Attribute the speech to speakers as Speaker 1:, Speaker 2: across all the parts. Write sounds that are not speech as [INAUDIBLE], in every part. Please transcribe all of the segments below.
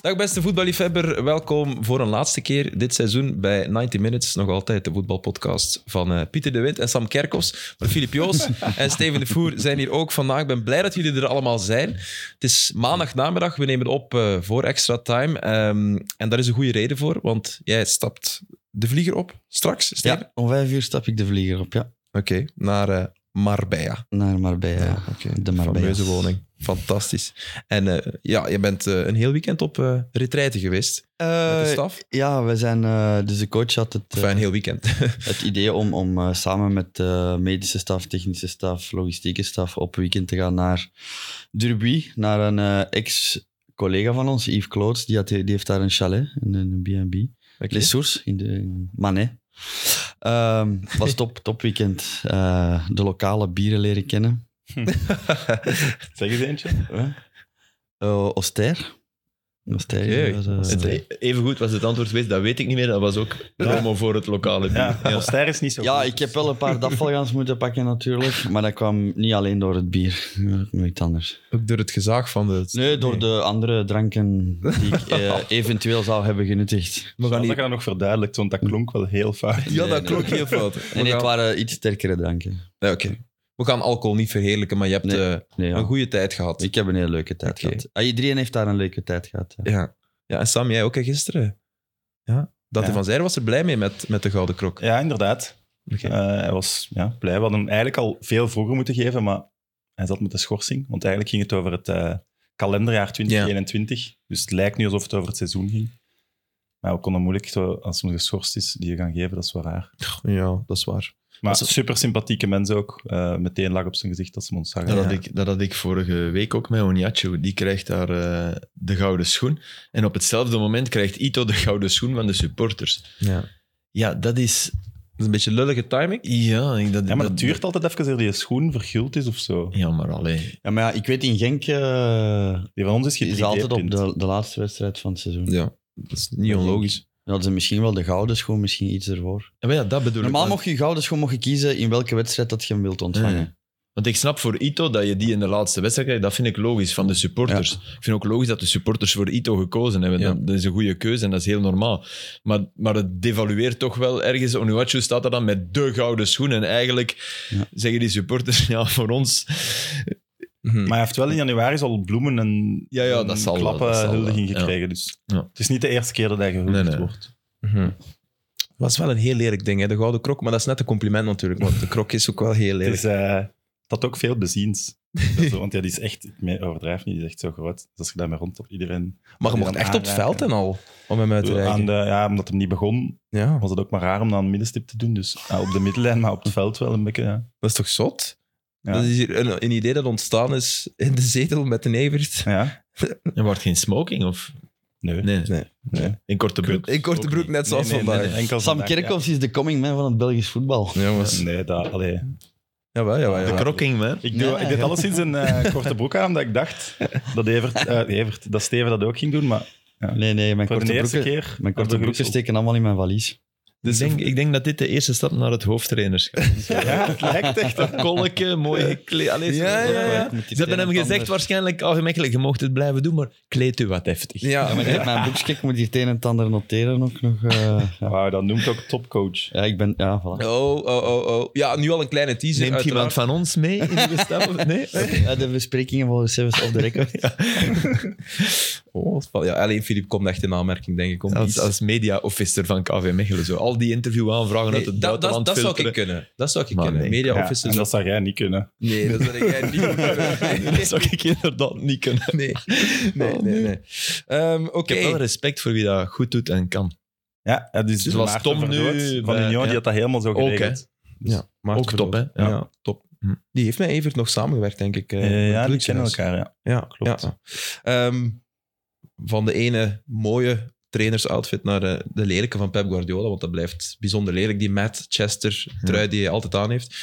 Speaker 1: Dag beste voetballiefhebber, welkom voor een laatste keer dit seizoen bij 90 Minutes. Nog altijd de voetbalpodcast van eh, Pieter de Wind en Sam Kerkhoffs. Maar Filip Joos
Speaker 2: [LAUGHS]
Speaker 1: en Steven de Voer zijn hier ook vandaag. Ik ben blij dat jullie er allemaal zijn. Het is maandagnamiddag, we nemen op eh, voor extra time. Ehm, en daar is een goede reden voor, want jij stapt de vlieger op straks, Steven?
Speaker 2: Ja, om vijf uur stap ik de vlieger op, ja.
Speaker 1: Oké, naar eh, Marbella.
Speaker 2: Naar Marbella. Ja,
Speaker 1: oké.
Speaker 2: De Marbella.
Speaker 1: Fameuze woning. Fantastisch. En eh, ja, je bent eh, een heel weekend op eh retraite geweest met de staf.
Speaker 2: Eh, ja, we zijn... eh, dus de coach had het, eh,
Speaker 1: Enfin, een heel [LAUGHS] weekend.
Speaker 2: het idee om, om eh, samen met eh, medische staf, technische staf, logistieke staf op weekend te gaan naar Derby, naar een eh, ex-collega van ons, Yves Kloots. Die, had, die heeft daar een chalet, een- een B&B.
Speaker 1: Oké.
Speaker 2: Les Sources in de in Manet. Ehm, was top, top weekend. Eh, de lokale bieren leren kennen.
Speaker 3: Zeg eens eentje.
Speaker 2: Huh? Eh, Oster. Oster.
Speaker 1: Oké.
Speaker 2: dat was, eh,
Speaker 1: Het-
Speaker 4: Even goed was het antwoord geweest, dat weet ik niet meer. Dat was ook promo voor het lokale bier.
Speaker 3: Ja, Alster is niet zo
Speaker 2: ja,
Speaker 3: goed.
Speaker 2: ik heb wel een paar dafvalgans [LAUGHS] moeten pakken natuurlijk, maar dat kwam niet alleen door het bier. [LAUGHS] Nog iets anders.
Speaker 1: Ook door het gezag van de...
Speaker 2: Nee, door de andere dranken die ik eh, eventueel zou hebben genuttigd.
Speaker 1: We gaan
Speaker 3: Als dat je
Speaker 1: hier...
Speaker 3: dat nog verduidelijkt, want dat klonk wel heel fout.
Speaker 1: Ja,
Speaker 2: Nee,
Speaker 1: dat
Speaker 2: nee.
Speaker 1: klonk
Speaker 2: [LAUGHS]
Speaker 1: heel fout. We
Speaker 2: En het
Speaker 1: gaan-
Speaker 2: waren iets sterkere dranken.
Speaker 1: Nee, Oké. We gaan alcohol niet verheerlijken, maar je hebt
Speaker 2: Nee.
Speaker 1: eh,
Speaker 2: Nee, ja.
Speaker 1: een goede tijd gehad.
Speaker 2: Ik heb een hele leuke tijd
Speaker 1: Oké.
Speaker 2: gehad. Ah, iedereen heeft daar een leuke tijd gehad. ja.
Speaker 1: Ja. ja, en Sam, jij ook hè, gisteren. Ja. Dat
Speaker 3: Ja.
Speaker 1: van Zijre was er blij mee met, met de Gouden Krok.
Speaker 3: Ja, inderdaad.
Speaker 1: Oké.
Speaker 3: Eh, hij was ja, blij. We hadden hem eigenlijk al veel vroeger moeten geven, maar hij zat met de schorsing. Want eigenlijk ging het over het eh, kalenderjaar 2021. Dus het lijkt nu alsof het over het seizoen ging. Maar we konden moeilijk, zo, als hem geschorst is, die gaan geven. Dat is wel raar.
Speaker 1: Ja, dat is waar.
Speaker 3: Maar
Speaker 1: Dat is-
Speaker 3: super sympathieke mensen ook. Eh, meteen lag op zijn gezicht als ze hem ons zagen.
Speaker 4: Dat, had
Speaker 3: Ja.
Speaker 4: ik, dat had ik vorige week ook met Onyachu. Die krijgt daar eh, de gouden schoen. En op hetzelfde moment krijgt Ito de gouden schoen van de supporters.
Speaker 1: Ja. Dat
Speaker 4: Ja, dat is...
Speaker 1: is een beetje lullige timing.
Speaker 4: Ja, ik- dat,
Speaker 3: Ja, maar het duurt altijd even eer die schoen verguld is of zo.
Speaker 4: Ja, maar alleen.
Speaker 2: Ja, maar ja, ik weet in Genk eh,
Speaker 3: Die van ons is
Speaker 2: is
Speaker 3: gedrie
Speaker 2: altijd op
Speaker 3: D-pint.
Speaker 2: de, de laatste wedstrijd van het seizoen.
Speaker 1: Ja, dat is niet onlogisch.
Speaker 2: Dat is misschien wel de gouden schoen, misschien iets ervoor.
Speaker 4: Ja, maar ja, dat bedoel
Speaker 2: Normaal
Speaker 4: ik. Want,
Speaker 2: mocht je gouden schoen mocht je kiezen in welke wedstrijd dat je hem wilt ontvangen.
Speaker 4: Ja. want ik snap voor Ito dat je die in de laatste wedstrijd krijgt. Dat vind ik logisch van de supporters. Ik vind ook logisch dat de supporters voor Ito gekozen hebben.
Speaker 1: Ja.
Speaker 4: Dat, dat is een goede keuze en dat is heel normaal. Maar, maar het devalueert toch wel ergens. Onuachu staat er dan met de gouden schoen. En eigenlijk
Speaker 2: Ja.
Speaker 4: zeggen die supporters, [LAUGHS] ja, voor ons...
Speaker 1: Mhm.
Speaker 3: Maar hij heeft wel in januari al bloemen en
Speaker 4: Mm. Ja, ja, dat
Speaker 3: en
Speaker 4: zal wel,
Speaker 3: klappen
Speaker 4: dat zal wel,
Speaker 3: huldiging
Speaker 4: ja.
Speaker 3: gekregen. Dus
Speaker 4: Ja.
Speaker 3: het is niet de eerste keer dat hij gehuldigd
Speaker 4: Nee, nee.
Speaker 3: wordt.
Speaker 1: Mhm. was wel een heel lelijk ding, hè, de Gouden Krok. Maar dat is net een compliment natuurlijk, want de krok is ook wel heel
Speaker 3: Het
Speaker 1: lelijk.
Speaker 3: is, eh, dat ook veel beziens. Dat
Speaker 4: [LAUGHS]
Speaker 3: zo, want ja, die is echt, ik me- overdrijf niet, die is echt zo groot. Dus als je daarmee rond op iedereen...
Speaker 1: Maar je
Speaker 3: die
Speaker 1: mocht
Speaker 3: dan
Speaker 1: echt op het
Speaker 3: aanraken.
Speaker 1: veld en al, om hem uit te
Speaker 3: Aan
Speaker 1: reiken.
Speaker 3: de, ja, omdat hem niet begon,
Speaker 1: Ja,
Speaker 3: was het ook maar raar om dan een middenstip te doen. Dus ja, op de middenlijn, maar op het veld wel een beetje... Ja.
Speaker 1: dat is toch zot?
Speaker 3: Ja.
Speaker 1: Dat is hier een, een idee dat ontstaan is in de zetel met de Evert.
Speaker 3: Ja?
Speaker 4: Er wordt geen smoking of...
Speaker 3: Nee.
Speaker 4: Nee.
Speaker 1: Nee.
Speaker 3: Nee.
Speaker 4: In korte broek.
Speaker 1: In korte
Speaker 4: Ook
Speaker 1: broek,
Speaker 4: niet.
Speaker 1: net zoals
Speaker 3: Nee, nee,
Speaker 1: vandaag.
Speaker 3: nee, enkel
Speaker 2: Sam
Speaker 3: vandaag,
Speaker 2: Kerkhoffs is de coming man van het Belgisch voetbal.
Speaker 1: Ja. Jongens.
Speaker 3: ja. Nee, dat... Allee.
Speaker 1: Jawel, jawel,
Speaker 3: De
Speaker 1: jawel.
Speaker 4: De krokking, man.
Speaker 3: Ik, doe,
Speaker 2: Nee,
Speaker 3: ik deed
Speaker 2: ja.
Speaker 3: alleszins een eh, korte broek aan, omdat ik dacht dat Evert, eh, Evert, dat Steven dat ook ging doen, maar
Speaker 2: Nee, nee, mijn
Speaker 3: voor
Speaker 2: korte
Speaker 3: de eerste
Speaker 2: broeken,
Speaker 3: keer...
Speaker 2: mijn korte
Speaker 3: hebben we
Speaker 2: broeken
Speaker 3: gewisseld.
Speaker 2: steken allemaal in mijn valies.
Speaker 4: Dus ik, denk, ik denk dat dit de eerste stap naar het hoofdtrainerschap is.
Speaker 3: Ja, het lijkt echt.
Speaker 4: Dat kolletje, mooi gekleed. Allee,
Speaker 1: Ja, ja, ja.
Speaker 4: Ze hebben hem gezegd waarschijnlijk, algemeen, je mocht het blijven doen, maar kleed u wat heftig.
Speaker 2: Ja, maar
Speaker 1: Ja,
Speaker 2: ik heb mijn broekje, ik moet hier het een en het ander noteren ook nog. eh, ja.
Speaker 3: Wauw, dat noemt ook topcoach.
Speaker 2: ja, ik ben... Ja, voilà.
Speaker 1: oh, oh, oh, oh. Ja, nu al een kleine teaser.
Speaker 4: Neemt iemand
Speaker 1: uiteraard.
Speaker 4: van ons mee in die stap? of- Nee? [LAUGHS]
Speaker 2: Ja, de besprekingen volgens Sevens of the [LAUGHS] record.
Speaker 1: Oh, dat valt- ja, alleen Filip komt echt in aanmerking, denk ik. Om
Speaker 4: Als,
Speaker 1: iets-
Speaker 4: als media-officer van KV Mechelen. Zo. Al die interviewaanvragen
Speaker 1: Nee,
Speaker 4: uit het
Speaker 1: dat, dat,
Speaker 4: buitenland
Speaker 1: dat zou ik
Speaker 4: filteren.
Speaker 1: kunnen. Dat zou ik
Speaker 4: Maar
Speaker 1: kunnen.
Speaker 4: nee.
Speaker 1: Media
Speaker 3: Ja,
Speaker 1: officers.
Speaker 3: en dat zou jij niet kunnen.
Speaker 1: Nee, dat zou jij niet
Speaker 4: [LAUGHS]
Speaker 1: kunnen.
Speaker 4: Dat zou ik inderdaad niet kunnen.
Speaker 1: Nee, nee, nee. nee. Ehm, Oké.
Speaker 4: Ik heb wel respect voor wie dat goed doet en kan.
Speaker 3: Ja, ja dus
Speaker 4: Zoals
Speaker 3: Maarten
Speaker 4: Tom nu
Speaker 3: Verdoort van
Speaker 4: bij-
Speaker 3: Union,
Speaker 4: ja.
Speaker 3: die had dat helemaal zo
Speaker 4: Ook, hè.
Speaker 3: geregeld.
Speaker 1: Ja, maar
Speaker 4: Ook top, hè?
Speaker 1: Ja,
Speaker 4: Ja.
Speaker 1: top.
Speaker 4: Hm.
Speaker 1: Die heeft met Evert nog samengewerkt, denk ik.
Speaker 3: Eh,
Speaker 1: eh, met
Speaker 3: ja, die
Speaker 1: Brugge
Speaker 3: kennen
Speaker 1: zelfs.
Speaker 3: elkaar, ja.
Speaker 1: Ja,
Speaker 3: Klopt.
Speaker 1: ja. Ehm, van de ene mooie trainersoutfit naar eh, de lelijke van Pep Guardiola, want dat blijft bijzonder lelijk. Die Matt Chester trui die hij altijd aan heeft.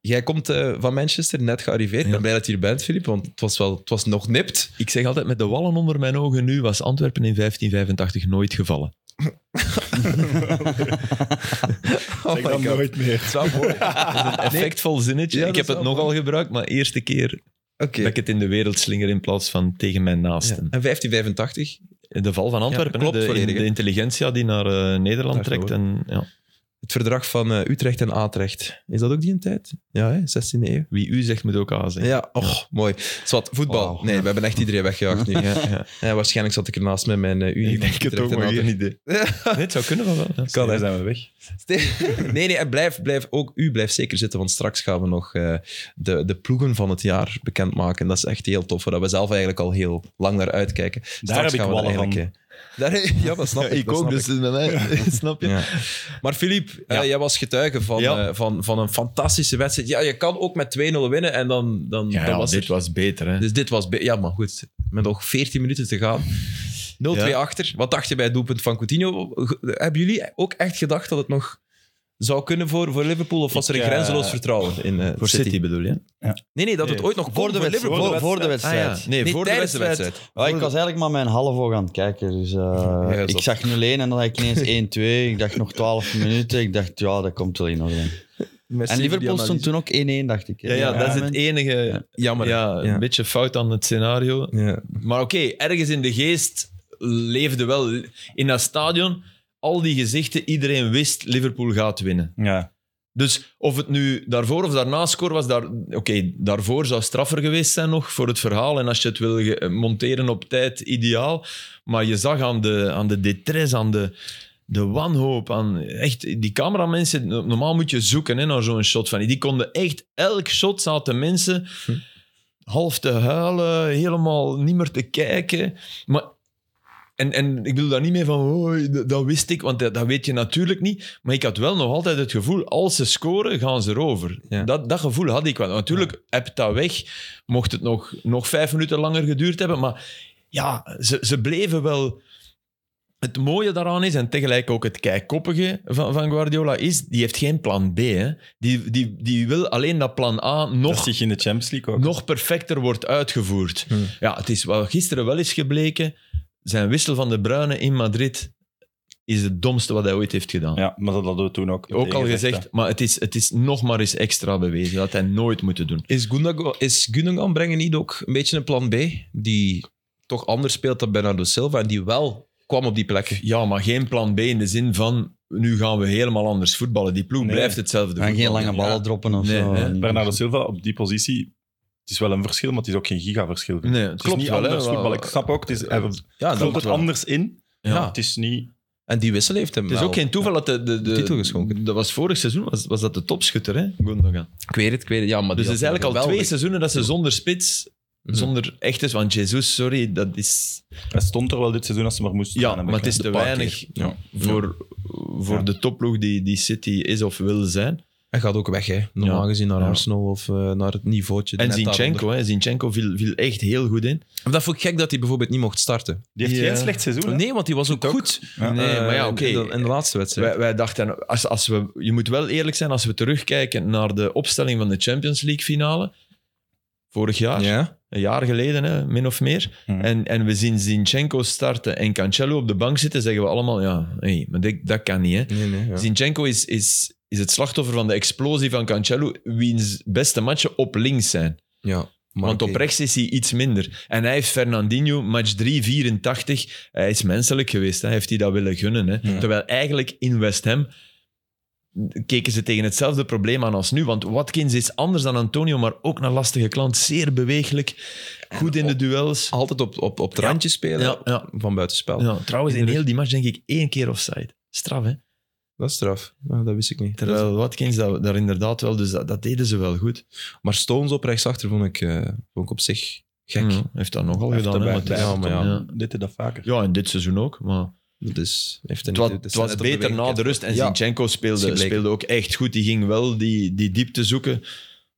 Speaker 1: Jij komt eh, van Manchester, net gearriveerd. Ik ben
Speaker 4: Ja.
Speaker 1: blij dat je hier bent, Filip, want het was, wel, het was nog nipt.
Speaker 4: Ik zeg altijd, met de wallen onder mijn ogen nu was Antwerpen in 1585 nooit gevallen.
Speaker 1: Oh my God.
Speaker 3: meer.
Speaker 1: Het is wel mooi.
Speaker 4: Effectvol zinnetje.
Speaker 1: Ja,
Speaker 4: ik
Speaker 1: dat
Speaker 4: heb
Speaker 1: is
Speaker 4: het
Speaker 1: wel
Speaker 4: nogal gebruikt, maar eerste keer
Speaker 1: Oké.
Speaker 4: dat ik het in de wereld slinger in plaats van tegen mijn
Speaker 1: Ja.
Speaker 4: naasten.
Speaker 1: En 1585,
Speaker 4: de val van Antwerpen, hè,
Speaker 1: klopt,
Speaker 4: de-
Speaker 1: volledig,
Speaker 4: de,
Speaker 1: hè.
Speaker 4: intelligentia die naar eh, Nederland
Speaker 1: Daar
Speaker 4: trekt.
Speaker 1: zo,
Speaker 4: En, ja.
Speaker 1: Het verdrag van eh, Utrecht en Atrecht. Is dat ook die een tijd? Ja, hè? 16e eeuw.
Speaker 4: Wie u zegt, moet ook A zeggen.
Speaker 1: Ja, och, mooi. Zwat, voetbal.
Speaker 2: Wauw.
Speaker 1: Nee, we hebben echt iedereen weggejaagd
Speaker 4: [LAUGHS]
Speaker 1: nu. Ja, [LAUGHS] ja. Ja, waarschijnlijk zat ik ernaast met mijn eh, Unie.
Speaker 4: Ik denk het
Speaker 1: Utrecht
Speaker 4: ook,
Speaker 1: en
Speaker 4: maar
Speaker 1: Atrecht.
Speaker 4: geen [LAUGHS] idee. Nee, het zou kunnen van wel. ja.
Speaker 1: Kan, hè.
Speaker 3: Dan zijn we weg.
Speaker 1: Ste- nee, nee, en blijf, blijf, ook u blijft zeker zitten, want straks gaan we nog eh, de, de ploegen van het jaar bekendmaken. Dat is echt heel tof, waar we zelf eigenlijk al heel lang naar uitkijken. straks
Speaker 3: heb ik
Speaker 1: gaan we
Speaker 3: wallen
Speaker 1: er eigenlijk, eh, Daar, [LAUGHS] ja, dat snap
Speaker 4: [LAUGHS] Ja,
Speaker 1: ik.
Speaker 4: ik
Speaker 1: dat
Speaker 4: ook,
Speaker 1: snap
Speaker 4: dus
Speaker 1: ik.
Speaker 4: eh, bij mij,
Speaker 1: [LAUGHS]
Speaker 4: snap je?
Speaker 1: Ja. Maar Filip, eh,
Speaker 4: Ja.
Speaker 1: jij was getuige van,
Speaker 4: Ja.
Speaker 1: eh, van, van een fantastische wedstrijd. Ja, je kan ook met 2-0 winnen en dan, dan,
Speaker 4: Ja,
Speaker 1: dan
Speaker 4: ja,
Speaker 1: was
Speaker 4: dit
Speaker 1: er-
Speaker 4: was beter. Hè.
Speaker 1: Dus dit was... be- Ja, maar goed. Met nog 14 minuten te gaan. 0-2
Speaker 4: Ja.
Speaker 1: achter. Wat dacht je bij het doelpunt van Coutinho? Ge- Hebben jullie ook echt gedacht dat het nog zou kunnen voor, voor Liverpool? Of was
Speaker 3: Ik,
Speaker 1: er een
Speaker 3: eh,
Speaker 1: grenzeloos vertrouwen in eh,
Speaker 4: voor City, bedoel je?
Speaker 1: Nee, nee, dat het
Speaker 3: Nee.
Speaker 1: ooit nog kon
Speaker 2: Voor de, wedstrijd,
Speaker 1: Liverpool.
Speaker 2: voor, de- voor de
Speaker 4: Ah,
Speaker 2: wedstrijd.
Speaker 4: ja. Nee,
Speaker 1: Nee,
Speaker 4: voor de
Speaker 1: tijdens de
Speaker 4: wedstrijd.
Speaker 1: wedstrijd.
Speaker 2: Ja, ik was eigenlijk maar mijn half oog aan het kijken. Dus, eh,
Speaker 1: dat is
Speaker 2: ik zag 0-1 en dan had ik ineens [LAUGHS] 1-2. Ik dacht nog 12 minuten. Ik dacht, ja, dat komt wel in orde. En Liverpool stond toen ook 1-1, dacht ik. hè.
Speaker 4: Ja, ja,
Speaker 3: Ja,
Speaker 4: dat is
Speaker 2: man.
Speaker 4: het enige.
Speaker 1: Jammer. Ja.
Speaker 4: Ja, een
Speaker 1: Ja.
Speaker 4: beetje fout aan het scenario.
Speaker 1: Ja.
Speaker 4: Maar oké, ergens in de geest leefde wel in dat stadion al die gezichten. Iedereen wist Liverpool gaat winnen.
Speaker 3: Ja.
Speaker 4: Dus of het nu daarvoor of daarna score was, daar, oké, daarvoor zou straffer geweest zijn nog voor het verhaal. En als je het wil ge- monteren op tijd, ideaal. Maar je zag aan de, aan de détresse, aan de, de wanhoop, aan echt die cameramensen. no- Normaal moet je zoeken hè, naar zo'n shot van die. Die konden echt, elk shot zaten mensen half te huilen, helemaal niet meer te kijken. Maar, en, en ik bedoel daar niet mee van, oh, dat, dat wist ik, want dat, dat weet je natuurlijk niet. Maar ik had wel nog altijd het gevoel, als ze scoren, gaan ze erover.
Speaker 1: Ja.
Speaker 4: Dat, dat gevoel had ik wel. Natuurlijk hebt dat weg, mocht het nog, nog vijf minuten langer geduurd hebben. Maar ja, ze, ze bleven wel... Het mooie daaraan is, en tegelijk ook het kijkkoppige van, van Guardiola, is die heeft geen plan B. Hè. Die, die, die wil alleen dat plan A
Speaker 3: Dat
Speaker 4: nog
Speaker 3: zich in de Champions League ook.
Speaker 4: nog perfecter wordt uitgevoerd.
Speaker 1: Hmm.
Speaker 4: Ja, het is wat gisteren wel is gebleken. Zijn wissel van de Bruyne in Madrid is het domste wat hij ooit heeft gedaan.
Speaker 3: Ja, maar dat hadden we toen ook.
Speaker 4: Ook al
Speaker 3: meteen
Speaker 4: gezegd,
Speaker 3: hè.
Speaker 4: maar het is, het is nog maar eens extra bewezen. Dat had hij nooit moeten doen.
Speaker 1: Is, Gundogan, is Gundogan brengen niet ook een beetje een plan B? Die toch anders speelt dan Bernardo Silva en die wel kwam op die plekken.
Speaker 4: Ja, maar geen plan B in de zin van nu gaan we helemaal anders voetballen. Die ploeg
Speaker 3: Nee.
Speaker 4: blijft hetzelfde.
Speaker 2: En geen
Speaker 4: voetballen.
Speaker 2: lange ballen droppen of
Speaker 4: Nee,
Speaker 2: zo.
Speaker 4: hè.
Speaker 3: Bernardo Silva op die positie. Het is wel een verschil, maar het is ook geen gigaverschil.
Speaker 4: Nee, het
Speaker 3: het
Speaker 4: klopt
Speaker 3: is niet
Speaker 4: wel, hè,
Speaker 3: anders
Speaker 4: wel-
Speaker 3: voetbal. Ik snap ook, het is, hij
Speaker 4: Ah,
Speaker 1: Ja,
Speaker 3: vult
Speaker 1: dat,
Speaker 3: het anders in.
Speaker 4: Ja.
Speaker 1: ja.
Speaker 3: Het is niet...
Speaker 1: En die wissel heeft hem
Speaker 4: Het is
Speaker 1: wel.
Speaker 4: ook geen toeval dat de, de, de
Speaker 1: Titel geschonken.
Speaker 4: Dat was vorig seizoen, was, was dat de topschutter, hè? Gundogan.
Speaker 1: Ik weet het, ik weet het. Ja, maar
Speaker 4: Dus
Speaker 1: die
Speaker 4: het is
Speaker 1: had
Speaker 4: eigenlijk al
Speaker 1: geweldig-
Speaker 4: twee seizoenen dat ze zonder spits,
Speaker 1: Mhm.
Speaker 4: zonder echtes, want Jesus, sorry, dat is...
Speaker 3: Hij stond er wel dit seizoen als ze maar moesten.
Speaker 4: Ja, maar het is te weinig
Speaker 1: Ja.
Speaker 4: voor, voor
Speaker 3: Ja.
Speaker 4: de topploeg die, die City is of wil zijn.
Speaker 1: Hij gaat ook weg, hè. normaal
Speaker 4: Ja.
Speaker 1: gezien, naar
Speaker 4: Ja.
Speaker 1: Arsenal of eh, naar het niveautje.
Speaker 4: En
Speaker 1: net daaronder.
Speaker 4: Zinchenko, hè. Zinchenko viel, viel echt heel goed in.
Speaker 1: Maar Dat vond ik gek dat hij bijvoorbeeld niet mocht starten.
Speaker 3: Die heeft
Speaker 4: Ja.
Speaker 3: geen slecht seizoen. hè?
Speaker 1: Nee, want die was ook, goed.
Speaker 3: Ja.
Speaker 4: Nee,
Speaker 1: Eh,
Speaker 4: maar ja, oké.
Speaker 1: in, de- in de laatste wedstrijd.
Speaker 4: Wij, wij dachten, als, als we, je moet wel eerlijk zijn, als we terugkijken naar de opstelling van de Champions League finale, vorig jaar,
Speaker 1: ja.
Speaker 4: een jaar geleden, hè, min of meer,
Speaker 3: Mhm.
Speaker 4: en, en we zien Zinchenko starten en Cancelo op de bank zitten, zeggen we allemaal, ja, hé, maar dit, dat kan niet, hè.
Speaker 1: Nee, nee, ja.
Speaker 4: Zinchenko is, is, is het slachtoffer van de explosie van Cancelo, wiens beste matchen op links zijn.
Speaker 1: Ja, maar
Speaker 4: Want
Speaker 1: oké.
Speaker 4: op rechts is hij iets minder. En hij heeft Fernandinho, match 3, 84. Hij is menselijk geweest. Hè. Hij heeft hij dat willen gunnen. Hè.
Speaker 1: Ja.
Speaker 4: Terwijl eigenlijk in West Ham keken ze tegen hetzelfde probleem aan als nu. Want Watkins is anders dan Antonio, maar ook een lastige klant. Zeer bewegelijk. Goed in de duels.
Speaker 1: Altijd op, op, op het
Speaker 4: Ja.
Speaker 1: randje spelen,
Speaker 4: Ja, ja.
Speaker 1: van buitenspel.
Speaker 4: Ja, trouwens, in heel die match denk ik één keer offside. Straf, hè?
Speaker 1: Dat is straf. Nou, dat wist ik niet.
Speaker 4: Terwijl Watkins dat, daar inderdaad wel... Dus dat, dat deden ze wel goed.
Speaker 1: Maar Stones op rechtsachter vond ik, eh, vond ik op zich gek.
Speaker 4: Ja, heeft dat nogal
Speaker 3: Hij heeft
Speaker 4: gedaan. hè,
Speaker 3: erbij-
Speaker 4: maar het is-
Speaker 3: bij-
Speaker 1: ja, maar ja.
Speaker 4: ja.
Speaker 3: Dit en dat vaker.
Speaker 4: Ja, en dit seizoen ook. Maar
Speaker 1: Dat is, Dus heeft
Speaker 4: het
Speaker 1: niet-
Speaker 4: was,
Speaker 1: dat is
Speaker 4: het was
Speaker 1: net op
Speaker 4: beter
Speaker 1: weg
Speaker 4: na de
Speaker 1: gekend.
Speaker 4: rust. En
Speaker 1: Ja.
Speaker 4: Zinchenko
Speaker 1: is
Speaker 4: speelde,
Speaker 1: gebleken.
Speaker 4: speelde ook echt goed. Die ging wel die, die diepte zoeken.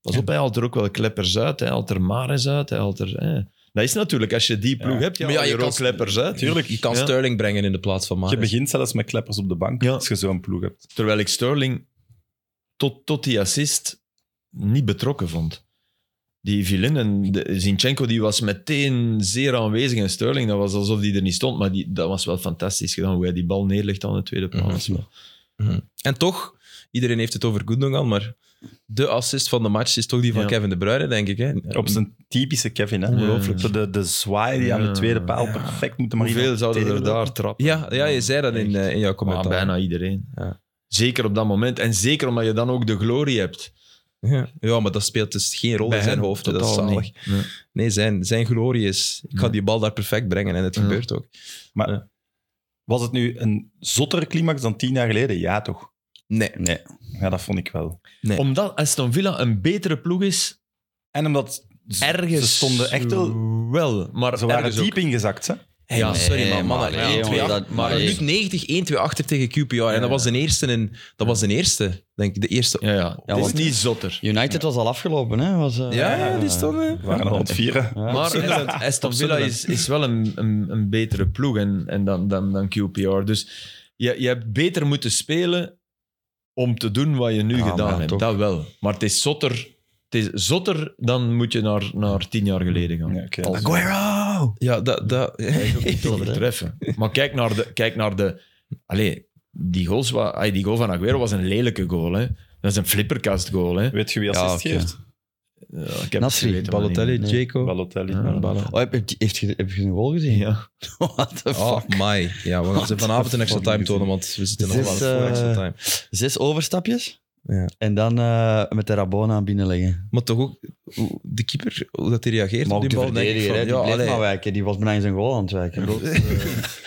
Speaker 4: Pas op, hij haalt er ook wel kleppers uit. Hij haalt er Mares uit. Hij haalt er, hè. Dat is natuurlijk, als je die ploeg
Speaker 3: Ja.
Speaker 4: hebt, ja,
Speaker 1: Maar ja,
Speaker 4: haal je
Speaker 1: je
Speaker 4: er ook
Speaker 1: kan-
Speaker 4: kleppers uit.
Speaker 3: Tuurlijk.
Speaker 1: Je kan
Speaker 4: Ja.
Speaker 1: Sterling brengen in de plaats van
Speaker 3: Je
Speaker 1: Mahrez.
Speaker 3: begint zelfs met kleppers op de bank
Speaker 4: Ja.
Speaker 3: als je zo'n ploeg hebt.
Speaker 4: Terwijl ik Sterling tot, tot die assist niet betrokken vond. Die viel in en de- Zinchenko die was meteen zeer aanwezig. En Sterling, dat was alsof die er niet stond. Maar die, dat was wel fantastisch gedaan, hoe hij die bal neerlegt aan de tweede plaats.
Speaker 1: Mhm. En toch, Iedereen heeft het over Gundogan, maar de assist van de match is toch die van
Speaker 4: Ja.
Speaker 1: Kevin De Bruyne, denk ik. Hè?
Speaker 3: Op zijn typische Kevin, hè?
Speaker 1: Ongelooflijk.
Speaker 3: Zo De, de zwaai die aan de
Speaker 4: Ja.
Speaker 3: tweede paal perfect moeten maar
Speaker 2: Hoeveel
Speaker 3: iemand
Speaker 2: zouden er
Speaker 3: tegenlopen.
Speaker 2: daar trappen?
Speaker 1: Ja, ja, je zei dat in, eh, in jouw
Speaker 4: Maar
Speaker 1: commentaar.
Speaker 4: bijna iedereen.
Speaker 1: Ja.
Speaker 4: Zeker op dat moment. En zeker omdat je dan ook de glorie hebt.
Speaker 1: Ja. ja, maar dat speelt dus geen rol
Speaker 4: Bij
Speaker 1: in zijn
Speaker 4: hem
Speaker 1: hoofd. hè. Dat is
Speaker 4: totaal
Speaker 1: zalig.
Speaker 4: niet. Nee.
Speaker 1: Nee, zijn, zijn glorie is... Ik ga
Speaker 4: Ja.
Speaker 1: die bal daar perfect brengen en het
Speaker 4: Ja.
Speaker 1: gebeurt ook.
Speaker 3: Was het nu een zottere climax dan tien jaar geleden? Ja, toch?
Speaker 1: Nee.
Speaker 2: Nee.
Speaker 3: Ja, dat vond ik wel.
Speaker 1: Nee.
Speaker 4: Omdat Aston Villa een betere ploeg is,
Speaker 3: En omdat z-
Speaker 4: ergens...
Speaker 3: ze stonden echt wel...
Speaker 4: wel, maar
Speaker 3: Ze waren
Speaker 4: ergens ook.
Speaker 3: diep ingezakt, hè?
Speaker 1: Hey,
Speaker 4: Ja,
Speaker 1: maar Ah, sorry, maar mannen.
Speaker 2: nee,
Speaker 1: 1-2
Speaker 2: jongen,
Speaker 1: achter-
Speaker 2: dat-
Speaker 1: maar
Speaker 2: nee.
Speaker 1: minuut 90, 1-2 achter tegen QPR. En dat was de eerste, en, dat was de eerste denk ik. De eerste.
Speaker 4: Ja, ja. Het is
Speaker 2: want-
Speaker 4: niet zotter.
Speaker 2: United was al afgelopen, hè? Was, eh,
Speaker 1: Ja, ja, die stonden...
Speaker 3: We waren al aan het vieren.
Speaker 2: Ja.
Speaker 4: Maar Aston- Aston Villa is, is wel een, een, een betere ploeg en, en dan, dan, dan QPR. Dus je, je hebt beter moeten spelen om te doen wat je nu
Speaker 2: Ja,
Speaker 4: gedaan
Speaker 2: maar
Speaker 4: hebt.
Speaker 2: toch.
Speaker 4: Dat wel. Maar het is zotter. Het is zotter dan moet je naar, naar tien jaar geleden gaan.
Speaker 3: [LAUGHS] Ja, oké.
Speaker 4: Als-
Speaker 1: Aguero! Ja, dat... dat [LAUGHS]
Speaker 4: te overtreffen. Maar kijk naar de... Kijk naar de allee, die, goals, wa- ay, die goal van Aguero was een lelijke goal. Hè. Dat is een flipperkast goal. Hè.
Speaker 3: Weet je wie
Speaker 2: Ja,
Speaker 3: assist
Speaker 2: oké.
Speaker 3: geeft?
Speaker 4: Ja, ik heb
Speaker 2: Nasri,
Speaker 4: het geweten, maar niet
Speaker 1: Balotelli,
Speaker 4: meer.
Speaker 2: Nee.
Speaker 1: Jaco.
Speaker 3: Balotelli.
Speaker 4: Ja.
Speaker 1: Ballen.
Speaker 2: Oh, heb, heb, heeft je, heb je een goal gezien?
Speaker 4: Ja.
Speaker 2: [LAUGHS] What the fuck?
Speaker 1: Oh my. Ja, we gaan ze vanavond een extra time tonen, want we zitten nog
Speaker 2: Dit
Speaker 1: wel
Speaker 2: is,
Speaker 1: voor
Speaker 2: eh,
Speaker 1: extra time.
Speaker 2: Zes overstapjes.
Speaker 1: Ja.
Speaker 2: En dan eh, met de Rabona binnenleggen.
Speaker 1: Maar toch ook, hoe- de keeper, hoe dat hij reageert
Speaker 2: Maar
Speaker 1: op
Speaker 2: ook
Speaker 1: die
Speaker 2: de
Speaker 1: bal, denk ik
Speaker 2: verdediger,
Speaker 1: van...
Speaker 2: hè, die
Speaker 1: ja,
Speaker 2: bleef
Speaker 1: allee.
Speaker 2: maar wijken. Die was bijna in zijn goal aan het wijken. [LAUGHS]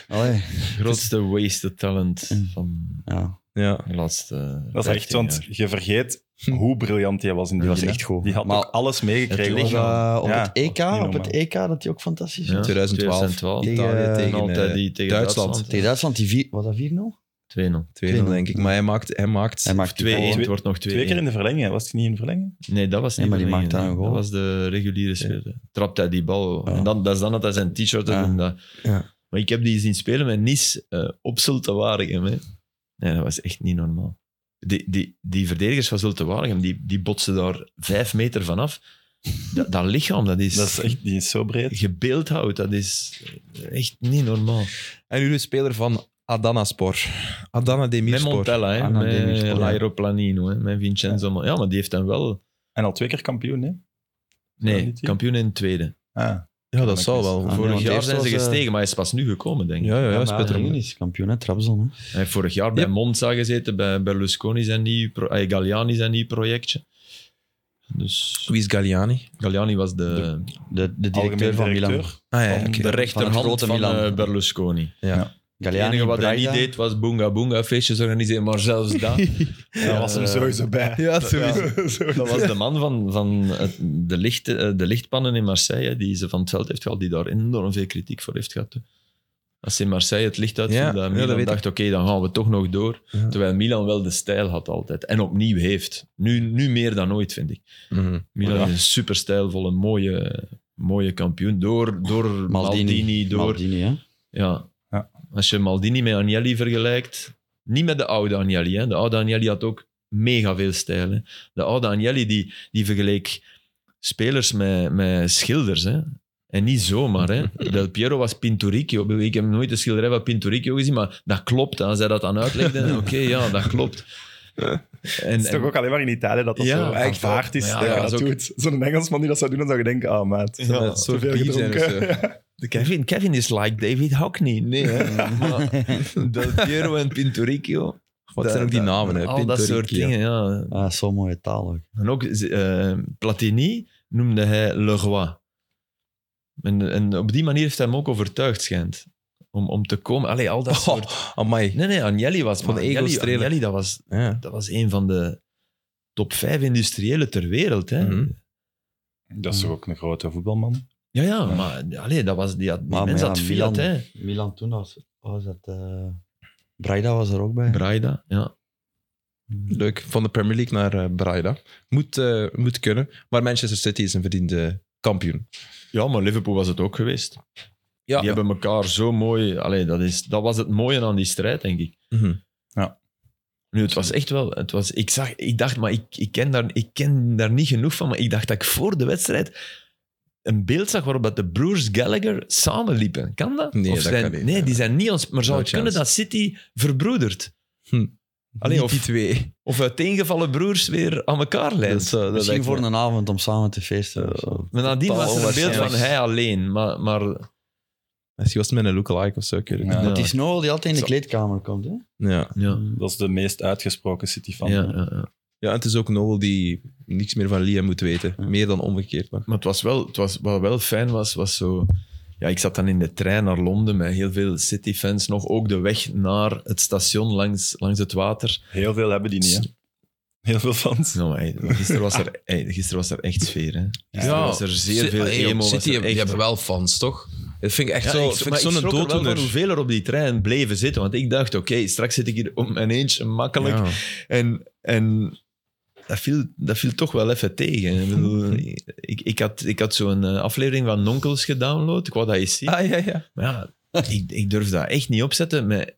Speaker 2: Allee.
Speaker 4: Grootste wasted talent van
Speaker 2: Ja,
Speaker 1: Ja.
Speaker 4: de laatste
Speaker 3: Dat is echt,
Speaker 4: 15
Speaker 3: want
Speaker 4: jaar.
Speaker 3: je vergeet hoe briljant hij was in
Speaker 2: die
Speaker 3: die
Speaker 2: was
Speaker 3: zin, hè.
Speaker 2: echt goed.
Speaker 3: Die had
Speaker 2: Maar
Speaker 3: ook alles meegekregen.
Speaker 4: het
Speaker 2: was,
Speaker 3: hoor.
Speaker 2: eh, op
Speaker 3: Ja,
Speaker 2: het EK,
Speaker 3: was niet
Speaker 2: op het
Speaker 3: normaal.
Speaker 2: EK dat hij ook fantastisch
Speaker 4: Ja.
Speaker 2: was.
Speaker 4: 2012.
Speaker 1: 2012. Italië
Speaker 2: Tegen,
Speaker 1: tegen,
Speaker 4: En altijd
Speaker 1: eh,
Speaker 4: die tegen
Speaker 1: Duitsland.
Speaker 2: Tegen Duitsland, die vier, was dat 4-0?
Speaker 4: 2-0.
Speaker 1: 2-0, denk ik. Maar hij maakt... Hij maakt
Speaker 2: Hij maakt die
Speaker 4: Twee-
Speaker 2: goal, hè.
Speaker 4: het wordt nog 2-1.
Speaker 3: Twee keer in de verlenging. Was hij niet in de verlenging?
Speaker 4: Nee, dat was niet.
Speaker 2: Nee, maar die
Speaker 4: van
Speaker 2: maakt
Speaker 4: Mechelen.
Speaker 2: daar een goal.
Speaker 4: Dat was de reguliere speler. Trapt hij die bal.
Speaker 2: Ja.
Speaker 4: En dan, dat is dan dat hij zijn t-shirt had.
Speaker 2: Ja.
Speaker 4: en dat-
Speaker 1: Ja.
Speaker 4: Maar ik heb die zien spelen met Nice eh op Zulte Waregem. Hè. Nee, dat was echt niet normaal. Die, die, die verdedigers van Zulte Waregem, die, die botsen daar vijf meter vanaf. Dat, dat lichaam, dat is,
Speaker 3: Dat is echt, die is zo breed.
Speaker 4: gebeeldhouwd. Dat is echt niet normaal.
Speaker 1: En nu de speler van Adanaspor. Adana
Speaker 4: Met
Speaker 1: Demirspor.
Speaker 4: Montella, hè.
Speaker 2: Ah, nou, die
Speaker 4: met
Speaker 2: Mirspor, ja.
Speaker 4: L'Aeroplanino, hè. met Vincenzo. Ja. maar die heeft dan wel...
Speaker 3: En al twee keer kampioen, hè? dat
Speaker 4: Nee,
Speaker 3: niet die?
Speaker 4: kampioen in tweede.
Speaker 3: Ah,
Speaker 1: Ja, dat zou wel.
Speaker 2: Ah,
Speaker 4: Vorig
Speaker 2: want
Speaker 4: jaar
Speaker 2: eerst
Speaker 4: zijn ze
Speaker 2: was, eh,
Speaker 4: gestegen, maar hij is pas nu gekomen, denk ik.
Speaker 1: Ja, ja, ja.
Speaker 2: maar
Speaker 1: speelt er
Speaker 2: Arjen
Speaker 1: om.
Speaker 2: is kampioen, hè, Trabzon. Hè.
Speaker 4: Hij heeft vorig jaar bij
Speaker 1: Ja.
Speaker 4: Monza gezeten, bij Berlusconi zijn nieuw, pro- eh, Galliani zijn nieuw projectje. Dus
Speaker 1: Wie is Galliani?
Speaker 4: Galliani was de, de,
Speaker 2: De, de
Speaker 3: algemeen
Speaker 2: directeur van Milan.
Speaker 3: directeur.
Speaker 1: Ah ja,
Speaker 3: Van
Speaker 1: oké.
Speaker 3: de
Speaker 2: van
Speaker 4: rechterhand
Speaker 2: het
Speaker 4: van,
Speaker 2: grote Milan.
Speaker 4: eh, Berlusconi. Het
Speaker 2: Galliani,
Speaker 4: enige wat hij niet
Speaker 2: Braga.
Speaker 4: deed was boonga boonga feestjes organiseren, maar zelfs dat,
Speaker 3: Daar was hem
Speaker 4: eh,
Speaker 3: sowieso bij.
Speaker 1: [LAUGHS] Ja,
Speaker 4: dat was de man van, van het- de, licht, eh, de lichtpannen in Marseille, hè, die ze van het veld heeft gehaald, die daar enorm veel kritiek voor heeft gehad. hè. Als ze in Marseille het licht uitviel,
Speaker 1: Ja,
Speaker 4: ja,
Speaker 1: ja,
Speaker 4: dan
Speaker 1: dat
Speaker 4: Milan
Speaker 1: weet ik.
Speaker 4: dacht, oké, dan gaan we toch nog door.
Speaker 1: Ja.
Speaker 4: Terwijl Milan wel de stijl had altijd. En opnieuw heeft. Nu, nu meer dan ooit, vind ik.
Speaker 1: Mhm.
Speaker 4: Milan
Speaker 3: Ja.
Speaker 4: is een super stijlvolle, mooie, mooie kampioen. Door, door Maldini, door...
Speaker 2: Maldini, hè.
Speaker 4: Ja.
Speaker 3: Ja.
Speaker 4: Als je Maldini met Agnelli vergelijkt, niet met de oude Agnelli. Hè. De oude Agnelli had ook mega veel stijl. Hè. De oude Agnelli die, die vergeleek spelers met, met schilders. Hè. En niet zomaar. [LAUGHS] Hè. Del Piero was Pinturicchio. Ik bedoel, Ik heb nooit de schilderij van Pinturicchio gezien, maar dat klopt. Als hij dat dan uitlegde, [LAUGHS] oké, ja, dat klopt. En,
Speaker 3: Het is toch ook alleen maar in Italië dat dat
Speaker 4: Ja,
Speaker 3: zo
Speaker 4: echt wel.
Speaker 3: aanvaard is.
Speaker 4: Ja,
Speaker 3: dat je
Speaker 4: ja,
Speaker 3: dat
Speaker 4: dat is ook-
Speaker 3: doet. Zo'n Engelsman die dat zou doen, dan zou je denken, ah, maat.
Speaker 1: Zou dat een
Speaker 3: te
Speaker 1: soort
Speaker 3: veel
Speaker 1: pie zijn
Speaker 3: gedronken.
Speaker 1: of
Speaker 4: De Kevin, Kevin is like David Hockney. Nee, hè. [LAUGHS] Maar Del Piero en Pinturicchio.
Speaker 1: Wat zijn ook die namen, hè?
Speaker 4: Al Oh, dat soort
Speaker 1: Pintoricchio.
Speaker 4: dingen, ja.
Speaker 2: Ah, zo'n mooie taal ook.
Speaker 4: En ook eh, Platini noemde hij Le Roi. En, en op die manier heeft hij hem ook overtuigd, schijnt. Om, om te komen. Allee, al dat soort...
Speaker 1: Oh, amai.
Speaker 4: Nee, nee, Agnelli was...
Speaker 1: Van de
Speaker 4: maar
Speaker 1: ego
Speaker 4: Agnelli,
Speaker 1: strelen.
Speaker 4: Agnelli, dat was,
Speaker 1: Ja.
Speaker 4: dat was een van de top vijf industriëlen ter wereld, hè.
Speaker 1: Mhm.
Speaker 3: [LAUGHS] Dat is toch ook een grote voetbalman.
Speaker 4: Ja, ja, maar allee, dat was, die, had, die
Speaker 2: Maar-
Speaker 4: mens
Speaker 2: maar ja,
Speaker 4: had Fiat,
Speaker 2: Milan-
Speaker 4: hè.
Speaker 2: Milan toen was, was dat... eh Braida was er ook bij. Hmm.
Speaker 4: Braida, ja.
Speaker 1: Leuk. Van de Premier League naar eh, Braida. Moet, eh, moet kunnen. Maar Manchester City is een verdiende kampioen.
Speaker 4: Ja, maar Liverpool was het ook geweest.
Speaker 1: Ja.
Speaker 4: Die hebben elkaar zo mooi. Allee, dat, is, dat was het mooie aan die strijd, denk ik.
Speaker 1: Mhm.
Speaker 4: Nu, het was echt wel. Het was, ik, zag, ik dacht, maar ik, ik, ken daar, ik ken daar niet genoeg van. Maar ik dacht dat ik voor de wedstrijd een beeld zag waarop dat de broers Gallagher samenliepen. Kan dat?
Speaker 1: Nee, dat
Speaker 4: zijn,
Speaker 1: kan niet.
Speaker 4: Nee, die zijn niet ons. Maar zou
Speaker 1: No
Speaker 4: het kunnen
Speaker 1: chance.
Speaker 4: dat City verbroedert?
Speaker 1: Hm.
Speaker 4: Alleen
Speaker 1: Niet
Speaker 4: of,
Speaker 1: die twee.
Speaker 4: of uiteengevallen broers weer aan elkaar leidt. Zo, dat
Speaker 2: Misschien
Speaker 4: lijkt
Speaker 2: voor
Speaker 4: me-
Speaker 2: een avond om samen te feesten. of zo.
Speaker 4: Maar nadien
Speaker 1: Totaal
Speaker 4: was er een beeld van
Speaker 1: onwaarschijnlijk.
Speaker 4: hij alleen. Maar, maar
Speaker 1: Misschien was het met een lookalike of zo. ik weet het
Speaker 3: Ja.
Speaker 1: niet.
Speaker 2: Maar het is Noel die altijd in de
Speaker 3: Zo.
Speaker 2: kleedkamer komt. Hè?
Speaker 1: Ja.
Speaker 4: ja.
Speaker 3: Dat is de meest uitgesproken City
Speaker 4: Ja,
Speaker 3: van.
Speaker 4: ja, ja.
Speaker 1: ja, en het is ook Noel die niks meer van Liam moet weten. Meer dan omgekeerd nog.
Speaker 4: Maar het was wel, het was, wat wel fijn was, was zo... Ja, ik zat dan in de trein naar Londen met heel veel City-fans nog. Ook de weg naar het station langs, langs het water.
Speaker 3: Heel veel hebben die niet, hè. Heel veel fans.
Speaker 4: Nou, hey, gisteren, was er, hey, gisteren was er echt sfeer. Hè? Gisteren
Speaker 3: Ja.
Speaker 4: was er zeer
Speaker 1: Ci-
Speaker 4: veel
Speaker 1: hey, joh,
Speaker 4: emo. was
Speaker 1: City
Speaker 4: er
Speaker 1: hebben-
Speaker 4: echt-
Speaker 1: die hebben wel fans, toch? Dat vind ik echt
Speaker 4: Ja,
Speaker 1: zo,
Speaker 4: ik-
Speaker 1: vind ik
Speaker 4: maar ik
Speaker 1: zo'n
Speaker 4: schrok er wel van
Speaker 1: dooddoener.
Speaker 4: hoeveel er op die trein bleven zitten. Want ik dacht, oké, straks zit ik hier op mijn eentje makkelijk.
Speaker 1: Ja.
Speaker 4: En, en dat, viel, dat viel toch wel even tegen. Ik, bedoel, ik, ik had, ik had zo'n eh, aflevering van Nonkels gedownload. Ik wou dat eens zien.
Speaker 1: Ah, ja, ja.
Speaker 4: Maar ja, ik, ik durf dat echt niet opzetten met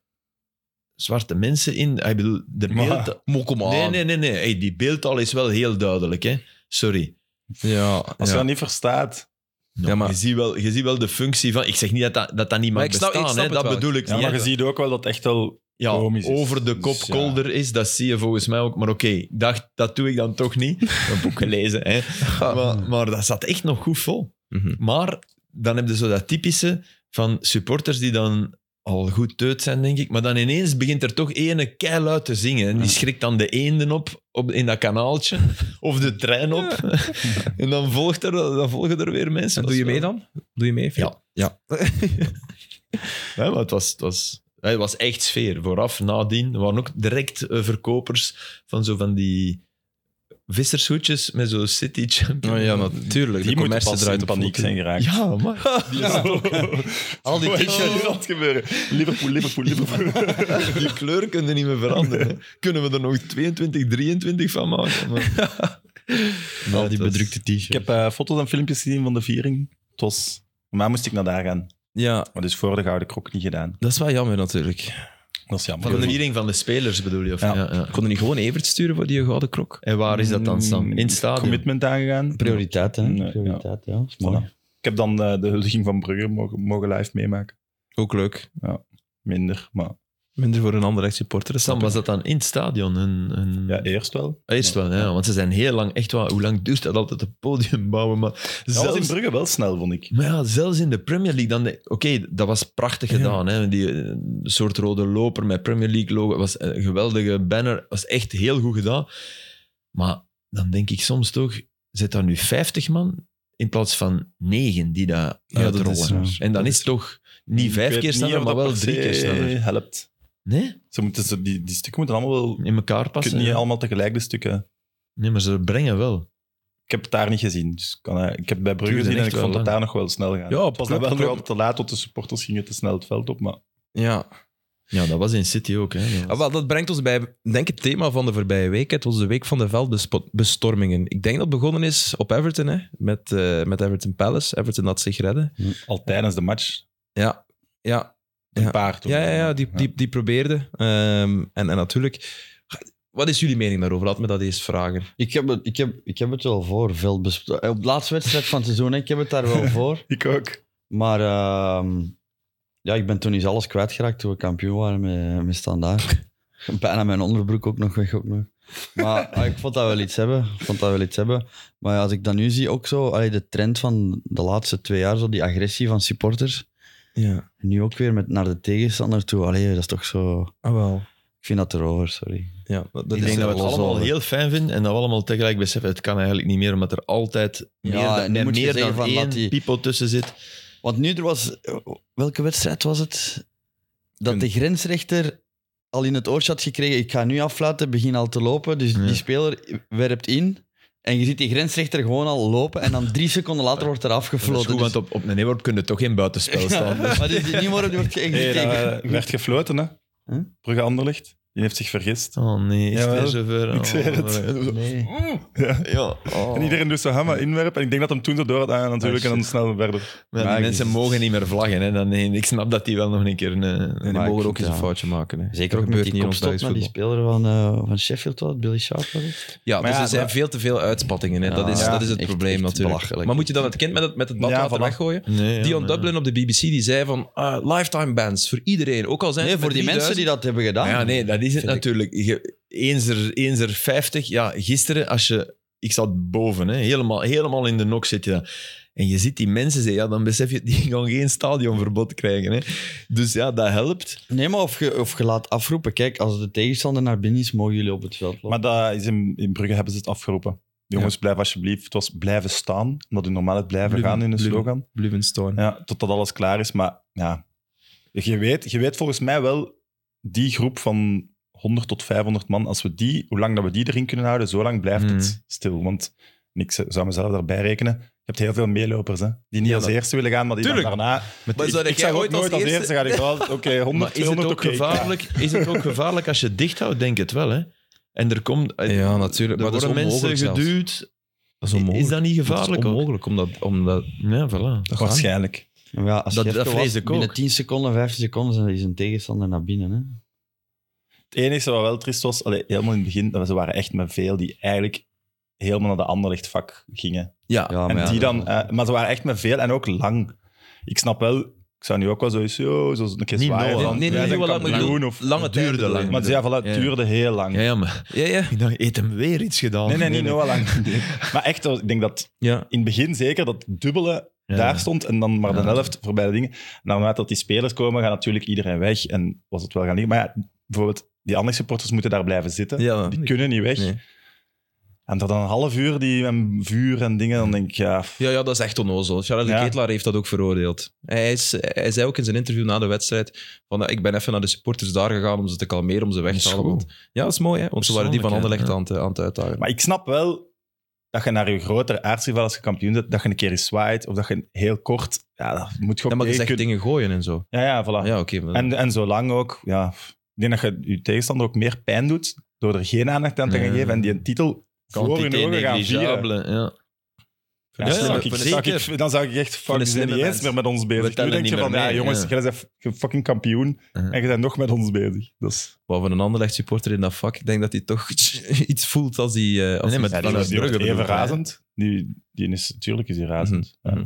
Speaker 4: zwarte mensen in. Ik bedoel, de
Speaker 3: Maar-
Speaker 4: beeld...
Speaker 1: Mokkel maar
Speaker 4: Nee,
Speaker 1: aan.
Speaker 4: nee, nee. nee. Hey, die beeldtaal is wel heel duidelijk, hè. Sorry.
Speaker 1: Ja,
Speaker 3: Als je
Speaker 1: ja.
Speaker 3: dat niet verstaat.
Speaker 4: Nou,
Speaker 1: Ja, maar-
Speaker 4: je, ziet wel, je ziet wel de functie van... Ik zeg niet dat dat, dat, dat niet
Speaker 1: Maar
Speaker 4: mag
Speaker 1: ik snap- ik
Speaker 4: bestaan,
Speaker 1: snap
Speaker 4: hè.
Speaker 1: het
Speaker 4: Dat
Speaker 1: wel.
Speaker 4: bedoel ik
Speaker 3: Ja,
Speaker 4: niet.
Speaker 3: maar
Speaker 4: hè.
Speaker 3: je ziet ook wel dat echt wel...
Speaker 4: ja,
Speaker 3: komisch is.
Speaker 4: over de kop
Speaker 3: Dus ja.
Speaker 4: kolder is, dat zie je volgens mij ook. Maar oké, ik dacht, dat doe ik dan toch
Speaker 1: [LAUGHS]
Speaker 4: niet. Ik heb boek gelezen, hè. Maar, maar dat zat echt nog goed vol.
Speaker 1: Mhm.
Speaker 4: Maar dan heb je zo dat typische van supporters die dan al goed teut zijn, denk ik. Maar dan ineens begint er toch ene keil te zingen. En die schrikt dan de eenden op, op in dat
Speaker 1: [LAUGHS]
Speaker 4: kanaaltje. Of de trein op. [LAUGHS] en dan, volgt er, dan volgen er weer mensen.
Speaker 1: En doe je mee dan? Doe je mee? Filip?
Speaker 4: Ja. Ja, maar het was, het, was, het was echt sfeer. Vooraf, nadien. Er waren ook direct eh, verkopers van zo van die vissershoedjes met zo'n City Champion.
Speaker 1: Oh, ja, natuurlijk.
Speaker 3: Die moeten
Speaker 1: de commercie
Speaker 3: pas
Speaker 1: draait
Speaker 3: in
Speaker 1: op
Speaker 3: paniek
Speaker 1: voeten.
Speaker 3: zijn geraakt.
Speaker 4: Ja, man. [LAUGHS]
Speaker 3: Al die
Speaker 4: dingen.
Speaker 3: dingen. Wat gebeuren? Liverpool, Liverpool, Liverpool.
Speaker 4: [LAUGHS] Die kleur kunnen niet meer veranderen. hè. Kunnen we er nog 22, 23 van maken? Maar... Nee,
Speaker 2: Al die
Speaker 4: het was-
Speaker 2: bedrukte t-shirts.
Speaker 3: [LAUGHS] Ik heb eh, foto's en filmpjes gezien van de viering. Het was... Maar moest ik naar daar gaan.
Speaker 1: Ja,
Speaker 3: Maar dus voor de Gouden Krok niet gedaan.
Speaker 1: dat is wel jammer natuurlijk.
Speaker 3: Dat is jammer.
Speaker 4: Van de viering van de spelers bedoel je? Of?
Speaker 3: Ja. Mm,
Speaker 1: Konden die gewoon Evert sturen voor die gouden krok?
Speaker 4: En waar is dat dan, Sam? In het stadion?
Speaker 3: Commitment aangegaan.
Speaker 2: Prioriteit, hè?
Speaker 3: Nee,
Speaker 2: Prioriteit, ja. Dat is mooi.
Speaker 3: Voilà. Ik heb dan eh, de huldiging van Brugger mogen, mogen live meemaken.
Speaker 1: Ook leuk.
Speaker 3: Minder, maar
Speaker 1: Minder voor een andere supporter. dat
Speaker 4: Sam,
Speaker 1: snap ik.
Speaker 4: was dat dan in het stadion? Een, een...
Speaker 3: ja, eerst wel.
Speaker 4: Eerst wel, ja, want ze zijn heel lang, echt waar, hoe lang duurt dat altijd, een podium bouwen? Maar
Speaker 3: Dat was in
Speaker 4: zelfs
Speaker 3: Brugge wel snel, vond ik.
Speaker 4: Maar ja, zelfs in de Premier League, dan de- oké, dat was prachtig gedaan. Hè? Die eh, soort rode loper met Premier League logo, was eh, een geweldige banner, was echt heel goed gedaan. Maar dan denk ik soms toch, zet daar nu 50 man in plaats van 9 die dat
Speaker 1: dat
Speaker 4: uitrollen.
Speaker 1: is
Speaker 4: en dan is het toch niet
Speaker 3: Ik
Speaker 4: vijf
Speaker 3: weet
Speaker 4: keer
Speaker 3: niet
Speaker 4: sneller,
Speaker 3: of
Speaker 4: maar
Speaker 3: dat
Speaker 4: wel
Speaker 3: per
Speaker 4: drie
Speaker 3: se
Speaker 4: keer sneller.
Speaker 3: helpt.
Speaker 4: Nee,
Speaker 3: Ze moeten, ze, die, die stukken moeten allemaal wel...
Speaker 4: in elkaar
Speaker 3: Je kunt
Speaker 4: passen.
Speaker 3: niet
Speaker 4: ja.
Speaker 3: allemaal tegelijk de stukken...
Speaker 4: Nee, maar ze brengen wel.
Speaker 3: Ik heb het daar niet gezien. Dus ik kan, eh, ik heb het bij Brugge
Speaker 4: Duurde
Speaker 3: gezien en
Speaker 4: echt
Speaker 3: ik vond
Speaker 4: wel
Speaker 3: het
Speaker 4: lang.
Speaker 3: daar nog wel snel gaan.
Speaker 1: Ja,
Speaker 3: het was dan
Speaker 1: klopt,
Speaker 3: wel nog
Speaker 1: klopt.
Speaker 3: altijd te laat, want de supporters gingen te snel het veld op. Maar
Speaker 1: Ja.
Speaker 4: Ja, dat was in City ook. Hè. Dat
Speaker 1: Ah,
Speaker 4: was-
Speaker 1: wel, dat brengt ons bij denk ik, het thema van de voorbije week. Het was de week van de veldbestormingen. Ik denk dat het begonnen is op Everton, hè, met, eh, met Everton Palace. Everton had zich redden.
Speaker 3: al tijdens de match,
Speaker 1: Ja, ja,
Speaker 3: een
Speaker 1: Ja.
Speaker 3: paar toen.
Speaker 1: ja, ja, ja die, die, die probeerde. Ehm, en, en natuurlijk... Wat is jullie mening daarover? Laat me dat eens vragen.
Speaker 2: Ik heb, het, ik, heb, ik heb het wel voor, veldbesp- eh, Op de laatste wedstrijd van het seizoen, hè, ik heb het daar
Speaker 4: [LAUGHS]
Speaker 2: wel voor.
Speaker 3: Ik ook.
Speaker 2: Maar ehm, ja, ik ben toen eens alles kwijtgeraakt toen we kampioen waren met, met Standaard. Bijna mijn onderbroek ook nog weg. Ook nog. Maar ah, ik vond dat wel iets hebben. Ik vond dat wel iets hebben. Maar ja, als ik dat nu zie, ook zo allee, de trend van de laatste twee jaar, zo die agressie van supporters.
Speaker 1: Ja,
Speaker 2: Nu ook weer met naar de tegenstander toe. Allee, dat is toch zo...
Speaker 1: ah wel.
Speaker 2: Ik vind dat erover, sorry.
Speaker 1: Ja, dat, dat
Speaker 4: ik
Speaker 1: is
Speaker 4: denk dat we
Speaker 1: wel
Speaker 4: het
Speaker 1: zo.
Speaker 4: allemaal heel fijn vinden en dat we allemaal tegelijk beseffen, het kan eigenlijk niet meer, omdat er altijd meer
Speaker 2: Ja,
Speaker 4: dan,
Speaker 2: en nu
Speaker 4: er
Speaker 2: moet je
Speaker 4: meer
Speaker 2: zeggen
Speaker 4: dan
Speaker 2: van
Speaker 4: één
Speaker 2: dat die-
Speaker 4: pipo tussen
Speaker 2: [LAUGHS]
Speaker 4: zit.
Speaker 2: Want nu, er was... eh, Welke wedstrijd was het? Dat de grensrechter al in het oortje had gekregen, ik ga nu aflaten, begin al te lopen. Dus
Speaker 4: Ja.
Speaker 2: die speler werpt in. En je ziet die grensrechter gewoon al lopen. En dan drie seconden later wordt er
Speaker 4: Dat is
Speaker 2: afgefloten.
Speaker 4: goed, want op, op een inworp kun je toch geen
Speaker 2: [LAUGHS]
Speaker 4: buitenspel staan.
Speaker 2: Dus- maar dus die nieuwe die wordt geëxecuteerd.
Speaker 3: Nee, dat, eh, werd gefloten, hè.
Speaker 2: Huh?
Speaker 3: Brugge Anderlicht. Die heeft zich vergist.
Speaker 4: Oh nee, is het
Speaker 3: Jawel,
Speaker 4: weer zover?
Speaker 3: ik
Speaker 4: Oh,
Speaker 3: zweer het.
Speaker 2: Nee.
Speaker 3: Ja.
Speaker 4: Ja, oh.
Speaker 3: En iedereen doet zo hammer inwerpen. En ik denk dat hem toen zo door had aan natuurlijk. en dan snel verder.
Speaker 4: Maar
Speaker 2: Maar
Speaker 4: die
Speaker 2: ik-
Speaker 4: mensen mogen niet meer vlaggen. Hè. Dan, nee, ik snap dat die wel nog een keer... een-
Speaker 1: En
Speaker 4: een-
Speaker 1: die
Speaker 2: Maar ik
Speaker 1: mogen ook
Speaker 2: vind
Speaker 1: eens een
Speaker 2: dat-
Speaker 1: foutje maken. Hè.
Speaker 2: Zeker
Speaker 1: Dat
Speaker 2: ook met
Speaker 1: gebeurt
Speaker 2: die
Speaker 1: niet in ons
Speaker 2: kopstop
Speaker 1: Belgisch
Speaker 2: naar die
Speaker 1: voetbal.
Speaker 2: speler van, eh, van Sheffield, was het, Billy Sharp. was het?
Speaker 1: Ja, dus
Speaker 3: Maar ja,
Speaker 1: er zijn
Speaker 3: maar-
Speaker 1: veel te veel uitspattingen. Hè. dat, is,
Speaker 2: Ja,
Speaker 1: dat is het
Speaker 2: echt-
Speaker 1: probleem
Speaker 2: echt
Speaker 1: natuurlijk.
Speaker 2: belachelijk.
Speaker 1: Maar moet je dan het kind met het, met het bad
Speaker 3: Ja,
Speaker 1: laten
Speaker 3: voilà.
Speaker 1: weggooien?
Speaker 4: Nee, ja,
Speaker 1: Dion
Speaker 4: nee.
Speaker 1: Dublin op de BBC die zei van ah, lifetime bans voor iedereen. Ook al zijn
Speaker 2: Nee,
Speaker 1: het
Speaker 2: voor
Speaker 1: met
Speaker 2: die mensen die
Speaker 1: 3000.
Speaker 2: dat hebben gedaan.
Speaker 4: Ah, ja, nee, dat dat is het
Speaker 1: Vind ik-
Speaker 4: natuurlijk. Je- eens, er, eens er 50. Ja, gisteren, als je, ik zat boven, hè, helemaal, helemaal in de nok zit je. En je ziet die mensen zeggen, ja, dan besef je, [LAUGHS] die gaan geen stadionverbod krijgen. Hè. Dus ja, dat helpt.
Speaker 2: Nee, maar of je, of je laat afroepen. Kijk, als de tegenstander naar binnen is, mogen jullie op het veld lopen.
Speaker 3: Maar dat is in, in Brugge hebben ze het afgeroepen. Jongens, blijf alsjeblieft. Het was blijven staan, omdat u normaal het blijven
Speaker 1: Blijven,
Speaker 3: gaan in de
Speaker 1: blijven.
Speaker 3: slogan.
Speaker 4: Mm.
Speaker 1: Blumenstein.
Speaker 3: Ja, totdat alles klaar is. Maar ja, je weet, je weet volgens mij wel die groep van 100 tot 500 man. Als we die, hoe lang dat we die erin kunnen houden, zo lang blijft
Speaker 4: Mm.
Speaker 3: het stil. Want en ik zou mezelf daarbij rekenen. Je hebt heel veel meelopers hè, die niet
Speaker 4: Ja,
Speaker 3: als
Speaker 4: dat-
Speaker 3: eerste willen gaan, maar die dan
Speaker 4: Tuurlijk.
Speaker 3: daarna.
Speaker 1: Maar
Speaker 3: ik,
Speaker 1: zou
Speaker 3: ik
Speaker 1: jij
Speaker 3: zag ook
Speaker 1: ooit als
Speaker 3: nooit als
Speaker 1: eerste-
Speaker 3: eerste gaan. Ik wel, Oké,
Speaker 4: Maar
Speaker 3: 100,
Speaker 4: is het,
Speaker 3: 200,
Speaker 4: ook
Speaker 3: oké.
Speaker 4: gevaarlijk, is het ook gevaarlijk als je dicht houdt? Denk het wel, hè? En er komt...
Speaker 1: Ja, natuurlijk.
Speaker 4: Er
Speaker 1: Maar dat is
Speaker 4: worden mensen
Speaker 1: onmogelijk zelfs.
Speaker 4: geduwd.
Speaker 1: Dat
Speaker 4: Is,
Speaker 1: is onmogelijk.
Speaker 4: dat niet
Speaker 1: Dat
Speaker 4: gevaarlijk?
Speaker 1: is
Speaker 4: ook?
Speaker 1: onmogelijk, omdat... omdat
Speaker 4: Ja, voilà.
Speaker 1: dat gaat niet.
Speaker 3: Waarschijnlijk.
Speaker 2: ja, als
Speaker 4: dat-
Speaker 2: je even
Speaker 4: dat vrees
Speaker 2: was,
Speaker 4: ik
Speaker 2: Binnen
Speaker 4: ook.
Speaker 2: 10 seconden, 15 seconden zijn- is een tegenstander naar binnen. Hè?
Speaker 3: Het enige wat wel triest was, allee, helemaal in het begin, dat we- ze waren echt met veel die eigenlijk helemaal naar de anderlichtvak gingen.
Speaker 4: Ah, Ja,
Speaker 2: Ja, maar
Speaker 3: en
Speaker 2: ja,
Speaker 3: die
Speaker 2: dat-
Speaker 3: dan, eh, maar ze waren echt met veel en ook lang. Ik snap wel, ik zou nu ook wel zoiets, yo, zo een keer
Speaker 4: Niet
Speaker 3: zwaaien.
Speaker 4: nodig.
Speaker 3: van,
Speaker 4: Nee, nee,
Speaker 3: wij
Speaker 4: nee,
Speaker 3: zijn
Speaker 4: wel lang
Speaker 3: kampioen
Speaker 1: bedoel-
Speaker 3: of,
Speaker 1: Lange
Speaker 4: Het duurde
Speaker 1: tijd
Speaker 4: lang.
Speaker 1: bedoel
Speaker 3: maar
Speaker 1: je.
Speaker 3: ja, voilà, het
Speaker 4: Ja.
Speaker 3: duurde heel lang.
Speaker 4: ja, ja, maar [LAUGHS]
Speaker 1: Ja, ja.
Speaker 4: ik dacht, heeft hem weer iets gedaan?
Speaker 3: Nee, nee, niet heel
Speaker 4: [LAUGHS]
Speaker 3: lang. maar echt, ik denk dat
Speaker 1: ja.
Speaker 3: in het begin zeker dat dubbele
Speaker 4: Ja.
Speaker 3: daar stond en dan maar de
Speaker 4: Ja.
Speaker 3: helft voor beide dingen. Naarmate dat die spelers komen, gaat natuurlijk iedereen weg en was het wel gaan liggen. Maar ja, bijvoorbeeld, die andere supporters moeten daar blijven zitten.
Speaker 1: Ja,
Speaker 3: Die kunnen niet weg.
Speaker 1: Nee.
Speaker 3: En dat dan een half uur die en vuur en dingen, dan denk ik, ja, f-
Speaker 1: Ja, ja, dat is echt onnozel. Charles de
Speaker 3: Ja.
Speaker 1: Ketelaar heeft dat ook veroordeeld. Hij, is, hij zei ook in zijn interview na de wedstrijd: van, eh, Ik ben even naar de supporters daar gegaan om ze te kalmeren, om ze weg
Speaker 4: Dat
Speaker 1: te
Speaker 4: is
Speaker 1: halen.
Speaker 4: goed.
Speaker 1: Want, ja, dat is mooi, hè? want ze waren die van
Speaker 4: Persoonlijk,
Speaker 1: Anderlecht
Speaker 4: hè,
Speaker 1: aan, het, aan het uitdagen.
Speaker 3: Maar ik snap wel dat je naar je grotere aardsrival als je kampioen bent, dat je een keer eens zwaait of dat je heel kort, ja, dat moet je ook
Speaker 1: ja, maar je
Speaker 3: mee
Speaker 1: zegt
Speaker 3: kunnen-
Speaker 1: dingen gooien en zo.
Speaker 3: Ja, ja, voilà.
Speaker 1: Ja, oké. maar-
Speaker 3: En, en zo lang ook, ja. f- Ik denk dat je je tegenstander ook meer pijn doet door er geen aandacht aan te gaan
Speaker 4: Ja.
Speaker 3: geven en die een titel voor hun
Speaker 4: Quantité
Speaker 3: ogen gaan vieren.
Speaker 4: negligible, ja.
Speaker 3: Ja,
Speaker 4: Ja,
Speaker 3: dan zou
Speaker 4: ja,
Speaker 3: ik-
Speaker 4: voor de
Speaker 3: zou
Speaker 4: zeker.
Speaker 3: ik- dan zou ik echt
Speaker 1: de
Speaker 3: fucking zijn
Speaker 1: slimme
Speaker 3: niet eens
Speaker 1: mens.
Speaker 3: meer met ons bezig. Nu
Speaker 1: tellen
Speaker 3: denk
Speaker 1: niet
Speaker 3: je
Speaker 1: meer
Speaker 3: van, ja
Speaker 1: mee,
Speaker 3: jongens,
Speaker 1: ja.
Speaker 3: jij bent f- fucking kampioen
Speaker 4: Ja.
Speaker 3: en je bent nog met ons bezig. Dus,
Speaker 1: Wat voor een Anderlecht supporter in dat vak, ik denk dat hij toch [LAUGHS] iets voelt als hij. eh, als
Speaker 4: Nee, maar
Speaker 1: hij-
Speaker 3: ja, die was- die was
Speaker 4: Brugge
Speaker 3: even
Speaker 4: bedoel ik,
Speaker 3: razend. Die, die is, natuurlijk is die razend.
Speaker 1: Mhm, mhm.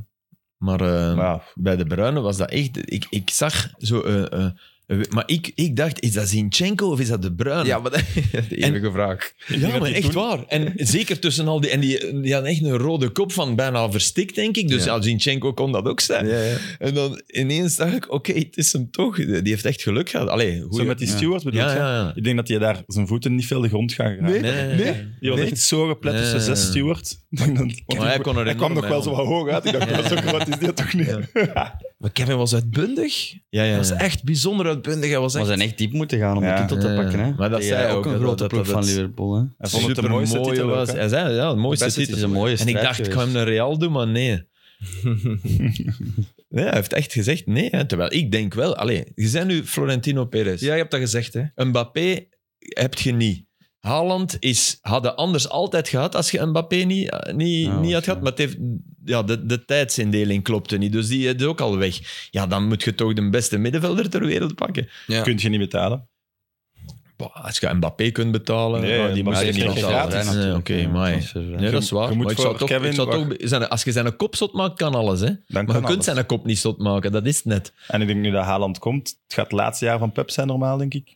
Speaker 4: Maar eh,
Speaker 3: Ja. Maar
Speaker 4: bij de Bruinen was dat echt... Ik, ik zag zo... eh, eh, eh, maar ik, ik dacht, is dat Zinchenko of is dat de Bruinen?
Speaker 1: Ja, maar [LAUGHS] dat de eeuwige vraag.
Speaker 3: denk
Speaker 4: Ja,
Speaker 3: dat
Speaker 4: maar
Speaker 3: die
Speaker 4: echt
Speaker 3: toen-
Speaker 4: waar. En zeker tussen al die... En die, die hadden echt een rode kop van bijna verstikt, denk ik. Dus
Speaker 1: Ja.
Speaker 4: ja, Zinchenko kon dat ook zijn.
Speaker 1: Ja, ja.
Speaker 4: En dan ineens dacht ik, oké, het is hem toch. Die heeft echt geluk gehad. Allee,
Speaker 3: Zo
Speaker 4: goed.
Speaker 3: met die stewards bedoel
Speaker 4: Ja,
Speaker 3: je?
Speaker 4: ja, ja.
Speaker 3: Ik denk dat hij daar zijn voeten niet veel de grond gaan geraken.
Speaker 4: Nee, nee.
Speaker 3: Die was
Speaker 4: Nee.
Speaker 3: echt zo geplet
Speaker 4: Nee.
Speaker 3: tussen zes stewards. [LAUGHS] Ik denk dat-
Speaker 4: Maar hij kon er
Speaker 3: hij kwam
Speaker 4: enorm
Speaker 3: nog
Speaker 4: bij,
Speaker 3: wel zo
Speaker 4: man.
Speaker 3: wat hoog uit. Ik dacht, dat zo groot is die toch niet.
Speaker 4: Ja.
Speaker 1: Maar Kevin was uitbundig.
Speaker 4: Ja, ja,
Speaker 1: Hij was
Speaker 4: ja.
Speaker 1: echt bijzonder uitbundig. Hij was
Speaker 2: Maar
Speaker 1: echt...
Speaker 2: ze zijn echt diep moeten gaan om
Speaker 3: Ja.
Speaker 2: de titel te
Speaker 4: Ja.
Speaker 2: pakken. Hè?
Speaker 4: Maar dat
Speaker 2: Tegen
Speaker 4: zei hij ook,
Speaker 2: ook een
Speaker 4: hè,
Speaker 2: grote
Speaker 4: dat-
Speaker 2: ploeg
Speaker 4: dat
Speaker 2: van
Speaker 4: het-
Speaker 2: Liverpool. Hè?
Speaker 3: [LAUGHS] Hij vond het de
Speaker 4: Supermooie
Speaker 3: mooiste titel ook,
Speaker 4: was.
Speaker 3: hè.
Speaker 4: Hij zei, ja, de mooiste
Speaker 2: Beste
Speaker 4: titel.
Speaker 2: is een mooie
Speaker 4: En ik
Speaker 2: strijd
Speaker 4: dacht, ik
Speaker 2: geweest.
Speaker 4: ga hem naar Real doen, maar
Speaker 2: [LAUGHS]
Speaker 4: nee. ja, hij heeft echt gezegd nee. Hè. Terwijl ik denk wel, allee, je bent nu Florentino Perez.
Speaker 1: Ja, je hebt dat gezegd, hè?
Speaker 4: Mbappé heb je niet. Haaland is, hadden anders altijd gehad als je Mbappé niet, eh, niet,
Speaker 2: Ja,
Speaker 4: niet had gehad.
Speaker 2: Nou, ja.
Speaker 4: Maar het heeft, ja, de, de tijdsindeling klopte niet, dus die is ook al weg. Ja, dan moet je toch de beste middenvelder ter wereld pakken.
Speaker 3: Kun je niet betalen.
Speaker 4: Bah, als je Mbappé kunt betalen,
Speaker 3: Nee,
Speaker 4: ja, die
Speaker 3: Mbappé
Speaker 4: moet je
Speaker 3: heeft
Speaker 4: niet
Speaker 3: geen
Speaker 4: betalen.
Speaker 3: gratis.
Speaker 4: Nee, Oké, maar... Nee, dat is
Speaker 3: Je
Speaker 4: waar.
Speaker 3: moet
Speaker 4: Maar ik zou
Speaker 3: voor
Speaker 4: toch,
Speaker 3: Kevin
Speaker 4: ik zou toch,
Speaker 3: wacht.
Speaker 4: zijn, als je zijn kop zot maakt, kan alles. Hè?
Speaker 3: Dan
Speaker 4: Maar je
Speaker 3: kan
Speaker 4: kunt
Speaker 3: alles.
Speaker 4: zijn kop niet zot maken, dat is het net.
Speaker 3: En ik denk nu dat Haaland komt. Het gaat het laatste jaar van Pep zijn normaal, denk ik.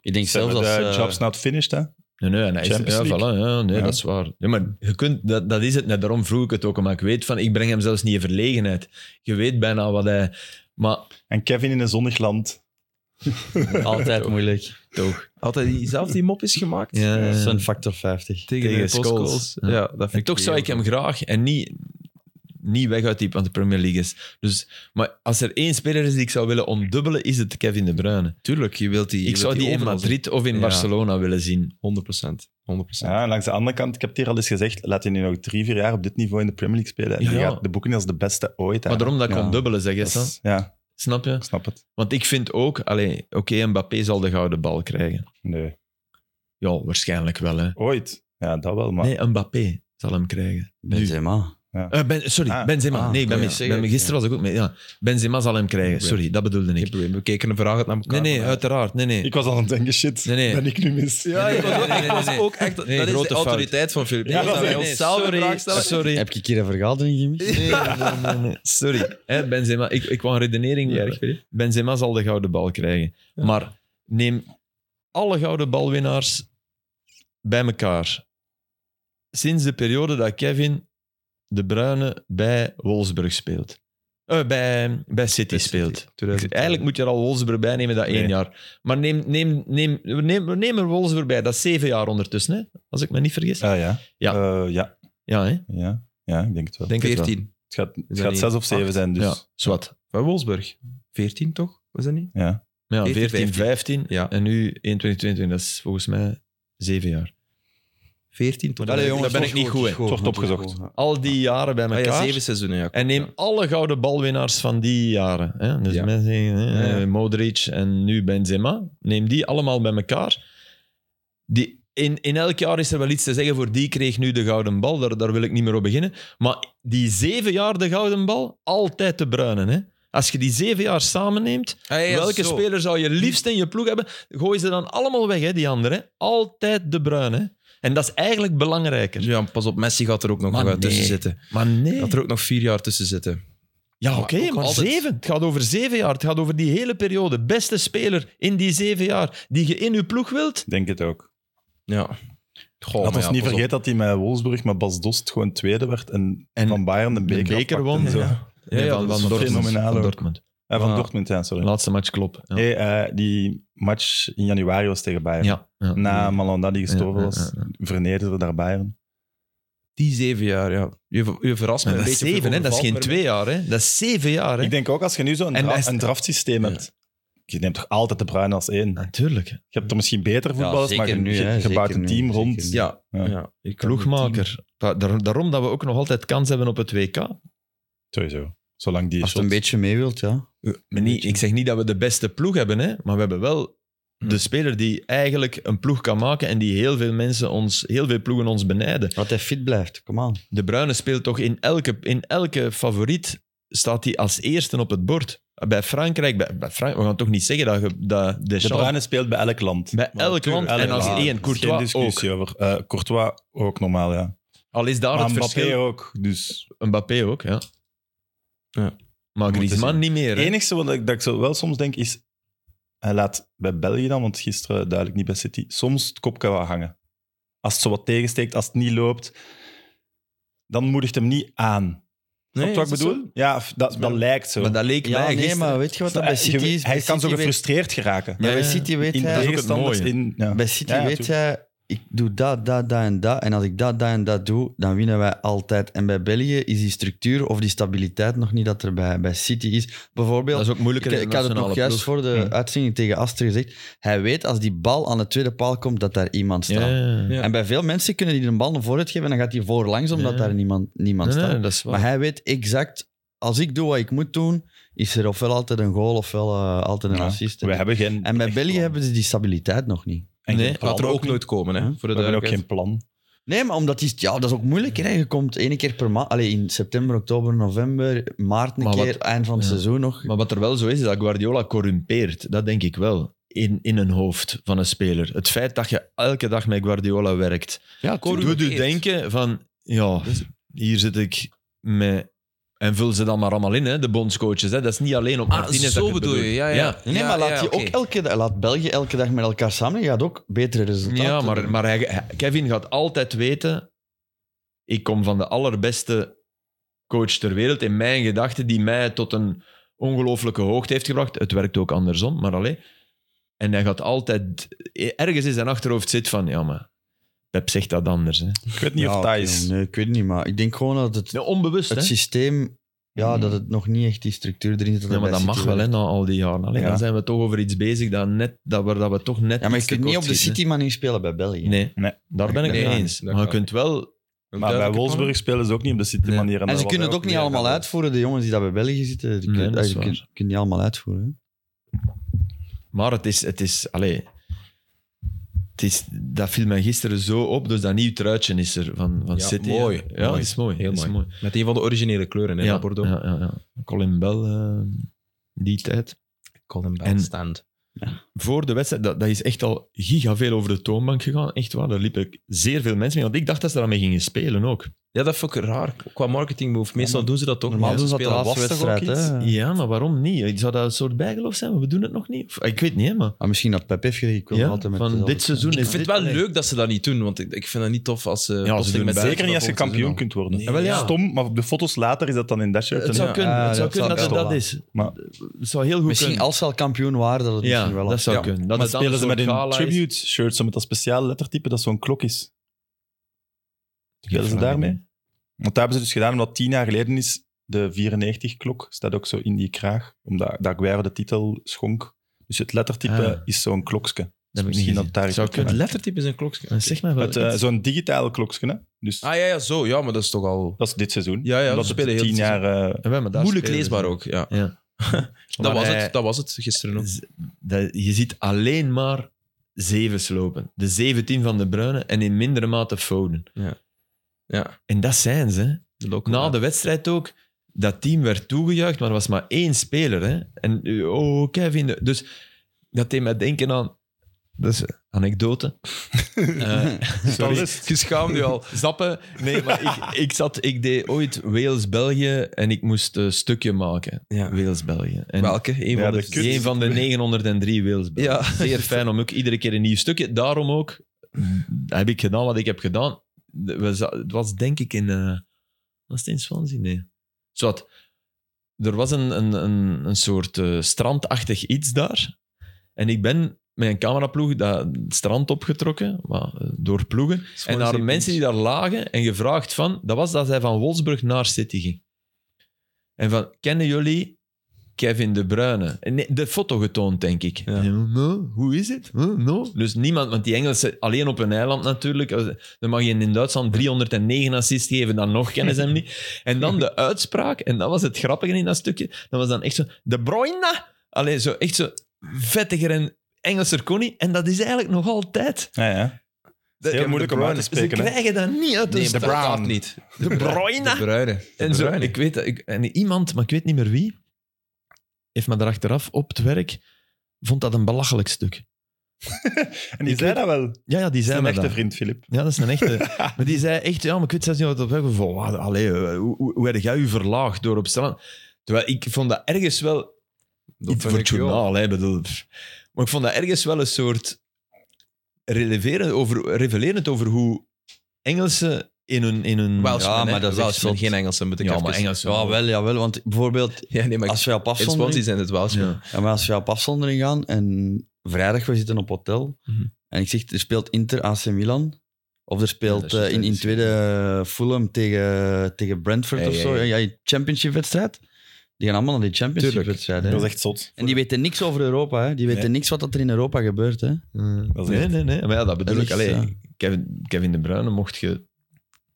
Speaker 2: Ik denk
Speaker 3: Ze
Speaker 2: zelfs
Speaker 3: hebben
Speaker 2: als...
Speaker 3: de
Speaker 2: eh,
Speaker 3: jobs not finished, hè.
Speaker 4: Nee, nee, en hij is-
Speaker 3: Champions
Speaker 4: ja,
Speaker 3: League.
Speaker 4: voilà, ja, nee
Speaker 3: Ja.
Speaker 4: dat is waar. Ja, maar je kunt, dat, dat is het net, daarom vroeg ik het ook. Maar ik weet van, ik breng hem zelfs niet in verlegenheid. Je weet bijna wat hij... Maar
Speaker 3: En Kevin in een zonnig land.
Speaker 2: Altijd moeilijk.
Speaker 3: [LAUGHS]
Speaker 4: toch.
Speaker 1: Altijd die, zelf die mop is gemaakt.
Speaker 4: Ja,
Speaker 2: Dat is
Speaker 4: ja.
Speaker 2: een factor 50.
Speaker 1: Tegen,
Speaker 4: Tegen
Speaker 1: de postcodes.
Speaker 4: Scholes.
Speaker 1: Ja. dat vind
Speaker 4: En
Speaker 1: ik
Speaker 4: toch zou ik hem graag, en niet, niet weg uit die, want de Premier League is. Dus, maar als er één speler is die ik zou willen ontdubbelen, is het Kevin De Bruyne.
Speaker 1: Tuurlijk, je wilt die... je
Speaker 4: Ik
Speaker 1: wilt
Speaker 4: zou die in
Speaker 1: overal
Speaker 4: Madrid of in
Speaker 1: Ja.
Speaker 4: Barcelona willen zien.
Speaker 1: zien. 100%. 100%.
Speaker 3: Ja, en langs de andere kant, ik heb het hier al eens gezegd, laat hij nu nog drie, vier jaar op dit niveau in de Premier League spelen. En
Speaker 4: Ja.
Speaker 3: die gaat de boeken als de beste ooit.
Speaker 4: Maar daarom dat ik
Speaker 2: Ja.
Speaker 4: ondubbelen, zeg je,
Speaker 3: Dat
Speaker 4: Sam.
Speaker 3: is- Ja,
Speaker 4: Snap
Speaker 3: ik
Speaker 4: je?
Speaker 3: snap het.
Speaker 4: Want ik vind ook, allee, oké, Mbappé zal de gouden bal krijgen.
Speaker 3: Nee.
Speaker 4: Ja, waarschijnlijk wel, hè.
Speaker 3: Ooit. Ja, dat wel, maar...
Speaker 4: Nee, Mbappé zal hem krijgen.
Speaker 2: Benzema.
Speaker 4: Eh, ben, sorry,
Speaker 3: Ah.
Speaker 4: Benzema.
Speaker 2: Ah,
Speaker 4: nee, ik ben,
Speaker 2: ja.
Speaker 4: mis- ik ben- gisteren was ik ook mee. Ja, Benzema zal hem krijgen. Sorry, dat bedoelde
Speaker 1: Geen
Speaker 4: ik.
Speaker 1: probleem. We keken een vraag naar elkaar.
Speaker 4: Nee, nee,
Speaker 1: maar-
Speaker 4: uiteraard. Nee, nee.
Speaker 3: Ik was al aan het denken, shit,
Speaker 4: Nee, nee.
Speaker 3: ben ik nu mis?
Speaker 1: Ja, ik was
Speaker 4: Nee,
Speaker 1: ook-
Speaker 4: nee,
Speaker 1: ik was
Speaker 4: nee, nee.
Speaker 1: ook echt...
Speaker 4: Nee,
Speaker 1: dat is
Speaker 4: grote
Speaker 1: de
Speaker 4: fout.
Speaker 1: autoriteit van Filip.
Speaker 3: Ja, dat is
Speaker 1: nee,
Speaker 3: echt
Speaker 1: nee, zo'n
Speaker 4: sorry,
Speaker 1: vraag stellen.
Speaker 4: sorry.
Speaker 2: Heb je een keer een vergadering gemist?
Speaker 4: sorry. Hè, Benzema, ik, ik wou een redenering.
Speaker 1: Niet erg, hè?
Speaker 4: Benzema zal de gouden bal krijgen. Maar neem alle gouden balwinnaars bij elkaar. Sinds de periode dat Kevin de Bruyne bij Wolfsburg speelt. Eh, bij, bij City speelt. Ik- Eigenlijk moet je er al Wolfsburg bij nemen, dat één
Speaker 3: Nee.
Speaker 4: jaar. Maar neem, neem, neem, neem, neem er Wolfsburg bij, dat is zeven jaar ondertussen, hè? als ik me niet vergis.
Speaker 3: Ah, ja.
Speaker 4: Ja.
Speaker 3: Eh, ja.
Speaker 4: Ja, hè?
Speaker 3: ja. Ja, ik denk het wel.
Speaker 4: denk het wel.
Speaker 1: 14.
Speaker 3: Het gaat, het
Speaker 1: dat
Speaker 3: gaat
Speaker 1: niet
Speaker 3: zes of zeven
Speaker 1: acht?
Speaker 3: zijn, dus...
Speaker 4: Ja, zwart.
Speaker 1: Van Wolfsburg. 14 toch? Was dat niet?
Speaker 3: Ja.
Speaker 4: Ja,
Speaker 1: 14,
Speaker 4: 14, 15.
Speaker 1: 15, ja.
Speaker 4: En nu 21, 22. Dat is volgens mij zeven jaar.
Speaker 1: 14 tot
Speaker 4: Allee, jongens,
Speaker 1: dat ben ik
Speaker 4: niet goed, hè.
Speaker 2: Het
Speaker 3: wordt opgezocht.
Speaker 4: Al die jaren bij
Speaker 1: Ah
Speaker 4: elkaar.
Speaker 1: ja, zeven seizoenen, ja.
Speaker 4: En neem alle gouden balwinnaars van die jaren. Hè? Dus
Speaker 1: Ja.
Speaker 4: mensen, hè, eh,
Speaker 1: Ja, ja.
Speaker 4: Modric en nu Benzema. Neem die allemaal bij elkaar. Die, in, in elk jaar is er wel iets te zeggen voor die kreeg nu de gouden bal. Daar, daar wil ik niet meer op beginnen. Maar die zeven jaar de gouden bal, altijd de bruinen. Hè? Als je die zeven jaar samenneemt,
Speaker 1: Ah, ja, ja,
Speaker 4: welke
Speaker 1: zo.
Speaker 4: speler zou je liefst in je ploeg hebben? Gooi ze dan allemaal weg, hè, die anderen. hè. Altijd de bruine. En dat is eigenlijk belangrijker.
Speaker 1: Ja, pas op, Messi gaat er ook nog
Speaker 4: Maar
Speaker 1: wel tussen
Speaker 4: nee.
Speaker 1: zitten.
Speaker 4: Maar nee.
Speaker 1: Gaat er ook nog vier jaar tussen zitten.
Speaker 4: Ja,
Speaker 1: Maar
Speaker 4: oké,
Speaker 1: ook
Speaker 4: maar
Speaker 1: altijd-
Speaker 4: zeven. Het gaat over zeven jaar. Het gaat over die hele periode. Beste speler in die zeven jaar die je in je ploeg wilt.
Speaker 3: Ik denk het ook.
Speaker 1: Ja. Goh,
Speaker 3: Laat
Speaker 1: Oh, maar
Speaker 3: ons
Speaker 1: ja,
Speaker 3: niet
Speaker 1: pas op.
Speaker 3: vergeten dat hij met Wolfsburg, met Bas Dost, gewoon tweede werd en,
Speaker 4: En
Speaker 3: van Bayern de beker,
Speaker 4: De beker
Speaker 3: afpakte
Speaker 4: won.
Speaker 3: en zo.
Speaker 4: Ja. Ja,
Speaker 3: Nee,
Speaker 4: ja,
Speaker 3: dat is
Speaker 4: van, Dortmund,
Speaker 3: fenomenaal
Speaker 4: van
Speaker 3: ook.
Speaker 4: Dortmund.
Speaker 3: Eh, van
Speaker 1: Ah.
Speaker 3: Dortmund, ja, sorry.
Speaker 4: Laatste match klopt. Ja.
Speaker 3: Hey, eh, die match in januari was tegen Bayern.
Speaker 4: Ja, ja.
Speaker 3: Na Malanda die gestorven
Speaker 4: Ja,
Speaker 3: was,
Speaker 4: ja, ja,
Speaker 3: vernederde daar Bayern.
Speaker 1: Die zeven jaar, ja. Je, ver- je verrast me
Speaker 4: Maar
Speaker 1: een
Speaker 4: dat is
Speaker 1: beetje.
Speaker 4: zeven, hè. dat is geen twee jaar. Hè. Dat is zeven jaar. Hè.
Speaker 3: Ik denk ook als je nu zo'n
Speaker 4: En
Speaker 3: dra-
Speaker 4: hij is-
Speaker 3: een draftsysteem hebt, je neemt toch altijd de Bruine als één.
Speaker 4: Natuurlijk.
Speaker 3: Je hebt er misschien beter voetballers,
Speaker 2: zeker
Speaker 3: maar je,
Speaker 2: nu,
Speaker 3: je-
Speaker 2: hè.
Speaker 3: je
Speaker 2: Zeker
Speaker 3: bouwt een
Speaker 2: nu,
Speaker 3: team
Speaker 2: zeker
Speaker 3: rond.
Speaker 2: nu.
Speaker 1: Ja, ja.
Speaker 3: Ja.
Speaker 1: Ik kan het
Speaker 4: Ploegmaker. Da- daar- Daarom dat we ook nog altijd kans hebben op het WK.
Speaker 3: Sowieso. Zolang die
Speaker 2: Als het
Speaker 3: shot...
Speaker 2: een beetje mee wilt, ja.
Speaker 4: Maar niet, ik zeg niet dat we de beste ploeg hebben, hè, maar we hebben wel
Speaker 3: Hm.
Speaker 1: Hmm.
Speaker 4: de speler die eigenlijk een ploeg kan maken en die heel veel mensen ons, heel veel ploegen ons benijden.
Speaker 2: Dat hij fit blijft, kom aan.
Speaker 4: De Bruyne speelt toch in elke, in elke favoriet staat hij als eerste op het bord. Bij Frankrijk, bij, bij Frank, we gaan toch niet zeggen dat, je- dat Deschamps
Speaker 3: De Bruyne speelt bij elk land.
Speaker 4: bij
Speaker 3: Maar
Speaker 4: elk
Speaker 3: natuurlijk,
Speaker 4: land en
Speaker 3: elk
Speaker 4: als
Speaker 3: land.
Speaker 4: één
Speaker 3: Geen
Speaker 4: Courtois ook.
Speaker 3: discussie over. Eh, Courtois ook normaal, ja.
Speaker 4: Al is daar
Speaker 3: Maar
Speaker 4: het
Speaker 3: Mbappé
Speaker 4: verschil.
Speaker 3: ook, dus...
Speaker 4: Mbappé ook, ja.
Speaker 1: Ja.
Speaker 4: Maar
Speaker 3: Moeten
Speaker 4: Griezmann
Speaker 3: zien.
Speaker 4: niet meer.
Speaker 3: Het
Speaker 4: hè.
Speaker 3: enige wat ik, dat ik zo wel soms denk is. Hij laat bij België dan, want gisteren duidelijk niet bij City, soms het kopje wel hangen. Als het zo wat tegensteekt, als het niet loopt, dan moedigt hem niet aan.
Speaker 1: Nee,
Speaker 3: Snap je wat ik
Speaker 1: is dat
Speaker 3: bedoel? Ja, of dat, dat lijkt zo.
Speaker 4: Maar dat leek
Speaker 2: Ja,
Speaker 4: mij
Speaker 2: nee,
Speaker 4: gisteren.
Speaker 2: maar weet je wat dat bij
Speaker 3: Hij-
Speaker 2: City
Speaker 3: je-
Speaker 2: is? Bij
Speaker 3: hij kan zo
Speaker 2: City weet-
Speaker 3: gefrustreerd geraken.
Speaker 2: Maar bij
Speaker 4: Ja, ja.
Speaker 2: City weet
Speaker 3: in
Speaker 2: hij...
Speaker 3: tegenstanders.
Speaker 4: Dat is ook
Speaker 3: In, ja.
Speaker 2: Bij City
Speaker 3: Ja, ja,
Speaker 2: weet jij, ik doe dat, dat, dat en dat. En als ik dat, dat en dat doe, dan winnen wij altijd. En bij België is die structuur of die stabiliteit nog niet dat er bij, bij City is.
Speaker 4: Dat
Speaker 2: Bijvoorbeeld,
Speaker 4: is ook moeilijker
Speaker 2: ik,
Speaker 4: in
Speaker 2: ik
Speaker 4: de
Speaker 2: had het nog
Speaker 4: nationale
Speaker 2: juist
Speaker 4: ploeg.
Speaker 2: voor de uitzending tegen Aster gezegd. Hij weet als die bal aan de tweede paal komt, dat daar iemand staat.
Speaker 4: Ja, ja, ja.
Speaker 1: Ja.
Speaker 2: En bij veel mensen kunnen die een bal een vooruit geven en dan gaat hij voorlangs omdat
Speaker 4: Ja.
Speaker 2: daar niemand, niemand
Speaker 4: Nee, nee,
Speaker 2: staat.
Speaker 4: dat is waar.
Speaker 2: maar hij weet exact, als ik doe wat ik moet doen, is er ofwel altijd een goal ofwel eh, altijd een
Speaker 3: Ja,
Speaker 2: assist.
Speaker 3: We hebben geen.
Speaker 2: En bij
Speaker 3: echt
Speaker 2: België
Speaker 3: plan.
Speaker 2: hebben ze die stabiliteit nog niet.
Speaker 3: En geen
Speaker 1: Nee,
Speaker 3: plan
Speaker 1: gaat er ook
Speaker 3: niet.
Speaker 1: nooit komen, hè. Voor de
Speaker 3: We hebben ook
Speaker 1: duidelijkheid.
Speaker 3: geen plan.
Speaker 2: Hm? Nee, maar omdat die, ja, dat is ook moeilijk. Hè. Je komt één keer per maand, allee, in september, oktober, november, maart een
Speaker 4: Maar wat-
Speaker 2: keer, eind van het
Speaker 4: ja.
Speaker 2: seizoen nog.
Speaker 4: Maar wat er wel zo is, is dat Guardiola corrumpeert. Dat denk ik wel. In, in een hoofd van een speler. Het feit dat je elke dag met Guardiola werkt.
Speaker 1: Ja, Dus-
Speaker 4: Doet u denken van, ja, hier zit ik met... En vul ze dan maar allemaal in, hè, de bondscoaches. Hè. Dat is niet alleen op
Speaker 1: Ah,
Speaker 4: Martinez dat
Speaker 1: zo
Speaker 4: ik het
Speaker 1: bedoel je. Ja, ja.
Speaker 2: Nee,
Speaker 1: Ja,
Speaker 2: maar laat,
Speaker 1: ja,
Speaker 2: je
Speaker 1: oké.
Speaker 2: ook elke, dag- laat België elke dag met elkaar samen, je gaat ook betere resultaten.
Speaker 4: Ja, maar, maar hij- hij- Kevin gaat altijd weten: ik kom van de allerbeste coach ter wereld in mijn gedachten, die mij tot een ongelooflijke hoogte heeft gebracht. Het werkt ook andersom, maar alleen. En hij gaat altijd, ergens in zijn achterhoofd zit van: ja, maar Pep zegt dat anders. Hè.
Speaker 3: Ik weet niet
Speaker 2: Ja,
Speaker 3: of dat
Speaker 2: oké,
Speaker 3: is.
Speaker 2: Nee, ik weet niet, maar ik denk gewoon dat het,
Speaker 4: Ja, onbewust,
Speaker 2: het
Speaker 4: hè?
Speaker 2: systeem, ja,
Speaker 3: Mm.
Speaker 2: dat het nog niet echt die structuur erin zit.
Speaker 4: Ja, maar
Speaker 2: bij
Speaker 4: dat
Speaker 2: City
Speaker 4: mag wel, hè,
Speaker 2: werkt.
Speaker 4: na al die jaren. Allee,
Speaker 3: Ja.
Speaker 4: Dan zijn we toch over iets bezig dat, net, dat, we, dat we toch net.
Speaker 2: Ja, maar je
Speaker 4: iets
Speaker 2: kunt niet op de
Speaker 4: tekort schieten,
Speaker 2: City-manier spelen bij België.
Speaker 4: hè. Nee,
Speaker 3: Nee.
Speaker 4: daar ben ik
Speaker 1: Nee,
Speaker 4: het mee
Speaker 1: nee,
Speaker 4: eens.
Speaker 1: dat
Speaker 4: Maar je
Speaker 1: kan.
Speaker 4: kunt wel.
Speaker 3: Maar bij Wolfsburg spelen ze ook niet op de City
Speaker 4: Nee.
Speaker 3: manier.
Speaker 2: En ze kunnen het ook niet allemaal uitvoeren, de jongens die daar bij België zitten. Die
Speaker 4: Nee,
Speaker 2: kunnen-
Speaker 4: dat is
Speaker 2: je
Speaker 4: waar.
Speaker 2: kunt kunt niet allemaal uitvoeren. hè.
Speaker 4: Maar het is, het is, allee, het is, dat viel mij gisteren zo op. Dus dat nieuw truitje is er van, van
Speaker 1: Ja,
Speaker 4: City.
Speaker 1: mooi.
Speaker 4: Ja,
Speaker 1: Mooi.
Speaker 4: dat is mooi.
Speaker 1: Heel
Speaker 4: dat is
Speaker 1: mooi. Met een van de originele kleuren, hè,
Speaker 4: Ja,
Speaker 1: dat Bordeaux.
Speaker 4: Ja, ja, ja. Colin Bell, eh, die tijd.
Speaker 1: Colin Bell
Speaker 4: En-
Speaker 1: stand.
Speaker 4: Voor de wedstrijd, dat, dat is echt al giga veel over de toonbank gegaan. Echt waar, daar liepen zeer veel mensen mee. Want ik dacht dat ze daarmee gingen spelen ook.
Speaker 1: Ja, dat vond ik raar. Qua marketing move. Meestal doen ze dat toch.
Speaker 2: Normaal
Speaker 1: niet,
Speaker 2: doen ze
Speaker 1: hè.
Speaker 2: dat de
Speaker 1: Spelen
Speaker 2: laatste
Speaker 1: was toch ook
Speaker 2: wedstrijd.
Speaker 1: iets?
Speaker 2: Hè?
Speaker 4: Ja, maar waarom niet? Zou dat een soort bijgeloof zijn? Maar we doen het nog niet. Of- ik weet niet, hè, maar...
Speaker 2: Ah, misschien dat Pep heeft gereden. Ik wil
Speaker 4: Ja,
Speaker 2: altijd met
Speaker 4: van
Speaker 2: dezelfde-
Speaker 4: dit seizoen
Speaker 1: Ik
Speaker 4: is
Speaker 1: vind het
Speaker 4: dit-
Speaker 1: wel leuk dat ze dat niet doen, want ik, ik vind het niet tof als eh, ze... plotseling
Speaker 4: doen het
Speaker 1: zes
Speaker 3: Zeker niet als je
Speaker 1: dat volgend
Speaker 3: kampioen
Speaker 1: seizoen
Speaker 3: kunt worden.
Speaker 4: Nee. Wel, ja.
Speaker 3: Stom, maar op de foto's later is dat dan in dat shirt.
Speaker 4: Het zou
Speaker 1: Ja,
Speaker 4: kunnen,
Speaker 2: ja,
Speaker 4: het zou
Speaker 2: dat
Speaker 4: kunnen
Speaker 2: zou
Speaker 4: dat het
Speaker 2: best
Speaker 4: dat
Speaker 2: wel.
Speaker 4: is.
Speaker 3: Maar-
Speaker 4: het zou heel goed
Speaker 2: Misschien
Speaker 4: kunnen.
Speaker 2: als ze al kampioen waren, dat het
Speaker 4: ja,
Speaker 2: misschien wel
Speaker 4: dat
Speaker 2: had.
Speaker 4: zou
Speaker 1: Ja.
Speaker 4: kunnen. Dat
Speaker 3: maar
Speaker 4: het dan
Speaker 3: spelen ze
Speaker 4: een
Speaker 3: met
Speaker 4: soort
Speaker 3: een
Speaker 4: gala is.
Speaker 3: tribute shirt, zo met dat speciale lettertype dat zo'n klok is. Spelen ze
Speaker 4: vraag me
Speaker 3: daarmee?
Speaker 4: niet.
Speaker 3: Want dat hebben ze dus gedaan omdat tien jaar geleden is de 94-klok, staat ook zo in die kraag, omdat dat Aguero de titel schonk. Dus het lettertype
Speaker 4: Ah.
Speaker 3: is zo'n klokske.
Speaker 4: Dat heb ik
Speaker 3: Misschien
Speaker 4: niet
Speaker 3: dat
Speaker 4: gezien.
Speaker 3: daar-
Speaker 4: Het zou
Speaker 1: Het
Speaker 4: kunnen.
Speaker 1: lettertype is een klokje.
Speaker 4: Zeg maar wel.
Speaker 3: Het, eh, zo'n digitale klokske, hè? Dus
Speaker 1: Ah ja, ja, zo. Ja, maar dat is toch al...
Speaker 3: dat is dit seizoen.
Speaker 1: Ja, ja,
Speaker 3: dat
Speaker 1: ze
Speaker 3: is
Speaker 1: spelen heel
Speaker 3: tien
Speaker 1: het
Speaker 3: jaar... eh,
Speaker 4: Ja, maar daar
Speaker 1: Moeilijk
Speaker 4: spelen ze.
Speaker 1: leesbaar ook, ja.
Speaker 4: Ja.
Speaker 1: Dat, was
Speaker 4: hij-
Speaker 1: het, dat was het gisteren ook.
Speaker 4: Z- dat- je ziet alleen maar zeven slopen. De 17 van de Bruine en in mindere mate Foden.
Speaker 1: Ja,
Speaker 4: En dat zijn ze. hè.
Speaker 1: de local,
Speaker 4: Na
Speaker 1: ja.
Speaker 4: de wedstrijd ook, dat team werd toegejuicht, maar er was maar één speler. Hè? En eh, oh, Kevin. Dus dat deed mij denken aan... Dat is een anekdote. [LAUGHS] Eh, sorry.
Speaker 1: Je schaamt je al.
Speaker 4: Zappen? Nee, maar ik, ik, zat, ik deed ooit Wales-België en ik moest een stukje maken.
Speaker 1: Ja.
Speaker 4: Wales-België. En
Speaker 1: Welke? Een
Speaker 3: Ja,
Speaker 1: van de...
Speaker 3: de kut.
Speaker 4: Een
Speaker 3: [LAUGHS]
Speaker 4: van de 903 Wales.
Speaker 1: Ja.
Speaker 4: Ja. Zeer fijn om ook iedere keer een nieuw stukje. Daarom ook heb ik gedaan wat ik heb gedaan. We za- Het was denk ik in... eh was het in Swansea? Nee. Zowat. Er was een, een, een, een soort eh, strandachtig iets daar. En ik ben met een cameraploeg dat strand opgetrokken, maar, eh, door ploegen. En naar de mensen die daar lagen en gevraagd van... Dat was dat zij van Wolfsburg naar City ging. En van, kennen jullie Kevin De Bruyne? En nee, de foto getoond, denk ik.
Speaker 1: Ja.
Speaker 4: En, "No, hoe is het? Huh, no." Dus niemand, want die Engelsen, alleen op een eiland natuurlijk. eh, Dan mag je in Duitsland 309 assist geven, dan nog kennen ze hem niet. En dan de uitspraak, en dat was het grappige in dat stukje. Dat was dan echt zo, De Bruyne! Alleen zo, echt zo vettiger en Engelser kon niet. En dat is eigenlijk nog altijd...
Speaker 3: eh, ja, ja.
Speaker 4: Dat-
Speaker 3: Heel moeilijk om uit te
Speaker 4: Ze
Speaker 3: spreken. hè.
Speaker 4: krijgen dat niet uit hun
Speaker 1: Nee,
Speaker 4: staat.
Speaker 1: de Brown. niet.
Speaker 4: De
Speaker 1: De
Speaker 4: Bruyne.
Speaker 1: bruine.
Speaker 4: En zo, ik weet dat, ik, en iemand, maar ik weet niet meer wie, heeft me daar achteraf op het werk, vond dat een belachelijk stuk.
Speaker 3: En die zei dat wel. Dat
Speaker 4: Ja, ja die
Speaker 3: is
Speaker 4: zei
Speaker 3: een
Speaker 4: me
Speaker 3: echte
Speaker 4: dat.
Speaker 3: vriend, Filip.
Speaker 4: Ja, dat is een echte. maar die zei echt, ja, maar ik weet zelfs niet wat het op van, wauw, allee, eh, hoe, hoe, hoe heb jij u verlaagd door op straat? Terwijl ik vond dat ergens wel iets voor het journaal, hè, bedoel. pff. Maar ik vond dat ergens wel een soort releverend over, revelerend over hoe Engelsen in hun... In hun
Speaker 1: Wel,
Speaker 2: Ja, maar dat is echt zot.
Speaker 1: geen Engelsen, moet ik
Speaker 4: ja,
Speaker 1: even-
Speaker 4: maar Engelsen...
Speaker 2: Ja, wel, ja, wel. Want bijvoorbeeld,
Speaker 1: Ja, nee, maar
Speaker 2: als wij op
Speaker 1: in Swansea
Speaker 2: afzondering,
Speaker 1: zijn het Welsh.
Speaker 4: Ja.
Speaker 2: ja, maar als wij op afzondering gaan en vrijdag, we zitten op hotel,
Speaker 1: Mhm.
Speaker 2: en ik zeg, er speelt Inter AC Milan, of er
Speaker 1: Ja,
Speaker 2: speelt
Speaker 1: dat is
Speaker 2: eh, in, in
Speaker 1: juist.
Speaker 2: tweede eh, Fulham tegen, tegen Brentford
Speaker 1: Ja,
Speaker 2: of
Speaker 1: ja,
Speaker 2: zo,
Speaker 1: ja.
Speaker 2: ja, ja, championship-wedstrijd. Die gaan allemaal naar die championship-wedstrijd. hè.
Speaker 3: Dat is echt zot.
Speaker 2: En die weten niks over Europa, hè. die weten niks wat dat er in Europa gebeurt. Hè.
Speaker 3: Dat is
Speaker 4: Nee,
Speaker 3: echt-
Speaker 4: nee, nee. Maar ja, dat bedoel
Speaker 2: Dat
Speaker 4: ik.
Speaker 2: is,
Speaker 4: Allee,
Speaker 2: ja.
Speaker 4: Kevin, Kevin De Bruyne mocht je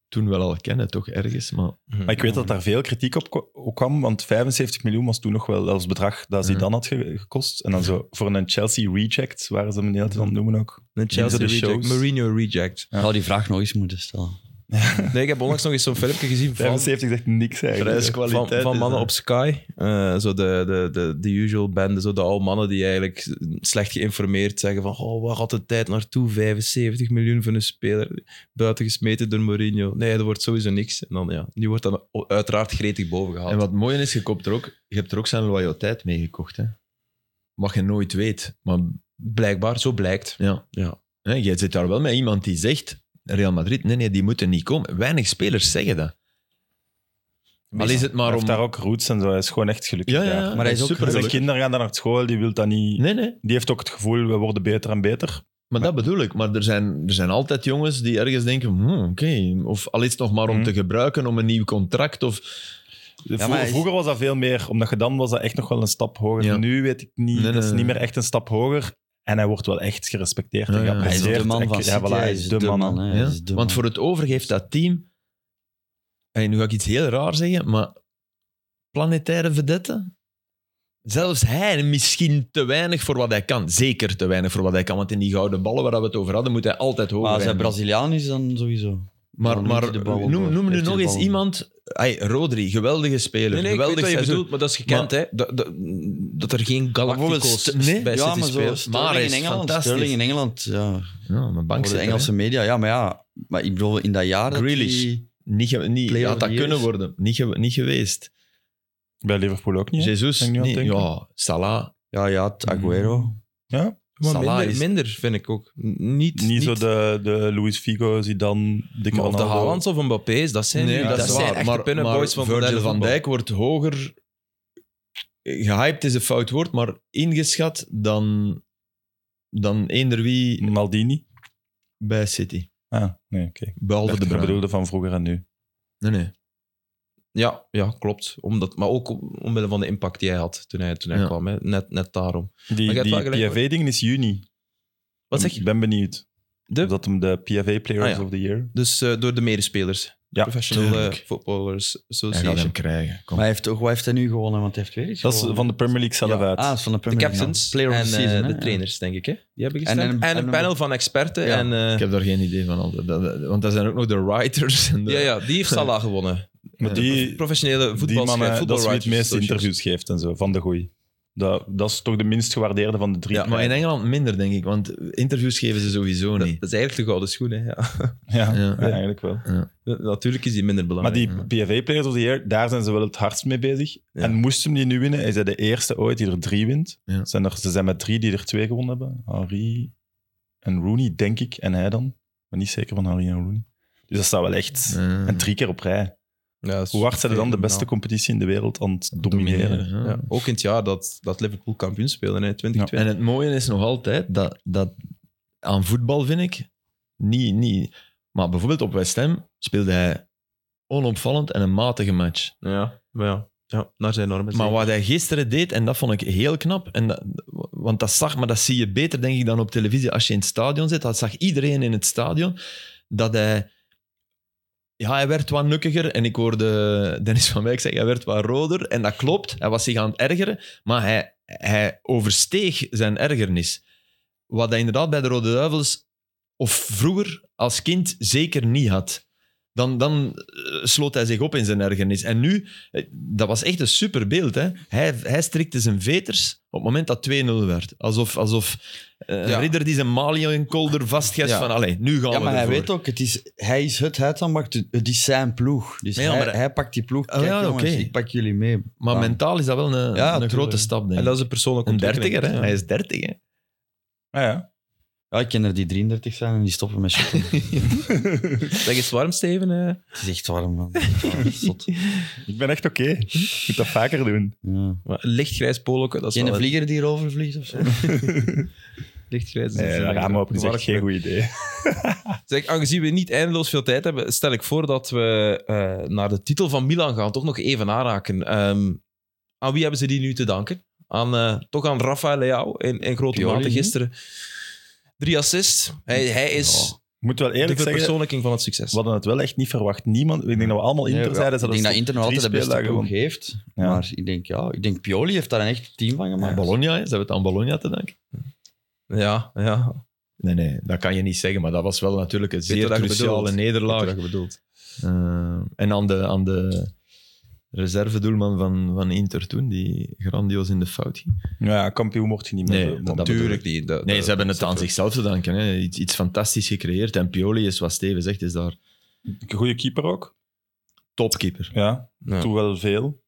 Speaker 4: toen wel al kennen, toch ergens. Maar
Speaker 1: Mhm.
Speaker 3: Maar ik weet dat daar veel kritiek op kwa- op kwam, want 75 miljoen was toen nog wel als bedrag dat ze
Speaker 4: Ja.
Speaker 3: dan had ge- gekost. En dan zo voor een Chelsea reject, waren ze hem de hele tijd
Speaker 4: Mhm.
Speaker 3: aan het noemen ook.
Speaker 1: Een Chelsea
Speaker 3: de
Speaker 1: reject.
Speaker 3: shows.
Speaker 1: Mourinho reject.
Speaker 3: Ja.
Speaker 2: Zou die vraag nog eens moeten stellen.
Speaker 1: [LAUGHS] Nee, ik heb onlangs nog eens zo'n filmpje gezien van,
Speaker 3: 75 zegt niks eigenlijk.
Speaker 1: van, van mannen op Sky. Eh, zo de, de, de, de usual bende, zo de al mannen die eigenlijk slecht geïnformeerd zeggen van oh, waar gaat de tijd naartoe? 75 miljoen voor een speler. Buiten gesmeten door Mourinho. Nee, dat wordt sowieso niks. En dan, ja, nu wordt dat uiteraard gretig bovengehaald.
Speaker 4: En wat mooi is, je, koopt er ook, je hebt er ook zijn loyaliteit mee gekocht. Hè? Wat je nooit weet. Maar
Speaker 1: Blijkbaar, zo blijkt.
Speaker 4: ja,
Speaker 1: Ja.
Speaker 4: Hè, jij zit daar wel met iemand die zegt, Real Madrid, nee, nee, die moeten niet komen. Weinig spelers zeggen dat. Al is het maar
Speaker 3: Maar
Speaker 4: om...
Speaker 3: daar ook roots en zo, hij is gewoon echt gelukkig.
Speaker 4: Ja, ja, ja.
Speaker 3: daar.
Speaker 2: Maar hij is ook
Speaker 4: Super.
Speaker 3: Zijn
Speaker 4: gelukkig.
Speaker 3: kinderen gaan daar naar school, die wil dat niet.
Speaker 4: Nee, nee.
Speaker 3: Die heeft ook het gevoel, we worden beter en beter.
Speaker 4: Maar dat bedoel ik. Maar er zijn, er zijn altijd jongens die ergens denken, hmm, oké, of al is het nog maar om
Speaker 3: Hmm.
Speaker 4: te gebruiken om een nieuw contract of...
Speaker 3: Vroeger,
Speaker 2: maar hij is-
Speaker 3: vroeger was dat veel meer, omdat je dan was dat echt nog wel een stap hoger.
Speaker 4: Ja.
Speaker 3: Nu weet ik niet,
Speaker 4: Nee,
Speaker 3: dat is
Speaker 4: nee,
Speaker 3: niet
Speaker 4: nee.
Speaker 3: meer echt een stap hoger. En hij wordt wel echt gerespecteerd
Speaker 4: Ja,
Speaker 3: en
Speaker 4: ja.
Speaker 2: Hij is
Speaker 3: geapprecieerd.
Speaker 2: de man
Speaker 3: En-
Speaker 2: van
Speaker 3: ja,
Speaker 2: City,
Speaker 3: voilà,
Speaker 2: hij is de man. hè. Hij
Speaker 4: Ja?
Speaker 2: is de
Speaker 4: Want
Speaker 2: man.
Speaker 4: voor het overgeeft dat team. En nu ga ik iets heel raar zeggen, maar planetaire vedetten. Zelfs hij misschien te weinig voor wat hij kan. Zeker te weinig voor wat hij kan. Want in die gouden ballen waar we het over hadden, moet hij altijd hoger
Speaker 2: Maar als hij
Speaker 4: eindigen.
Speaker 2: Braziliaan is, dan sowieso.
Speaker 4: Maar,
Speaker 2: dan
Speaker 4: maar
Speaker 2: moet hij de bal
Speaker 4: noem,
Speaker 2: door.
Speaker 4: noem nu
Speaker 2: Heeft hij
Speaker 4: nog
Speaker 2: de
Speaker 4: eens
Speaker 2: bal door.
Speaker 4: iemand. Ay, Rodri, geweldige speler.
Speaker 1: Nee, nee, ik weet
Speaker 4: geweldig
Speaker 1: wat je
Speaker 4: seizoen.
Speaker 1: bedoelt, maar dat is gekend, hè. Dat, dat, dat er geen Galactico's
Speaker 4: Bijvoorbeeld St- nee.
Speaker 1: bij City spelen.
Speaker 2: Sterling
Speaker 4: Maar hij is
Speaker 2: in Engeland,
Speaker 4: fantastisch.
Speaker 2: Sterling in Engeland, ja.
Speaker 4: Ja, mijn bank
Speaker 2: Voor de
Speaker 4: zit er,
Speaker 2: Engelse media, ja, maar ja. Maar ik bedoel, in dat jaar dat
Speaker 4: Grealish.
Speaker 2: die-
Speaker 4: Niet, ge- niet
Speaker 2: Player
Speaker 4: had
Speaker 2: of
Speaker 4: dat
Speaker 2: the
Speaker 4: kunnen
Speaker 2: years?
Speaker 4: worden. Niet, ge- niet geweest.
Speaker 3: Bij Liverpool ook niet. hè?
Speaker 4: Jesus,
Speaker 3: ben ik nu aan het
Speaker 4: niet.
Speaker 3: denken.
Speaker 4: Ja, Salah.
Speaker 2: Ja, ja, het Aguero.
Speaker 1: Mhm. Maar
Speaker 4: Salah
Speaker 1: minder,
Speaker 4: is-
Speaker 1: minder, vind ik ook. N- Niet,
Speaker 3: Niet, zo de, de Luis Figo, Zidane, Dick
Speaker 1: maar of de Haalands of Mbappé's, dat zijn, nu-
Speaker 3: ja,
Speaker 1: dat
Speaker 3: dat is
Speaker 1: zijn echt de pinnenboys van
Speaker 4: Virgil
Speaker 1: moderne
Speaker 4: van
Speaker 1: voetbal.
Speaker 4: Dijk wordt hoger... Gehyped is een fout woord, maar ingeschat dan, dan eender wie
Speaker 3: Maldini.
Speaker 4: bij City.
Speaker 3: Ah, nee, oké.
Speaker 4: Behalve de
Speaker 3: Ik
Speaker 4: Bruyne.
Speaker 3: bedoelde van vroeger en nu.
Speaker 1: Nee, nee. Ja, ja, klopt. Omdat, maar ook om- omwille van de impact die hij had toen hij, toen hij
Speaker 4: Ja.
Speaker 1: kwam. Hè. Net, net daarom. Maar je
Speaker 3: Die,
Speaker 1: hebt
Speaker 3: die
Speaker 1: wel gelijk,
Speaker 3: PFA-ding is juni.
Speaker 1: Wat zeg je?
Speaker 3: Ik ben benieuwd.
Speaker 1: De?
Speaker 3: Of Dat hem de PFA Players
Speaker 1: Ah, ja.
Speaker 3: of the Year.
Speaker 1: Dus eh, door de medespelers.
Speaker 3: Ja,
Speaker 1: Professional
Speaker 4: tuurlijk.
Speaker 1: eh, Footballers
Speaker 4: Hij gaat
Speaker 1: Association.
Speaker 4: hem krijgen. Kom.
Speaker 2: Maar hij heeft, ook, wat heeft hij nu gewonnen? Want hij heeft weer iets
Speaker 3: Dat is van de Premier League zelf
Speaker 1: Ja.
Speaker 3: uit.
Speaker 2: Ah, het is van de
Speaker 1: De
Speaker 2: Premier League.
Speaker 1: captains
Speaker 2: Player of
Speaker 1: en
Speaker 2: the season,
Speaker 1: eh,
Speaker 2: hè?
Speaker 1: de trainers, denk ik. Hè? Die hebben
Speaker 2: En
Speaker 1: gestemd. En
Speaker 2: een-
Speaker 1: een,
Speaker 2: en een-
Speaker 1: panel van experten.
Speaker 2: Ja.
Speaker 1: En, eh,
Speaker 4: Ik heb daar geen idee van. al dat- dat- Want daar zijn ook nog de writers. En de,
Speaker 1: ja, ja,
Speaker 2: [LAUGHS]
Speaker 1: die heeft Salah gewonnen.
Speaker 3: Maar
Speaker 4: eh,
Speaker 3: die,
Speaker 1: Professionele
Speaker 3: die
Speaker 1: voetbalschrijf,
Speaker 3: mannen, dat is wie het
Speaker 1: voetbalwriters.
Speaker 3: meeste
Speaker 1: association.
Speaker 3: interviews geeft en zo, van de goeie. Dat, dat is toch de minst gewaardeerde van de drie.
Speaker 1: Ja,
Speaker 4: Maar in
Speaker 3: prijzen.
Speaker 4: Engeland minder, denk ik. Want interviews geven ze sowieso
Speaker 1: Dat,
Speaker 4: niet.
Speaker 1: dat is eigenlijk de gouden schoen. Hè? Ja. [LAUGHS]
Speaker 4: Ja.
Speaker 3: ja, ja, [LAUGHS] eigenlijk wel.
Speaker 1: Natuurlijk is die minder
Speaker 3: Maar
Speaker 1: belangrijk.
Speaker 3: die PFA Players of the Year, daar zijn ze wel het hardst mee bezig.
Speaker 1: Ja.
Speaker 3: En moest hem die nu winnen, is hij de eerste ooit die er drie wint.
Speaker 4: Ja.
Speaker 3: Zijn er, ze zijn met drie die er twee gewonnen hebben. Harry en Rooney, denk ik. En hij dan. Maar niet zeker van Harry en Rooney. Dus dat staat wel echt...
Speaker 4: Eh,
Speaker 3: En drie keer op rij.
Speaker 1: Ja, dat is
Speaker 3: Hoe hard zijn ze dan de beste
Speaker 1: fenomenaal.
Speaker 3: competitie in de wereld aan het domineren?
Speaker 4: domineren. ja.
Speaker 1: Ja, ook in het jaar dat, dat Liverpool kampioen speelde, hè, 2020.
Speaker 4: En het mooie is nog altijd dat, dat aan voetbal vind ik niet, niet. Maar bijvoorbeeld op West Ham speelde hij onopvallend en een matige match.
Speaker 1: Ja, maar ja. ja naar zijn normen.
Speaker 4: Maar wat hij gisteren deed, en dat vond ik heel knap, en dat, want dat zag, maar dat zie je beter denk ik dan op televisie als je in het stadion zit. Dat zag iedereen in het stadion. Dat hij, ja, hij werd wat nukkiger en ik hoorde Dennis van Wijk zeggen, hij werd wat roder. En dat klopt, hij was zich aan het ergeren, maar hij, hij oversteeg zijn ergernis. Wat hij inderdaad bij de Rode Duivels, of vroeger als kind, zeker niet had. Dan, dan eh, sloot hij zich op in zijn ergernis. En nu eh, dat was echt een super beeld. Hè? Hij, hij strikte zijn veters op het moment dat 2-0 werd. Alsof, alsof eh, een
Speaker 1: Ja.
Speaker 4: ridder die zijn maliënkolder vastgeeft
Speaker 1: Ja.
Speaker 4: van allee, nu gaan
Speaker 2: Ja,
Speaker 4: we
Speaker 2: maar hij
Speaker 4: ervoor."
Speaker 2: weet ook, het is, hij is het uitzandbak, het is zijn ploeg. Dus
Speaker 4: Ja,
Speaker 2: hij,
Speaker 4: maar-
Speaker 2: hij pakt die ploeg.
Speaker 4: Oh,
Speaker 2: Kijk
Speaker 4: ja,
Speaker 2: jongens,
Speaker 4: oké.
Speaker 2: ik pak jullie mee.
Speaker 4: Maar
Speaker 2: Bam.
Speaker 4: mentaal is dat wel een,
Speaker 2: Ja,
Speaker 4: een
Speaker 2: tuurlijk.
Speaker 4: grote stap, denk
Speaker 1: en
Speaker 4: ik.
Speaker 1: dat is een persoonlijke
Speaker 4: een
Speaker 1: ontwikkeling.
Speaker 4: dertiger, hè?
Speaker 1: Ja.
Speaker 4: Hij is dertiger.
Speaker 3: Ah ja.
Speaker 2: Ja, ik ken er die 33 zijn en die stoppen met shooten.
Speaker 1: Zeg eens warm, Steven. eh.
Speaker 2: [LAUGHS] het is echt warm, [LAUGHS] man. Ja, zot.
Speaker 3: Ik ben echt oké. Ik moet dat
Speaker 2: [LAUGHS]
Speaker 3: vaker doen.
Speaker 2: Ja.
Speaker 1: Maar Lichtgrijs polokken, dat is
Speaker 2: Geen
Speaker 1: wel-
Speaker 2: vlieger die erover vliegt of zo?
Speaker 1: Lichtgrijs.
Speaker 4: Eh,
Speaker 3: Nee, dat raam open is echt geen goed idee.
Speaker 1: Zeg, aangezien we niet eindeloos veel tijd hebben, stel ik voor dat we eh, naar de titel van Milan gaan. Toch nog even aanraken. Ehm, aan wie hebben ze die nu te danken? Aan, eh, toch aan Rafael Leao in, in grote
Speaker 2: Pioli,
Speaker 1: mate
Speaker 2: hè?
Speaker 1: gisteren. Drie assists. Hij, hij is
Speaker 3: Ik moet wel
Speaker 1: de
Speaker 3: eerlijk zeggen,
Speaker 1: verpersoonlijking van het succes.
Speaker 3: we hadden het wel echt niet verwacht. Niemand, ik denk dat we allemaal Inter
Speaker 2: Nee,
Speaker 3: zeiden.
Speaker 2: ja,
Speaker 3: ze
Speaker 2: ik denk dat
Speaker 3: ze
Speaker 2: Inter nog
Speaker 3: drie
Speaker 2: altijd de beste
Speaker 3: speeldagen
Speaker 2: ploeg
Speaker 3: won.
Speaker 2: heeft.
Speaker 3: Ja.
Speaker 2: Maar ik denk, ja, ik denk Pioli heeft daar een echt team van gemaakt.
Speaker 4: Bologna, hè? ze hebben het aan Bologna te danken.
Speaker 1: Ja, ja.
Speaker 4: Nee, nee, dat kan je niet zeggen, maar dat was wel natuurlijk een zeer
Speaker 1: wat je
Speaker 4: cruciale
Speaker 1: bedoelt.
Speaker 4: nederlaag.
Speaker 1: Wat je bedoelt.
Speaker 4: Eh, en aan de, aan de reservedoelman van, van Inter toen, die grandioos in de fout ging.
Speaker 3: Ja, kampioen mocht je niet meer.
Speaker 4: Nee,
Speaker 3: worden.
Speaker 4: dat- dat
Speaker 1: Tuurlijk niet. Dat-
Speaker 4: Nee,
Speaker 1: dat-
Speaker 4: ze hebben het aan zichzelf te danken. Hè. Iets, iets fantastisch gecreëerd. En Pioli is, wat Steven zegt, is daar
Speaker 3: Een goede keeper ook.
Speaker 4: topkeeper.
Speaker 3: Ja,
Speaker 1: Ja.
Speaker 3: toen wel veel.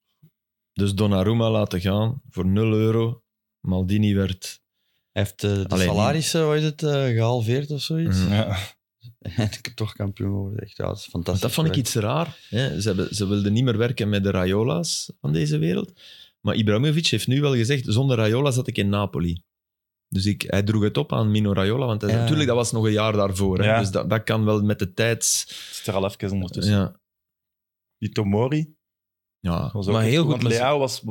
Speaker 4: Dus Donnarumma laten gaan voor 0 euro. Maldini werd...
Speaker 2: Hij heeft eh, de
Speaker 4: Alleen niet.
Speaker 2: salarissen, wat is het, eh, gehalveerd of zoiets.
Speaker 4: Mhm.
Speaker 3: [LAUGHS] Ja.
Speaker 2: [LAUGHS] En ik heb toch kampioen geworden. Echt, ja, dat is fantastisch.
Speaker 4: Want dat vond ik iets raar. Hè. Ze, hebben, ze wilden niet meer werken met de Rayola's van deze wereld. Maar Ibrahimovic heeft nu wel gezegd, zonder Rayola zat ik in Napoli. Dus ik, hij droeg het op aan Mino Raiola. Want hij zei,
Speaker 2: Ja.
Speaker 4: natuurlijk, dat was nog een jaar daarvoor. Hè.
Speaker 3: Ja.
Speaker 4: Dus dat, dat kan wel met de tijds...
Speaker 3: Het zit er al even
Speaker 1: Dus-
Speaker 3: ondertussen.
Speaker 4: Ja.
Speaker 3: Die Tomori.
Speaker 4: Ja.
Speaker 3: Was ook
Speaker 1: Maar
Speaker 3: echt
Speaker 1: heel goed,
Speaker 3: Want
Speaker 1: maar-
Speaker 3: Leao was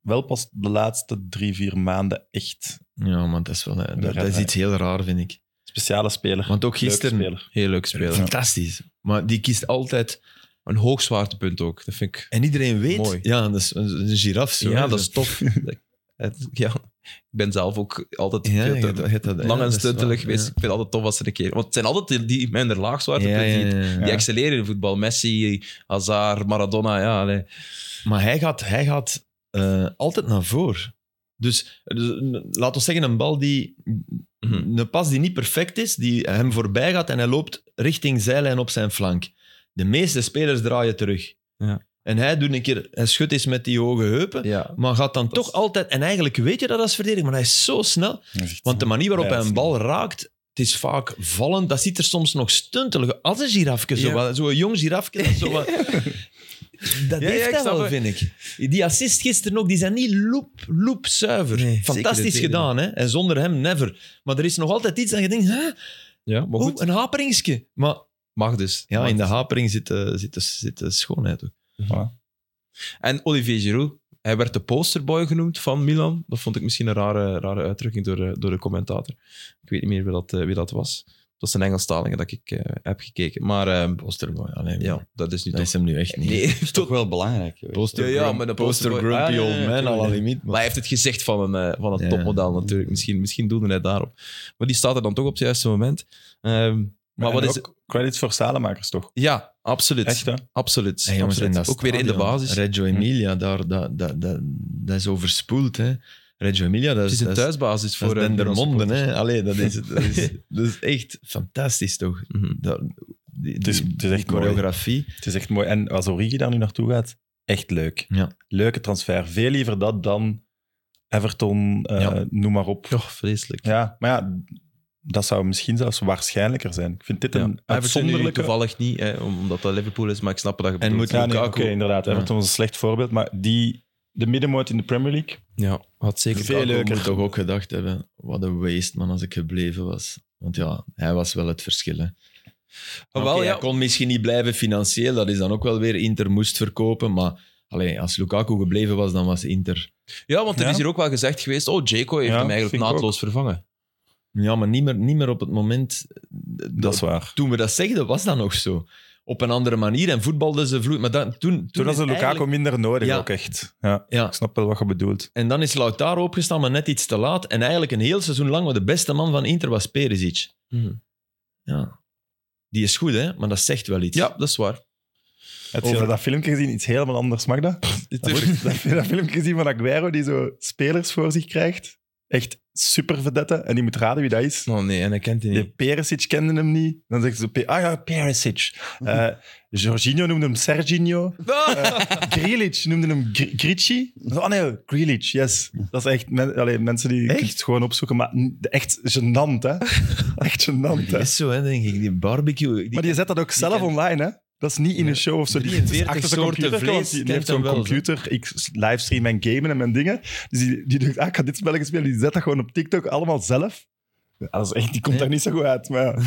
Speaker 3: wel pas de laatste drie, vier maanden echt
Speaker 4: ja, man, dat is, wel, eh, dat, dat is iets heel raar, vind ik.
Speaker 3: speciale speler.
Speaker 4: Want ook
Speaker 3: Leuke
Speaker 4: gisteren...
Speaker 3: speler.
Speaker 1: Heel leuk spelen.
Speaker 4: Fantastisch. Maar die kiest altijd...
Speaker 1: Een hoog zwaartepunt ook. Dat vind ik...
Speaker 4: En iedereen weet...
Speaker 1: Mooi.
Speaker 4: Ja, dat is een, een giraf zo.
Speaker 1: ja,
Speaker 4: hè.
Speaker 1: dat is tof. [LAUGHS] Het- ja. Ik ben zelf ook altijd
Speaker 4: Ja,
Speaker 1: veel te-
Speaker 4: je- dat- je- dat- ja,
Speaker 1: lang en
Speaker 4: dat is
Speaker 1: stuntelig
Speaker 4: waar,
Speaker 1: geweest.
Speaker 4: ja.
Speaker 1: Ik vind het altijd tof als ze een keer... Want het zijn altijd die- die minder laag
Speaker 4: Ja,
Speaker 1: zwaartepunten.
Speaker 4: ja,
Speaker 1: Die,
Speaker 4: ja, ja.
Speaker 1: die
Speaker 3: Ja.
Speaker 1: excelleren in voetbal. Messi, Hazard, Maradona. Ja, nee.
Speaker 4: Maar hij gaat, hij gaat eh, altijd naar voren. Dus, dus een- laat ons zeggen, een bal die...
Speaker 1: Mhm.
Speaker 4: Een pas die niet perfect is, die hem voorbij gaat en hij loopt richting zijlijn op zijn flank. De meeste spelers draaien terug.
Speaker 1: Ja.
Speaker 4: En hij doet een keer, hij schudt eens met die hoge heupen,
Speaker 1: Ja.
Speaker 4: maar gaat dan
Speaker 1: Dat
Speaker 4: toch
Speaker 1: is-
Speaker 4: altijd, en eigenlijk weet je dat als verdediger, maar hij is zo snel. Want de manier waarop
Speaker 3: Ja,
Speaker 4: hij
Speaker 3: dat
Speaker 4: een
Speaker 3: is
Speaker 4: bal raakt, het is vaak vallend. Dat ziet er soms nog stuntelig als een girafje. zo
Speaker 1: Ja.
Speaker 4: wat- Zo'n jong girafje. Dat,
Speaker 1: [LAUGHS]
Speaker 4: zo wat- dat
Speaker 1: ja,
Speaker 4: heeft
Speaker 1: ik
Speaker 4: hij
Speaker 1: snap
Speaker 4: wel,
Speaker 1: het.
Speaker 4: vind ik. Die assist gisteren ook, die zijn niet loep, loep zuiver.
Speaker 1: Nee, zeker de
Speaker 4: Fantastisch
Speaker 1: tweede.
Speaker 4: gedaan, hè. En zonder hem, never. Maar er is nog altijd iets dat je denkt, hè?
Speaker 1: Ja, maar
Speaker 4: Oeh,
Speaker 1: goed.
Speaker 4: een haperingske. Maar
Speaker 1: Mag dus.
Speaker 4: ja,
Speaker 1: Mag
Speaker 4: in de
Speaker 1: dus.
Speaker 4: hapering zit de, zit de, zit de schoonheid ook.
Speaker 1: En Olivier Giroud. Hij werd de posterboy genoemd van Milan. Dat vond ik misschien een rare, rare uitdrukking door, eh, door de commentator. Ik weet niet meer wie dat, eh, wie dat was. Dat was een Engelstalige dat ik eh, heb gekeken. Maar ehm,
Speaker 4: Posterboy, ja, nee,
Speaker 1: ja, dat is nu
Speaker 4: Dat
Speaker 1: toch...
Speaker 4: is hem nu echt niet.
Speaker 1: Nee, [LAUGHS]
Speaker 2: is toch wel belangrijk. joh.
Speaker 1: Poster, ja, ja, maar de
Speaker 4: Poster
Speaker 1: posterboy- Ah,
Speaker 4: grumpy
Speaker 1: nee, nee,
Speaker 4: old
Speaker 1: nee,
Speaker 4: man, al
Speaker 1: tuurlijk.
Speaker 4: een limiet.
Speaker 1: Maar hij heeft het gezicht van een, eh, van een
Speaker 4: Ja.
Speaker 1: topmodel natuurlijk. Misschien, misschien doelde hij daarop. Maar die staat er dan toch op het juiste moment. Ehm, maar wat is...
Speaker 3: Credits voor Salemakers, toch?
Speaker 1: Ja, absoluut.
Speaker 3: Echt, hè?
Speaker 1: Absoluut.
Speaker 4: Hey, jongens,
Speaker 1: absoluut.
Speaker 4: en dat
Speaker 1: Ook weer in de
Speaker 4: stadion,
Speaker 1: basis. Hm.
Speaker 4: Reggio Emilia, daar, dat, dat, dat, dat is overspoeld. Hè. Reggio Emilia, dat is,
Speaker 1: Het is een
Speaker 4: dat is- dat
Speaker 1: thuisbasis voor...
Speaker 4: is
Speaker 1: eh,
Speaker 4: Dendermonde.
Speaker 1: Milan supporters.
Speaker 4: Hè. Allee, dat, is, dat, is,
Speaker 1: [LAUGHS]
Speaker 4: dat is echt fantastisch, toch?
Speaker 1: Mhm.
Speaker 4: Dat, die,
Speaker 3: Het is-
Speaker 4: die-
Speaker 3: het is
Speaker 4: die
Speaker 3: echt mooi.
Speaker 4: choreografie.
Speaker 3: Het is echt mooi. En als Origi daar nu naartoe gaat, echt leuk.
Speaker 4: Ja.
Speaker 3: Leuke transfer. Veel liever dat dan Everton, eh,
Speaker 4: Ja.
Speaker 3: noem maar op.
Speaker 1: Toch, vreselijk.
Speaker 3: Ja, maar ja, dat zou misschien zelfs waarschijnlijker zijn. Ik vind dit
Speaker 1: Ja.
Speaker 3: een
Speaker 1: Everton nu
Speaker 3: uitzonderlijke...
Speaker 1: toevallig niet, hè, omdat dat Liverpool is, maar ik snap dat je bedoelt.
Speaker 4: moet
Speaker 3: Ja, nee, oké,
Speaker 4: Lukaku.
Speaker 3: inderdaad. Everton was een slecht voorbeeld, maar die, de middenmoot in de Premier League,
Speaker 1: Ja, had zeker.
Speaker 3: Veel
Speaker 4: Lukaku
Speaker 3: leuker.
Speaker 4: moet toch ook gedacht hebben, wat een waste man als ik gebleven was. Want ja, hij was wel het verschil. Hè.
Speaker 1: Ah,
Speaker 4: Oké,
Speaker 1: wel, ja.
Speaker 4: Hij kon misschien niet blijven financieel, dat is dan ook wel weer Inter moest verkopen, maar... Alleen als Lukaku gebleven was, dan was Inter.
Speaker 1: ja, want er
Speaker 3: Ja.
Speaker 1: is hier ook wel gezegd geweest, oh, Jaco heeft
Speaker 3: Ja,
Speaker 1: hem eigenlijk
Speaker 3: vind ik
Speaker 1: naadloos vervangen.
Speaker 4: Ja, maar niet meer, niet meer op het moment.
Speaker 3: dat is waar.
Speaker 4: toen we dat zegden, was dat nog zo. Op een andere manier en voetbalden ze vloed. Maar dan, toen, toen,
Speaker 3: Toen was
Speaker 4: is
Speaker 3: de Lukaku
Speaker 4: eigenlijk-
Speaker 3: minder nodig
Speaker 4: Ja.
Speaker 3: ook echt. Ja,
Speaker 4: Ja,
Speaker 3: ik snap wel wat je bedoelt.
Speaker 4: en dan is Lautaro opgestaan, maar net iets te laat. En eigenlijk een heel seizoen lang, want de beste man van Inter was Perisic.
Speaker 1: Mhm.
Speaker 4: Ja. Die is goed, hè? Maar dat zegt wel iets.
Speaker 1: Ja, dat is waar.
Speaker 3: Heb je
Speaker 1: Over-
Speaker 3: dat filmpje gezien? Iets helemaal anders, Magda? Heb je dat filmpje gezien van Aguero die zo spelers voor zich krijgt? Echt super vedette. En die moet raden wie dat is.
Speaker 1: Oh nee, en hij kent die
Speaker 3: De
Speaker 1: niet.
Speaker 3: Perisic kende hem niet. Dan zegt ze, Pe- ah ja, Perisic. Eh Jorginho noemde hem Serginho.
Speaker 1: Ah!
Speaker 3: Eh, [LAUGHS] Grealish noemde hem Gr- Gricci. Oh nee, Grealish, yes. Dat is echt, men- allee, mensen die je kunt het gewoon opzoeken, maar n- echt gênant, hè. [LAUGHS] Echt gênant,
Speaker 4: Die
Speaker 3: hè.
Speaker 4: is zo, hè, denk ik. Die barbecue. Die
Speaker 3: Maar die zet dat ook zelf
Speaker 4: ken-
Speaker 3: online, hè. Dat is niet in een show of zo. Die is
Speaker 4: 43
Speaker 3: achter zijn
Speaker 4: soorten
Speaker 3: computer,
Speaker 4: vlees
Speaker 3: want die
Speaker 4: kent
Speaker 3: heeft
Speaker 4: hem
Speaker 3: zo'n
Speaker 4: wel, zo.
Speaker 3: computer. Ik s- livestream mijn gamen en mijn dingen. Dus die, die denkt, ah, ik ga dit spelletje spelen. Die zet dat gewoon op TikTok allemaal zelf. Ja, dat is echt, die komt daar niet zo goed uit, maar... ja.
Speaker 4: dat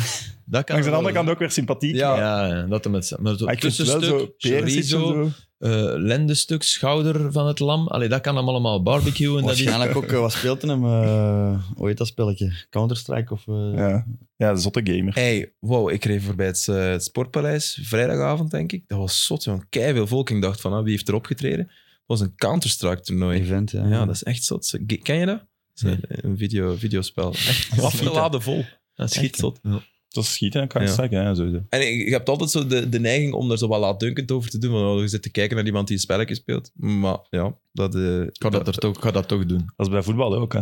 Speaker 4: kan
Speaker 3: Langs de
Speaker 4: wel,
Speaker 3: andere kant ook weer sympathiek.
Speaker 4: Ja,
Speaker 3: maar-
Speaker 4: ja, ja, dat hem het... Maar
Speaker 3: maar
Speaker 4: het
Speaker 3: ik vind het wel zo
Speaker 4: tussenstuk,
Speaker 3: perisic en
Speaker 4: chorizo,
Speaker 3: zo.
Speaker 4: eh, lendenstuk, schouder van het lam. Allee, dat kan hem allemaal barbecue. En dat is...
Speaker 2: Waarschijnlijk ook, eh, wat speelt in hem? eh hoe heet dat spelletje? Counter-Strike of... eh,
Speaker 3: Ja. ja, zotte gamer.
Speaker 1: Hey, wow, ik reed voorbij het, eh, het Sportpaleis, vrijdagavond denk ik. Dat was zot, zo'n keiveel volk. Ik dacht van, ah, wie heeft er opgetreden? Dat was een Counter-Strike toernooi.
Speaker 2: Event, ja.
Speaker 1: Ja, dat is echt zot. Ze- ge- Ken je dat? Dat is een- Een video, videospel. Echt [LAUGHS] afgeladen vol.
Speaker 4: Dat
Speaker 1: Echt zot.
Speaker 3: Dat is schieten en kan je
Speaker 1: Ja.
Speaker 3: zeggen. hè, zo- zo.
Speaker 1: En je hebt altijd zo de, de neiging om er zo wat laatdunkend over te doen. Want oh, je zit te kijken naar iemand die een spelletje speelt. Maar ja, dat... eh,
Speaker 4: Ik ga dat, er toch, ik ga dat toch doen.
Speaker 3: Dat is bij voetbal ook. Hè.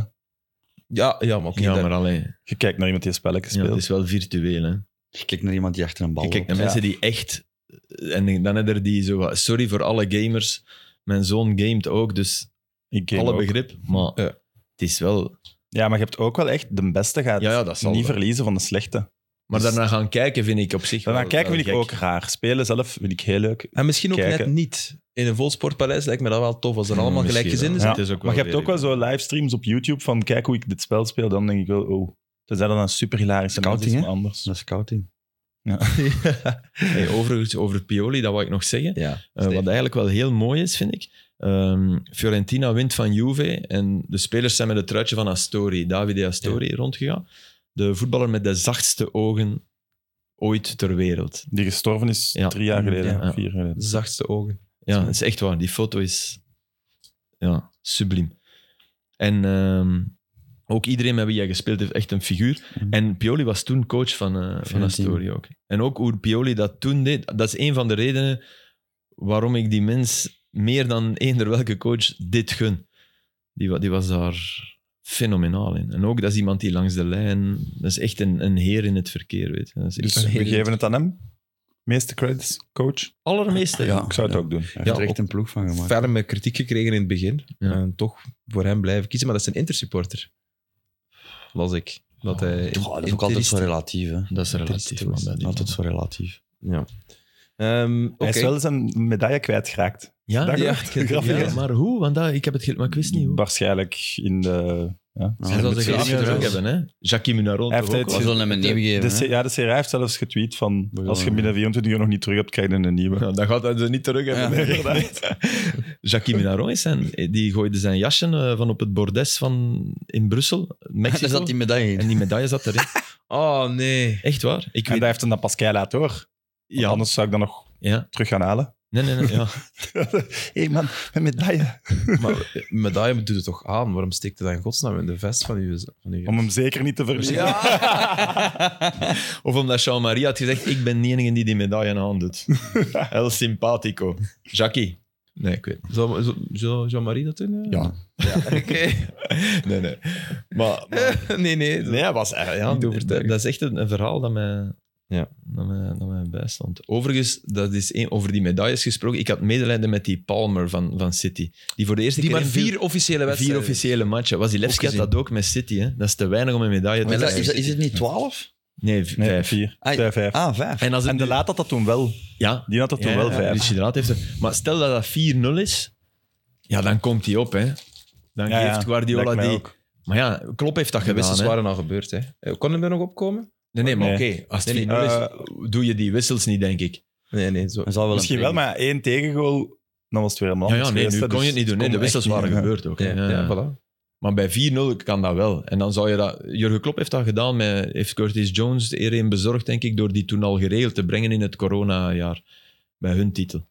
Speaker 1: Ja, ja, maar, oké,
Speaker 4: ja,
Speaker 1: daar-
Speaker 4: maar alleen.
Speaker 3: Je kijkt naar iemand die een spelletje
Speaker 4: Ja, het
Speaker 3: speelt.
Speaker 4: is wel virtueel, hè.
Speaker 2: Je kijkt naar iemand die achter een bal
Speaker 4: Ik kijk naar
Speaker 2: loopt.
Speaker 4: mensen die echt... eh, En dan hebben er die zo... wat- Sorry voor alle gamers. Mijn zoon gamet ook, dus
Speaker 3: Ik game
Speaker 4: alle
Speaker 3: ook.
Speaker 4: begrip. Maar
Speaker 1: Ja.
Speaker 4: het is wel...
Speaker 3: Ja, maar je hebt ook wel echt de beste gaat
Speaker 4: Ja, ja, dat zal
Speaker 3: niet
Speaker 4: wel.
Speaker 3: verliezen van de slechte.
Speaker 4: Maar
Speaker 3: Dus-
Speaker 4: daarna gaan kijken vind ik op zich
Speaker 3: Daarna
Speaker 4: wel-
Speaker 3: kijken
Speaker 4: wel
Speaker 3: vind
Speaker 4: gek.
Speaker 3: ik ook raar. Spelen zelf vind ik heel leuk.
Speaker 1: En misschien ook
Speaker 3: Kijken.
Speaker 1: net niet. In een vol sportpaleis lijkt me dat wel tof als er
Speaker 4: Ja,
Speaker 1: allemaal
Speaker 4: misschien
Speaker 1: gelijkgezinden
Speaker 4: wel.
Speaker 1: zijn.
Speaker 3: Ja.
Speaker 4: Het is ook
Speaker 3: Maar je
Speaker 4: wel
Speaker 3: hebt ook
Speaker 4: weer-
Speaker 3: wel zo livestreams op YouTube van kijk hoe ik dit spel speel. Dan denk ik wel, oh, dat is dan een super hilarische
Speaker 2: Scouting,
Speaker 3: maar anders.
Speaker 2: Dat is scouting.
Speaker 4: Hey, overigens, over Pioli, dat wou ik nog zeggen.
Speaker 2: Ja.
Speaker 4: Eh, wat eigenlijk wel heel mooi is, vind ik. Ehm, Fiorentina wint van Juve en de spelers zijn met het truitje van Astori, Davide Astori, rondgegaan. De voetballer met de zachtste ogen ooit ter wereld.
Speaker 3: Die gestorven is
Speaker 4: Ja.
Speaker 3: drie jaar geleden,
Speaker 4: Ja.
Speaker 3: vier jaar geleden.
Speaker 1: Zachtste ogen.
Speaker 4: Ja, dat is echt waar. Die foto is ja, subliem. En ehm, ook iedereen met wie hij gespeeld heeft, echt een figuur.
Speaker 2: Mhm.
Speaker 4: En Pioli was toen coach van, eh, van
Speaker 2: Fiorentina.
Speaker 4: Astori ook. En ook hoe Pioli dat toen deed, dat is een van de redenen waarom ik die mens meer dan eender welke coach dit gun. Die, wa- die was daar fenomenaal in. En ook dat is iemand die langs de lijn, dat is echt Dus een, een heer in het verkeer, weet je. Dat is echt-
Speaker 3: Dus we geven het aan hem. Meeste credits, coach.
Speaker 4: Allermeeste.
Speaker 2: Ja.
Speaker 3: Ik zou het ook doen.
Speaker 2: heeft er echt een ploeg van gemaakt.
Speaker 1: Ferme kritiek gekregen in het begin.
Speaker 4: Ja.
Speaker 1: En toch voor hem blijven kiezen. Maar dat is een intersupporter. Las ik. Dat hij
Speaker 4: Oh,
Speaker 1: in-
Speaker 2: Goh, dat is ook altijd zo
Speaker 1: interist-
Speaker 2: relatief, hè.
Speaker 4: Dat is relatief. Man, bij die
Speaker 2: Altijd
Speaker 4: man.
Speaker 2: zo relatief.
Speaker 1: Ja. Ehm,
Speaker 3: Hij
Speaker 1: oké.
Speaker 3: is wel zijn medaille kwijtgeraakt.
Speaker 4: Ja,
Speaker 3: Dag,
Speaker 4: ja,
Speaker 3: hoor.
Speaker 4: ik-
Speaker 3: Grappig,
Speaker 4: ja,
Speaker 3: hè?
Speaker 4: maar hoe? Want dat, ik heb het ge- maar ik wist niet hoe.
Speaker 3: Waarschijnlijk in de... Ja.
Speaker 2: Nou,
Speaker 4: Hij zal
Speaker 2: dat
Speaker 4: ze geen
Speaker 2: is grappig,
Speaker 4: terug
Speaker 2: trouwens.
Speaker 4: hebben, hè? Jackie Munaron
Speaker 3: Hij
Speaker 4: toch
Speaker 3: heeft
Speaker 4: ook
Speaker 3: het
Speaker 2: We
Speaker 4: al.
Speaker 2: zullen hem een nieuw
Speaker 3: De,
Speaker 2: geven.
Speaker 3: C-
Speaker 2: hè.
Speaker 3: ja, de CRA heeft zelfs getweet van
Speaker 2: Begonnen,
Speaker 3: als je binnen 24 uur nog niet terug hebt, krijg je een nieuwe.
Speaker 4: Ja, dan gaat hij ze niet terug hebben.
Speaker 2: Ja.
Speaker 4: Nee, inderdaad. Jackie Minaron is zijn, die gooide zijn jasje eh, van op het bordes van, in Brussel, Mexico.
Speaker 2: [LAUGHS] Daar zat die medaille
Speaker 4: En
Speaker 2: in.
Speaker 4: die medaille zat erin.
Speaker 1: Oh nee.
Speaker 4: Echt waar. Ik
Speaker 3: En
Speaker 4: weet,
Speaker 3: dat heeft hem dan pas keihard laten hoor. Want
Speaker 4: ja,
Speaker 3: Anders zou ik dat nog
Speaker 4: ja.
Speaker 3: terug gaan
Speaker 4: [LAUGHS]
Speaker 3: halen.
Speaker 4: Nee, nee, nee. Ja.
Speaker 3: Hé hey man, een medaille.
Speaker 1: Maar eh, medaille doet het toch aan? Waarom steekt het dan in godsnaam in de vest van uw... Van uw...
Speaker 3: Om hem zeker niet te verliezen.
Speaker 4: Of omdat Jean-Marie had gezegd, ik ben de enige die die medaille aan [LAUGHS] doet. El simpatico. Jackie. Nee, ik weet het
Speaker 1: Zou, zou- zou Jean-Marie dat doen?
Speaker 4: Ja.
Speaker 1: [LAUGHS] Oké.
Speaker 4: niet. Nee, nee. Maar, maar-
Speaker 1: nee, nee.
Speaker 4: nee, hij was echt... Ja,
Speaker 1: Niet
Speaker 4: dat,
Speaker 1: overtuigend.
Speaker 4: dat is echt een, een verhaal dat mij,
Speaker 1: Ja.
Speaker 4: dat, mij, dat mij bijstond. Overigens, dat is één- over die medailles gesproken. Ik had medelijden met die Palmer van, van City. Die voor de eerste
Speaker 1: Die
Speaker 4: keer
Speaker 1: maar
Speaker 4: in veel-
Speaker 1: vier officiële
Speaker 4: vier
Speaker 1: wedstrijden.
Speaker 4: officiële matchen. Was die Levski had
Speaker 1: gezien.
Speaker 4: dat ook met City. Hè? Dat is te weinig om een medaille te
Speaker 2: Maar is, dat-
Speaker 4: krijgen.
Speaker 2: is, dat- is het niet 12?
Speaker 4: Nee, v-
Speaker 3: Nee,
Speaker 4: vijf.
Speaker 3: vier.
Speaker 2: Ah,
Speaker 3: Twee, vijf.
Speaker 2: Ah, 5.
Speaker 4: En, als het
Speaker 3: en de
Speaker 4: nu-
Speaker 3: laat had dat toen wel.
Speaker 4: Ja,
Speaker 3: Die had dat toen wel
Speaker 4: ja,
Speaker 3: vijf.
Speaker 4: Richie de Laat heeft er- Maar stel dat dat 4-0 is, ja, dan komt hij op. Hè. Dan
Speaker 3: Ja, ja,
Speaker 4: geeft Guardiola
Speaker 3: lijkt mij
Speaker 4: die...
Speaker 3: ook.
Speaker 4: Maar ja, Klopp heeft dat
Speaker 1: De
Speaker 4: gedaan.
Speaker 1: wissels
Speaker 4: hè.
Speaker 1: waren al gebeurd. Hè. Eh, Kon hem er nog opkomen?
Speaker 4: Nee, nee, maar
Speaker 3: Nee.
Speaker 4: oké. Als het
Speaker 1: Nee,
Speaker 4: 4-0
Speaker 1: nee.
Speaker 4: is, doe je die wissels niet, denk ik.
Speaker 1: Nee, nee. Zo.
Speaker 2: Hij zal wel
Speaker 3: Misschien
Speaker 2: een
Speaker 3: wel,
Speaker 2: prik-
Speaker 3: maar één tegengoal, dan was het weer helemaal
Speaker 4: Ja, ja
Speaker 3: anders
Speaker 4: nee, nu
Speaker 3: geweest,
Speaker 4: kon je het
Speaker 3: dus
Speaker 4: niet doen. Nee, de
Speaker 3: kon
Speaker 4: wissels
Speaker 3: echt
Speaker 4: waren
Speaker 3: niet, ja.
Speaker 4: gebeurd ook. hè.
Speaker 1: Ja,
Speaker 4: Ja, ja.
Speaker 1: ja, voilà.
Speaker 4: Maar bij 4-0 kan dat wel. En dan zou je dat... Jurgen Klopp heeft dat gedaan. Met, heeft Curtis Jones er een bezorgd, denk ik, door die toen al geregeld te brengen in het coronajaar. Bij hun titel.
Speaker 1: En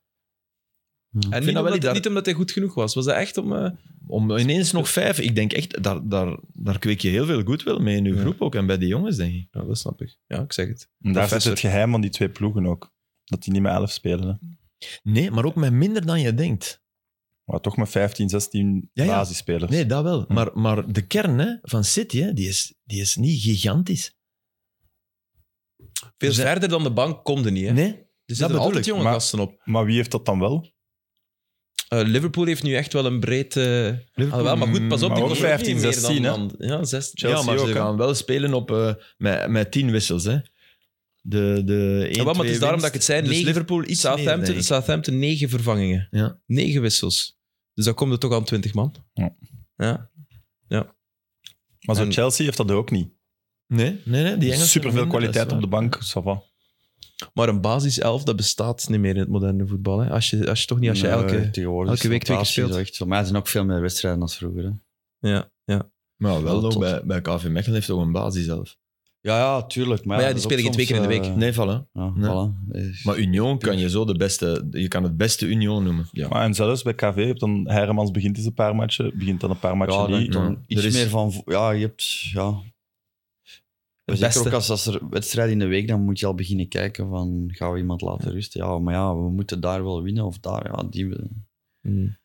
Speaker 2: Hmm.
Speaker 4: vind dat
Speaker 1: niet
Speaker 4: wel
Speaker 1: omdat,
Speaker 4: iets daar-
Speaker 1: niet omdat hij goed genoeg was. Was dat echt om... eh,
Speaker 4: Om ineens nog vijf. Ik denk echt, daar, daar, daar kweek je heel veel goodwill mee in je
Speaker 1: Ja.
Speaker 4: groep ook. En bij die jongens, denk ik.
Speaker 1: Ja, dat snap ik. Ja, ik zeg het.
Speaker 3: En Daar zit
Speaker 1: Professor.
Speaker 3: het geheim van die twee ploegen ook. Dat die niet met 11 spelen. Hè.
Speaker 4: Nee, maar ook met minder dan je denkt.
Speaker 3: Maar toch met 15, 16
Speaker 4: Ja, ja.
Speaker 3: basisspelers.
Speaker 4: Nee, dat wel. Maar, maar de kern hè, van City, hè, die, is, die is niet gigantisch.
Speaker 1: Veel
Speaker 4: Dus dat-
Speaker 1: verder dan de bank komt er niet. Hè.
Speaker 4: Nee?
Speaker 1: er
Speaker 4: dat
Speaker 1: zitten
Speaker 4: bedoel
Speaker 1: altijd
Speaker 4: ik,
Speaker 1: jonge
Speaker 3: maar-
Speaker 1: gasten op.
Speaker 3: Maar wie heeft dat dan wel?
Speaker 1: Eh, Liverpool heeft nu echt wel een breed... eh alhoewel, maar goed,
Speaker 4: Mm,
Speaker 1: pas op.
Speaker 3: maar
Speaker 1: die
Speaker 3: ook
Speaker 1: kost ook niet
Speaker 3: 15,
Speaker 1: meer dan-
Speaker 3: 16, hè?
Speaker 1: dan- ja, 16.
Speaker 4: ja, maar
Speaker 3: ook,
Speaker 4: ze
Speaker 3: hè?
Speaker 4: gaan wel spelen op, eh, met, met tien wissels. Hè. De, de 1,
Speaker 1: Ja, wel, maar het is daarom dat ik het zei.
Speaker 4: Dus
Speaker 1: negen-
Speaker 4: Liverpool iets meer,
Speaker 1: Southampton,
Speaker 4: denk ik.
Speaker 1: Southampton, negen vervangingen.
Speaker 4: Ja.
Speaker 1: Negen wissels. Dus dan komt er toch aan twintig man.
Speaker 3: Ja.
Speaker 1: Ja.
Speaker 3: Maar zo
Speaker 1: En-
Speaker 3: Chelsea heeft dat ook niet.
Speaker 4: Nee, nee, nee. Die Engelsen
Speaker 3: Superveel
Speaker 4: minder, dus, eh, dat
Speaker 3: kwaliteit
Speaker 4: is
Speaker 3: op de
Speaker 4: waar.
Speaker 3: bank. ça va.
Speaker 1: Maar een basiself, dat bestaat niet meer in het moderne voetbal. Hè. Als, je, als je toch niet, als je
Speaker 2: Nee,
Speaker 1: elke...
Speaker 2: tegenwoordig is
Speaker 1: elke week twee keer
Speaker 2: rotatie
Speaker 1: speelt.
Speaker 2: zo echt zo. Maar er zijn ook veel meer wedstrijden dan vroeger. Hè.
Speaker 1: Ja, ja.
Speaker 4: Maar wel
Speaker 2: Ja,
Speaker 4: nog
Speaker 2: tot.
Speaker 4: bij, bij KV Mechelen heeft ook een basis zelf.
Speaker 2: Ja, ja, tuurlijk. Maar,
Speaker 1: Maar ja,
Speaker 2: dat
Speaker 1: die
Speaker 2: is ook
Speaker 1: spelen geen
Speaker 2: soms,
Speaker 1: twee keer in
Speaker 2: eh,
Speaker 4: Nee, voilà.
Speaker 2: ja,
Speaker 4: Nee.
Speaker 2: voilà. Eh,
Speaker 4: Maar Union kan je zo de beste... Je kan het beste Union noemen. Ja.
Speaker 3: Maar en zelfs bij KV heeft dan Hermans begint eens een paar matchen, begint dan een paar matchen
Speaker 2: ja, dan,
Speaker 3: niet.
Speaker 4: ja.
Speaker 2: dan
Speaker 4: Er
Speaker 2: iets
Speaker 4: is-
Speaker 2: meer van... vo- Ja, je hebt... Ja.
Speaker 4: Het
Speaker 2: Zeker
Speaker 4: beste.
Speaker 2: ook als, als er wedstrijden in de week, dan moet je al beginnen kijken van, gaan we iemand laten rusten? Ja, maar ja, we moeten daar wel winnen of daar. Ja, die,
Speaker 1: Hmm.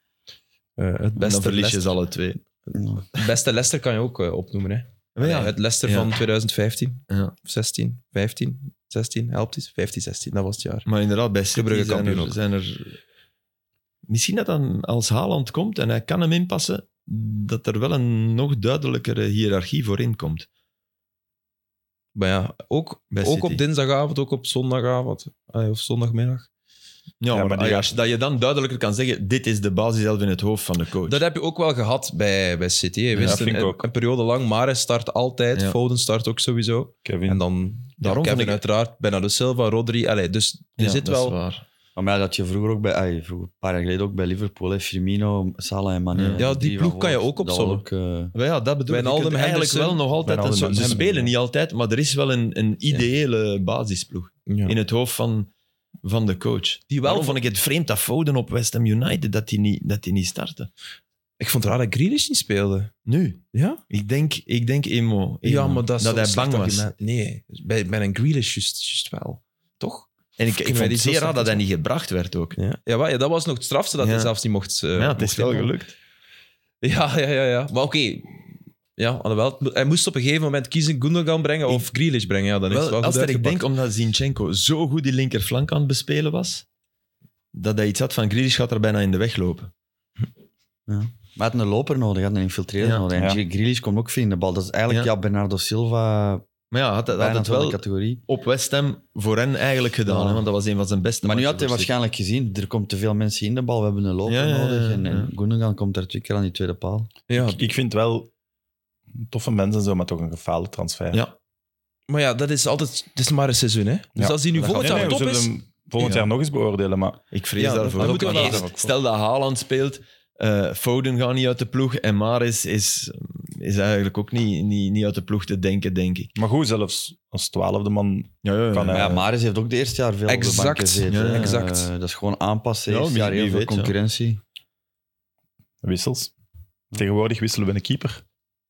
Speaker 1: Eh, het
Speaker 4: En dan
Speaker 1: beste
Speaker 4: verlies je
Speaker 1: Leicester,
Speaker 4: ze alle twee.
Speaker 2: ja.
Speaker 1: [LAUGHS] beste Leicester kan je ook eh, opnoemen. Hè.
Speaker 4: Maar ja,
Speaker 1: Allee, het Leicester
Speaker 4: Ja.
Speaker 1: van 2015,
Speaker 4: Ja.
Speaker 1: 16, 15, 16, helpt eens. 15, 16, dat was het jaar.
Speaker 4: Maar inderdaad, bij City
Speaker 1: Brugge
Speaker 4: zijn
Speaker 1: kampioen
Speaker 4: er,
Speaker 1: ook.
Speaker 4: zijn er... Misschien dat dan als Haaland komt en hij kan hem inpassen, dat er wel een nog duidelijkere hiërarchie voor inkomt.
Speaker 1: Maar ja, ook,
Speaker 4: Bij
Speaker 1: ook
Speaker 4: City.
Speaker 1: op dinsdagavond, ook op zondagavond eh, of zondagmiddag.
Speaker 4: Ja,
Speaker 3: maar
Speaker 4: maar,
Speaker 3: die-
Speaker 4: als je- dat je dan duidelijker kan zeggen, dit is de basis zelf in het hoofd van de coach.
Speaker 1: Dat heb je ook wel gehad bij, bij City. Je wist
Speaker 3: dat vind
Speaker 1: een,
Speaker 3: ik ook.
Speaker 1: een periode lang, Mares start altijd,
Speaker 4: Ja.
Speaker 1: Foden start ook sowieso.
Speaker 3: Kevin.
Speaker 1: En dan
Speaker 4: Daarom
Speaker 1: Daarom Kevin
Speaker 4: vind ik-
Speaker 1: uiteraard, Bernardo Silva, Rodri. Allee, dus er
Speaker 4: Ja,
Speaker 1: zit
Speaker 4: dat is
Speaker 1: wel...
Speaker 4: waar.
Speaker 2: Maar ja, dat je vroeger ook bij... ah, vroeger, een paar jaar geleden ook bij Liverpool, hè, Firmino, Salah en Mane.
Speaker 4: Ja.
Speaker 2: hè,
Speaker 1: Ja, die
Speaker 2: van
Speaker 1: ploeg kan je
Speaker 2: voor-
Speaker 1: ook
Speaker 2: dat was
Speaker 1: opzommen.
Speaker 2: ook, eh,
Speaker 4: Maar ja, dat bedoel ik. Je
Speaker 1: Wijnaldum,
Speaker 4: kunt eigenlijk wel
Speaker 1: Henderson.
Speaker 4: nog altijd... een
Speaker 3: Wijnaldum,
Speaker 4: soort- ze
Speaker 3: Henderson,
Speaker 4: spelen
Speaker 3: ja.
Speaker 4: niet altijd, maar er is wel een, een ideële basisploeg
Speaker 1: Ja.
Speaker 4: in het hoofd van, van de coach. Die wel vond ik het vreemd dat Foden op West Ham United dat die niet, dat die niet startte.
Speaker 1: Ik vond het raar dat Grealish niet speelde.
Speaker 4: Nu,
Speaker 1: Ja?
Speaker 4: ik denk, ik denk emo,
Speaker 1: Ja,
Speaker 4: Emo.
Speaker 1: maar dat, is zo'n
Speaker 4: hij
Speaker 1: slecht
Speaker 4: bang was.
Speaker 1: argument. Nee, bij, bij een Grealish juist juist wel. Toch?
Speaker 4: En ik,
Speaker 1: Kunnen
Speaker 4: ik vond
Speaker 1: wij die
Speaker 4: het
Speaker 1: zo
Speaker 4: zeer raar dat hij
Speaker 1: starten?
Speaker 4: niet gebracht werd ook.
Speaker 1: Ja, ja, wel, ja dat was nog het strafste dat
Speaker 4: Ja.
Speaker 1: [LAUGHS] hij zelfs niet mocht... eh,
Speaker 4: ja, het is
Speaker 1: mocht
Speaker 4: wel
Speaker 1: invallen.
Speaker 4: gelukt.
Speaker 1: Ja, ja, ja. ja. Maar oké, Ja, alhoewel, hij moest op een gegeven moment kiezen Gundogan brengen of Grealish brengen. Ja, dan is
Speaker 4: Wel,
Speaker 1: het wel goed
Speaker 4: als dat ik
Speaker 1: uitgepakt.
Speaker 4: denk, omdat Zinchenko zo goed die linkerflank aan het bespelen was, dat hij iets had van Grealish gaat er bijna in de weg lopen.
Speaker 2: Maar hij had een loper nodig, hij had een infiltreerder
Speaker 4: Ja,
Speaker 2: nodig. En
Speaker 3: ja.
Speaker 2: Gri- Grealish komt ook veel in de bal. Dat is eigenlijk ja.
Speaker 4: Ja.
Speaker 2: Bernardo Silva
Speaker 4: Maar ja, had, had
Speaker 2: bijna
Speaker 4: het
Speaker 2: van de
Speaker 4: wel
Speaker 2: categorie.
Speaker 4: op West Ham voor hen eigenlijk gedaan,
Speaker 2: Ja.
Speaker 4: hè, want dat was een van zijn beste
Speaker 2: Maar nu had
Speaker 4: matchen
Speaker 2: hij
Speaker 4: op zich.
Speaker 2: waarschijnlijk gezien, er komt te veel mensen in de bal, we hebben een loper
Speaker 4: Ja, ja, ja,
Speaker 2: nodig. En, en
Speaker 4: ja.
Speaker 2: Gundogan komt daar twee keer aan die tweede paal.
Speaker 1: Ja,
Speaker 3: Ik vind wel een toffe mensen zo, maar toch een gefaalde transfer.
Speaker 4: Ja.
Speaker 1: maar ja, dat is altijd... Het is maar een seizoen, hè.
Speaker 3: Ja.
Speaker 1: Dus als hij nu volgend
Speaker 3: Nee,
Speaker 1: jaar
Speaker 3: nee, we zullen
Speaker 1: top is...
Speaker 3: hem volgend
Speaker 1: Ja.
Speaker 3: jaar nog eens beoordelen, maar
Speaker 4: Ik vrees
Speaker 1: Ja, dat-
Speaker 4: daarvoor.
Speaker 1: dat
Speaker 4: ook,
Speaker 1: moeten we
Speaker 4: want
Speaker 1: laten.
Speaker 4: eerst- Stel dat Haaland speelt, eh, Foden gaat niet uit de ploeg en Maris is, is eigenlijk ook niet, niet, niet uit de ploeg te denken, denk ik.
Speaker 3: Maar goed, zelfs als twaalfde man
Speaker 4: Ja, ja, ja.
Speaker 3: Kan,
Speaker 2: Maar
Speaker 3: hè.
Speaker 2: ja,
Speaker 3: Eh,
Speaker 2: Maris heeft ook de eerste jaar veel op de bank
Speaker 1: Exact,
Speaker 2: gezeten.
Speaker 4: ja,
Speaker 2: hè.
Speaker 1: exact.
Speaker 2: Eh, dat is gewoon aanpassen,
Speaker 4: Ja,
Speaker 2: eerste
Speaker 4: wie-
Speaker 2: jaar heel
Speaker 4: wie
Speaker 2: veel
Speaker 4: weet, ja.
Speaker 2: concurrentie.
Speaker 3: wissels. Tegenwoordig wisselen we een keeper.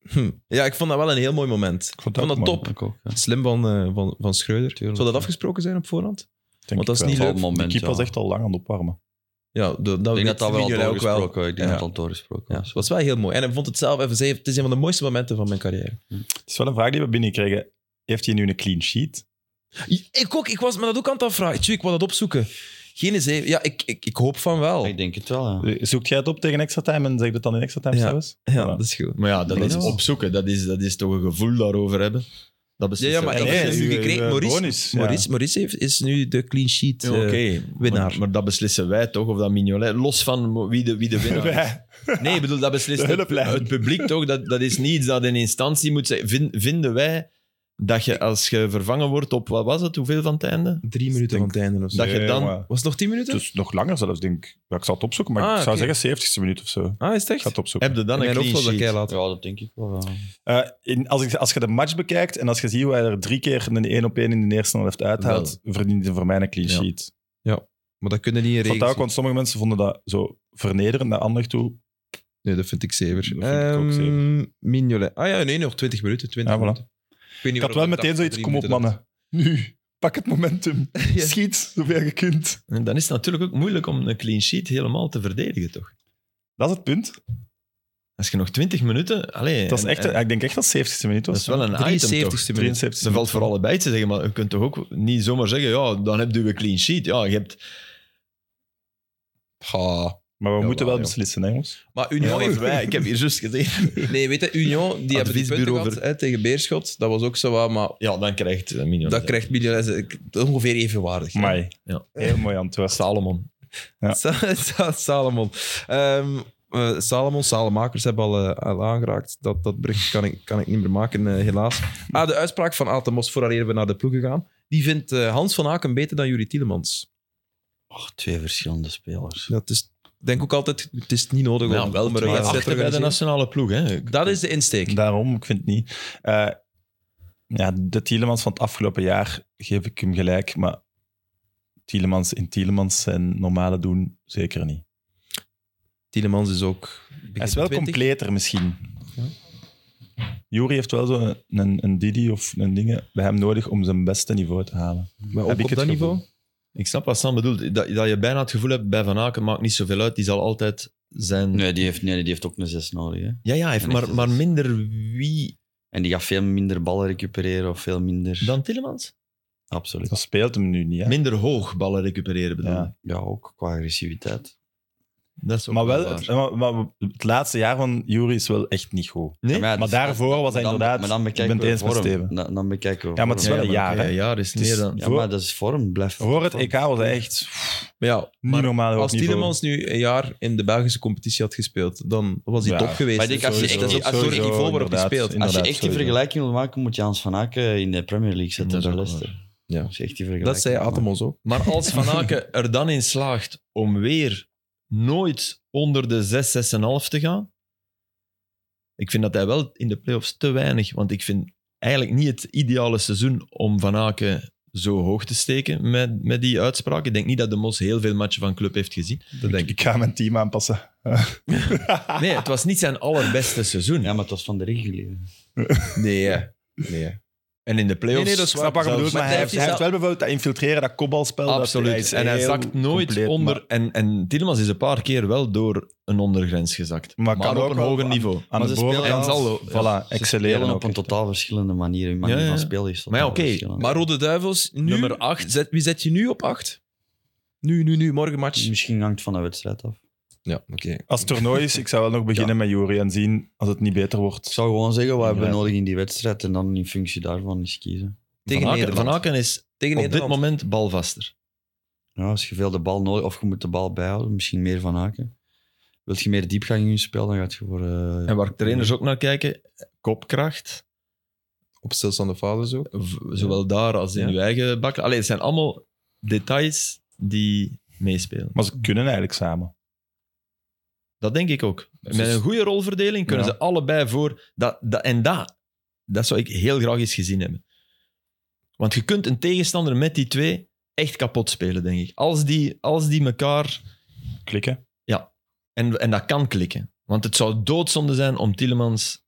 Speaker 1: Hm. Ja, ik vond dat wel een heel mooi moment.
Speaker 3: Ik vond
Speaker 1: Ik vond dat
Speaker 3: ook mooi.
Speaker 1: top.
Speaker 2: Ik ook, ja.
Speaker 1: Slim van, eh, van, van Schreuder.
Speaker 2: Tuurlijk,
Speaker 1: Zou
Speaker 2: ja.
Speaker 1: dat afgesproken zijn op voorhand?
Speaker 3: Denk
Speaker 1: Want dat
Speaker 3: ik
Speaker 1: is niet
Speaker 3: wel.
Speaker 1: leuk.
Speaker 2: Op moment,
Speaker 3: Die keeper was
Speaker 2: ja.
Speaker 3: echt al lang aan het opwarmen.
Speaker 1: Ja, de- dat,
Speaker 2: Ik denk dat dat wel al
Speaker 1: vinden jullie ook wel.
Speaker 2: doorgesproken, ik denk
Speaker 1: Ja.
Speaker 2: dat het al doorgesproken
Speaker 1: Ja,
Speaker 2: was.
Speaker 1: het was wel heel mooi. En hij vond het zelf even... zei, Het is een van de mooiste momenten van mijn carrière.
Speaker 3: Het is wel een vraag die we binnenkregen. Heeft hij nu een clean sheet?
Speaker 1: Ik ook. Ik was me dat ook aan het afvragen. Tjoe, ik wou dat opzoeken. Geen zeven. Ja, ik, ik, ik hoop van wel.
Speaker 2: Ik denk het wel, ja.
Speaker 3: Zoekt jij het op tegen extra time en zegt het dan in extra time
Speaker 1: Ja.
Speaker 3: zelfs?
Speaker 1: Ja, dat is goed.
Speaker 4: Maar ja, dat
Speaker 1: Nee,
Speaker 4: is
Speaker 1: dat wel.
Speaker 4: opzoeken. Dat is, dat is toch een gevoel daarover hebben. Dat beslist
Speaker 1: Ja, ja, maar
Speaker 3: Ah,
Speaker 4: er-
Speaker 1: ik
Speaker 4: Nee,
Speaker 1: heb het nu eh,
Speaker 3: uw-
Speaker 1: gekregen.
Speaker 3: uw
Speaker 1: Maurice,
Speaker 3: bonus, ja.
Speaker 1: Maurice, Maurice heeft, is nu de clean sheet.
Speaker 4: ja,
Speaker 1: eh,
Speaker 4: Oké,
Speaker 1: winnaar.
Speaker 4: Maar, maar dat beslissen wij toch, of dat Mignolet, los van wie de, wie de winnaar is.
Speaker 3: Wij.
Speaker 4: Nee, ik bedoel, dat beslist
Speaker 3: De
Speaker 4: het,
Speaker 3: hulplijn.
Speaker 4: het publiek toch. Dat, dat is niet iets dat een instantie moet zeggen. Vin- vinden wij dat je, als je vervangen wordt op, wat was het, hoeveel van het einde?
Speaker 1: Drie minuten van het einde of zo.
Speaker 4: Dat je dan-
Speaker 3: maar
Speaker 1: Was het nog tien minuten?
Speaker 3: Het is nog langer zelfs, denk ik. Ja, ik zal het opzoeken, maar
Speaker 1: Ah,
Speaker 3: ik zou
Speaker 1: oké.
Speaker 3: zeggen 70ste minuut of zo. Ik
Speaker 1: ah, is het echt?
Speaker 3: ga het opzoeken.
Speaker 4: Heb je dan een
Speaker 1: Mijn
Speaker 4: clean
Speaker 1: opvolger,
Speaker 4: sheet?
Speaker 1: Keila.
Speaker 2: Ja, dat denk ik wel. ja.
Speaker 3: Eh, in, als, ik, als je de match bekijkt en als je ziet hoe hij er drie keer een 1 op 1 in de eerste helft uithaalt, verdient hij voor mij een clean
Speaker 4: Ja.
Speaker 3: sheet.
Speaker 1: Maar dat kunnen niet in
Speaker 3: Ik vond dat
Speaker 1: regels.
Speaker 3: ook, want sommige mensen vonden dat zo vernederend naar Anderlecht toe.
Speaker 1: Nee, dat vind ik zever.
Speaker 3: Dat vind ik ook zever.
Speaker 1: Ehm, Mignolet. Ah ja, nee, nog 20 minuten. 20
Speaker 3: Ja, voilà.
Speaker 1: minuten. Ik, weet niet
Speaker 3: Ik had
Speaker 1: waarom
Speaker 3: wel
Speaker 1: ik
Speaker 3: meteen
Speaker 1: dacht
Speaker 3: zoiets,
Speaker 1: drie
Speaker 3: kom op mannen.
Speaker 1: minuten
Speaker 3: Nu, pak het
Speaker 4: [LAUGHS]
Speaker 3: momentum. Schiet zoveel je kunt.
Speaker 4: En dan is het natuurlijk ook moeilijk om een clean sheet helemaal te verdedigen, toch?
Speaker 3: Dat is het punt.
Speaker 4: Als je nog 20 minuten... Allee,
Speaker 3: Het was
Speaker 4: en-
Speaker 3: echt,
Speaker 4: en-
Speaker 3: ik denk echt dat het 70ste minuut
Speaker 4: dat
Speaker 3: was.
Speaker 4: is wel een
Speaker 1: dat-
Speaker 4: item, toch?
Speaker 1: 73ste minuut.
Speaker 3: 73
Speaker 4: Ze valt voor allebei te zeggen, maar je kunt toch ook niet zomaar zeggen, ja, dan heb je een clean sheet. Ja, je hebt...
Speaker 1: Ha.
Speaker 3: Maar we
Speaker 1: Ja,
Speaker 3: moeten wel
Speaker 1: wel, ja.
Speaker 3: beslissen, hè, jongens.
Speaker 1: Maar Union heeft
Speaker 4: wij. Ik heb hier juist gezegd.
Speaker 1: [LAUGHS] Nee, weet je, Union, die hebben die punten
Speaker 4: Adviesbureau
Speaker 1: gehad hè, tegen Beerschot. Dat was ook zo wat, maar
Speaker 4: Ja, dan krijgt eh, Mignon.
Speaker 1: dat krijgt Mignolet eh, ongeveer evenwaardig. hè.
Speaker 3: Mai.
Speaker 4: Ja.
Speaker 3: Heel mooi antwoord.
Speaker 4: Salomon.
Speaker 3: Ja.
Speaker 1: [LAUGHS] Sa- Sa- Salomon. Ehm, eh, Salomon, Salemakers hebben al, eh, al aangeraakt. Dat, dat bericht kan ik, kan ik niet meer maken, eh, helaas. Ah, de uitspraak van Atemos, vooraleer we naar de ploegen gaan. Die vindt eh, Hans van Aken beter dan Jurie Tielemans.
Speaker 2: Och, twee verschillende spelers.
Speaker 1: Dat is, denk ook altijd, het is niet nodig om
Speaker 4: Ja, wel,
Speaker 1: om er
Speaker 4: maar
Speaker 1: een
Speaker 4: je
Speaker 1: wedstrijd te
Speaker 4: achter bij de
Speaker 1: organiseren.
Speaker 4: nationale ploeg, hè.
Speaker 1: Dat is de insteek.
Speaker 3: Daarom, ik vind het niet. Eh, ja, de Tielemans van het afgelopen jaar geef ik hem gelijk, maar Tielemans in Tielemans zijn normale doen zeker niet.
Speaker 1: Tielemans is ook...
Speaker 3: Hij is wel
Speaker 1: 20.
Speaker 3: completer misschien.
Speaker 1: Ja.
Speaker 3: Jury heeft wel zo'n een, een Didi of een dingen bij hem nodig om zijn beste niveau te halen.
Speaker 1: Maar ook
Speaker 3: Heb ik
Speaker 1: op
Speaker 3: het
Speaker 1: dat
Speaker 3: gevoel.
Speaker 1: niveau?
Speaker 4: Ik snap wat Sam bedoelt. Dat, dat je bijna het gevoel hebt, bij Van Aken maakt niet zoveel uit. Die zal altijd zijn...
Speaker 2: Nee, die heeft, nee, die heeft ook een zes nodig. Hè.
Speaker 4: Ja, ja, hij heeft
Speaker 2: En echt
Speaker 4: maar,
Speaker 2: is
Speaker 4: maar
Speaker 2: het-
Speaker 4: minder wie
Speaker 2: En die gaat veel minder ballen recupereren of veel minder...
Speaker 4: dan Tillemans?
Speaker 2: Absoluut.
Speaker 3: Dat speelt hem nu niet. Hè?
Speaker 4: Minder hoog ballen recupereren, bedoel
Speaker 3: Ja.
Speaker 4: ik.
Speaker 2: Ja, ook qua agressiviteit.
Speaker 4: Dat is ook
Speaker 3: Maar, wel,
Speaker 4: waar.
Speaker 3: het, maar, maar het laatste jaar van Jury is wel echt niet goed.
Speaker 4: Nee?
Speaker 2: ja,
Speaker 3: Maar
Speaker 2: dus-
Speaker 3: daarvoor was hij
Speaker 2: dan-
Speaker 3: inderdaad-
Speaker 2: Maar dan
Speaker 3: ik ben
Speaker 2: bekijken
Speaker 3: het
Speaker 2: we
Speaker 3: eens met
Speaker 2: vorm.
Speaker 3: Steven.
Speaker 2: Dan, dan bekijken we
Speaker 3: Ja, maar het is wel
Speaker 2: vorm.
Speaker 3: een jaar,
Speaker 4: oké,
Speaker 3: hè.
Speaker 4: Een jaar is
Speaker 3: Het is-
Speaker 4: meer dan...
Speaker 3: ja.
Speaker 2: Ja, maar dat is vorm. Blijft
Speaker 3: Voor het
Speaker 2: vorm.
Speaker 3: EK was hij echt
Speaker 1: Maar ja,
Speaker 3: niet
Speaker 1: maar
Speaker 3: normaal. hoog
Speaker 1: als
Speaker 3: niveau.
Speaker 1: Tielemans nu een jaar in de Belgische competitie had gespeeld, dan was hij
Speaker 3: Ja,
Speaker 1: top geweest.
Speaker 2: maar ik denk als je
Speaker 1: Sowieso.
Speaker 2: echt-
Speaker 1: dat is
Speaker 2: als je-
Speaker 1: absoluut het niveau waarop hij
Speaker 3: inderdaad,
Speaker 1: speelt.
Speaker 2: Als je
Speaker 3: inderdaad,
Speaker 2: echt die
Speaker 3: sowieso.
Speaker 2: vergelijking wil maken, moet je Hans van Aken in de Premier League zetten
Speaker 4: Dat is
Speaker 2: bij
Speaker 4: ook
Speaker 2: Leicester.
Speaker 1: Ja.
Speaker 2: Als je echt die vergelijking
Speaker 1: Dat zei
Speaker 2: wil maken.
Speaker 1: Atemos ook.
Speaker 4: Maar als Van
Speaker 3: [LAUGHS]
Speaker 4: Aken er dan in slaagt om weer nooit onder de 6, 6,5 te gaan. Ik vind dat hij wel in de playoffs te weinig. Want ik vind eigenlijk niet het ideale seizoen om Van Aken zo hoog te steken met, met die uitspraak. Ik denk niet dat de Mos heel veel matchen van club heeft gezien.
Speaker 1: Dat denk ik.
Speaker 3: Ik ga mijn team aanpassen.
Speaker 4: Nee, het was niet zijn allerbeste seizoen.
Speaker 2: Ja, maar het was van de reguliere.
Speaker 1: Nee, hè. nee. hè.
Speaker 4: En in de
Speaker 1: Nee,
Speaker 4: play-offs...
Speaker 1: nee, dat is
Speaker 3: snap
Speaker 1: waar.
Speaker 3: wat je
Speaker 1: Zelfs-
Speaker 3: bedoelt, maar hij heeft,
Speaker 1: heeft
Speaker 3: hij heeft
Speaker 1: hij
Speaker 3: wel bijvoorbeeld dat infiltreren, dat kopbalspel. Dat,
Speaker 4: Absoluut. en hij
Speaker 3: heel
Speaker 4: zakt nooit
Speaker 3: compleet,
Speaker 4: onder.
Speaker 3: maar
Speaker 4: En, en Tillemans is een paar keer wel door een ondergrens gezakt.
Speaker 3: Maar
Speaker 4: Maar,
Speaker 3: kan
Speaker 4: op
Speaker 3: ook
Speaker 4: een
Speaker 3: wel
Speaker 4: hoger
Speaker 3: aan-
Speaker 4: niveau.
Speaker 3: aan
Speaker 2: Maar
Speaker 3: de
Speaker 2: ze spelen
Speaker 3: bovenkant,
Speaker 4: en zal-
Speaker 3: voilà,
Speaker 2: Ze
Speaker 3: excelleren
Speaker 2: spelen
Speaker 3: ook
Speaker 2: op een
Speaker 3: echt.
Speaker 2: totaal verschillende manier. Hun manier
Speaker 4: Ja, ja,
Speaker 2: van
Speaker 4: ja.
Speaker 2: spelen is
Speaker 4: Maar ja,
Speaker 2: totaal
Speaker 4: oké,
Speaker 2: verschillend.
Speaker 1: Maar Rode Duivels, nu,
Speaker 4: Nummer acht.
Speaker 1: Zet, wie zet je nu op 8? Nu, nu, nu, morgen match.
Speaker 2: Misschien hangt het van de wedstrijd af.
Speaker 1: Ja, oké.
Speaker 3: Als het toernooi is, ik zou
Speaker 1: [LAUGHS]
Speaker 3: wel nog beginnen met Jury en zien als het niet beter
Speaker 2: Ik
Speaker 3: wordt.
Speaker 2: zou gewoon zeggen wat hebben we
Speaker 3: Ja.
Speaker 2: nodig in die wedstrijd en dan in functie daarvan eens kiezen.
Speaker 1: Tegen
Speaker 4: Van Aken,
Speaker 1: Nederland.
Speaker 4: Van Aken is
Speaker 1: Tegen
Speaker 4: op dit
Speaker 1: Nederland.
Speaker 4: moment balvaster.
Speaker 2: Ja, als je veel de bal nodig of je moet de bal bijhouden, misschien meer van haken. Wil je meer diepgang in je spel, dan gaat je voor. eh, [LAUGHS]
Speaker 4: En waar trainers ook naar kijken, kopkracht.
Speaker 1: Op stilstaande fases ook.
Speaker 4: v- Zowel daar als in
Speaker 1: Ja.
Speaker 4: uw eigen bak. Allee, het zijn allemaal details die meespelen.
Speaker 3: Maar ze kunnen eigenlijk samen.
Speaker 4: Dat denk ik ook. Met
Speaker 3: Dus-
Speaker 4: een goede rolverdeling kunnen
Speaker 3: Ja.
Speaker 4: ze allebei voor. Dat, dat, en dat, dat zou ik heel graag eens gezien hebben. Want je kunt een tegenstander met die twee echt kapot spelen, denk ik. Als die, als die elkaar.
Speaker 3: Klikken.
Speaker 4: En, en dat kan klikken. Want het zou doodzonde zijn om Tillemans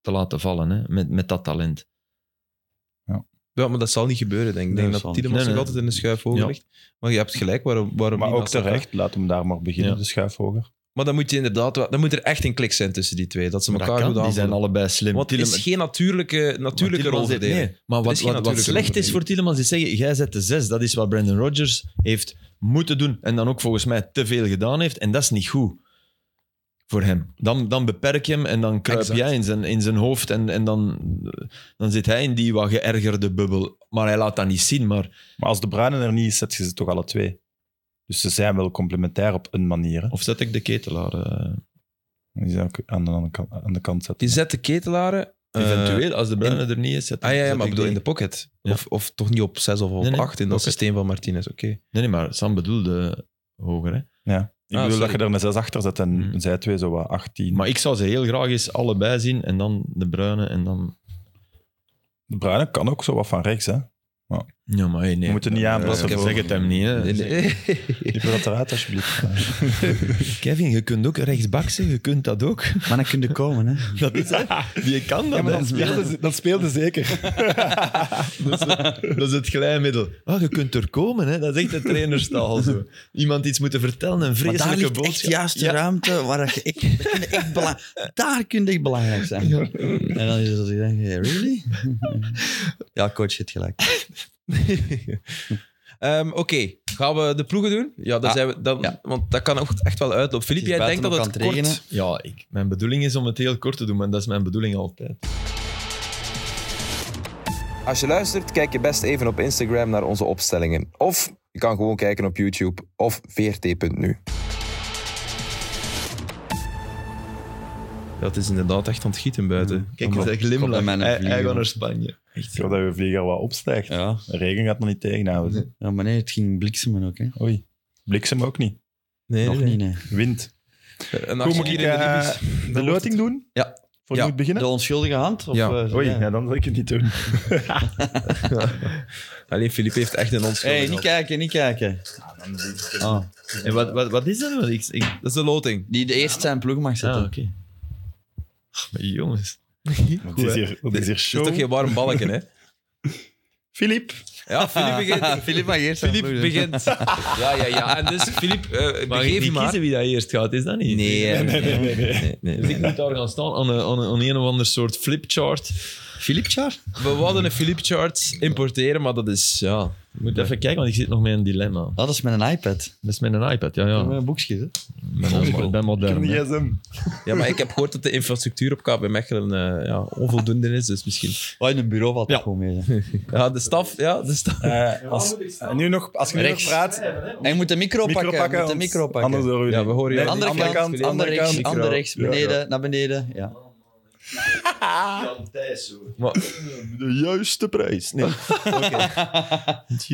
Speaker 4: te laten vallen hè, met, met dat talent.
Speaker 1: Ja, maar dat zal niet gebeuren, denk ik.
Speaker 2: Nee,
Speaker 1: Ik
Speaker 2: dat
Speaker 1: denk dat
Speaker 2: zal
Speaker 1: Tielemans
Speaker 4: niet.
Speaker 1: zich
Speaker 4: Nee,
Speaker 1: altijd in de schuif hoger
Speaker 4: Ja.
Speaker 1: ligt. Maar je hebt gelijk, waarom, waarom
Speaker 3: Maar
Speaker 1: niet
Speaker 3: ook
Speaker 1: als dat
Speaker 3: terecht, laat hem daar maar beginnen,
Speaker 4: Ja.
Speaker 3: de schuif hoger.
Speaker 1: Maar dan moet je inderdaad wel- dan moet er echt een klik zijn tussen die twee. Dat ze
Speaker 4: Maar dat
Speaker 1: elkaar
Speaker 4: kan,
Speaker 1: goed
Speaker 4: die
Speaker 1: aanvoelen.
Speaker 4: zijn allebei slim.
Speaker 1: Want het
Speaker 4: Tielemans-
Speaker 1: is geen natuurlijke, natuurlijke
Speaker 4: Tielemans heeft-
Speaker 1: rolverdeling.
Speaker 4: nee, maar
Speaker 1: Er
Speaker 4: wat,
Speaker 1: is geen
Speaker 4: wat, wat
Speaker 1: natuurlijke
Speaker 4: slecht is voor Tielemans is zeggen, jij zet de zes. Dat is wat Brandon Rodgers heeft moeten doen en dan ook volgens mij te veel gedaan heeft. En dat is niet goed voor hem. Dan, dan beperk je hem en dan kruip
Speaker 1: Exact.
Speaker 4: jij in zijn, in zijn hoofd en, en dan, dan zit hij in die wat geërgerde bubbel. Maar hij laat dat niet zien. Maar,
Speaker 3: Maar als de Bruinen er niet is, zet je ze toch alle twee. Dus ze zijn wel complementair op een manier. hè.
Speaker 4: of zet ik de ketelaar? eh,
Speaker 3: Die zou ik aan de, andere kant- aan de kant zetten.
Speaker 1: Die zet de ketelaren... eh,
Speaker 4: eventueel, als de Bruine er niet is, zet
Speaker 1: ah ja, ja
Speaker 4: zet
Speaker 1: maar
Speaker 4: ik
Speaker 1: bedoel,
Speaker 4: die.
Speaker 1: in de pocket.
Speaker 4: Ja.
Speaker 1: Of, of toch niet op 6 of op
Speaker 4: Nee,
Speaker 1: 8
Speaker 4: nee,
Speaker 1: in dat
Speaker 4: pocket.
Speaker 1: systeem van Martinez. Oké.
Speaker 4: Nee, nee, maar Sam bedoelde hoger, hè?
Speaker 3: Ik
Speaker 1: Ah,
Speaker 3: bedoel
Speaker 1: sorry.
Speaker 3: dat je er een zes achter zet en
Speaker 4: Mhm.
Speaker 3: zij twee zo wat 18.
Speaker 4: Maar ik zou ze heel graag eens allebei zien en dan de bruine en dan...
Speaker 3: de Bruinen kan ook zo wat van rechts, hè.
Speaker 4: Ja, maar hey, nee.
Speaker 3: We moeten niet
Speaker 4: Eh,
Speaker 3: aanpassen voor-
Speaker 4: Zeg het hem niet, hè.
Speaker 1: Nee, nee.
Speaker 3: Die
Speaker 1: [LAUGHS]
Speaker 3: wil dat eruit, alsjeblieft.
Speaker 4: Kevin, je kunt ook rechtsbak zijn, je kunt dat ook.
Speaker 2: Maar dan kun je komen, hè?
Speaker 4: Dat is het. Je kan dat. hè.
Speaker 3: ze, dat speelde
Speaker 1: [LAUGHS]
Speaker 3: zeker.
Speaker 4: dat, is het, dat is het glijmiddel. Ah, je kunt er komen, hè. dat is echt de trainerstaal. Zo. Iemand iets moeten vertellen, een
Speaker 2: Maar daar
Speaker 4: vreselijke
Speaker 2: ligt echt
Speaker 4: boodschap.
Speaker 2: juist de
Speaker 4: Ja.
Speaker 2: ruimte waar dat je echt, daar kun je echt, bela- daar kun je echt belangrijk zijn. En dan is het dat ik denk, hey, really? ja, coach, je hebt gelijk.
Speaker 1: [LAUGHS] Ehm, Oké, gaan we de ploegen doen? Ja, dan
Speaker 2: Ah,
Speaker 1: zijn we, dan,
Speaker 2: ja.
Speaker 1: want dat kan ook echt wel uitlopen. Filip,
Speaker 2: Het is
Speaker 1: jij denkt dat
Speaker 2: buiten
Speaker 1: het
Speaker 2: ook
Speaker 1: kort...
Speaker 2: aan het regenen.
Speaker 4: Ja, ik, mijn bedoeling is om het heel kort te doen, maar dat is mijn bedoeling altijd.
Speaker 1: Als je luistert, kijk je best even op Instagram naar onze opstellingen. Of je kan gewoon kijken op YouTube of vrt.nu. Dat is inderdaad echt aan het gieten
Speaker 2: Mm.
Speaker 1: buiten.
Speaker 4: Kijk, hij
Speaker 2: Komt bij
Speaker 4: glimlach.
Speaker 2: mij een
Speaker 4: Hij, hij
Speaker 2: vlieg,
Speaker 4: gaat
Speaker 2: hoor.
Speaker 4: naar Spanje.
Speaker 3: Ik wil dat je vlieger wat opstijgt.
Speaker 2: Ja.
Speaker 3: De regen gaat nog niet tegenhouden.
Speaker 2: ja, maar nee, het ging bliksemen ook, hè?
Speaker 3: Oei. Bliksem ook niet.
Speaker 1: Nee,
Speaker 2: Nog
Speaker 1: nee, nee.
Speaker 2: niet, nee.
Speaker 3: Wind.
Speaker 1: Een
Speaker 3: Hoe
Speaker 1: actie
Speaker 3: moet ik
Speaker 1: hier in de
Speaker 3: eh,
Speaker 1: Libisch.
Speaker 3: de loting doen?
Speaker 1: Ja.
Speaker 3: Voor
Speaker 1: Ja.
Speaker 3: je moet beginnen?
Speaker 2: De onschuldige hand? Of,
Speaker 1: Ja.
Speaker 2: eh,
Speaker 3: Oei,
Speaker 2: ja.
Speaker 3: ja, dan zal ik het niet doen.
Speaker 1: Alleen Filip heeft echt een onschuldig.
Speaker 2: hey, niet kijken, niet kijken. Ah,
Speaker 4: En wat, wat, wat is dat? nou? Ik, ik,
Speaker 1: Dat is de loting.
Speaker 2: die de eerste zijn ploeg mag
Speaker 4: ah,
Speaker 2: zetten.
Speaker 4: oké. [LAUGHS] Maar jongens.
Speaker 3: Het is hier, het is hier
Speaker 1: Dat
Speaker 3: show.
Speaker 1: is toch geen warm balken,
Speaker 2: [LAUGHS]
Speaker 1: hè?
Speaker 3: Filip.
Speaker 1: Ja, Filip
Speaker 2: [LAUGHS]
Speaker 1: begint.
Speaker 2: Filip mag eerst zijn
Speaker 1: Filip
Speaker 2: ploeg doen.
Speaker 1: begint. [LAUGHS] Ja, ja, ja. En dus, Filip, eh
Speaker 4: Maar je
Speaker 1: begeef je
Speaker 4: niet
Speaker 1: maar.
Speaker 4: kiezen wie dat eerst gaat, is dat niet?
Speaker 1: Nee, eh, nee, nee, nee, nee,
Speaker 4: Dus ik
Speaker 1: nee.
Speaker 4: moet daar gaan staan aan een, aan een, aan een of ander soort flipchart.
Speaker 2: Filip Char?
Speaker 1: We wilden een Philip chart importeren, maar dat is ja.
Speaker 4: Ik moet even kijken, want ik zit nog met een dilemma.
Speaker 2: Ah, dat is met een iPad.
Speaker 4: Dat is met een iPad, ja. ja.
Speaker 2: Met een boekje, hè?
Speaker 4: Ik ben, ik ben modern. hè.
Speaker 3: gsm.
Speaker 1: Ja, maar ik heb gehoord dat de infrastructuur op KB Mechelen eh, ja, onvoldoende is, dus misschien.
Speaker 2: Oh, in een bureau valt dat
Speaker 4: Ja.
Speaker 2: gewoon mee. hè.
Speaker 1: Ja, de staf, ja, de staf.
Speaker 3: Eh, als, en nu nog, als je nu nog
Speaker 2: Rechts.
Speaker 3: praat,
Speaker 2: En je moet de micro,
Speaker 3: micro
Speaker 2: pakken.
Speaker 3: pakken,
Speaker 2: je moet de
Speaker 3: want
Speaker 2: micro pakken.
Speaker 3: anders horen we
Speaker 1: Ja,
Speaker 3: niet.
Speaker 1: we horen jou.
Speaker 2: Andere,
Speaker 3: Andere
Speaker 2: kant,
Speaker 3: kant,
Speaker 2: andere
Speaker 3: andere
Speaker 2: rechts,
Speaker 3: kant.
Speaker 2: andere rechts,
Speaker 3: Ja, ja.
Speaker 2: beneden, naar beneden. Ja.
Speaker 3: De juiste prijs.
Speaker 4: [LAUGHS]
Speaker 3: Nee.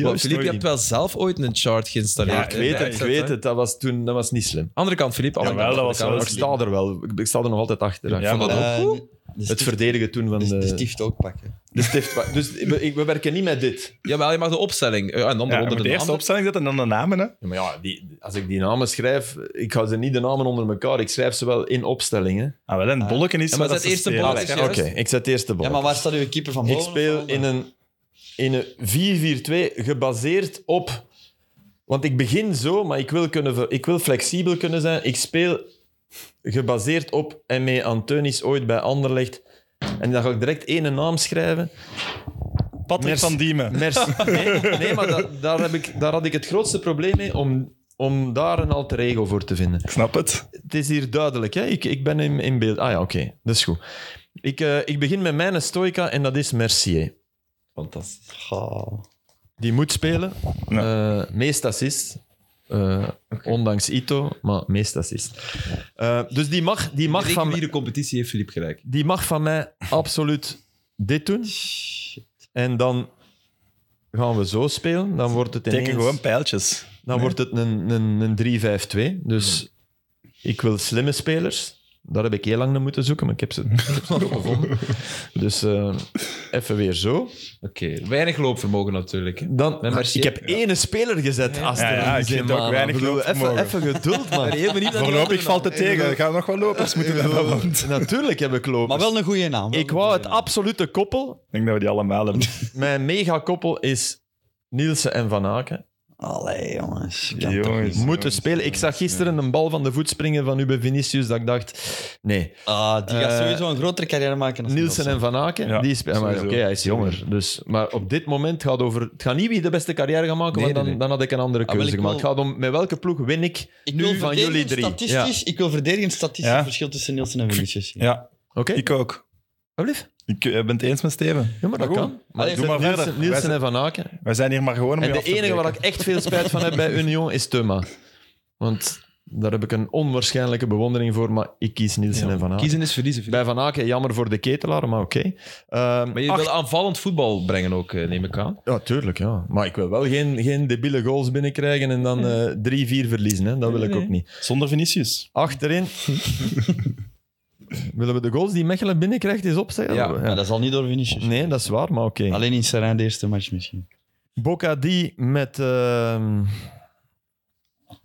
Speaker 1: Maar Filip, je hebt wel zelf ooit een chart geïnstalleerd.
Speaker 3: Ja, ik
Speaker 1: hè,
Speaker 3: weet
Speaker 1: bij
Speaker 3: het, ik
Speaker 1: Excel,
Speaker 3: weet
Speaker 1: hè?
Speaker 3: het.
Speaker 4: Dat was toen dat was niet slim.
Speaker 1: Andere kant, Filip. andere
Speaker 3: Jawel, dat
Speaker 1: kant.
Speaker 3: was
Speaker 4: Maar
Speaker 3: wel
Speaker 4: ik sta er wel. Ik, ik sta er nog altijd achter. hè.
Speaker 3: Ja,
Speaker 4: Ik vond
Speaker 3: maar
Speaker 4: dat
Speaker 2: Eh,
Speaker 4: ook-
Speaker 2: n- De
Speaker 4: het
Speaker 2: stift-
Speaker 4: verdedigen toen van
Speaker 2: de,
Speaker 4: de,
Speaker 2: de stift ook pakken.
Speaker 4: de stift. Dus we, ik- we werken niet met dit.
Speaker 1: Ja, maar je mag de opstelling. eh, en dan
Speaker 3: Ja, je
Speaker 1: onder
Speaker 3: moet
Speaker 1: de
Speaker 3: eerst de
Speaker 1: naam.
Speaker 3: opstelling zetten en dan de namen. Hè.
Speaker 4: Ja, maar ja, die, als ik die namen schrijf, ik ga ze niet de namen onder elkaar. Ik schrijf ze wel in opstellingen.
Speaker 3: Ah, wel, een bolleken is
Speaker 1: Ja, maar
Speaker 3: wat
Speaker 1: dat
Speaker 3: ze
Speaker 1: is eerst een
Speaker 3: spelen.
Speaker 1: bolleke.
Speaker 4: Oké,
Speaker 1: juist.
Speaker 4: ik zet eerst de bal.
Speaker 2: Ja, maar waar staat uw keeper van boven?
Speaker 4: Ik
Speaker 2: of
Speaker 4: speel
Speaker 2: van
Speaker 4: in
Speaker 2: onder?
Speaker 4: een, in een 4-4-2 gebaseerd op. Want ik begin zo, maar ik wil, kunnen, ver- ik wil flexibel kunnen zijn. Ik speel gebaseerd op M.E. Antonis ooit bij Anderlecht. En dan ga ik direct één naam schrijven.
Speaker 3: Patrick
Speaker 4: Merci.
Speaker 3: van Diemen.
Speaker 4: Merci. [LAUGHS] Nee, nee maar da- daar, heb ik, daar had ik het grootste probleem mee om, om daar een alter ego voor te vinden
Speaker 3: Ik snap het.
Speaker 4: het is hier duidelijk. Hè? Ik, ik ben in, in beeld. Ah ja, oké. Dat is goed. Ik, eh, ik begin met mijn stoica en dat is Mercier.
Speaker 1: Fantastisch.
Speaker 2: Goh.
Speaker 4: Die moet spelen.
Speaker 3: Ja.
Speaker 4: Eh, meest assist. Eh, Ondanks Ito, maar meest assist. Eh, dus die mag, die, mag van,
Speaker 1: de competitie heeft Filip gelijk.
Speaker 4: die mag van mij absoluut dit doen. En dan gaan we zo spelen. Dan wordt het ineens...
Speaker 3: Teken gewoon pijltjes.
Speaker 4: Dan
Speaker 3: Nee.
Speaker 4: wordt het een, een, een 3-5-2. Dus ik wil slimme spelers. Daar heb ik heel lang naar moeten zoeken, maar ik heb ze, [LAUGHS] ik heb ze toch gevonden. Dus eh, even weer zo.
Speaker 1: Oké, weinig loopvermogen natuurlijk. hè.
Speaker 4: Dan,
Speaker 1: Met Mercier.
Speaker 4: ik heb ene speler gezet, Astrid.
Speaker 3: Ja, ja, ik vind
Speaker 4: Zeman.
Speaker 3: ook weinig
Speaker 4: Ik bedoel, even,
Speaker 3: loopvermogen.
Speaker 4: even geduld,
Speaker 3: [LAUGHS]
Speaker 4: man.
Speaker 3: Voorlopig valt het tegen. Er gaan nog wel lopers moeten hebben. want Ik
Speaker 4: [LAUGHS] Natuurlijk heb ik lopen.
Speaker 2: Maar wel een goede naam. wel
Speaker 4: ik
Speaker 2: een
Speaker 4: wou
Speaker 2: goeie
Speaker 4: het
Speaker 2: naam.
Speaker 4: absolute koppel.
Speaker 3: denk dat we die allemaal hebben.
Speaker 4: Mijn megakoppel is Nielsen en Van Aken.
Speaker 2: Allee, jongens. je kan toch
Speaker 3: Jongens.
Speaker 2: niet-
Speaker 4: Moeten spelen. Ik zag gisteren een bal van de voet springen van Ube Vinicius dat ik dacht, nee.
Speaker 2: Ah, die gaat
Speaker 4: Eh,
Speaker 2: sowieso een grotere carrière maken. dan
Speaker 4: Nielsen en Van Aken,
Speaker 3: Ja,
Speaker 4: die spelen. Maar oké,
Speaker 3: sowieso.
Speaker 4: hij is jonger. Dus, maar op dit moment gaat over, het gaat niet wie de beste carrière gaat maken,
Speaker 1: Nee,
Speaker 4: want dan,
Speaker 1: nee, nee.
Speaker 4: dan had ik een andere
Speaker 2: Ah, wel,
Speaker 4: keuze
Speaker 2: ik
Speaker 4: gemaakt.
Speaker 2: wil-
Speaker 4: Het gaat om met welke ploeg win ik,
Speaker 2: Ik
Speaker 4: nu
Speaker 2: wil
Speaker 4: van jullie drie.
Speaker 2: Statistisch, Ik wil verdedigend statistisch
Speaker 3: Ja.
Speaker 2: verschil tussen Nielsen en Vinicius. zien.
Speaker 3: Ja,
Speaker 4: Oké,
Speaker 3: ik ook.
Speaker 4: alsjeblieft.
Speaker 3: Ik eh, ben het eens met Steven.
Speaker 4: Ja, maar dat
Speaker 3: goed.
Speaker 4: kan. Maar
Speaker 3: doe maar
Speaker 4: Nielsen,
Speaker 3: verder.
Speaker 4: Nielsen
Speaker 3: Wij
Speaker 4: en Van Aken.
Speaker 3: Wij zijn hier maar gewoon om
Speaker 4: En
Speaker 3: je
Speaker 4: de
Speaker 3: af te
Speaker 4: enige waar ik
Speaker 3: breken.
Speaker 4: echt veel spijt van heb bij Union is Thuma. Want daar heb ik een onwaarschijnlijke bewondering voor, maar ik kies Nielsen en Van Aken.
Speaker 1: Kiezen is verliezen. Filip.
Speaker 4: Bij Van Aken, jammer voor de ketelaar, maar oké. Ehm,
Speaker 1: Maar je
Speaker 4: acht-
Speaker 1: wil aanvallend voetbal brengen ook, eh, neem ik aan.
Speaker 4: Ja, tuurlijk, ja. Maar ik wil wel geen, geen debiele goals binnenkrijgen en dan eh, 3-4 verliezen. Hè. Dat wil ik ook niet.
Speaker 3: Zonder Vinicius.
Speaker 1: [LAUGHS]
Speaker 4: Achterin. Willen we de goals die Mechelen binnenkrijgt eens opzeggen?
Speaker 1: Ja,
Speaker 4: Ja.
Speaker 2: Maar dat zal niet door Vinicius.
Speaker 4: Nee, dat is waar, maar oké.
Speaker 2: Alleen in Serijn de eerste match misschien.
Speaker 4: Boca die met ehm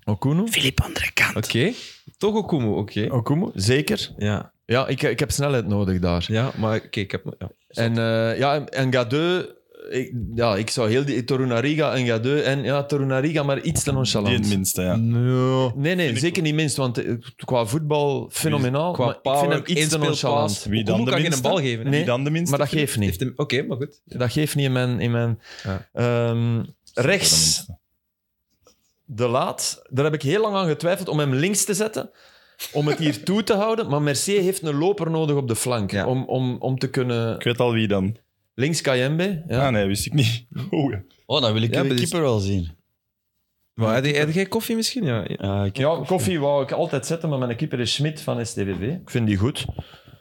Speaker 4: Okuno.
Speaker 2: Filip andere kant.
Speaker 1: Oké. Toch ook Kumu, oké.
Speaker 4: Okumo, zeker.
Speaker 1: Ja.
Speaker 4: Ja, ik, ik heb snelheid nodig daar.
Speaker 1: ja, maar oké, ik heb... Ja.
Speaker 4: En, eh, ja, en- en Gadeu... Ik, ja, ik zou heel die Torunariga en Gadeu... En ja, Torunariga, maar iets te
Speaker 3: Die in het
Speaker 4: nonchalant.
Speaker 3: minste, ja.
Speaker 4: Nee, nee,
Speaker 3: ik
Speaker 4: zeker niet minst, want eh, qua voetbal fenomenaal.
Speaker 1: Qua
Speaker 4: maar
Speaker 1: power,
Speaker 4: ik vind hem iets te nonchalant.
Speaker 3: Wie dan
Speaker 1: Kumu
Speaker 3: de
Speaker 1: kan geen
Speaker 3: minste?
Speaker 1: bal geven. hè?
Speaker 4: Nee,
Speaker 3: Wie dan de minste?
Speaker 4: Maar dat geeft niet.
Speaker 1: Heeft hem- Oké, maar goed.
Speaker 4: Dat geeft niet in mijn... In mijn
Speaker 1: Ja.
Speaker 4: Ehm, rechts,
Speaker 3: minste.
Speaker 4: de laat. Daar heb ik heel lang aan getwijfeld om hem links te zetten. Om het hier toe te houden. Maar Mercier heeft een loper nodig op de flank.
Speaker 1: Ja.
Speaker 4: Om, om, om te kunnen...
Speaker 3: Ik weet al wie dan.
Speaker 4: Links Kayembe. Ja.
Speaker 3: Ah, nee, wist ik niet. [LAUGHS] Oeh, ja.
Speaker 2: Oh, dan wil ik
Speaker 1: Ja,
Speaker 2: de
Speaker 1: maar die-
Speaker 2: keeper wel zien.
Speaker 1: Maar had je- had jij koffie misschien? Ja. ja.
Speaker 2: Ja, ik-
Speaker 4: Ja, koffie wou ik altijd zetten, maar mijn keeper is Schmidt van STVV. Ik vind die goed.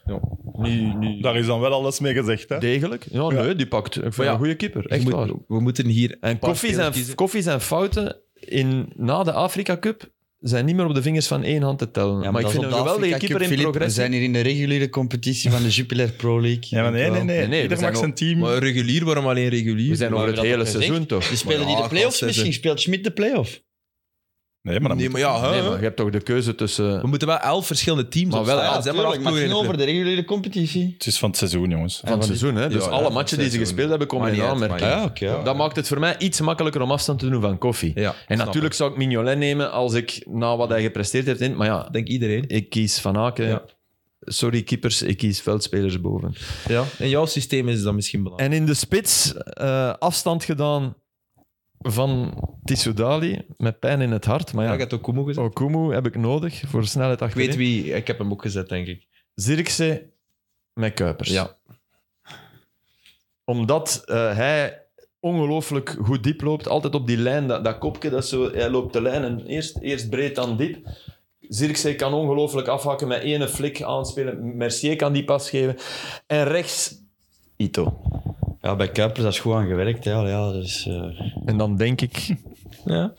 Speaker 1: Ja.
Speaker 4: Nu, nu...
Speaker 3: Daar is dan wel alles mee gezegd, hè?
Speaker 4: Degelijk. Ja, nee, die pakt. Ik vind
Speaker 1: ja,
Speaker 4: een goede keeper. Echt
Speaker 1: Je moet-
Speaker 4: waar.
Speaker 1: we moeten hier
Speaker 4: En
Speaker 1: paar
Speaker 4: koffie
Speaker 1: spelers
Speaker 4: zijn,
Speaker 1: kiezen.
Speaker 4: koffie zijn fouten in, na de Afrika Cup zijn niet meer op de vingers van één hand te tellen. maar,
Speaker 2: dat
Speaker 4: ik
Speaker 2: is
Speaker 4: vind
Speaker 2: op
Speaker 4: een
Speaker 2: de
Speaker 4: geweldige
Speaker 2: Afrika
Speaker 4: keeper
Speaker 2: Cup,
Speaker 4: in
Speaker 2: Filip. We
Speaker 4: progressie.
Speaker 2: zijn hier in de reguliere competitie van de Jupiler Pro League.
Speaker 3: Ja, maar nee, nee, nee.
Speaker 4: Nee, nee, we
Speaker 3: Ieder
Speaker 4: zijn
Speaker 3: mag zijn
Speaker 4: al-
Speaker 3: team.
Speaker 1: Maar regulier, waarom alleen regulier?
Speaker 4: We zijn over
Speaker 2: Maar
Speaker 4: het
Speaker 2: we
Speaker 4: hele
Speaker 2: dat ook
Speaker 4: seizoen toch?
Speaker 2: Die spelen
Speaker 1: Maar
Speaker 2: die
Speaker 1: ja,
Speaker 2: de play-offs
Speaker 1: klasse,
Speaker 2: misschien.
Speaker 1: ze.
Speaker 2: Speelt Schmid de play-off?
Speaker 3: Nee, maar dan
Speaker 1: Nee,
Speaker 3: moet-
Speaker 1: maar ja, hè?
Speaker 4: Nee, maar je hebt toch de keuze
Speaker 1: We
Speaker 4: tussen...
Speaker 1: moeten wel elf verschillende teams
Speaker 4: Maar wel
Speaker 1: opstellen.
Speaker 4: elf,
Speaker 1: Er zijn maar acht
Speaker 2: maar het
Speaker 1: ploegen
Speaker 2: ging
Speaker 1: in de
Speaker 2: over de reguliere competitie.
Speaker 3: Het is van het seizoen, jongens.
Speaker 4: Van het seizoen, hè? Dus
Speaker 1: Ja,
Speaker 4: alle
Speaker 1: ja,
Speaker 4: matchen die ze
Speaker 1: seizoen.
Speaker 4: gespeeld hebben, komen
Speaker 1: Maakt
Speaker 4: in
Speaker 1: niet uit,
Speaker 4: aanmerking.
Speaker 1: maakt niet
Speaker 2: Ah, oké.
Speaker 4: Dat maakt het voor mij iets makkelijker om afstand te doen van koffie.
Speaker 1: Ja,
Speaker 4: en
Speaker 1: snap
Speaker 4: natuurlijk zou ik Mignolet nemen als ik na wat hij gepresteerd heeft. In, maar ja,
Speaker 1: ik. Denk iedereen.
Speaker 4: ik kies Van Aken.
Speaker 1: Ja.
Speaker 4: Sorry, keepers, ik kies veldspelers boven.
Speaker 1: Ja. In jouw systeem is dat misschien belangrijk.
Speaker 4: En in de spits eh, afstand gedaan van Tissoudali met pijn in het hart. Maar
Speaker 1: Ja,
Speaker 4: ja,
Speaker 1: ik had ook Kumu gezegd.
Speaker 4: Okumu heb ik nodig voor snelheid
Speaker 1: Ik
Speaker 4: achterin.
Speaker 1: weet wie, ik heb hem ook gezet, denk ik.
Speaker 4: Zirkzee met Kuipers.
Speaker 1: Ja.
Speaker 4: Omdat eh, hij ongelooflijk goed diep loopt. Altijd op die lijn, dat, dat kopje, dat is zo, hij loopt de lijn en eerst, eerst breed, dan diep. Zirkzee kan ongelooflijk afhakken met ene flik aanspelen. Mercier kan die pas geven. En rechts Ito.
Speaker 2: Ja, bij Kuipers dat is goed aan gewerkt. Hè. Allee, Ja, dus, eh,
Speaker 4: En dan denk [LAUGHS] ik
Speaker 1: Ja.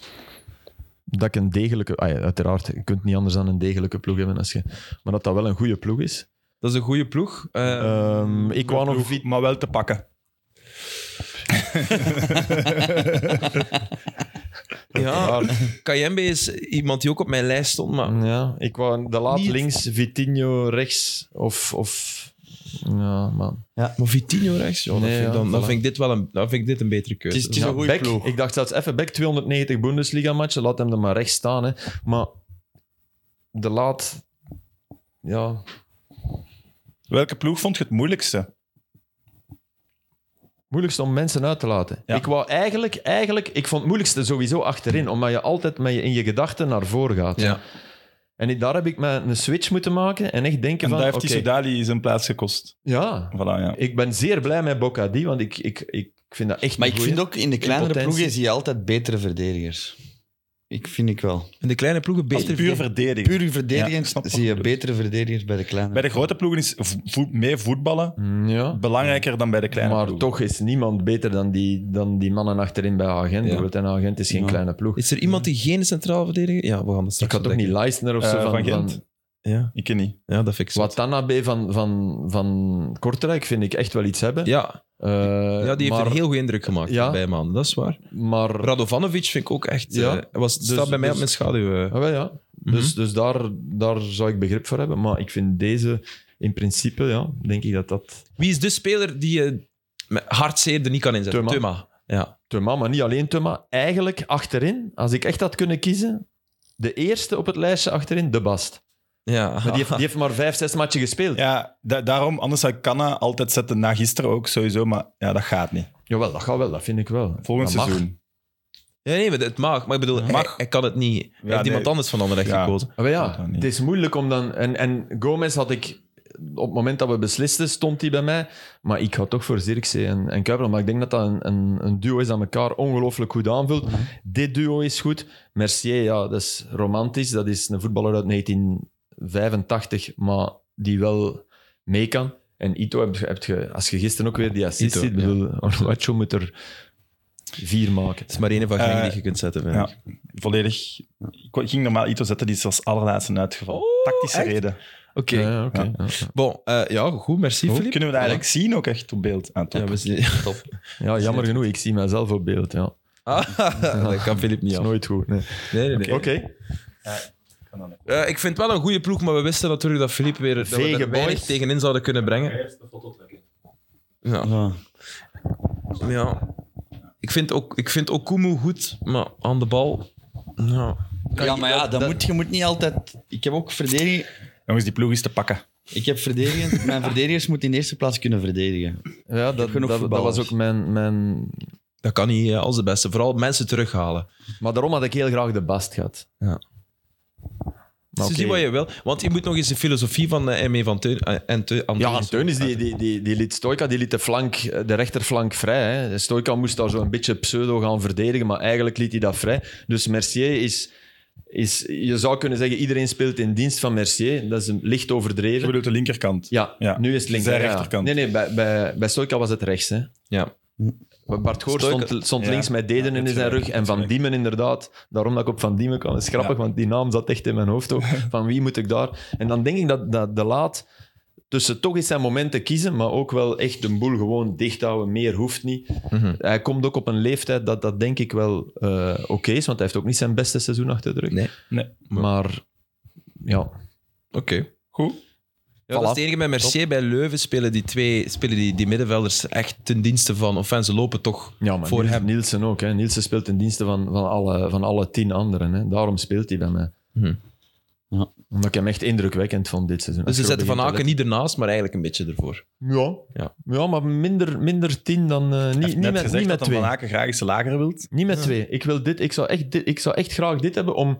Speaker 4: dat ik een degelijke... ah ja, uiteraard, je kunt niet anders dan een degelijke ploeg hebben. Als je, maar dat dat wel een goede ploeg is.
Speaker 1: Dat is een goede ploeg. Eh,
Speaker 4: Ehm, ik wou nog...
Speaker 3: Ploeg, maar wel te pakken.
Speaker 4: Ah,
Speaker 1: ja, Kayembe is iemand die ook op mijn lijst stond, maar
Speaker 4: Ja, ik wou de laat
Speaker 1: Niet-
Speaker 4: links, Vitinho rechts of... of ja, man.
Speaker 1: Maar Vitinho rechts, joh, dat
Speaker 4: Nee,
Speaker 1: vind, ik
Speaker 4: ja,
Speaker 1: dan, dan
Speaker 4: voilà.
Speaker 1: vind ik dit wel een, dan vind ik dit een betere keuze.
Speaker 2: Het is-
Speaker 4: Ja,
Speaker 2: een goeie
Speaker 4: Beck,
Speaker 2: ploeg.
Speaker 4: Ik dacht zelfs even, Beck 290 Bundesliga-matchen, laat hem er maar rechts staan. Hè. Maar de laat... Ja,
Speaker 3: Welke ploeg vond je het moeilijkste?
Speaker 4: moeilijkst om mensen uit te laten.
Speaker 3: Ja.
Speaker 4: Ik wou eigenlijk, eigenlijk, ik vond het moeilijkste sowieso achterin, omdat je altijd met je, in je gedachten naar voren gaat.
Speaker 1: Ja.
Speaker 4: En ik- daar heb ik me een switch moeten maken en echt denken
Speaker 3: En daar
Speaker 4: van,
Speaker 3: heeft
Speaker 4: oké,
Speaker 3: Tissou Dali zijn plaats gekost.
Speaker 4: ja,
Speaker 3: Voilà, ja.
Speaker 4: ik ben zeer blij met Bocadi, want ik, ik, ik vind dat echt
Speaker 2: Maar
Speaker 4: een
Speaker 2: ik
Speaker 4: goeie.
Speaker 2: vind ook in de kleinere
Speaker 4: potentie.
Speaker 2: ploegen zie je altijd betere verdedigers. Ik vind ik wel.
Speaker 1: En de kleine ploegen
Speaker 3: Als
Speaker 1: beter.
Speaker 3: puur verdedigen.
Speaker 2: Puur
Speaker 3: Ja, ik
Speaker 2: verdedigend
Speaker 3: snap wat
Speaker 2: zie
Speaker 3: je
Speaker 2: je
Speaker 3: bedoelt.
Speaker 2: betere verdedigers bij de kleinere.
Speaker 3: Bij de grote ploegen is vo- vo- mee voetballen
Speaker 4: Mm, Ja.
Speaker 3: belangrijker dan bij de kleine
Speaker 4: maar
Speaker 3: ploegen.
Speaker 4: toch is niemand beter dan die, dan die mannen achterin bij Agent. bijvoorbeeld. En Agent is geen
Speaker 2: Ja.
Speaker 4: kleine ploeg.
Speaker 1: Is er iemand die geen centraal verdediger? Ja, we gaan dat
Speaker 4: ik
Speaker 1: straks
Speaker 4: had ook niet
Speaker 1: ontdekken.
Speaker 4: Leisner of zo
Speaker 3: Eh,
Speaker 4: van,
Speaker 3: van Gent.
Speaker 4: van-
Speaker 1: Ja,
Speaker 3: Ik ken niet.
Speaker 1: ja, dat vind ik zo.
Speaker 4: Watanabe van, van, van Kortrijk vind ik echt wel iets hebben.
Speaker 1: Ja,
Speaker 4: Eh,
Speaker 1: ja, die heeft
Speaker 4: maar,
Speaker 1: een heel goede indruk gemaakt
Speaker 4: Ja.
Speaker 1: bij maanden, dat is waar.
Speaker 4: Maar,
Speaker 1: Radovanovic vind ik ook echt...
Speaker 4: Ja.
Speaker 1: eh, was, staat
Speaker 4: Dus-
Speaker 1: bij mij
Speaker 4: dus-
Speaker 1: op mijn schaduw. eh.
Speaker 4: Ah, wel, ja. Dus, dus daar, daar zou ik begrip voor hebben. Maar ik vind deze in principe, ja, denk ik dat dat...
Speaker 1: Wie is de speler die je met hartzeer er niet kan inzetten?
Speaker 4: Thuma.
Speaker 1: Ja.
Speaker 4: Thuma, maar niet alleen Thuma. Eigenlijk achterin, als ik echt had kunnen kiezen, de eerste op het lijstje achterin, De Bast.
Speaker 1: Ja.
Speaker 4: Maar die heeft, die heeft maar vijf, zes matchen gespeeld.
Speaker 3: Ja, da- daarom, anders zou ik Canna altijd zetten na gisteren ook sowieso, maar ja, dat gaat niet.
Speaker 4: Jawel, dat gaat wel, dat vind ik wel.
Speaker 3: Volgend
Speaker 4: Dat mag.
Speaker 3: seizoen.
Speaker 1: [LAUGHS] Ja, nee, maar het mag. Maar ik bedoel,
Speaker 3: Mag.
Speaker 1: Hij, hij kan het niet. Hij heeft
Speaker 3: nee.
Speaker 1: iemand anders van Anderlecht
Speaker 3: Ja.
Speaker 1: gekozen.
Speaker 4: Ah, maar
Speaker 3: Dat
Speaker 4: ja,
Speaker 3: kan niet.
Speaker 4: het is moeilijk om dan... En, en Gomez had ik... Op het moment dat we beslisten, stond hij bij mij. Maar ik ga toch voor Zirkzee en, en Kuipers. Maar ik denk dat dat een, een, een duo is dat elkaar ongelooflijk goed aanvult.
Speaker 3: Mhm.
Speaker 4: Dit duo is goed. Mercier, ja, dat is romantisch. Dat is een voetballer uit 1985, maar die wel mee kan. En Ito, heb, je- heb je, als je gisteren ook weer die assist
Speaker 1: Ito,
Speaker 4: ziet, bedoel, [LAUGHS] Onuachu moet er vier maken.
Speaker 1: Het is maar één van Genk
Speaker 3: Eh,
Speaker 1: die je kunt zetten, vind
Speaker 3: Ja,
Speaker 1: ik.
Speaker 3: volledig. Ik ging normaal Ito zetten, die is als allerlaatste uitgevallen. Tactische reden.
Speaker 1: Oké.
Speaker 4: Ja, oké, ja.
Speaker 1: Bon, eh, ja, goed. Merci,
Speaker 3: Hoe
Speaker 1: Filip.
Speaker 3: Kunnen we dat eigenlijk zien ook echt op beeld? Ah, top.
Speaker 1: Ja, we zien-
Speaker 4: Ja, jammer genoeg, ik zie mijzelf op beeld. Ja.
Speaker 1: Ah, [LAUGHS] dat kan Filip niet
Speaker 4: Dat
Speaker 1: af.
Speaker 4: is nooit goed. nee.
Speaker 1: Nee, nee, nee.
Speaker 4: Oké.
Speaker 1: Eh, ik vind het wel een goede ploeg, maar we wisten natuurlijk dat Filip weer dat we
Speaker 4: Vege
Speaker 1: er weinig
Speaker 4: boys.
Speaker 1: tegenin zouden kunnen brengen. Ja.
Speaker 2: Ja.
Speaker 1: ja. Ik vind ook, ik vind ook Kumu goed, maar aan de bal. Ja.
Speaker 2: ja, maar ja, dat moet, je moet niet altijd... Ik heb ook verdediging...
Speaker 3: Jongens, die ploeg is te pakken.
Speaker 2: Ik heb verdedigend... Mijn verdedigers moeten in de eerste plaats kunnen verdedigen.
Speaker 4: Ja, dat, dat,
Speaker 2: genoeg
Speaker 4: dat
Speaker 2: voetballers.
Speaker 4: was ook mijn, mijn...
Speaker 1: Dat kan niet eh, als de beste. Vooral mensen terughalen.
Speaker 4: Maar daarom had ik heel graag de Bast gehad.
Speaker 1: Dus
Speaker 4: oké.
Speaker 1: zie wat je wil. Want je moet nog eens de filosofie van eh, M.E. van Teun... eh, en Teun aan
Speaker 4: Ja,
Speaker 1: Teun-
Speaker 4: Teunis die, die, die, die liet Stoika die liet de, flank, eh, de rechterflank vrij. Hè. Stoika moest daar zo een beetje pseudo gaan verdedigen, maar eigenlijk liet hij dat vrij. Dus Mercier is, is... Je zou kunnen zeggen, iedereen speelt in dienst van Mercier. Dat is een licht
Speaker 3: Je
Speaker 4: overdreven.
Speaker 3: bedoelt de linkerkant.
Speaker 4: Ja,
Speaker 3: Ja.
Speaker 4: nu is het linker.
Speaker 3: Zij
Speaker 4: ja.
Speaker 3: rechterkant.
Speaker 4: Nee, nee, bij, bij, bij Stoika was het rechts. Hè.
Speaker 1: Ja.
Speaker 4: Bart Goor
Speaker 1: Stoica-
Speaker 4: stond, stond
Speaker 3: Ja.
Speaker 4: links met Deden
Speaker 3: Ja,
Speaker 4: in
Speaker 3: dat
Speaker 4: zijn
Speaker 3: is
Speaker 4: rug.
Speaker 3: waar.
Speaker 4: En Van
Speaker 3: Sorry.
Speaker 4: Diemen inderdaad. Daarom dat ik op Van Diemen kwam. Dat is grappig,
Speaker 3: Ja.
Speaker 4: want die naam zat echt in mijn hoofd
Speaker 3: [LAUGHS]
Speaker 4: ook. Van wie moet ik daar? En dan denk ik dat, dat De Laat tussen toch eens zijn momenten kiezen, maar ook wel echt een boel gewoon dicht houden. Meer hoeft niet.
Speaker 1: Mhm.
Speaker 4: Hij komt ook op een leeftijd dat dat denk ik wel eh, oké is, want hij heeft ook niet zijn beste seizoen achter de rug.
Speaker 1: Nee.
Speaker 3: Nee.
Speaker 4: Maar ja,
Speaker 1: Oké.
Speaker 3: Goed.
Speaker 1: Ja, dat is het enige met Mercier. Bij Leuven spelen die twee spelen die, die middenvelders echt ten dienste van... Of en ze lopen toch...
Speaker 4: ja maar
Speaker 1: Voor
Speaker 4: Niels-
Speaker 1: hem.
Speaker 4: Nielsen ook. Hè. Nielsen speelt in diensten van, van, alle, van alle tien anderen. Hè. Daarom speelt hij bij mij.
Speaker 1: Mhm.
Speaker 2: Ja.
Speaker 4: Omdat ik hem echt indrukwekkend vond dit seizoen.
Speaker 1: Dus ze
Speaker 4: Als je
Speaker 1: zetten Van
Speaker 4: erop
Speaker 1: Aken niet ernaast, maar eigenlijk een beetje ervoor.
Speaker 4: begint te letten.
Speaker 1: Ja.
Speaker 4: Ja, ja. maar minder, minder tien dan... eh,
Speaker 3: Hij
Speaker 4: niet,
Speaker 3: heeft
Speaker 4: niet,
Speaker 3: net
Speaker 4: met,
Speaker 3: gezegd
Speaker 4: niet met
Speaker 3: dat hij
Speaker 4: twee.
Speaker 3: Van Aken graag eens lager wilt.
Speaker 4: Niet met twee. Ik, wil dit, ik, zou echt, dit, ik zou echt graag dit hebben om,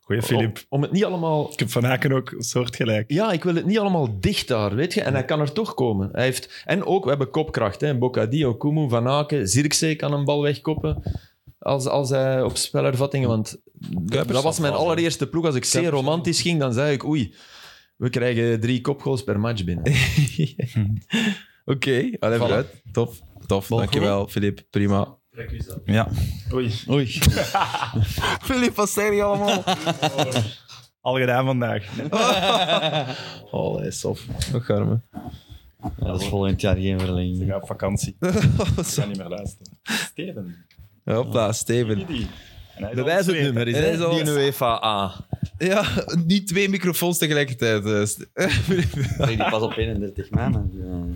Speaker 3: Goeie
Speaker 4: om,
Speaker 3: Filip.
Speaker 4: om het niet allemaal...
Speaker 3: Ik heb Van Aken ook soortgelijk.
Speaker 4: Ja, ik wil het niet allemaal dicht daar, weet je. En hij kan er toch komen. Hij heeft, en ook, we hebben kopkracht. Hè. Bocadio, Kumu, Van Aken, Zirkzee kan een bal wegkoppen. Als, als hij op spelervattingen... Want
Speaker 1: Kuipers
Speaker 4: dat was
Speaker 1: zal
Speaker 4: mijn
Speaker 1: vallen.
Speaker 4: allereerste ploeg. Als ik zeer
Speaker 1: Kuipers.
Speaker 4: romantisch ging, dan zei ik... Oei, we krijgen drie kopgoals per match binnen.
Speaker 1: Oké, alleen
Speaker 4: Voilà.
Speaker 1: uit. Tof. Tof, dankjewel, Filip. Prima.
Speaker 3: Ja.
Speaker 2: Oei.
Speaker 1: Filip, wat zeg je allemaal?
Speaker 3: Al gedaan vandaag.
Speaker 4: Oh, is op.
Speaker 1: Nog arme.
Speaker 2: Ja, dat is volgend jaar geen
Speaker 3: Ze
Speaker 2: verlenging.
Speaker 3: gaan op [LAUGHS] vakantie. Ik ga niet meer luisteren. Steven.
Speaker 1: Hopla, Steven.
Speaker 3: Didi. En hij is
Speaker 4: Bewijs
Speaker 3: al
Speaker 4: het nummer. Is
Speaker 1: Er
Speaker 4: hè?
Speaker 1: is al-
Speaker 4: die een UEFA A?
Speaker 1: Ja, niet twee microfoons tegelijkertijd. eh, St-
Speaker 2: Nee, die pas op 31 maanden. Ja.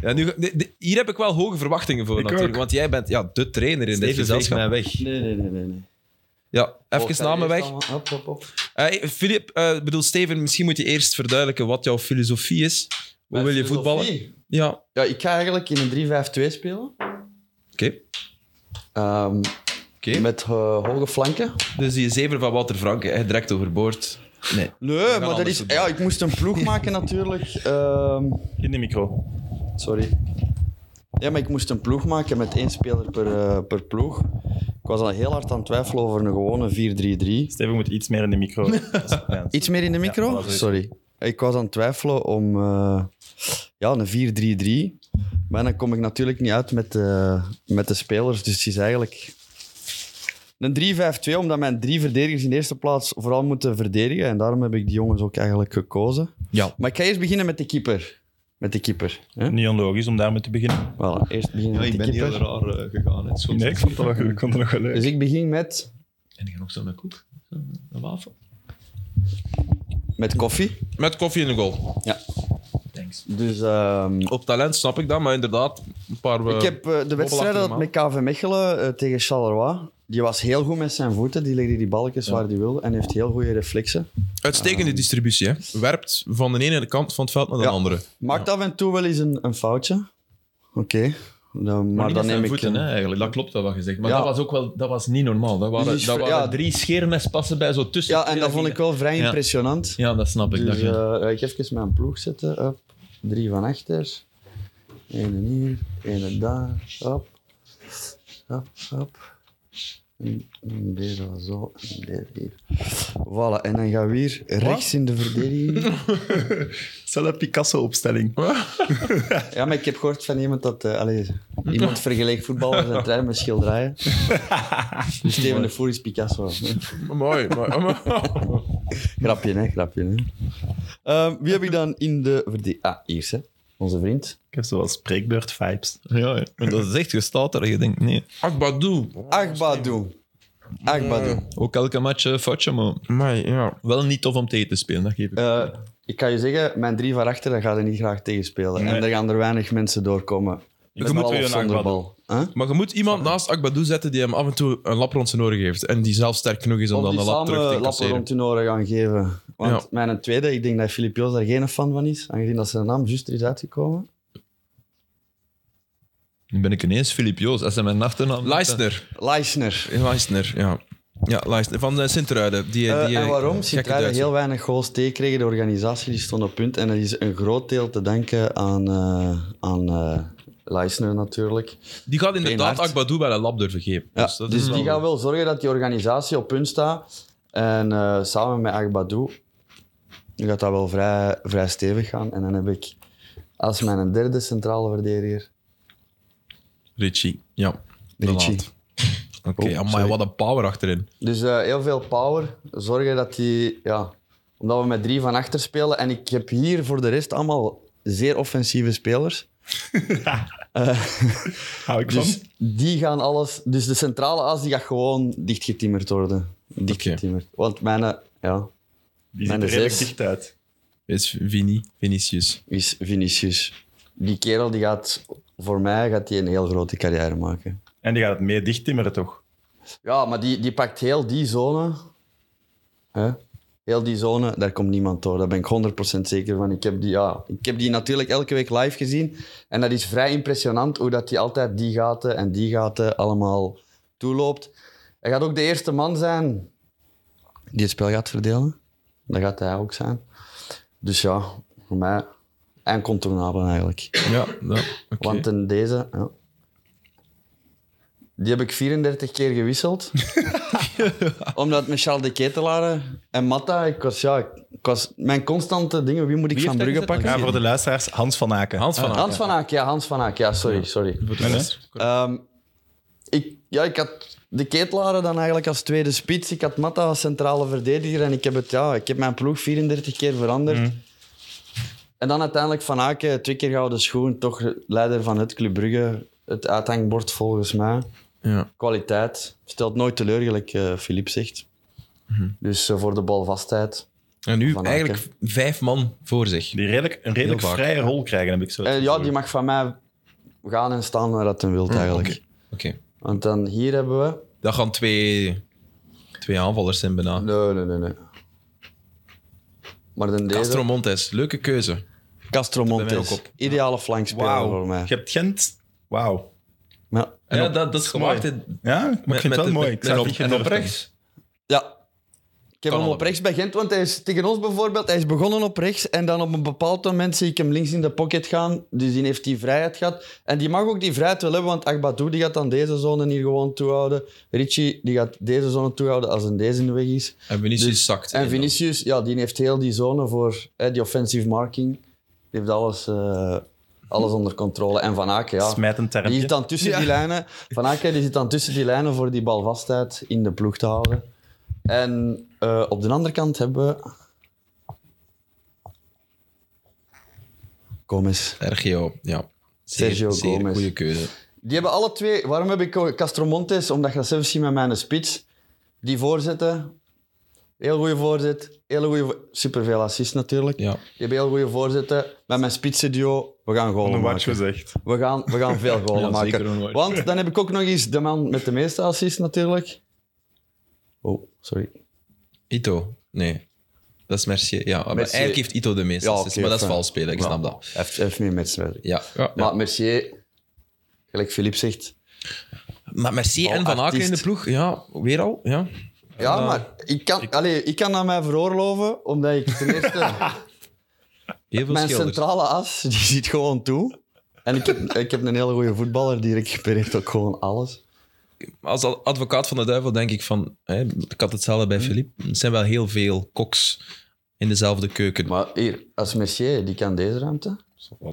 Speaker 1: Ja, nu, de- de- hier heb ik wel hoge verwachtingen voor,
Speaker 3: Ik
Speaker 1: natuurlijk.
Speaker 3: ook.
Speaker 1: Want jij bent ja, de trainer in dit
Speaker 4: Steven zelfs
Speaker 1: gezelschap.
Speaker 4: mij weg. Oh,
Speaker 2: Nee, nee, nee, nee. nee.
Speaker 1: Ja,
Speaker 2: Volgt
Speaker 1: even
Speaker 2: daar
Speaker 1: na
Speaker 2: eerst
Speaker 1: me weg.
Speaker 2: allemaal- Hop, hop, hop.
Speaker 1: Hey, Filip, eh, ik bedoel Steven, misschien moet je eerst verduidelijken wat jouw filosofie is. Hoe
Speaker 2: Mijn
Speaker 1: wil je voetballen?
Speaker 2: filosofie?
Speaker 1: Ja,
Speaker 2: Ja, ik ga eigenlijk in een 3-5-2 spelen.
Speaker 1: oké.
Speaker 2: Ehm,
Speaker 1: Oké.
Speaker 2: Met eh, hoge flanken.
Speaker 1: Dus die zeven van Walter Frank, echt direct overboord.
Speaker 2: Nee, maar dat
Speaker 1: anders
Speaker 2: is...
Speaker 1: voetballen.
Speaker 2: Ja, ik moest een ploeg maken natuurlijk. Ehm,
Speaker 3: In de micro.
Speaker 2: sorry. Ja, maar ik moest een ploeg maken met één speler per, eh, per ploeg. Ik was al heel hard aan het twijfelen over een gewone 4-3-3.
Speaker 3: Steven moet iets meer in de micro. [LAUGHS] Ja,
Speaker 2: Iets meer in de micro?
Speaker 3: voilà, zoiets.
Speaker 2: sorry. Ik was aan het twijfelen om eh, ja, een 4-3-3. Maar dan kom ik natuurlijk niet uit met de, met de spelers. Dus het is eigenlijk een 3-5-2, omdat mijn drie verdedigers in de eerste plaats vooral moeten verdedigen. En daarom heb ik die jongens ook eigenlijk gekozen.
Speaker 1: Ja.
Speaker 2: Maar ik ga eerst beginnen met de keeper. Met de keeper. hè?
Speaker 3: Niet onlogisch om daarmee te beginnen.
Speaker 2: Voilà, eerst beginnen
Speaker 4: Ja,
Speaker 2: met
Speaker 4: ik
Speaker 2: de
Speaker 4: ben
Speaker 2: keeper.
Speaker 4: heel raar eh, gegaan. Hè. Soms
Speaker 3: Nee, ik vond het wel, goed, ik vond het nog wel leuk.
Speaker 2: Dus ik begin met,
Speaker 4: En ik ga nog zo met koek. Een wafel.
Speaker 2: met koffie.
Speaker 1: Met koffie in de goal.
Speaker 4: Thanks.
Speaker 2: Dus ehm,
Speaker 1: Op talent snap ik dat, maar inderdaad, een paar... eh,
Speaker 2: ik heb eh, de wedstrijd dat met KV Mechelen eh, tegen Charleroi. Die was heel goed met zijn voeten. Die legde die balkjes waar hij wilde. En heeft heel goede reflexen.
Speaker 1: Uitstekende distributie, hè. Werpt van de ene kant van het veld naar de
Speaker 2: Ah. Ja.
Speaker 1: andere.
Speaker 2: Maakt af en toe wel eens een, een foutje. Oké. Dan-
Speaker 4: Maar,
Speaker 2: maar
Speaker 4: dan
Speaker 2: dan neem ik...
Speaker 4: voeten,
Speaker 2: een-
Speaker 4: hè, eigenlijk. Dat klopt wel wat je zegt. Maar
Speaker 2: Ja.
Speaker 4: dat was ook wel dat was niet normaal. Dat waren,
Speaker 2: Dus is
Speaker 4: dat
Speaker 2: ver-
Speaker 4: waren
Speaker 2: ja.
Speaker 4: drie scheermespassen bij zo tussen.
Speaker 2: Ja, en dat vond ik wel vrij
Speaker 4: Ja.
Speaker 2: impressionant.
Speaker 4: Ja, dat snap ik.
Speaker 2: Dus
Speaker 4: Dat je-
Speaker 2: eh, ik ga even mijn ploeg zetten. Up. Drie van achter. Eén hier, één daar. Up. Up, up. En en deze was zo, en deze hier. Voilà, en dan gaan we hier rechts in de verdediging.
Speaker 3: Zelfde Picasso-opstelling.
Speaker 2: Ja, maar ik heb gehoord van iemand dat... eh, allee, iemand vergelijkt voetballers en trein met schilderijen. Dus Steven de Voer is Picasso.
Speaker 1: Mooi,
Speaker 2: [LAUGHS]
Speaker 1: mooi.
Speaker 2: Grapje, hè? Grapje, hè? Ehm, wie heb ik dan in de verdediging? Ah, Iers, hè? Onze vriend.
Speaker 3: Ik heb zoals spreekbeurt-vibes.
Speaker 2: eh,
Speaker 4: ja, ja. En dat is echt gestaat er. Je denkt, nee.
Speaker 1: Akbadou.
Speaker 2: Agbadou. Agbadou.
Speaker 4: Ook elke match eh, foutje, maar
Speaker 1: Maar ja.
Speaker 4: wel niet tof om tegen te spelen. Dat geef ik.
Speaker 2: Eh, ik kan je zeggen, mijn drie van achter, daar ga je niet graag tegen spelen.
Speaker 3: Nee.
Speaker 2: En er gaan er weinig mensen doorkomen. Met
Speaker 3: moet
Speaker 2: bal
Speaker 3: weer
Speaker 2: of
Speaker 3: een
Speaker 2: zonder
Speaker 3: Agbadou.
Speaker 2: bal. Huh?
Speaker 1: Maar je moet iemand naast Akbadou zetten die hem af en toe een lap rond zijn oren geeft. En die zelf sterk genoeg is om
Speaker 2: Of
Speaker 1: dan
Speaker 2: die
Speaker 1: de lap terug te
Speaker 2: samen lappen
Speaker 1: incasseren.
Speaker 2: rond hun oren gaan geven. Want
Speaker 1: Ja.
Speaker 2: mijn tweede, ik denk dat Filip Joos daar geen fan van is, aangezien dat zijn naam juist er is uitgekomen.
Speaker 4: Nu ben ik ineens Filip Joos. Dat zijn mijn achternaam.
Speaker 1: Leisner.
Speaker 2: Leisner.
Speaker 1: Leisner, ja. Ja, Leisner. Van uh, Sint-Truiden. Die,
Speaker 2: Eh,
Speaker 1: die,
Speaker 2: en waarom?
Speaker 1: gekke
Speaker 2: Sint-Truiden
Speaker 1: Duitser.
Speaker 2: heel weinig goals tegenkreeg. De organisatie die stond op punt. En dat is een groot deel te danken aan, eh aan eh, Leisner natuurlijk.
Speaker 1: Die gaat inderdaad
Speaker 2: Beenhard.
Speaker 1: Akbadou wel een lap durven geven.
Speaker 2: Ja,
Speaker 1: dus
Speaker 2: dus
Speaker 1: dat is wel-
Speaker 2: die gaan wel zorgen dat die organisatie op punt staat. En eh, samen met Agbadou gaat dat wel vrij, vrij stevig gaan. En dan heb ik als mijn derde centrale verdediger
Speaker 1: Richie. Ja.
Speaker 2: Richie.
Speaker 1: Oké,
Speaker 2: Oh,
Speaker 1: amai, wat een power achterin.
Speaker 2: Dus eh, heel veel power. Zorgen dat die... Ja, omdat we met drie van achter spelen. En ik heb hier voor de rest allemaal zeer offensieve spelers.
Speaker 3: Hou ik
Speaker 2: Dus
Speaker 3: van.
Speaker 2: die gaan alles... Dus de centrale as die gaat gewoon dichtgetimmerd worden. Dichtgetimmerd. Want mijn... eh, Ja,
Speaker 3: Die
Speaker 2: mijn
Speaker 3: ziet er redelijk
Speaker 2: zes.
Speaker 3: dicht uit.
Speaker 1: Is Vini, Vinicius.
Speaker 2: is Vinicius. Die kerel die gaat, voor mij gaat die een heel grote carrière maken.
Speaker 3: En die gaat het meer dicht timmeren, toch?
Speaker 2: Ja, maar die, die pakt heel die zone. Hè? Heel die zone, daar komt niemand door. Daar ben ik 100% zeker van. Ik heb, die, ja, ik heb die natuurlijk elke week live gezien. En dat is vrij impressionant hoe dat die altijd die gaten en die gaten allemaal toeloopt. Hij gaat ook de eerste man zijn die het spel gaat verdelen. Dat gaat hij ook zijn. Dus ja, voor mij incontournabel eigenlijk.
Speaker 1: Ja, ja oké.
Speaker 2: Want in deze, ja. Die heb ik 34 keer gewisseld. Omdat Michel de Ketelaar en Matta, ik was, ja, ik was, mijn constante dingen, wie moet ik van Brugge pakken?
Speaker 3: Ja, voor de luisteraars, Hans van Aken. Ah,
Speaker 1: Hans van Aken.
Speaker 3: dus
Speaker 2: Hans van Aak, ja, Hans van Aak, ja, sorry, sorry.
Speaker 1: Voor de rest.
Speaker 2: Ehm, ik, Ja, ik had de ketelaren dan eigenlijk als tweede spits. Ik had Matta als centrale verdediger. En ik heb, het, ja, ik heb mijn ploeg 34 keer veranderd.
Speaker 1: Mhm.
Speaker 2: En dan uiteindelijk Van Aken, twee keer gouden schoen. Toch leider van het Club Brugge. Het uithangbord volgens mij.
Speaker 1: Ja.
Speaker 2: Kwaliteit. Stelt nooit teleur, gelijk eh, Philippe zegt.
Speaker 1: Mhm.
Speaker 2: Dus eh, voor de balvastheid.
Speaker 1: En nu
Speaker 2: Van Aken.
Speaker 1: eigenlijk vijf man voor zich.
Speaker 3: Die redelijk, een redelijk
Speaker 1: Heel vaak.
Speaker 3: vrije rol krijgen, heb ik zo. het
Speaker 2: Eh, ja,
Speaker 3: gevoel.
Speaker 2: die mag van mij gaan en staan waar dat hem wilt eigenlijk.
Speaker 1: Mhm, Oké.
Speaker 2: Want dan hier hebben we...
Speaker 1: Dat gaan twee, twee aanvallers zijn bijna.
Speaker 2: Nee, nee, nee. nee. Maar dan deze...
Speaker 1: Castro Montes, leuke keuze.
Speaker 2: Castro
Speaker 1: Bij mij ook
Speaker 2: Montes.
Speaker 1: op.
Speaker 2: Ideale flankspeler
Speaker 3: Wauw.
Speaker 2: voor mij.
Speaker 3: Je hebt Gent. Wauw.
Speaker 2: Ja.
Speaker 1: ja, dat, dat is
Speaker 3: mooi.
Speaker 1: gemaakt. in-
Speaker 3: Ja, maar ik vind het wel mooi. Ik
Speaker 1: Met, met,
Speaker 3: zou
Speaker 1: op-
Speaker 3: het niet
Speaker 1: en op
Speaker 3: gedurfd
Speaker 1: rechts.
Speaker 2: ja. Ik heb
Speaker 1: Kan
Speaker 2: hem op
Speaker 1: allebei.
Speaker 2: rechts bij Gent, want hij is tegen ons bijvoorbeeld, hij is begonnen op rechts en dan op een bepaald moment zie ik hem links in de pocket gaan, dus die heeft die vrijheid gehad. En die mag ook die vrijheid wel hebben, want Agbadou die gaat dan deze zone hier gewoon toehouden. Richie die gaat deze zone toehouden als een deze in de weg is.
Speaker 1: En Vinicius zakt. in
Speaker 2: Dus- En
Speaker 1: dan.
Speaker 2: Vinicius, ja, die heeft heel die zone voor hè, die offensive marking. Die heeft alles, eh, alles onder controle. En Van Aken, ja.
Speaker 3: hebben. Smijt een
Speaker 2: Die zit
Speaker 3: termpje.
Speaker 2: dan tussen die lijnen. Van Aken die zit dan tussen die lijnen voor die balvastheid in de ploeg te houden. En eh, op de andere kant hebben we. Gomez.
Speaker 1: Sergio, ja.
Speaker 2: Sergio Gomez.
Speaker 1: goede keuze.
Speaker 2: Die hebben alle twee. Waarom heb ik Castromontes? Omdat je dat zelf ziet met mijn spits. Die voorzetten. Heel goede voorzet. Hele goede. vo- Superveel assist natuurlijk.
Speaker 1: Ja.
Speaker 2: Die hebben heel goede voorzetten. Met mijn spitsenduo. We gaan golen
Speaker 3: Een watch
Speaker 2: maken.
Speaker 3: gezegd.
Speaker 2: We gaan, we gaan veel golen
Speaker 1: [LAUGHS] Ja, zeker een
Speaker 2: maken.
Speaker 1: watch.
Speaker 2: Want dan heb ik ook nog eens de man met de meeste assists natuurlijk. Oh, sorry.
Speaker 1: Ito, nee. Dat is Mercier. Ja, maar
Speaker 2: Mercier.
Speaker 1: eigenlijk heeft Ito de meeste
Speaker 2: Ja,
Speaker 1: assists,
Speaker 2: oké,
Speaker 1: maar dat is
Speaker 2: fijn.
Speaker 1: vals spelen, ik
Speaker 2: Ja.
Speaker 1: snap dat.
Speaker 2: Even, even meer wedstrijden.
Speaker 1: Ja. ja.
Speaker 2: Maar Mercier, gelijk Philippe zegt.
Speaker 1: Maar Mercier en Van Aken in de
Speaker 2: Artiest.
Speaker 1: ploeg, ja, weer al. Ja.
Speaker 2: Ja, maar ik kan, Allee, ik kan aan mij veroorloven, omdat ik ten
Speaker 1: [LAUGHS]
Speaker 2: eerste.
Speaker 1: Heel veel
Speaker 2: mijn
Speaker 1: schilders.
Speaker 2: centrale as die ziet gewoon toe. En ik heb, ik heb een hele goede voetballer, die recupereert ook gewoon alles.
Speaker 1: Als ad- advocaat van de duivel denk ik van... Hè, ik had hetzelfde
Speaker 2: Hm.
Speaker 1: bij Philippe. Er zijn wel heel veel koks in dezelfde keuken.
Speaker 2: Maar hier, als Mercier, die kan deze ruimte.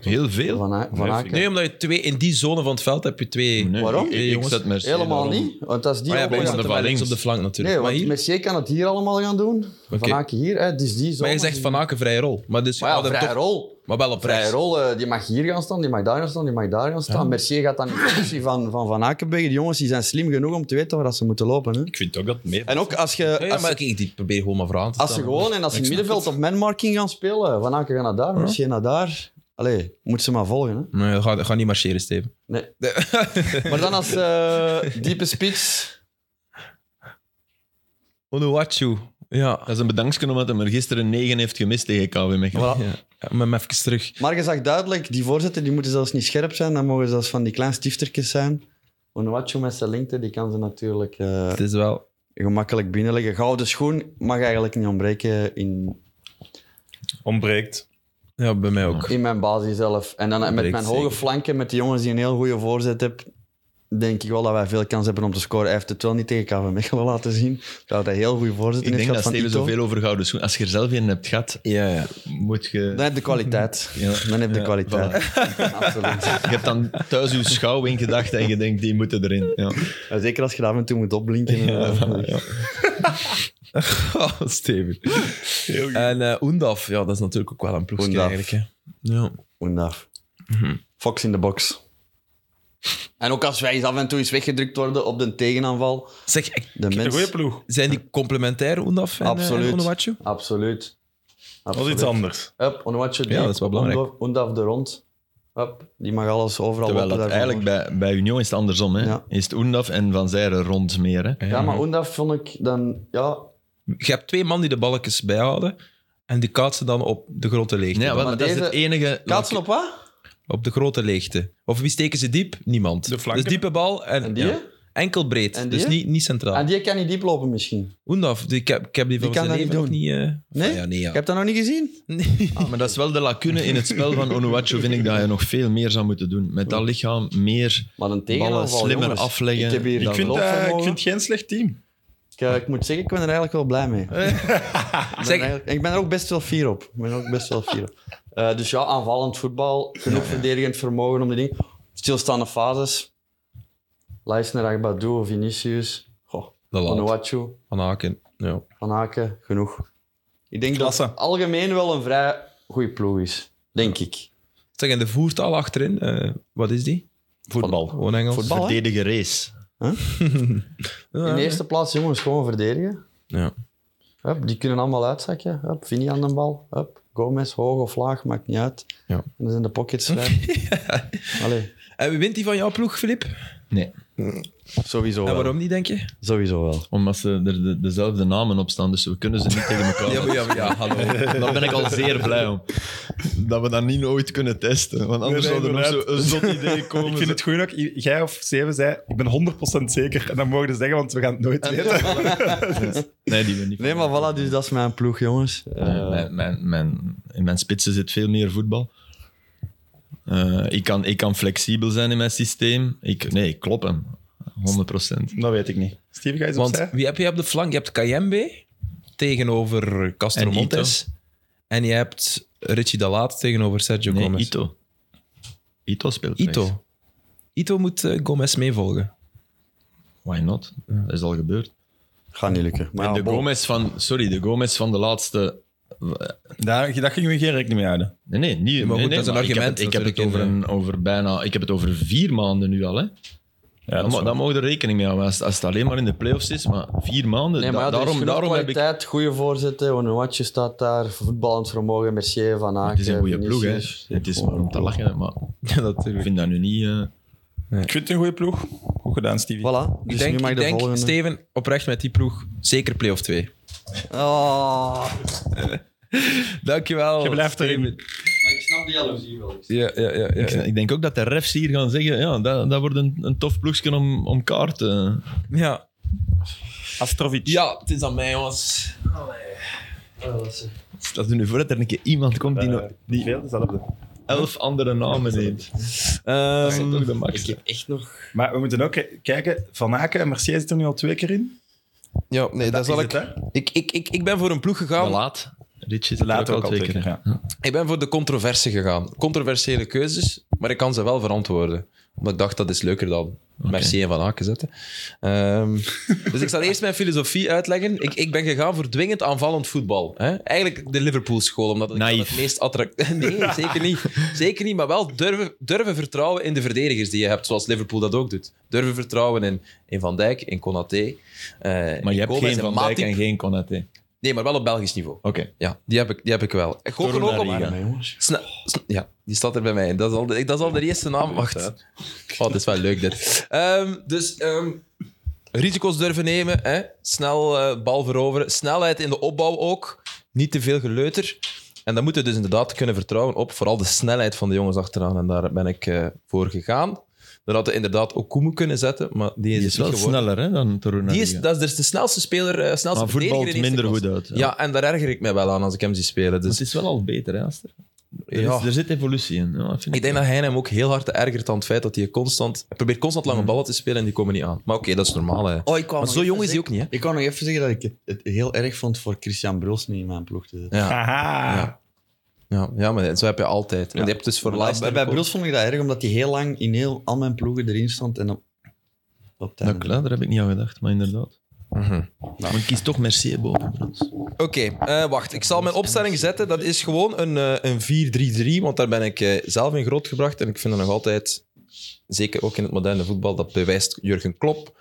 Speaker 1: heel veel?
Speaker 2: Van, A- van Aken.
Speaker 1: Nee, omdat je twee, in die zone van het veld heb je twee...
Speaker 5: Nee,
Speaker 2: Waarom?
Speaker 5: Ik,
Speaker 1: Twee
Speaker 5: ik, ik
Speaker 1: jongens.
Speaker 5: zet Mercier
Speaker 2: Helemaal
Speaker 5: daarom.
Speaker 2: niet, want als die
Speaker 1: Maar Oh ja,
Speaker 2: ook
Speaker 1: bij
Speaker 2: nog
Speaker 1: ons
Speaker 2: aan
Speaker 1: dan
Speaker 2: de
Speaker 1: wel links op
Speaker 5: links.
Speaker 1: de flank
Speaker 2: Nee,
Speaker 1: natuurlijk. maar,
Speaker 2: want
Speaker 1: hier,
Speaker 2: Mercier kan het hier allemaal gaan doen.
Speaker 1: Oké.
Speaker 2: Van Aken hier, hè, dus die zo.
Speaker 1: maar je zegt Van Aken vrije rol. Maar, dus je
Speaker 2: Maar ja,
Speaker 1: houdt hem
Speaker 2: vrije
Speaker 1: toch-
Speaker 2: rol.
Speaker 1: maar wel op
Speaker 2: Vrije
Speaker 1: rechts.
Speaker 2: rol, eh, die mag hier gaan staan, die mag daar gaan staan, die mag daar gaan staan. Mercier gaat dan in functie van Van, van Akenberg. Die jongens die zijn slim genoeg om te weten waar dat ze moeten lopen. Hè.
Speaker 3: Ik vind ook dat mee.
Speaker 2: En ook als je,
Speaker 1: Ja,
Speaker 2: als,
Speaker 1: maar kijk, die probeer gewoon maar vooraan te
Speaker 2: als ze
Speaker 1: staan.
Speaker 2: gewoon en als ze middenveld op manmarking gaan spelen. Van Aken gaat naar daar, Mercier naar daar. Allee, moet ze maar volgen. Hè.
Speaker 1: Nee, dat gaat, dat gaat niet marcheren, Steven. [LAUGHS]
Speaker 2: Nee. maar dan als eh, diepe spits...
Speaker 1: Onuwachu. Ja.
Speaker 5: Dat is een bedankje omdat hij er gisteren 9 heeft gemist tegen KW Mechelen.
Speaker 2: Voilà.
Speaker 1: ja. Maar hem even terug.
Speaker 2: Maar je zag duidelijk, die voorzetten die moeten zelfs niet scherp zijn. Dan mogen zelfs van die kleine stiftertjes zijn. Onuachu met zijn lengte, die kan ze natuurlijk eh,
Speaker 1: Het is wel...
Speaker 2: gemakkelijk binnenleggen. Gouden schoen mag eigenlijk niet ontbreken in,
Speaker 3: Ontbreekt.
Speaker 1: Ja, bij mij ook.
Speaker 2: in mijn basis zelf. En dan met
Speaker 1: Ontbreekt
Speaker 2: mijn hoge
Speaker 1: zeker.
Speaker 2: flanken, met die jongens die een heel goede voorzet hebben, denk ik wel dat wij veel kans hebben om te scoren. Hij heeft het wel niet tegen KV Mechelen laten zien. Dat hij heel goede voorzetten
Speaker 5: Ik
Speaker 2: heeft
Speaker 5: denk dat
Speaker 2: gehad van
Speaker 5: Steven
Speaker 2: Ito.
Speaker 5: zoveel over gouden schoen. Als je er zelf in hebt gehad,
Speaker 1: Ja, ja.
Speaker 5: moet
Speaker 2: [LAUGHS]
Speaker 5: je...
Speaker 2: Dan heb je de
Speaker 5: [LAUGHS]
Speaker 2: kwaliteit. Dan heb je de kwaliteit. Absoluut.
Speaker 5: Je hebt dan thuis je schouw in gedacht en je denkt, die moeten erin. Ja.
Speaker 2: En Zeker als je daar af en toe moet opblinken.
Speaker 1: [LAUGHS] Oh, Steven. En eh Oendaf, ja, dat is natuurlijk ook wel een ploegje
Speaker 2: Oendaf.
Speaker 1: eigenlijk. Hè. Ja.
Speaker 2: Oendaf. Fox in de box. En ook als wij eens af en toe eens weggedrukt worden op de tegenaanval.
Speaker 1: Zeg, ik-
Speaker 2: De
Speaker 3: Een
Speaker 2: mens...
Speaker 3: goede ploeg.
Speaker 1: zijn die complementair, Oendaf en, eh,
Speaker 2: Absoluut.
Speaker 1: en Onuwachu?
Speaker 2: Absoluut.
Speaker 3: Dat is
Speaker 2: Absoluut.
Speaker 3: iets anders.
Speaker 2: Up, Onuatje die.
Speaker 1: Ja, dat is wel belangrijk.
Speaker 2: Oendaf- Oendaf de rond. Up, die mag alles overal
Speaker 5: Terwijl
Speaker 2: lopen
Speaker 5: dat
Speaker 2: daarvoor.
Speaker 5: eigenlijk bij, bij Union is het andersom. Hè?
Speaker 2: Ja.
Speaker 5: Is het Oendaf en Van Zijren rond meer. Hè?
Speaker 2: Ja, maar Oendaf vond ik dan... Ja,
Speaker 1: Je hebt twee man die de balletjes bijhouden en die kaatsen dan op de grote leegte.
Speaker 5: Nee,
Speaker 1: dan.
Speaker 5: want
Speaker 2: maar
Speaker 5: dat is het
Speaker 2: deze-
Speaker 5: enige...
Speaker 2: kaatsen op wat?
Speaker 1: Op de grote leegte. Of wie steken ze diep? Niemand.
Speaker 3: De flanken.
Speaker 1: Dus diepe bal en,
Speaker 2: En die?
Speaker 1: ja. enkel breed.
Speaker 2: En die?
Speaker 1: dus niet, niet centraal.
Speaker 2: En die kan niet diep lopen misschien.
Speaker 1: Oendaf, die, ik, heb, ik heb die van
Speaker 2: kan
Speaker 1: zijn
Speaker 2: dat
Speaker 1: leven nog
Speaker 2: niet
Speaker 1: niet... eh,
Speaker 2: Nee?
Speaker 1: ah, ja, nee, ja.
Speaker 2: Ik heb dat nog niet gezien.
Speaker 1: Nee.
Speaker 5: Maar dat is wel de lacune in het spel van Onuwachu, vind ik, dat je nog veel meer zou moeten doen. Met dat lichaam meer...
Speaker 2: Maar een
Speaker 5: Ballen
Speaker 2: tegenaanval,
Speaker 5: slimmer
Speaker 2: jongens.
Speaker 5: afleggen.
Speaker 2: Ik heb hier
Speaker 3: Ik
Speaker 2: dat
Speaker 3: vind, eh, ik
Speaker 2: loopvermogen.
Speaker 3: vind geen slecht team.
Speaker 2: Ik, eh, ik moet zeggen, ik ben er eigenlijk wel blij
Speaker 1: [LAUGHS]
Speaker 2: mee. Ik ben,
Speaker 1: Zeg-
Speaker 2: eigenlijk- ik ben er ook best wel fier op. Ik ben er ook best wel fier op. Eh, dus ja, aanvallend voetbal, genoeg verdedigend vermogen om die dingen. Stilstaande fases. Leisner, Agbadou, Vinicius, goh,
Speaker 1: De laat.
Speaker 2: Onuachu,
Speaker 1: Van Aken. Ja.
Speaker 2: Van Aken, genoeg. Ik denk dat
Speaker 3: Klasse.
Speaker 2: het algemeen wel een vrij goede ploeg is, denk ik.
Speaker 1: Zeg, en de voertaal achterin, eh, wat is die?
Speaker 6: Voetbal.
Speaker 1: Gewoon Engels.
Speaker 2: Voetbal, hè?
Speaker 6: Verdedigen race.
Speaker 4: [LAUGHS]
Speaker 2: In de eerste plaats, jongens, gewoon verdedigen.
Speaker 1: Ja.
Speaker 2: Hup, die kunnen allemaal uitzakken. Hup, Vini aan de bal. Hup, Gomez, hoog of laag, maakt niet uit.
Speaker 1: Ja.
Speaker 2: En dan zijn de
Speaker 4: [LAUGHS]
Speaker 2: pockets vrij. Allee,
Speaker 1: En Eh, wie wint die van jouw ploeg, Filip? En
Speaker 2: sowieso wel.
Speaker 1: waarom niet, denk je?
Speaker 2: Sowieso wel.
Speaker 4: Omdat ze er de- dezelfde namen op staan, dus we kunnen ze niet tegen elkaar.
Speaker 1: Ja, maar ja, maar ja, hallo.
Speaker 4: Daar ben ik al zeer blij om. Dat we dat niet nooit kunnen testen. Want anders
Speaker 3: Nee, nee,
Speaker 4: zou er nog
Speaker 3: inderdaad.
Speaker 4: zo'n zot idee komen.
Speaker 3: Ik vind het goed dat i- jij of Steven zei, ik ben 100% zeker. En dan mogen ze zeggen, want we gaan het nooit weten.
Speaker 4: Nee, die we niet.
Speaker 2: Nee, maar voilà, dus dat is mijn ploeg, jongens.
Speaker 4: Eh, mijn, mijn, mijn, in mijn spitsen zit veel meer voetbal. Eh, ik, kan, ik kan flexibel zijn in mijn systeem. Ik, nee, ik klop hem. 100%.
Speaker 3: Dat weet ik niet. Steven, ga je eens
Speaker 1: Want
Speaker 3: opzij?
Speaker 1: wie heb je op de flank? Je hebt Kayembe tegenover Castro
Speaker 4: En Ito.
Speaker 1: Montes. En je hebt Richie Dalaat tegenover Sergio
Speaker 4: Nee,
Speaker 1: Gomez.
Speaker 4: Ito. Ito speelt rechts.
Speaker 1: Ito. Ito moet eh, Gomez meevolgen.
Speaker 4: Why not? Dat is al gebeurd.
Speaker 2: Gaat niet lukken. Maar
Speaker 4: en
Speaker 2: ja,
Speaker 4: de
Speaker 2: bon.
Speaker 4: Gomez van... Sorry, de Gomez van de laatste...
Speaker 3: Daar, daar gingen we geen rekening mee houden.
Speaker 4: Nee, nee, niet.
Speaker 1: maar
Speaker 4: nee,
Speaker 1: goed,
Speaker 4: nee,
Speaker 1: dat is een
Speaker 4: maar
Speaker 1: argument
Speaker 4: Ik heb het, ik heb het over,
Speaker 1: natuurlijk
Speaker 4: een, over bijna... Ik heb het over vier maanden nu al, hè.
Speaker 3: Ja,
Speaker 4: dan, mo- dan mogen we er rekening mee houden. Als, als het alleen maar in de playoffs is, maar vier maanden...
Speaker 2: Nee, maar ja,
Speaker 4: da- daarom daarom heb ik...
Speaker 2: kwaliteit, goede voorzetten. Onuatje staat daar, voetballend vermogen, Mercier, Van Aken.
Speaker 4: Het is een goede ploeg, hè.
Speaker 2: Vinicius.
Speaker 4: Het is
Speaker 2: Gewoon
Speaker 4: maar om te lachen, maar
Speaker 1: Ja,
Speaker 4: ik
Speaker 1: natuurlijk.
Speaker 4: vind dat nu niet... eh,
Speaker 3: Ik vind het een goede ploeg. Goed gedaan, Stevie.
Speaker 2: Voilà, dus
Speaker 1: ik denk,
Speaker 2: nu mag
Speaker 1: ik
Speaker 2: de
Speaker 1: denk
Speaker 2: volgende.
Speaker 1: Steven, oprecht met die ploeg, zeker play-off 2.
Speaker 2: Oh.
Speaker 1: Dankjewel.
Speaker 3: Je blijft erin.
Speaker 1: Steven.
Speaker 2: Maar ik snap de jaloezie wel.
Speaker 1: Ja, ja, ja. ja,
Speaker 4: Ik,
Speaker 1: ja.
Speaker 4: ik denk ook dat de refs hier gaan zeggen, ja, dat, dat wordt een, een tof ploegje om, om eh. kaarten.
Speaker 1: ja.
Speaker 3: Astrovic.
Speaker 1: Ja, het is aan mij, jongens.
Speaker 4: Stel je nu voor dat er een keer iemand komt die nog
Speaker 3: die... Veel dezelfde.
Speaker 4: elf andere namen neemt. Dat is toch de max.
Speaker 2: Ik heb echt nog...
Speaker 3: Maar we moeten ook k- kijken, Van Aken en Mercier zitten er nu al twee keer in.
Speaker 1: Ja, nee, dat zal
Speaker 3: is
Speaker 1: ik,
Speaker 3: het, hè?
Speaker 1: ik, ik, ik. Ik ben voor een ploeg
Speaker 4: Te
Speaker 1: gegaan.
Speaker 4: laat. Rich is
Speaker 3: Te
Speaker 4: er
Speaker 3: laat
Speaker 4: ook al twee keer.
Speaker 3: ja.
Speaker 1: Ik ben voor de controverse gegaan. Controversiële keuzes, maar ik kan ze wel verantwoorden. Omdat ik dacht, dat is leuker dan Merci en Van Aken zetten. Ehm, [LAUGHS] dus ik zal eerst mijn filosofie uitleggen. Ik, ik ben gegaan voor dwingend aanvallend voetbal. Hè? Eigenlijk de Liverpool-school, omdat ik dat
Speaker 4: Naïef.
Speaker 1: het meest attractief... [LAUGHS] Nee, zeker niet. Zeker niet, maar wel durven, durven vertrouwen in de verdedigers die je hebt, zoals Liverpool dat ook doet. Durven vertrouwen in, in Van Dijk, in Konaté. eh,
Speaker 4: Maar
Speaker 1: in
Speaker 4: je hebt
Speaker 1: Gomez
Speaker 4: geen Van
Speaker 1: en
Speaker 4: Dijk
Speaker 1: Matip.
Speaker 4: en geen Konaté.
Speaker 1: Nee, maar wel op Belgisch niveau.
Speaker 4: Oké.
Speaker 1: Ja, die heb ik, die heb ik wel. Ik gok er ook op...
Speaker 4: Torunariga.
Speaker 1: Sna- sna- ja, die staat er bij mij. Dat is al de, dat is al de eerste naam. Wacht. Oh, dat is wel leuk dit. Ehm, dus ehm, risico's durven nemen. Hè? Snel eh, bal veroveren. Snelheid in de opbouw ook. Niet te veel geleuter. En dan moeten we dus inderdaad kunnen vertrouwen op vooral de snelheid van de jongens achteraan. En daar ben ik eh, voor gegaan. Dan hadden we inderdaad ook Koemen kunnen zetten, maar die is,
Speaker 4: Die
Speaker 1: het
Speaker 4: is
Speaker 1: niet
Speaker 4: wel
Speaker 1: geworden.
Speaker 4: sneller hè, dan Torunariga.
Speaker 1: Die is, dat is dus de snelste speler, eh snelste
Speaker 4: maar
Speaker 1: verdediger
Speaker 4: voetbalt
Speaker 1: in eerste
Speaker 4: minder
Speaker 1: klasse.
Speaker 4: goed uit. Ja.
Speaker 1: Ja, en daar erger ik mij wel aan als ik hem zie spelen.
Speaker 4: Dus
Speaker 1: Dus,
Speaker 4: het is wel al beter, hè, Aster? Er,
Speaker 1: ja.
Speaker 4: is, er zit evolutie in. Ja, vind
Speaker 1: Ik denk dat hij hem ook heel hard ergert aan het feit dat hij constant... Hij probeert constant
Speaker 2: Mhm.
Speaker 1: lange ballen te spelen en die komen niet aan. Maar oké, dat is normaal. Hè.
Speaker 2: Oh, ik kwam
Speaker 1: Maar zo jong is hij ook niet, hè?
Speaker 2: Ik kan nog even zeggen dat ik het heel erg vond voor Christian Bruls niet in mijn ploeg te zetten.
Speaker 1: Ja,
Speaker 3: Haha.
Speaker 1: Ja. ja, ja maar zo heb je altijd. En je hebt dus voor
Speaker 2: Maar dat-
Speaker 1: Leicester...
Speaker 2: bij, bij
Speaker 1: ook-
Speaker 2: Bruls vond ik dat erg, omdat hij heel lang in heel, al mijn ploegen erin stond. En dan, op het
Speaker 4: Dat
Speaker 2: einde-
Speaker 4: klopt, daar heb ik niet aan gedacht, maar inderdaad.
Speaker 1: Mhm.
Speaker 4: Maar ik kies toch Mercier boven Bruls.
Speaker 1: Oké, eh, wacht. Ik zal mijn opstelling zetten. Dat is gewoon een, eh, een 4-3-3, want daar ben ik eh, zelf in grootgebracht. En ik vind dat nog altijd, zeker ook in het moderne voetbal, dat bewijst Jurgen Klopp.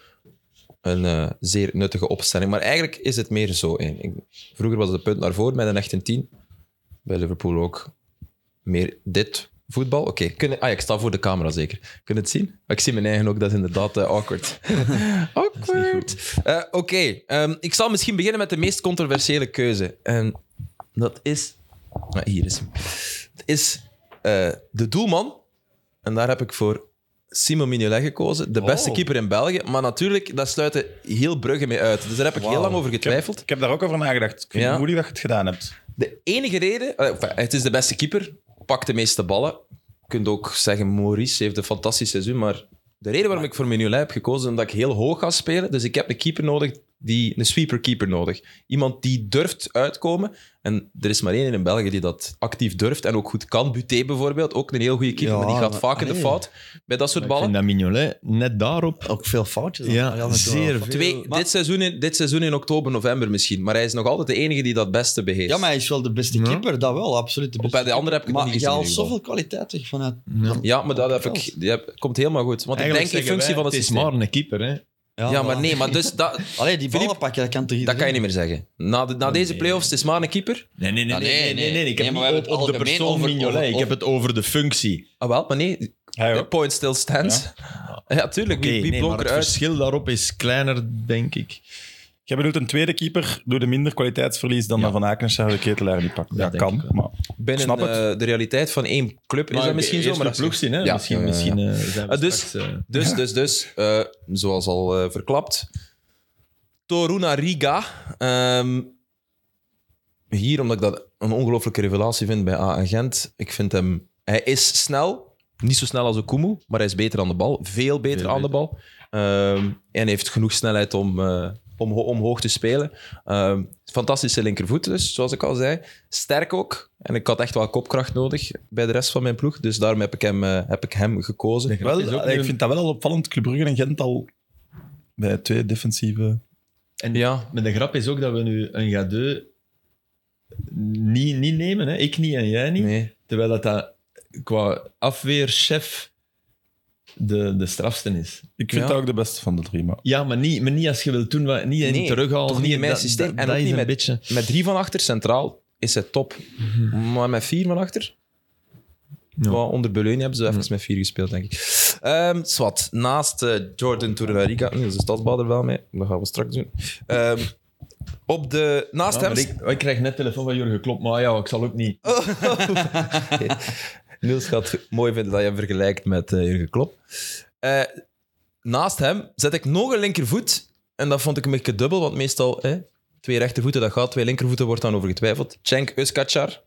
Speaker 1: Een eh, zeer nuttige opstelling. Maar eigenlijk is het meer zo. één. Ik- vroeger was het een punt naar voren met een echte 10. Bij Liverpool ook meer dit voetbal. Oké, kunnen- ah ja, ik sta voor de camera zeker. Kun je het zien? Ik zie mijn eigen ook, dat is inderdaad eh, awkward. [LAUGHS] awkward. Eh, Oké, ehm, ik zal misschien beginnen met de meest controversiële keuze. En dat is. Ah, hier is hem. Het is eh, de doelman. En daar heb ik voor Simon Mignolet gekozen. De beste
Speaker 2: Oh.
Speaker 1: keeper in België. Maar natuurlijk, daar sluiten heel Brugge mee uit. Dus daar heb ik heel
Speaker 3: Wauw.
Speaker 1: lang over getwijfeld.
Speaker 3: Ik heb daar ook over nagedacht. Ik vind
Speaker 1: Ja.
Speaker 3: het moeilijk dat je het gedaan hebt.
Speaker 1: De enige reden... eh, enfin, het is de beste keeper. Pakt de meeste ballen. Je kunt ook zeggen, Maurice heeft een fantastisch seizoen. Maar de reden waarom ik voor Mignolet heb gekozen is omdat ik heel hoog ga spelen. Dus ik heb een keeper nodig die, een sweeper-keeper nodig. Iemand die durft uitkomen. En er is maar één in België die dat actief durft en ook goed kan. Buté bijvoorbeeld, ook een heel goede keeper,
Speaker 2: Ja,
Speaker 1: maar die gaat
Speaker 2: maar-
Speaker 1: vaak in de
Speaker 2: allee.
Speaker 1: fout bij dat soort
Speaker 4: Ik
Speaker 1: ballen.
Speaker 4: vind dat Mignolet net daarop...
Speaker 2: Ook veel foutjes.
Speaker 4: Ja,
Speaker 2: maar dat is wel
Speaker 4: zeer
Speaker 2: fout.
Speaker 4: veel.
Speaker 1: Twee,
Speaker 2: Maar-
Speaker 1: dit, seizoen in, dit seizoen in oktober, november misschien. Maar hij is nog altijd de enige die dat beste beheerst.
Speaker 2: Ja, maar hij is wel de beste keeper, dat wel, absoluut. De
Speaker 1: Op
Speaker 2: beste
Speaker 1: bij de andere heb ik het
Speaker 2: keeper.
Speaker 1: nog
Speaker 2: Maar
Speaker 1: niet
Speaker 2: je
Speaker 1: gezien. in
Speaker 2: haalt
Speaker 1: ieder geval.
Speaker 2: zoveel kwaliteit weg vanuit...
Speaker 1: Ja, maar dat, heb
Speaker 2: Op het
Speaker 1: ik, die heb- komt helemaal goed. Want
Speaker 4: Eigenlijk
Speaker 1: ik denk
Speaker 4: zeggen
Speaker 1: in functie
Speaker 4: wij,
Speaker 1: van het,
Speaker 4: is
Speaker 1: systeem.
Speaker 4: maar een keeper, hè.
Speaker 1: ja, maar
Speaker 2: voilà.
Speaker 1: nee, maar
Speaker 4: [LAUGHS]
Speaker 1: dus dat,
Speaker 2: Allee, die
Speaker 1: Philippe,
Speaker 2: ballen pakken, dat kan toch
Speaker 1: dat
Speaker 2: iedereen?
Speaker 1: kan je niet meer zeggen. Na, de, na deze playoffs, het is maar een keeper.
Speaker 4: Nee, nee, nee.
Speaker 2: Ah,
Speaker 4: nee, nee, nee, nee, Ik
Speaker 2: Nee,
Speaker 4: heb
Speaker 2: maar we
Speaker 4: het
Speaker 2: hebben
Speaker 4: niet op,
Speaker 2: het
Speaker 4: op de
Speaker 2: algemeen
Speaker 4: persoon
Speaker 2: over-
Speaker 4: Mignolet.
Speaker 2: over-
Speaker 4: Ik heb het over de functie.
Speaker 1: Ah, wel, maar nee,
Speaker 3: Hij
Speaker 1: the
Speaker 3: ook.
Speaker 1: point still stands. [LAUGHS] Ja, tuurlijk.
Speaker 4: Oké,
Speaker 1: wie wie
Speaker 4: nee, maar
Speaker 1: blonk
Speaker 4: het
Speaker 1: eruit?
Speaker 4: verschil daarop is kleiner, denk ik.
Speaker 3: Jij bedoelt een tweede keeper door de minder kwaliteitsverlies dan Van Akenschouw de ketelaar die pakt. Ja,
Speaker 4: denk
Speaker 3: kan.
Speaker 4: ik wel.
Speaker 3: Maar
Speaker 1: Binnen
Speaker 3: Snap het.
Speaker 1: eh, de realiteit van één club is dat misschien zo. Maar
Speaker 4: de
Speaker 1: dat
Speaker 4: ploeg
Speaker 1: is-
Speaker 4: zien, hè.
Speaker 1: Ja.
Speaker 4: Misschien,
Speaker 1: Ja, ja, ja.
Speaker 4: misschien eh, zijn we
Speaker 1: Ah, dus-
Speaker 4: straks, eh,
Speaker 1: Dus, dus, dus, eh, zoals al eh, verklapt. Toruna Riga. Ehm, hier, omdat ik dat een ongelooflijke revelatie vind bij A Gent. Ik vind hem... Hij is snel. Niet zo snel als Okumu, maar hij is beter aan de bal. Veel beter
Speaker 4: Veel
Speaker 1: aan de bal. Ehm, en heeft genoeg snelheid om, eh, om ho- omhoog te spelen. Ehm, fantastische linkervoet dus, zoals ik al zei. Sterk ook. En ik had echt wel kopkracht nodig bij de rest van mijn ploeg. Dus daarom heb ik hem, eh, heb ik hem gekozen.
Speaker 3: wel,
Speaker 4: is ook
Speaker 3: allee,
Speaker 4: nu
Speaker 3: ik vind dat wel al opvallend. Club Brugge en Gent al bij twee defensieve...
Speaker 4: En
Speaker 1: Ja,
Speaker 4: Maar de grap is ook dat we nu een gadeu niet, niet nemen. Hè? Ik niet en jij niet.
Speaker 1: nee.
Speaker 4: Terwijl dat, dat qua afweerchef de, de strafste is.
Speaker 3: Ik vind
Speaker 1: Ja.
Speaker 3: dat ook de beste van de drie, maar...
Speaker 4: Ja, maar niet, maar niet als je wilt doen, wat, niet in
Speaker 1: Nee,
Speaker 4: terughalen.
Speaker 1: toch niet in mijn
Speaker 4: dat-
Speaker 1: systeem
Speaker 4: Dat,
Speaker 1: en
Speaker 4: dat
Speaker 1: ook
Speaker 4: is
Speaker 1: niet
Speaker 4: een
Speaker 1: met-
Speaker 4: beetje...
Speaker 1: Met drie van achter centraal is het top. Maar met vier van achter.
Speaker 4: Ja.
Speaker 1: Wel, onder Beleun hebben ze even met vier gespeeld, denk ik. Ehm zwart, naast eh, Jordan Torunariga, nu is de stadsbouw er wel mee, dat gaan we straks doen. Ehm, op de, naast
Speaker 4: Ja,
Speaker 1: hem...
Speaker 4: maar ik, ik krijg net telefoon van Jurgen Klopp, maar ja, ik zal ook niet.
Speaker 1: Oh. Niels gaat het mooi vinden dat je hem vergelijkt met eh, Jurgen Klopp. Eh, naast hem zet ik nog een linkervoet. En dat vond ik een beetje dubbel, want meestal hè, twee rechtervoeten, dat gaat. Twee linkervoeten wordt dan over getwijfeld. Cenk Uskacar.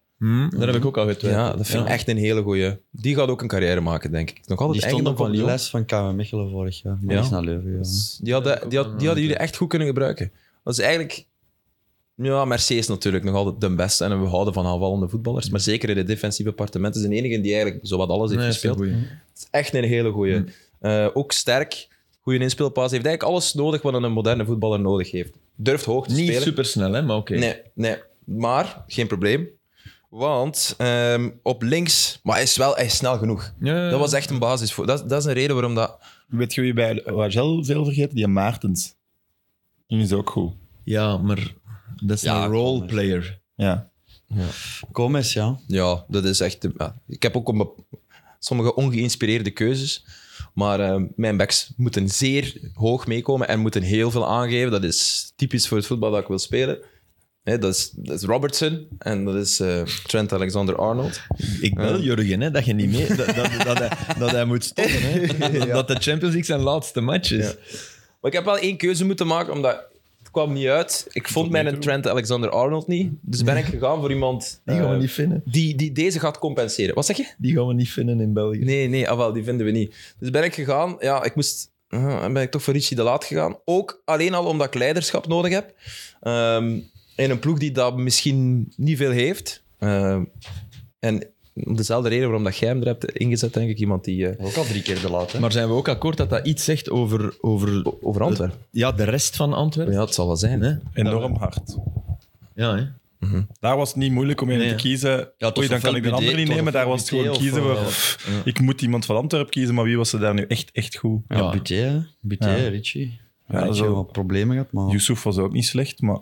Speaker 4: Daar heb ik ook al getwijfeld.
Speaker 1: Hmm. Ja, dat vind ik echt een hele goeie. Die gaat ook een carrière maken, denk ik. Nog altijd
Speaker 2: Die stond
Speaker 1: eigendom
Speaker 2: ook op
Speaker 1: van
Speaker 2: de
Speaker 1: Lyon.
Speaker 2: lijst Oh, van KW Mechelen vorig jaar. Maar
Speaker 1: Ja.
Speaker 2: die is naar Leuven gegaan.
Speaker 1: Die hadden, die, had, die hadden jullie echt goed kunnen gebruiken. Dat is eigenlijk... Ja, Mercedes is natuurlijk nog altijd de beste. En we houden van aanvallende voetballers. Maar zeker in het defensieve appartement is de enige die eigenlijk zowat alles heeft
Speaker 4: Nee, dat is een
Speaker 1: gespeeld.
Speaker 4: goeie.
Speaker 1: Het is echt een hele goeie. Eh, ook sterk. Goede inspeelpaas. Heeft eigenlijk alles nodig wat een moderne voetballer nodig heeft. Durft hoog te
Speaker 4: Niet
Speaker 1: spelen.
Speaker 4: supersnel, hè, maar oké.
Speaker 1: Nee, nee. Maar, geen probleem. Want ehm, op links... Maar hij is wel hij is snel genoeg.
Speaker 4: Ja, ja,
Speaker 1: Dat was echt een basis. Voor. Dat, dat is een reden waarom dat...
Speaker 3: Weet je wie bij Wagel veel vergeet? Die Maartens. Die is ook goed.
Speaker 4: ja, maar dat is
Speaker 2: Ja,
Speaker 4: een roleplayer.
Speaker 3: Ja.
Speaker 2: Gomez, ja.
Speaker 1: Ja, dat is echt... ja. Ik heb ook een bep- sommige ongeïnspireerde keuzes. Maar ehm, mijn backs moeten zeer hoog meekomen en moeten heel veel aangeven. Dat is typisch voor het voetbal dat ik wil spelen. Hè, dat, is, dat is Robertson en dat is eh, Trent Alexander-Arnold.
Speaker 4: Ik bel Jurgen, hè, dat je niet mee... Dat, dat, dat, hij, dat hij moet stoppen,
Speaker 1: [LAUGHS]
Speaker 4: hè. Dat de Champions League zijn laatste match is.
Speaker 1: Maar ik heb wel één keuze moeten maken, omdat het kwam niet uit. Ik vond
Speaker 3: nu
Speaker 1: mijn
Speaker 3: toe.
Speaker 1: Trent Alexander-Arnold niet. Dus ben ik gegaan voor iemand
Speaker 4: Die gaan we
Speaker 1: eh,
Speaker 4: niet vinden.
Speaker 1: die, die deze gaat compenseren. Wat zeg je?
Speaker 4: Die gaan we niet vinden in België.
Speaker 1: Nee, nee, ah, wel, die vinden we niet. Dus ben ik gegaan, ja, ik moest... ah, en ben ik toch voor Richie de Laat gegaan. Ook alleen al omdat ik leiderschap nodig heb. Ehm, in een ploeg die dat misschien niet veel heeft. Ehm, en om dezelfde reden waarom dat jij hem er hebt ingezet, denk ik. Iemand die... eh,
Speaker 2: Ook al drie keer de laat, hè.
Speaker 4: Maar zijn we ook akkoord dat dat iets zegt over, over
Speaker 1: over Antwerpen.
Speaker 4: ja, de rest van Antwerpen?
Speaker 1: Ja, het zal wel zijn, hè.
Speaker 3: Enorm hard.
Speaker 4: Ja, hè?
Speaker 3: Daar was het niet moeilijk om in
Speaker 4: Nee,
Speaker 3: te
Speaker 4: ja.
Speaker 3: kiezen.
Speaker 2: Ja, het was
Speaker 3: Oei, dan
Speaker 2: ofwel
Speaker 3: kan ik de
Speaker 2: Budé,
Speaker 3: andere
Speaker 2: het
Speaker 3: niet
Speaker 2: was
Speaker 3: nemen. Daar
Speaker 2: ofwel
Speaker 3: was het gewoon
Speaker 2: Budé
Speaker 3: kiezen.
Speaker 2: of,
Speaker 3: we-
Speaker 2: eh,
Speaker 3: pff, Ik moet iemand van Antwerpen kiezen, maar wie was er daar nu echt, echt goed?
Speaker 2: Ja,
Speaker 4: Ja.
Speaker 2: Buté, hè. Buté,
Speaker 3: Ja.
Speaker 2: Richie.
Speaker 3: Ja,
Speaker 2: Ja, Richie
Speaker 3: zo.
Speaker 2: heeft wel problemen gehad, maar...
Speaker 3: Yusuf was ook niet slecht, maar...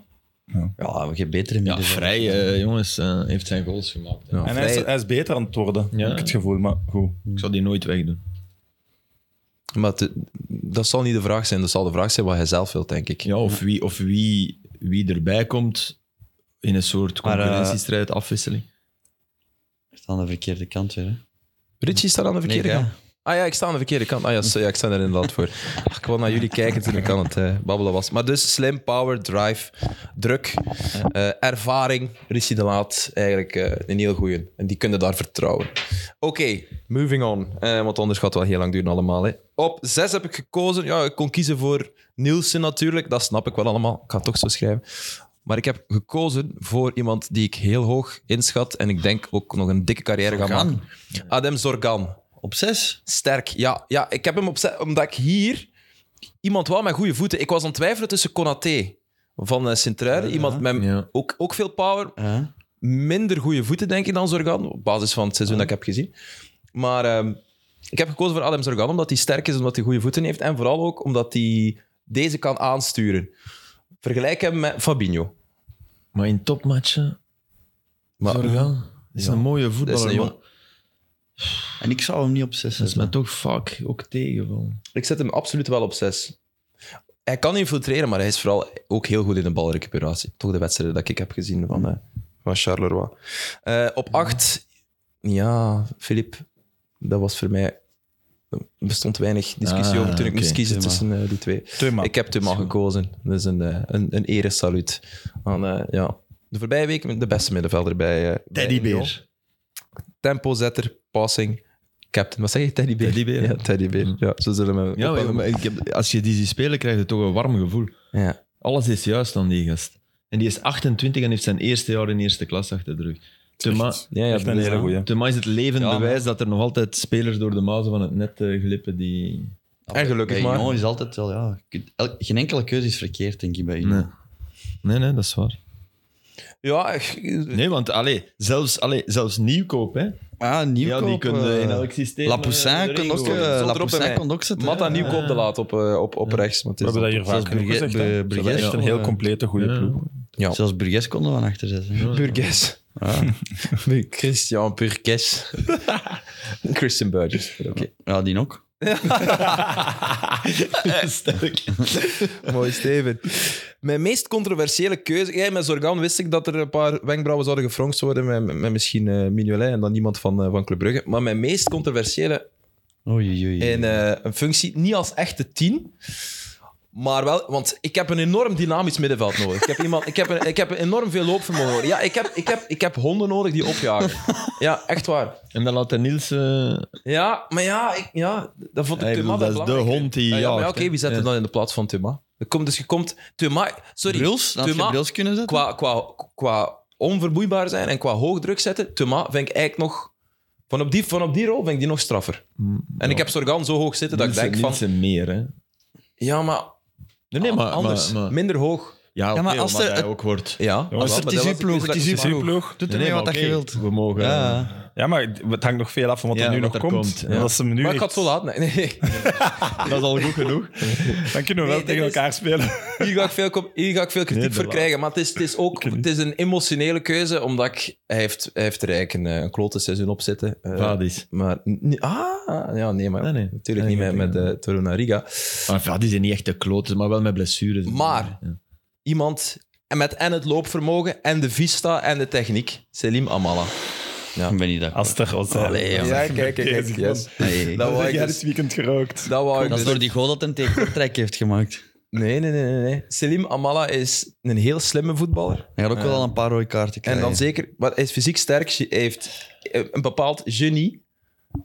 Speaker 2: Ja, we gaan beter in
Speaker 4: Ja,
Speaker 2: middenveld.
Speaker 4: vrij, eh, jongens, heeft zijn goals gemaakt.
Speaker 3: en hij is, hij is beter aan het worden,
Speaker 4: Ja.
Speaker 3: heb ik het gevoel. Maar goed.
Speaker 4: Ik zou die nooit wegdoen.
Speaker 1: Maar het- dat zal niet de vraag zijn. Dat zal de vraag zijn wat hij zelf wil, denk ik.
Speaker 4: Ja, of wie, of wie, wie erbij komt in een soort
Speaker 2: Maar, eh,
Speaker 4: concurrentiestrijd, afwisseling.
Speaker 2: Hij staat aan de verkeerde kant weer, hè.
Speaker 1: Richie staat aan de verkeerde
Speaker 2: Nee,
Speaker 1: kant.
Speaker 2: jij.
Speaker 1: Ah ja, ik sta aan de verkeerde kant. Ah ja, sorry, ja, ik sta er inderdaad voor. Ach, Ik wil naar jullie kijken toen ik aan het eh, babbelen was. Maar dus slim, power, drive, druk, eh, ervaring. Rissi de Laat, eigenlijk eh, een heel goeie. En die kunnen daar vertrouwen. Oké, moving on. Eh, want anders gaat het wel heel lang duren allemaal. Hè. Op zes heb ik gekozen. Ja, ik kon kiezen voor Nielsen natuurlijk. Dat snap ik wel allemaal. Ik ga het toch zo schrijven. Maar ik heb gekozen voor iemand die ik heel hoog inschat. En ik denk ook nog een dikke carrière gaat
Speaker 2: Zorgan.
Speaker 1: maken. Adem Zorgan.
Speaker 2: Op zes?
Speaker 1: Sterk, ja. ja ik heb hem opzet, omdat ik hier iemand wel met goede voeten. Ik was aan het twijfelen tussen Konaté van eh, Sint-Truiden. Iemand met
Speaker 4: Ja.
Speaker 1: ook, ook veel power. Minder goede voeten, denk ik, dan Zorgan. Op basis van het seizoen dat ik heb gezien. Maar ehm, ik heb gekozen voor Adam Zorgan omdat hij sterk is, omdat hij goede voeten heeft. En vooral ook omdat hij deze kan aansturen. Vergelijk hem met Fabinho.
Speaker 4: Maar in topmatchen,
Speaker 1: Maar
Speaker 4: Zorgan, is een mooie
Speaker 1: dat is
Speaker 4: voetballer.
Speaker 1: een
Speaker 4: maar
Speaker 1: jong-
Speaker 2: En ik zou hem niet op zes
Speaker 4: Dat is
Speaker 2: zetten.
Speaker 4: mij toch vaak ook tegengevallen.
Speaker 1: ik zet hem absoluut wel op zes. Hij kan infiltreren, maar hij is vooral ook heel goed in de balrecuperatie. Toch de wedstrijden dat ik heb gezien van, eh, van Charleroi. Eh, op acht, ja, Filip, dat was voor mij. Er bestond weinig discussie
Speaker 4: Ah,
Speaker 1: over toen ik moest
Speaker 4: oké,
Speaker 1: kiezen
Speaker 2: Thuma.
Speaker 1: tussen eh, die twee.
Speaker 3: Thuma.
Speaker 1: Ik heb Thuma gekozen. Dus een, eh, een, een eresaluut aan eh, ja, de voorbije week de beste middenvelder bij. eh, bij Union. Tempozetter, passing, captain. Wat zeg je? Teddybeer?
Speaker 4: Teddybeer,
Speaker 1: Ja, teddybeer. Ja, zo zullen we hem
Speaker 4: Mm. Ja,
Speaker 1: ook wel
Speaker 4: maar, maar ik heb, als je die ziet spelen, krijg je toch een warm gevoel.
Speaker 1: Ja.
Speaker 4: Alles is juist aan die gast. En die is 28 en heeft zijn eerste jaar in eerste klas achter de rug. Thema,
Speaker 1: Ja, ja,
Speaker 3: Echt een hele goeie.
Speaker 4: Thema is het levend
Speaker 1: Ja, maar-
Speaker 4: bewijs dat er nog altijd spelers door de mazen van het net eh, glippen die...
Speaker 1: En gelukkig
Speaker 2: Bij
Speaker 1: maar.
Speaker 2: Union is altijd wel, ja. je kunt- el- geen enkele keuze is verkeerd, denk ik, bij Union.
Speaker 4: Nee. nee, nee, dat is waar.
Speaker 1: Ja, echt.
Speaker 4: Nee, want allee, zelfs, allee, zelfs nieuwkoop, hè.
Speaker 2: Ah,
Speaker 4: ja,
Speaker 2: Nieuwkoop.
Speaker 4: die kunnen
Speaker 2: eh,
Speaker 4: in elk systeem... eh,
Speaker 2: Lapoussin
Speaker 4: erin
Speaker 2: kon ook,
Speaker 4: gooien.
Speaker 1: Stond
Speaker 2: eh,
Speaker 1: erop bij
Speaker 2: Lapoussin
Speaker 1: mij.
Speaker 2: kon ook zetten.
Speaker 1: Matta
Speaker 2: hè.
Speaker 1: Nieuwkoop de laat op, eh, op, op rechts. Maar het
Speaker 3: We
Speaker 1: is
Speaker 3: hebben dat
Speaker 1: dan
Speaker 3: hier
Speaker 2: zelfs
Speaker 3: vaak
Speaker 1: toch-
Speaker 3: genoeg
Speaker 2: Brugge-
Speaker 3: gezegd. hè. Ze
Speaker 2: eh,
Speaker 3: hebben
Speaker 2: Brugge-
Speaker 3: echt een heel complete, goede
Speaker 4: Ja.
Speaker 3: ploeg.
Speaker 1: Ja.
Speaker 2: Zelfs Burgess konden we van achter zetten. hè.
Speaker 1: Burgess. [LAUGHS]
Speaker 2: Ja.
Speaker 1: Christian [LAUGHS] Burgess. Christian Burgess. Oké.
Speaker 2: ja, die ook.
Speaker 4: Sterk.
Speaker 1: Mooi, Steven. Mijn meest controversiële keuze... Jij, met Zorgan wist ik dat er een paar wenkbrauwen zouden gefronst worden met, met misschien eh Mignolet en dan iemand van, eh, van Club Brugge. Maar mijn meest controversiële
Speaker 2: Oei, oei, oei.
Speaker 1: in eh, een functie, niet als echte tien, maar wel, want ik heb een enorm dynamisch middenveld nodig. Ik heb, iemand, ik heb, een, ik heb een enorm veel loopvermogen nodig. Ja, ik heb, ik, heb, ik heb honden nodig die opjagen. Ja, echt waar.
Speaker 4: En dan laat de Niels... eh,
Speaker 1: Ja, maar ja, ik, ja dat vond ik
Speaker 4: Hey, ik
Speaker 1: Thuma
Speaker 4: bedoel, dat is de
Speaker 1: belangrijker.
Speaker 4: hond die
Speaker 1: Ah, Ja, maar ja,
Speaker 4: jaagt,
Speaker 1: oké,
Speaker 4: hè. Eh,
Speaker 1: wie zet er
Speaker 4: Ja.
Speaker 1: dan in de plaats van Thuma? Er komt, dus je komt... Thuma, sorry.
Speaker 2: Bruls? Had je
Speaker 1: Thuma-
Speaker 2: Bruls kunnen zetten?
Speaker 1: Qua, qua, qua onvermoeibaar zijn en qua hoog druk zetten, Thuma vind ik eigenlijk nog... Van op, die, van op die rol vind ik die nog straffer. En ik heb Sorgan zo hoog zitten dat ik
Speaker 4: Nielsen-
Speaker 1: denk van...
Speaker 4: Nielsen meer, hè.
Speaker 1: Ja, maar
Speaker 4: Nee, nee, maar...
Speaker 1: anders.
Speaker 4: maar- maar-
Speaker 1: Minder hoog.
Speaker 4: ja, oké,
Speaker 2: maar als
Speaker 4: omdat
Speaker 2: er-
Speaker 4: hij ook wordt...
Speaker 1: Ja,
Speaker 3: Jongens,
Speaker 1: maar
Speaker 2: het
Speaker 1: dat
Speaker 2: is
Speaker 1: was-
Speaker 2: uw ploeg, het
Speaker 1: dat
Speaker 2: is
Speaker 1: ik
Speaker 2: uw
Speaker 1: zei.
Speaker 2: ploeg. Doet ermee wat
Speaker 4: maar
Speaker 2: dat je
Speaker 4: oké,
Speaker 2: wilt.
Speaker 4: We mogen...
Speaker 2: Ja.
Speaker 3: Ja, maar het hangt nog veel af van wat
Speaker 4: Ja,
Speaker 3: er nu
Speaker 4: wat
Speaker 3: nog
Speaker 4: er
Speaker 3: komt.
Speaker 4: komt,
Speaker 3: En
Speaker 4: ja.
Speaker 3: als ze hem nu
Speaker 1: Maar ik had
Speaker 3: echt-
Speaker 1: zo
Speaker 3: [LAUGHS]
Speaker 1: laat. Nee, [LAUGHS] nee.
Speaker 4: Dat is al goed genoeg.
Speaker 3: Dan kunnen we
Speaker 1: Nee,
Speaker 3: wel
Speaker 1: dit
Speaker 3: tegen
Speaker 1: is-
Speaker 3: elkaar spelen.
Speaker 1: Hier ga ik veel, kom- hier ga ik veel kritiek
Speaker 4: Nee, de
Speaker 1: voor
Speaker 4: laat.
Speaker 1: krijgen. Maar het is, het is ook het is een emotionele keuze, omdat ik, hij, heeft, hij heeft er eigenlijk een, eh, een klote seizoen op zitten. Eh,
Speaker 4: [LAUGHS] Vadis.
Speaker 1: maar, n- ah, ja, nee, maar
Speaker 4: Nee, nee.
Speaker 1: natuurlijk
Speaker 4: Nee,
Speaker 1: niet
Speaker 4: ik
Speaker 1: met,
Speaker 4: denk
Speaker 1: met eh, Toruna Riga.
Speaker 4: Maar Vadis is niet echt de klote, maar wel met blessures.
Speaker 1: Maar-
Speaker 4: Ja.
Speaker 1: Iemand en met en het loopvermogen, en de vista, en de techniek. Selim Amala.
Speaker 2: Dan ben je daar.
Speaker 3: Als er, als er-
Speaker 2: Allee,
Speaker 3: als
Speaker 2: jongen.
Speaker 3: er-
Speaker 1: Ja, kijk, kijk, kijk, yes.
Speaker 2: Nee.
Speaker 1: Dat
Speaker 3: Dat
Speaker 1: wou
Speaker 3: heb
Speaker 1: ik
Speaker 3: jij
Speaker 1: dus-
Speaker 3: dit weekend gerookt.
Speaker 1: Dat wou ik
Speaker 2: Dat is
Speaker 1: dus-
Speaker 2: door die goal dat hem tegen Kortrijk heeft gemaakt.
Speaker 1: Nee, nee, nee, nee, nee. Selim Amala is een heel slimme voetballer.
Speaker 2: Hij had ook wel al een paar rode kaarten
Speaker 1: En
Speaker 2: krijgen.
Speaker 1: dan zeker, maar hij is fysiek sterk, hij heeft een bepaald genie.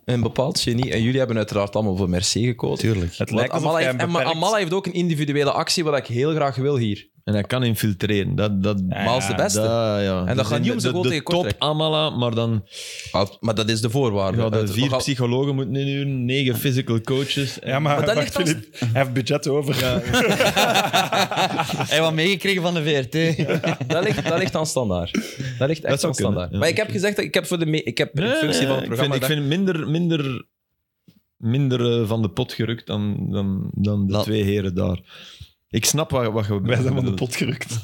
Speaker 1: Een bepaald genie. En jullie hebben uiteraard allemaal voor Mercier gekozen.
Speaker 2: Tuurlijk.
Speaker 3: Het
Speaker 1: Want
Speaker 3: lijkt alsof
Speaker 1: Amala
Speaker 3: jij
Speaker 1: heeft,
Speaker 3: een
Speaker 1: en maar
Speaker 3: beperkt...
Speaker 1: Amala heeft ook een individuele actie, wat ik heel graag wil hier.
Speaker 4: En hij kan infiltreren. Dat, dat,
Speaker 1: Maar als de beste.
Speaker 4: Dat, ja. Dus
Speaker 1: dat gaat
Speaker 4: in
Speaker 1: niet om
Speaker 4: de-
Speaker 1: zijn goal
Speaker 4: de,
Speaker 1: tegen
Speaker 4: de top
Speaker 1: Kortrijk.
Speaker 4: Amala, maar dan
Speaker 1: Ah, Maar dat is de voorwaarde.
Speaker 4: ja, de
Speaker 1: Uit-
Speaker 4: vier
Speaker 1: maar-
Speaker 4: psychologen moeten inhuren, negen physical coaches. En-
Speaker 3: Ja, maar,
Speaker 1: Maar dat
Speaker 3: wacht,
Speaker 1: ligt als-
Speaker 3: Filip, hij heeft budget over. [LAUGHS]
Speaker 2: Hij had meegekregen van de VRT.
Speaker 1: [LAUGHS] dat, ligt, dat ligt aan standaard. Dat ligt echt
Speaker 4: zou
Speaker 1: aan standaard.
Speaker 4: kunnen, ja.
Speaker 1: maar ik heb gezegd, dat ik heb voor de me- ik heb
Speaker 4: Nee,
Speaker 1: in functie
Speaker 4: nee,
Speaker 1: van het
Speaker 4: ik
Speaker 1: programma...
Speaker 4: vind, ik
Speaker 1: dat-
Speaker 4: vind hem minder, minder, minder eh, van de pot gerukt dan, dan, dan de
Speaker 2: Laat-
Speaker 4: twee heren daar. Ik snap wat, wat je
Speaker 3: Wij zijn van de
Speaker 4: bedoelt.
Speaker 3: pot gerukt.
Speaker 1: [LAUGHS]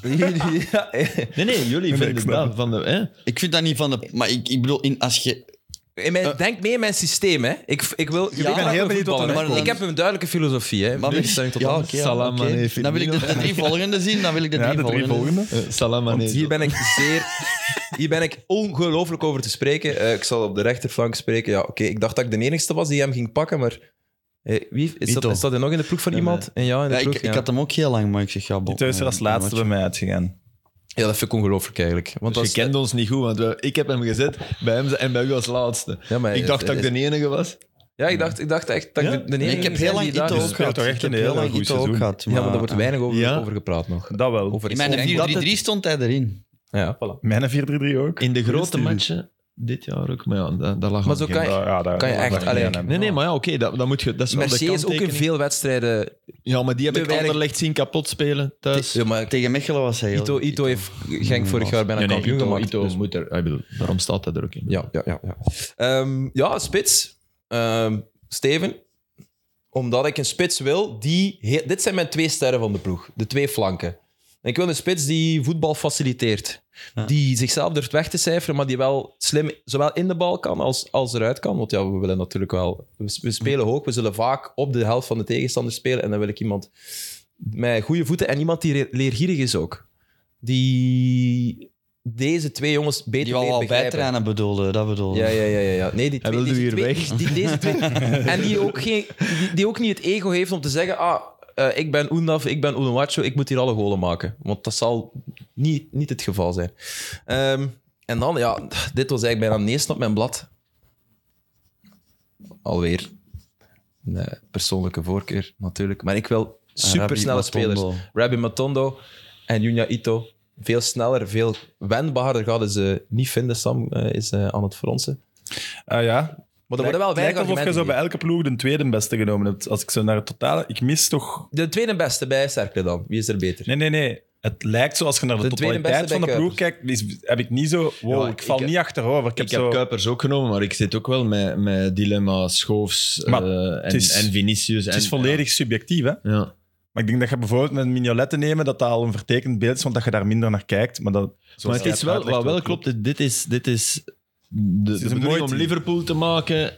Speaker 1: ja, eh,
Speaker 4: [LAUGHS] Nee, nee, jullie
Speaker 3: Nee,
Speaker 4: vinden
Speaker 3: ik snap
Speaker 4: dat
Speaker 3: het.
Speaker 4: van de... Hè?
Speaker 2: Ik vind dat niet van de. Maar ik, ik bedoel, in, als je
Speaker 1: in mijn, Eh, denk mee in mijn systeem, hè. Ik, ik wil... je weet
Speaker 2: Eh. ben
Speaker 1: dat
Speaker 2: heel benieuwd
Speaker 1: ik
Speaker 2: wat
Speaker 1: voetballer
Speaker 2: er
Speaker 1: ben,
Speaker 2: komt.
Speaker 1: maar Ik heb een duidelijke filosofie, hè.
Speaker 2: Maar
Speaker 1: Nu
Speaker 2: met-
Speaker 1: stel ik tot
Speaker 2: ja,
Speaker 1: aan.
Speaker 2: oké, ja,
Speaker 7: Salam,
Speaker 2: oké.
Speaker 7: Mané, Firmino.
Speaker 2: Dan wil ik de, de drie volgende zien. Dan wil ik de drie,
Speaker 3: Ja, de drie
Speaker 2: volgende.
Speaker 3: volgende.
Speaker 7: Eh, Salam Mané.
Speaker 1: Hier ben ik zeer... Hier ben ik ongelooflijk over te spreken. Eh, ik zal op de rechterflank spreken. Ja, oké. Ik dacht dat ik de enigste was die hem ging pakken, maar... eh, wie, is, dat,
Speaker 2: Vito.
Speaker 1: is dat er nog in de ploeg van
Speaker 2: Ja,
Speaker 1: iemand? En ja, in de
Speaker 2: Ja,
Speaker 1: ploeg,
Speaker 2: ik,
Speaker 1: ja.
Speaker 2: ik had hem ook heel lang, maar ik zeg ja, bon.
Speaker 3: Tito is er als
Speaker 2: eh,
Speaker 3: laatste bij
Speaker 2: wat-
Speaker 3: mij uitgegaan.
Speaker 1: ja, dat vind ik ongelooflijk eigenlijk. Want
Speaker 4: Dus
Speaker 1: als-
Speaker 4: je kende ons niet goed, want we- ik heb hem gezet bij hem en bij u als laatste.
Speaker 1: Ah, ja, maar
Speaker 4: Ik dacht
Speaker 1: het-
Speaker 4: dat ik de enige was.
Speaker 1: Ja, ik dacht, ik dacht echt dat ik
Speaker 3: Ja?
Speaker 1: de, de
Speaker 2: Nee,
Speaker 1: enige
Speaker 2: ik heb
Speaker 1: ben
Speaker 2: heel lang
Speaker 1: die daar
Speaker 2: Ito
Speaker 1: is.
Speaker 2: ook
Speaker 3: speelt
Speaker 2: gehad.
Speaker 3: toch echt
Speaker 2: Ik heb
Speaker 3: een
Speaker 2: heel
Speaker 3: hele
Speaker 2: lang
Speaker 3: goede
Speaker 2: Ito ook
Speaker 3: seizoen.
Speaker 2: gehad.
Speaker 1: Ja, maar daar wordt weinig over,
Speaker 4: Ja.
Speaker 1: over gepraat nog.
Speaker 3: Dat wel.
Speaker 1: Over
Speaker 2: In
Speaker 1: is
Speaker 2: mijn
Speaker 1: denk-
Speaker 2: 4-3-3 stond hij erin.
Speaker 1: Ja.
Speaker 3: Mijn 4-3-3 ook.
Speaker 4: In de grote
Speaker 3: studie.
Speaker 4: matchen dit jaar ook, maar ja, dat, dat lag
Speaker 1: Maar
Speaker 4: aan
Speaker 1: zo
Speaker 4: geen-
Speaker 1: kan je,
Speaker 3: ja, daar-
Speaker 1: kan je
Speaker 3: daar
Speaker 1: echt-
Speaker 3: mag
Speaker 1: allee,
Speaker 3: niet aan
Speaker 4: Nee,
Speaker 3: hebben.
Speaker 4: nee, maar ja, oké, dat, dat moet je... Dat is wel de
Speaker 1: Mercier is ook in
Speaker 4: kanttekening.
Speaker 1: veel wedstrijden.
Speaker 4: Ja, maar die heb
Speaker 1: te
Speaker 4: ik
Speaker 1: weinig-
Speaker 4: Anderlecht zien kapot spelen thuis.
Speaker 1: Ja, maar
Speaker 2: Tegen Mechelen was hij heel
Speaker 1: Ito, Ito heeft Genk vorig jaar bijna
Speaker 4: Ja, nee,
Speaker 1: kampioen
Speaker 4: Ito-
Speaker 1: gemaakt.
Speaker 4: Ito
Speaker 1: dus-
Speaker 4: moet er, ah, ik bedoel, daarom staat hij er ook in.
Speaker 1: Ja, ja, ja. Ja, Ehm, ja spits. Ehm, Steven. Omdat ik een spits wil die... he- Dit zijn mijn twee sterren van de ploeg. De twee flanken. En ik wil een spits die voetbal faciliteert.
Speaker 2: Ja.
Speaker 1: Die zichzelf durft weg te cijferen, maar die wel slim zowel in de bal kan als, als eruit kan. Want ja, we willen natuurlijk wel... We, s- we spelen hoog. We zullen vaak op de helft van de tegenstander spelen. En dan wil ik iemand met goede voeten en iemand die re- leergierig is ook. Die deze twee jongens beter
Speaker 2: Die wel
Speaker 1: leert
Speaker 2: al
Speaker 1: begrijpen.
Speaker 2: bijtrainen bedoelde, dat bedoelde.
Speaker 1: Ja, ja, ja, ja. ja. Nee, die
Speaker 4: Hij
Speaker 1: twee,
Speaker 4: wilde
Speaker 1: deze
Speaker 4: weer
Speaker 1: twee-
Speaker 4: weg.
Speaker 1: die- deze twee, en die ook, geen, die, die ook niet het ego heeft om te zeggen: ah, eh, ik ben Oendaf, ik ben Oenuwacho, ik moet hier alle golen maken. Want dat zal niet, niet het geval zijn. Ehm, en dan, ja, dit was eigenlijk bijna neest op mijn blad. Alweer een eh, persoonlijke voorkeur, natuurlijk. Maar ik wil supersnelle
Speaker 2: Matondo.
Speaker 1: spelers. Rabbi Matondo en Junya Ito. Veel sneller, veel wendbaarder gaan ze niet vinden. Sam eh, is eh, aan het fronsen.
Speaker 3: Ah ja.
Speaker 1: Maar er worden wel weinig
Speaker 3: Lijkt alsof je
Speaker 1: argumenten
Speaker 3: zo bij elke ploeg de tweede beste genomen hebt. Als ik zo naar het totale... Ik mis toch...
Speaker 1: gegeven. De tweede beste bij Cercle dan. Wie is er beter?
Speaker 3: Nee, nee, nee. Het lijkt zo, als je naar de,
Speaker 1: De tweede
Speaker 3: totaliteit
Speaker 1: beste
Speaker 3: van de
Speaker 1: bij
Speaker 3: ploeg kijkt, is- heb ik niet zo... Wow,
Speaker 4: Ja,
Speaker 3: ik val
Speaker 4: ik-
Speaker 3: niet achterover. Ik heb
Speaker 4: Ik heb
Speaker 3: zo...
Speaker 4: Kuipers ook genomen, maar ik zit ook wel met, met dilemma Schoofs eh,
Speaker 3: Maar
Speaker 4: en,
Speaker 3: het is-
Speaker 4: en Vinicius.
Speaker 3: het
Speaker 4: en,
Speaker 3: is volledig subjectief, hè.
Speaker 4: Ja. Ja.
Speaker 3: Maar ik denk dat je bijvoorbeeld met mignoletten nemen, dat dat al een vertekend beeld is, want dat je daar minder naar kijkt. Maar, dat,
Speaker 4: Maar
Speaker 3: zoals
Speaker 4: het is
Speaker 3: jij
Speaker 4: wel,
Speaker 3: uitlegt,
Speaker 4: wat wel klopt, dit is, dit is de, de
Speaker 3: een mooi
Speaker 4: bedoeling om
Speaker 3: team.
Speaker 4: Liverpool te maken,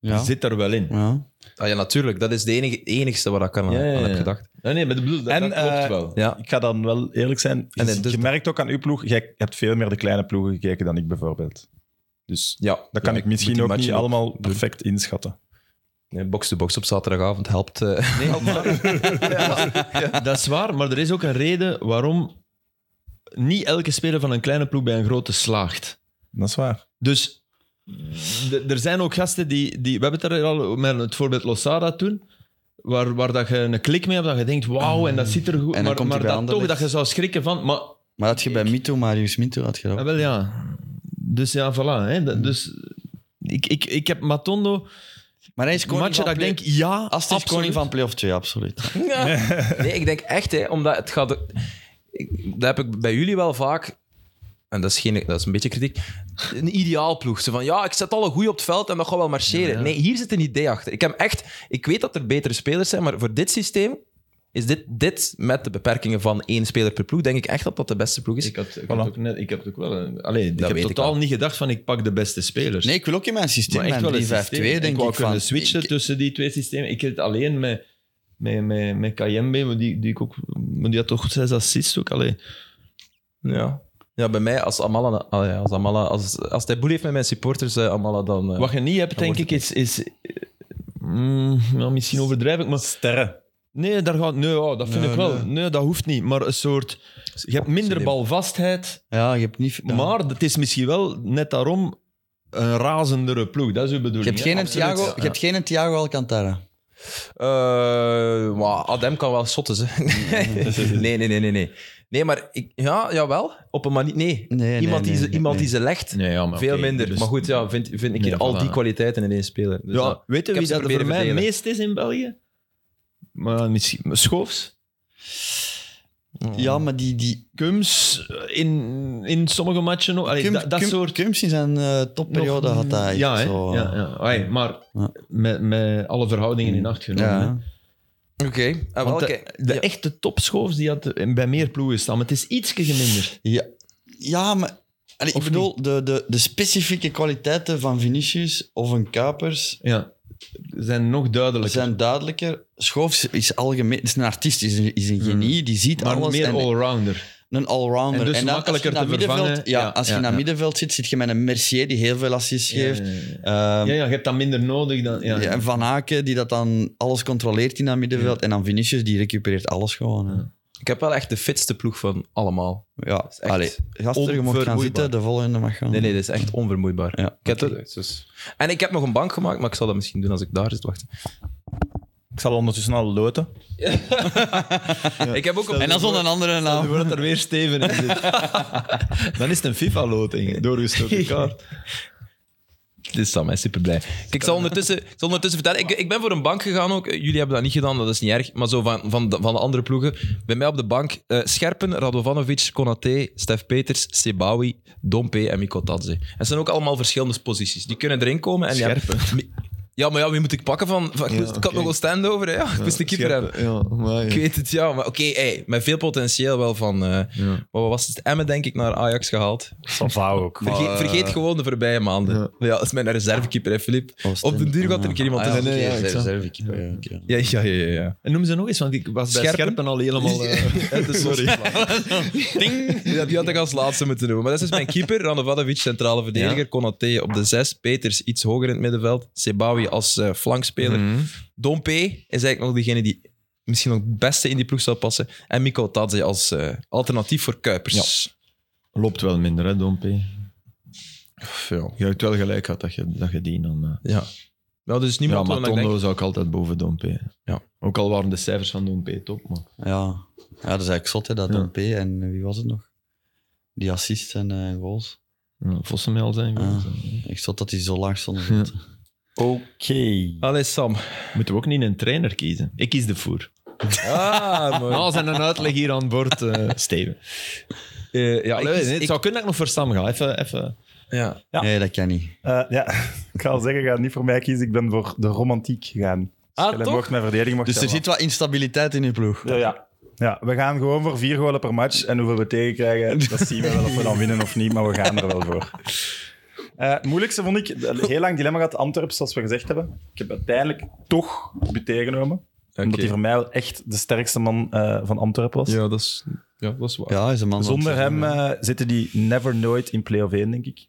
Speaker 2: Ja.
Speaker 4: zit er wel in.
Speaker 2: Ja.
Speaker 1: Ah, ja, natuurlijk. Dat is de enige, enigste waar ik aan,
Speaker 4: Ja, ja, ja.
Speaker 1: aan heb gedacht.
Speaker 4: Nee, nee, maar ik bedoel, dat,
Speaker 3: En,
Speaker 4: dat klopt
Speaker 3: eh,
Speaker 4: [LAUGHS] wel.
Speaker 1: Ja.
Speaker 3: Ik ga dan wel eerlijk zijn.
Speaker 1: En het-
Speaker 3: je
Speaker 1: dus-
Speaker 3: merkt ook aan uw ploeg, jij hebt veel meer de kleine ploegen gekeken dan ik bijvoorbeeld. Dus
Speaker 1: Ja,
Speaker 3: dat kan
Speaker 1: Ja,
Speaker 3: ik misschien
Speaker 1: moet die
Speaker 3: ook niet
Speaker 1: matchen
Speaker 3: allemaal perfect inschatten.
Speaker 1: Nee, Box-to-box op zaterdagavond
Speaker 4: [LAUGHS]
Speaker 1: helpt. eh.
Speaker 4: Dat is waar, maar er is ook een reden waarom niet elke speler van een kleine ploeg bij een grote slaagt.
Speaker 3: Dat is waar.
Speaker 4: Dus d- er zijn ook gasten die, die... We hebben het er al met het voorbeeld Losada toen. Waar, waar dat je een klik mee hebt, dat je denkt, wauw, en dat ziet er goed.
Speaker 2: En dan
Speaker 4: maar
Speaker 2: komt
Speaker 4: maar
Speaker 2: hij bij
Speaker 4: dat
Speaker 2: Anderlecht.
Speaker 4: toch, dat je zou schrikken van... Maar,
Speaker 2: Maar had je bij Mito, Marius Mito, had je dat ook.
Speaker 4: ah, wel ja. Dus ja, voilà. Hè.
Speaker 2: Hmm.
Speaker 4: Dat- Dus ik, ik, ik heb Matondo...
Speaker 2: Maar hij is koning
Speaker 4: matchen
Speaker 2: van
Speaker 4: dat ik
Speaker 2: play-
Speaker 4: denk, ja,
Speaker 2: Astrid is
Speaker 4: absoluut.
Speaker 2: koning van play-off 2, absoluut.
Speaker 1: nee, ik denk echt, hè, omdat het gaat. Ik, dat heb ik bij jullie wel vaak. En dat is, geen, dat is een beetje kritiek. Een ideaal ploeg. Ze van ja, ik zet alle goeie op het veld en dat gaat wel marcheren.
Speaker 4: Ja, ja.
Speaker 1: Nee, hier zit een idee achter. Ik, heb echt, ik weet dat er betere spelers zijn, maar voor dit systeem is dit, dit met de beperkingen van één speler per ploeg, denk ik echt dat dat de beste ploeg is.
Speaker 4: Ik, had, ik,
Speaker 3: Voilà.
Speaker 4: had ook net, ik heb ook wel... Een, allee, ik
Speaker 1: Dat
Speaker 4: heb
Speaker 1: weet ik
Speaker 4: totaal
Speaker 1: wel.
Speaker 4: niet gedacht van, ik pak de beste spelers.
Speaker 2: Nee, ik wil ook in mijn systeem,
Speaker 4: maar echt wel
Speaker 2: mijn
Speaker 4: een
Speaker 2: 3-5-2,
Speaker 4: systeem.
Speaker 2: denk ik.
Speaker 4: ik wou
Speaker 2: van,
Speaker 4: kunnen switchen
Speaker 2: ik-
Speaker 4: tussen die twee systemen. Ik heb het alleen met, met, met, met Kayembe, maar die, die, ik ook, maar die had toch zes assists ook. Allee.
Speaker 1: Ja. Ja, bij mij, als Amala, ah ja, als, Amala als, als hij boel heeft met mijn supporters, eh, Amala dan... eh,
Speaker 4: Wat je niet hebt, denk ik, is... is Mm, nou, misschien overdrijf ik, maar...
Speaker 3: Sterren.
Speaker 4: Nee, daar gaat, nee ja, dat vind
Speaker 2: Nee,
Speaker 4: ik wel.
Speaker 2: nee.
Speaker 4: Nee. dat hoeft niet. Maar een soort... Je hebt minder
Speaker 1: Slim.
Speaker 4: balvastheid,
Speaker 2: Ja, je hebt niet... ja.
Speaker 4: maar het is misschien wel net daarom een razendere ploeg. Dat is uw
Speaker 2: Je
Speaker 4: bedoeling.
Speaker 2: hebt
Speaker 4: hè?
Speaker 2: geen
Speaker 4: Absoluut.
Speaker 2: Thiago, je hebt geen Thiago Alcantara.
Speaker 1: Eh, maar Adem kan wel schotten, hè. [LAUGHS] nee, nee, nee, nee, nee. Nee, maar ik, ja, jawel, op een manier... Nee,
Speaker 2: Nee, nee,
Speaker 1: iemand, die
Speaker 2: nee,
Speaker 1: ze,
Speaker 2: nee,
Speaker 1: iemand
Speaker 2: nee.
Speaker 1: die ze legt,
Speaker 4: Nee, ja, maar
Speaker 1: veel
Speaker 4: oké,
Speaker 1: minder.
Speaker 4: dus-
Speaker 1: maar goed, ja, vind, vind ik hier
Speaker 4: Nee,
Speaker 1: al die
Speaker 4: voilà.
Speaker 1: kwaliteiten in één speler. Dus
Speaker 4: ja,
Speaker 1: dat-
Speaker 4: weet je
Speaker 1: ik
Speaker 4: wie
Speaker 1: heb
Speaker 4: dat
Speaker 1: ze
Speaker 4: er voor
Speaker 1: proberen
Speaker 4: mij
Speaker 1: verdelen.
Speaker 4: meest is in België? Maar misschien Schoofs.
Speaker 2: Ja, maar die... die
Speaker 4: Kums eh, in, in sommige matchen ook. Allee,
Speaker 2: Cum-
Speaker 4: dat, dat
Speaker 2: Cum-
Speaker 4: soort...
Speaker 2: Cums in zijn eh, topperiode
Speaker 4: nog-
Speaker 2: had hij echt
Speaker 4: ja, hè?
Speaker 2: zo... eh,
Speaker 4: ja, ja. Allee, maar
Speaker 2: Ja.
Speaker 4: Met, met alle verhoudingen in acht genomen. hè.
Speaker 2: Ja.
Speaker 1: Oké, ah, wel,
Speaker 4: Want de,
Speaker 1: kijk.
Speaker 4: de
Speaker 1: Ja.
Speaker 4: echte topschoofs die had bij meer ploegen staan. Maar het is ietsje geminderd.
Speaker 2: Ja, ja maar Allee, ik
Speaker 4: Of
Speaker 2: bedoel, de, de, de specifieke kwaliteiten van Vinicius of een Kuipers
Speaker 4: Ja. Zijn nog duidelijker.
Speaker 2: zijn duidelijker. Schoofs is algemeen, is een artiest, is een, is een genie, die ziet
Speaker 4: Mm. maar
Speaker 2: alles.
Speaker 4: meer
Speaker 2: en-
Speaker 4: allrounder.
Speaker 2: Een allrounder.
Speaker 4: En dus
Speaker 2: dan
Speaker 4: makkelijker
Speaker 2: als je
Speaker 4: te
Speaker 2: naar middenveld-
Speaker 4: vervangen.
Speaker 2: Ja,
Speaker 4: Ja,
Speaker 2: als je
Speaker 4: ja,
Speaker 2: naar
Speaker 4: ja.
Speaker 2: middenveld zit, zit je met een Mercier die heel veel assists geeft.
Speaker 4: Ja, ja, ja.
Speaker 2: Ehm,
Speaker 4: Ja, ja, je hebt dat minder nodig dan... Ja,
Speaker 2: ja, en Van Aken die dat dan alles controleert in dat middenveld. En dan Vinicius die recupereert alles gewoon. hè.
Speaker 1: Ik heb wel echt de fitste ploeg van allemaal.
Speaker 2: Ja,
Speaker 1: echt
Speaker 2: allee, gasten, je mocht gaan
Speaker 1: onvermoeibaar.
Speaker 2: zitten, de volgende mag gaan.
Speaker 1: Nee, nee, dat is echt onvermoeibaar.
Speaker 2: Ja,
Speaker 1: ik heb dat- En ik heb nog een bank gemaakt, maar ik zal dat misschien doen als ik daar zit. Wacht.
Speaker 3: Ik zal ondertussen al loten.
Speaker 1: Ik heb ook een...
Speaker 2: En dan zonder een andere naam.
Speaker 4: wordt er weer steven in [LAUGHS] Dan is het een FIFA-loting, [LAUGHS] doorgestoken kaart.
Speaker 1: Dit is Sam, hij is super blij. Kijk, ik zal ondertussen, ik zal ondertussen vertellen. Ik, ik ben voor een bank gegaan ook. Eh, Jullie hebben dat niet gedaan, dat is niet erg. Maar zo van, van, de, van de andere ploegen. Bij mij op de bank: eh, Scherpen, Radovanovic, Konaté, Stef Peters, Sebawi, Dompe en Miko Tadze. En het zijn ook allemaal verschillende posities. Die kunnen erin komen. En Scherpen. Ja, maar ja, wie moet ik pakken van? van ik, moest- ik had nog een stand over. hè. Ja, ik moest de keeper hebben.
Speaker 4: Ja, maar
Speaker 1: Ik weet het, ja. Maar oké, hey, met veel potentieel wel van... eh,
Speaker 4: Ja.
Speaker 1: Wat was het? Emmen, denk ik, naar Ajax gehaald.
Speaker 3: Van Vouw ook.
Speaker 1: Vergeet, vergeet gewoon de voorbije maanden. Ja, dat is mijn reservekeeper, hè, Filip. Op den duur gaat er een keer
Speaker 2: Ah,
Speaker 1: iemand
Speaker 2: ja,
Speaker 1: tussen.
Speaker 2: oké,
Speaker 4: nee, ja, ik zou-
Speaker 2: reservekeeper, ja, oké.
Speaker 1: Ja, ja, ja, ja. ja.
Speaker 4: En noem ze nog eens, want ik was bij
Speaker 1: Scherpen?
Speaker 4: Scherpen al
Speaker 1: [LAUGHS]
Speaker 4: helemaal... eh, uit de sorry.
Speaker 1: Die had- die had ik als laatste moeten doen. Maar dat is dus mijn keeper. Radovadovic, centrale verdediger. Konaté op de zes. Peters iets hoger in het middenveld. Sebawi als eh, flankspeler.
Speaker 4: Mhm.
Speaker 1: Dompe is eigenlijk nog degene die misschien nog het beste in die ploeg zou passen. En Miko Tadze als eh, alternatief voor Kuipers.
Speaker 4: Loopt wel minder, hè, Dompe.
Speaker 1: Ja.
Speaker 4: Je hebt wel gelijk gehad dat je, dat je die dan... eh,
Speaker 1: ja. Nou, dus
Speaker 4: Ja,
Speaker 1: niemand
Speaker 4: maar
Speaker 1: waarvan ik
Speaker 4: Tondo
Speaker 1: denk-
Speaker 4: zou ik altijd boven Dompe.
Speaker 1: Ja.
Speaker 4: Ook al waren de cijfers van Dompe top, maar...
Speaker 2: Ja. ja, dat is eigenlijk zot, hè, dat
Speaker 4: Ja.
Speaker 2: Don P. En eh, wie was het nog? Die assists en eh, goals.
Speaker 4: Ja, Vossenmel zijn
Speaker 2: Ah.
Speaker 4: goed.
Speaker 2: Echt zot dat hij zo laag stond.
Speaker 4: Ja.
Speaker 3: Oké.
Speaker 1: Allee,
Speaker 2: [LAUGHS]
Speaker 1: Sam.
Speaker 4: Moeten we ook niet een trainer kiezen? Ik kies de voer.
Speaker 1: [LAUGHS] Ah, mooi.
Speaker 4: Nou, zijn een uitleg hier aan boord,
Speaker 1: [LAUGHS]
Speaker 4: eh, Steven.
Speaker 1: Eh, ja,
Speaker 4: Ja,
Speaker 1: ik
Speaker 4: nee,
Speaker 1: kies-
Speaker 4: nee, het
Speaker 1: ik-
Speaker 4: zou kunnen dat ik nog voor Sam ga. Even, even.
Speaker 1: ja.
Speaker 2: Nee, dat kan niet.
Speaker 3: Eh, ja, [LAUGHS] ik ga al zeggen, ga niet voor mij kiezen. Ik ben voor de romantiek gegaan.
Speaker 1: Ah,
Speaker 3: Stel,
Speaker 1: toch?
Speaker 3: Mocht mijn verdediging mocht
Speaker 2: Dus er
Speaker 3: zelf
Speaker 2: zit wat instabiliteit in uw ploeg.
Speaker 3: Ja, ja. ja, we gaan gewoon voor vier golen per match. En hoeveel we tegenkrijgen, dat zien we wel of we dan winnen of niet. Maar we gaan er wel voor. Eh, het moeilijkste vond ik, de- heel lang dilemma gehad Antwerpen, zoals we gezegd hebben. Ik heb uiteindelijk toch Buté genomen. Omdat hij voor mij wel echt de sterkste man eh, van Antwerpen was.
Speaker 1: Ja, dat is, ja, dat is waar.
Speaker 2: Ja, is een man van
Speaker 3: Zonder
Speaker 2: het seizoen,
Speaker 3: hem
Speaker 2: hè.
Speaker 3: eh, zitten die never nooit in play-off 1, denk ik.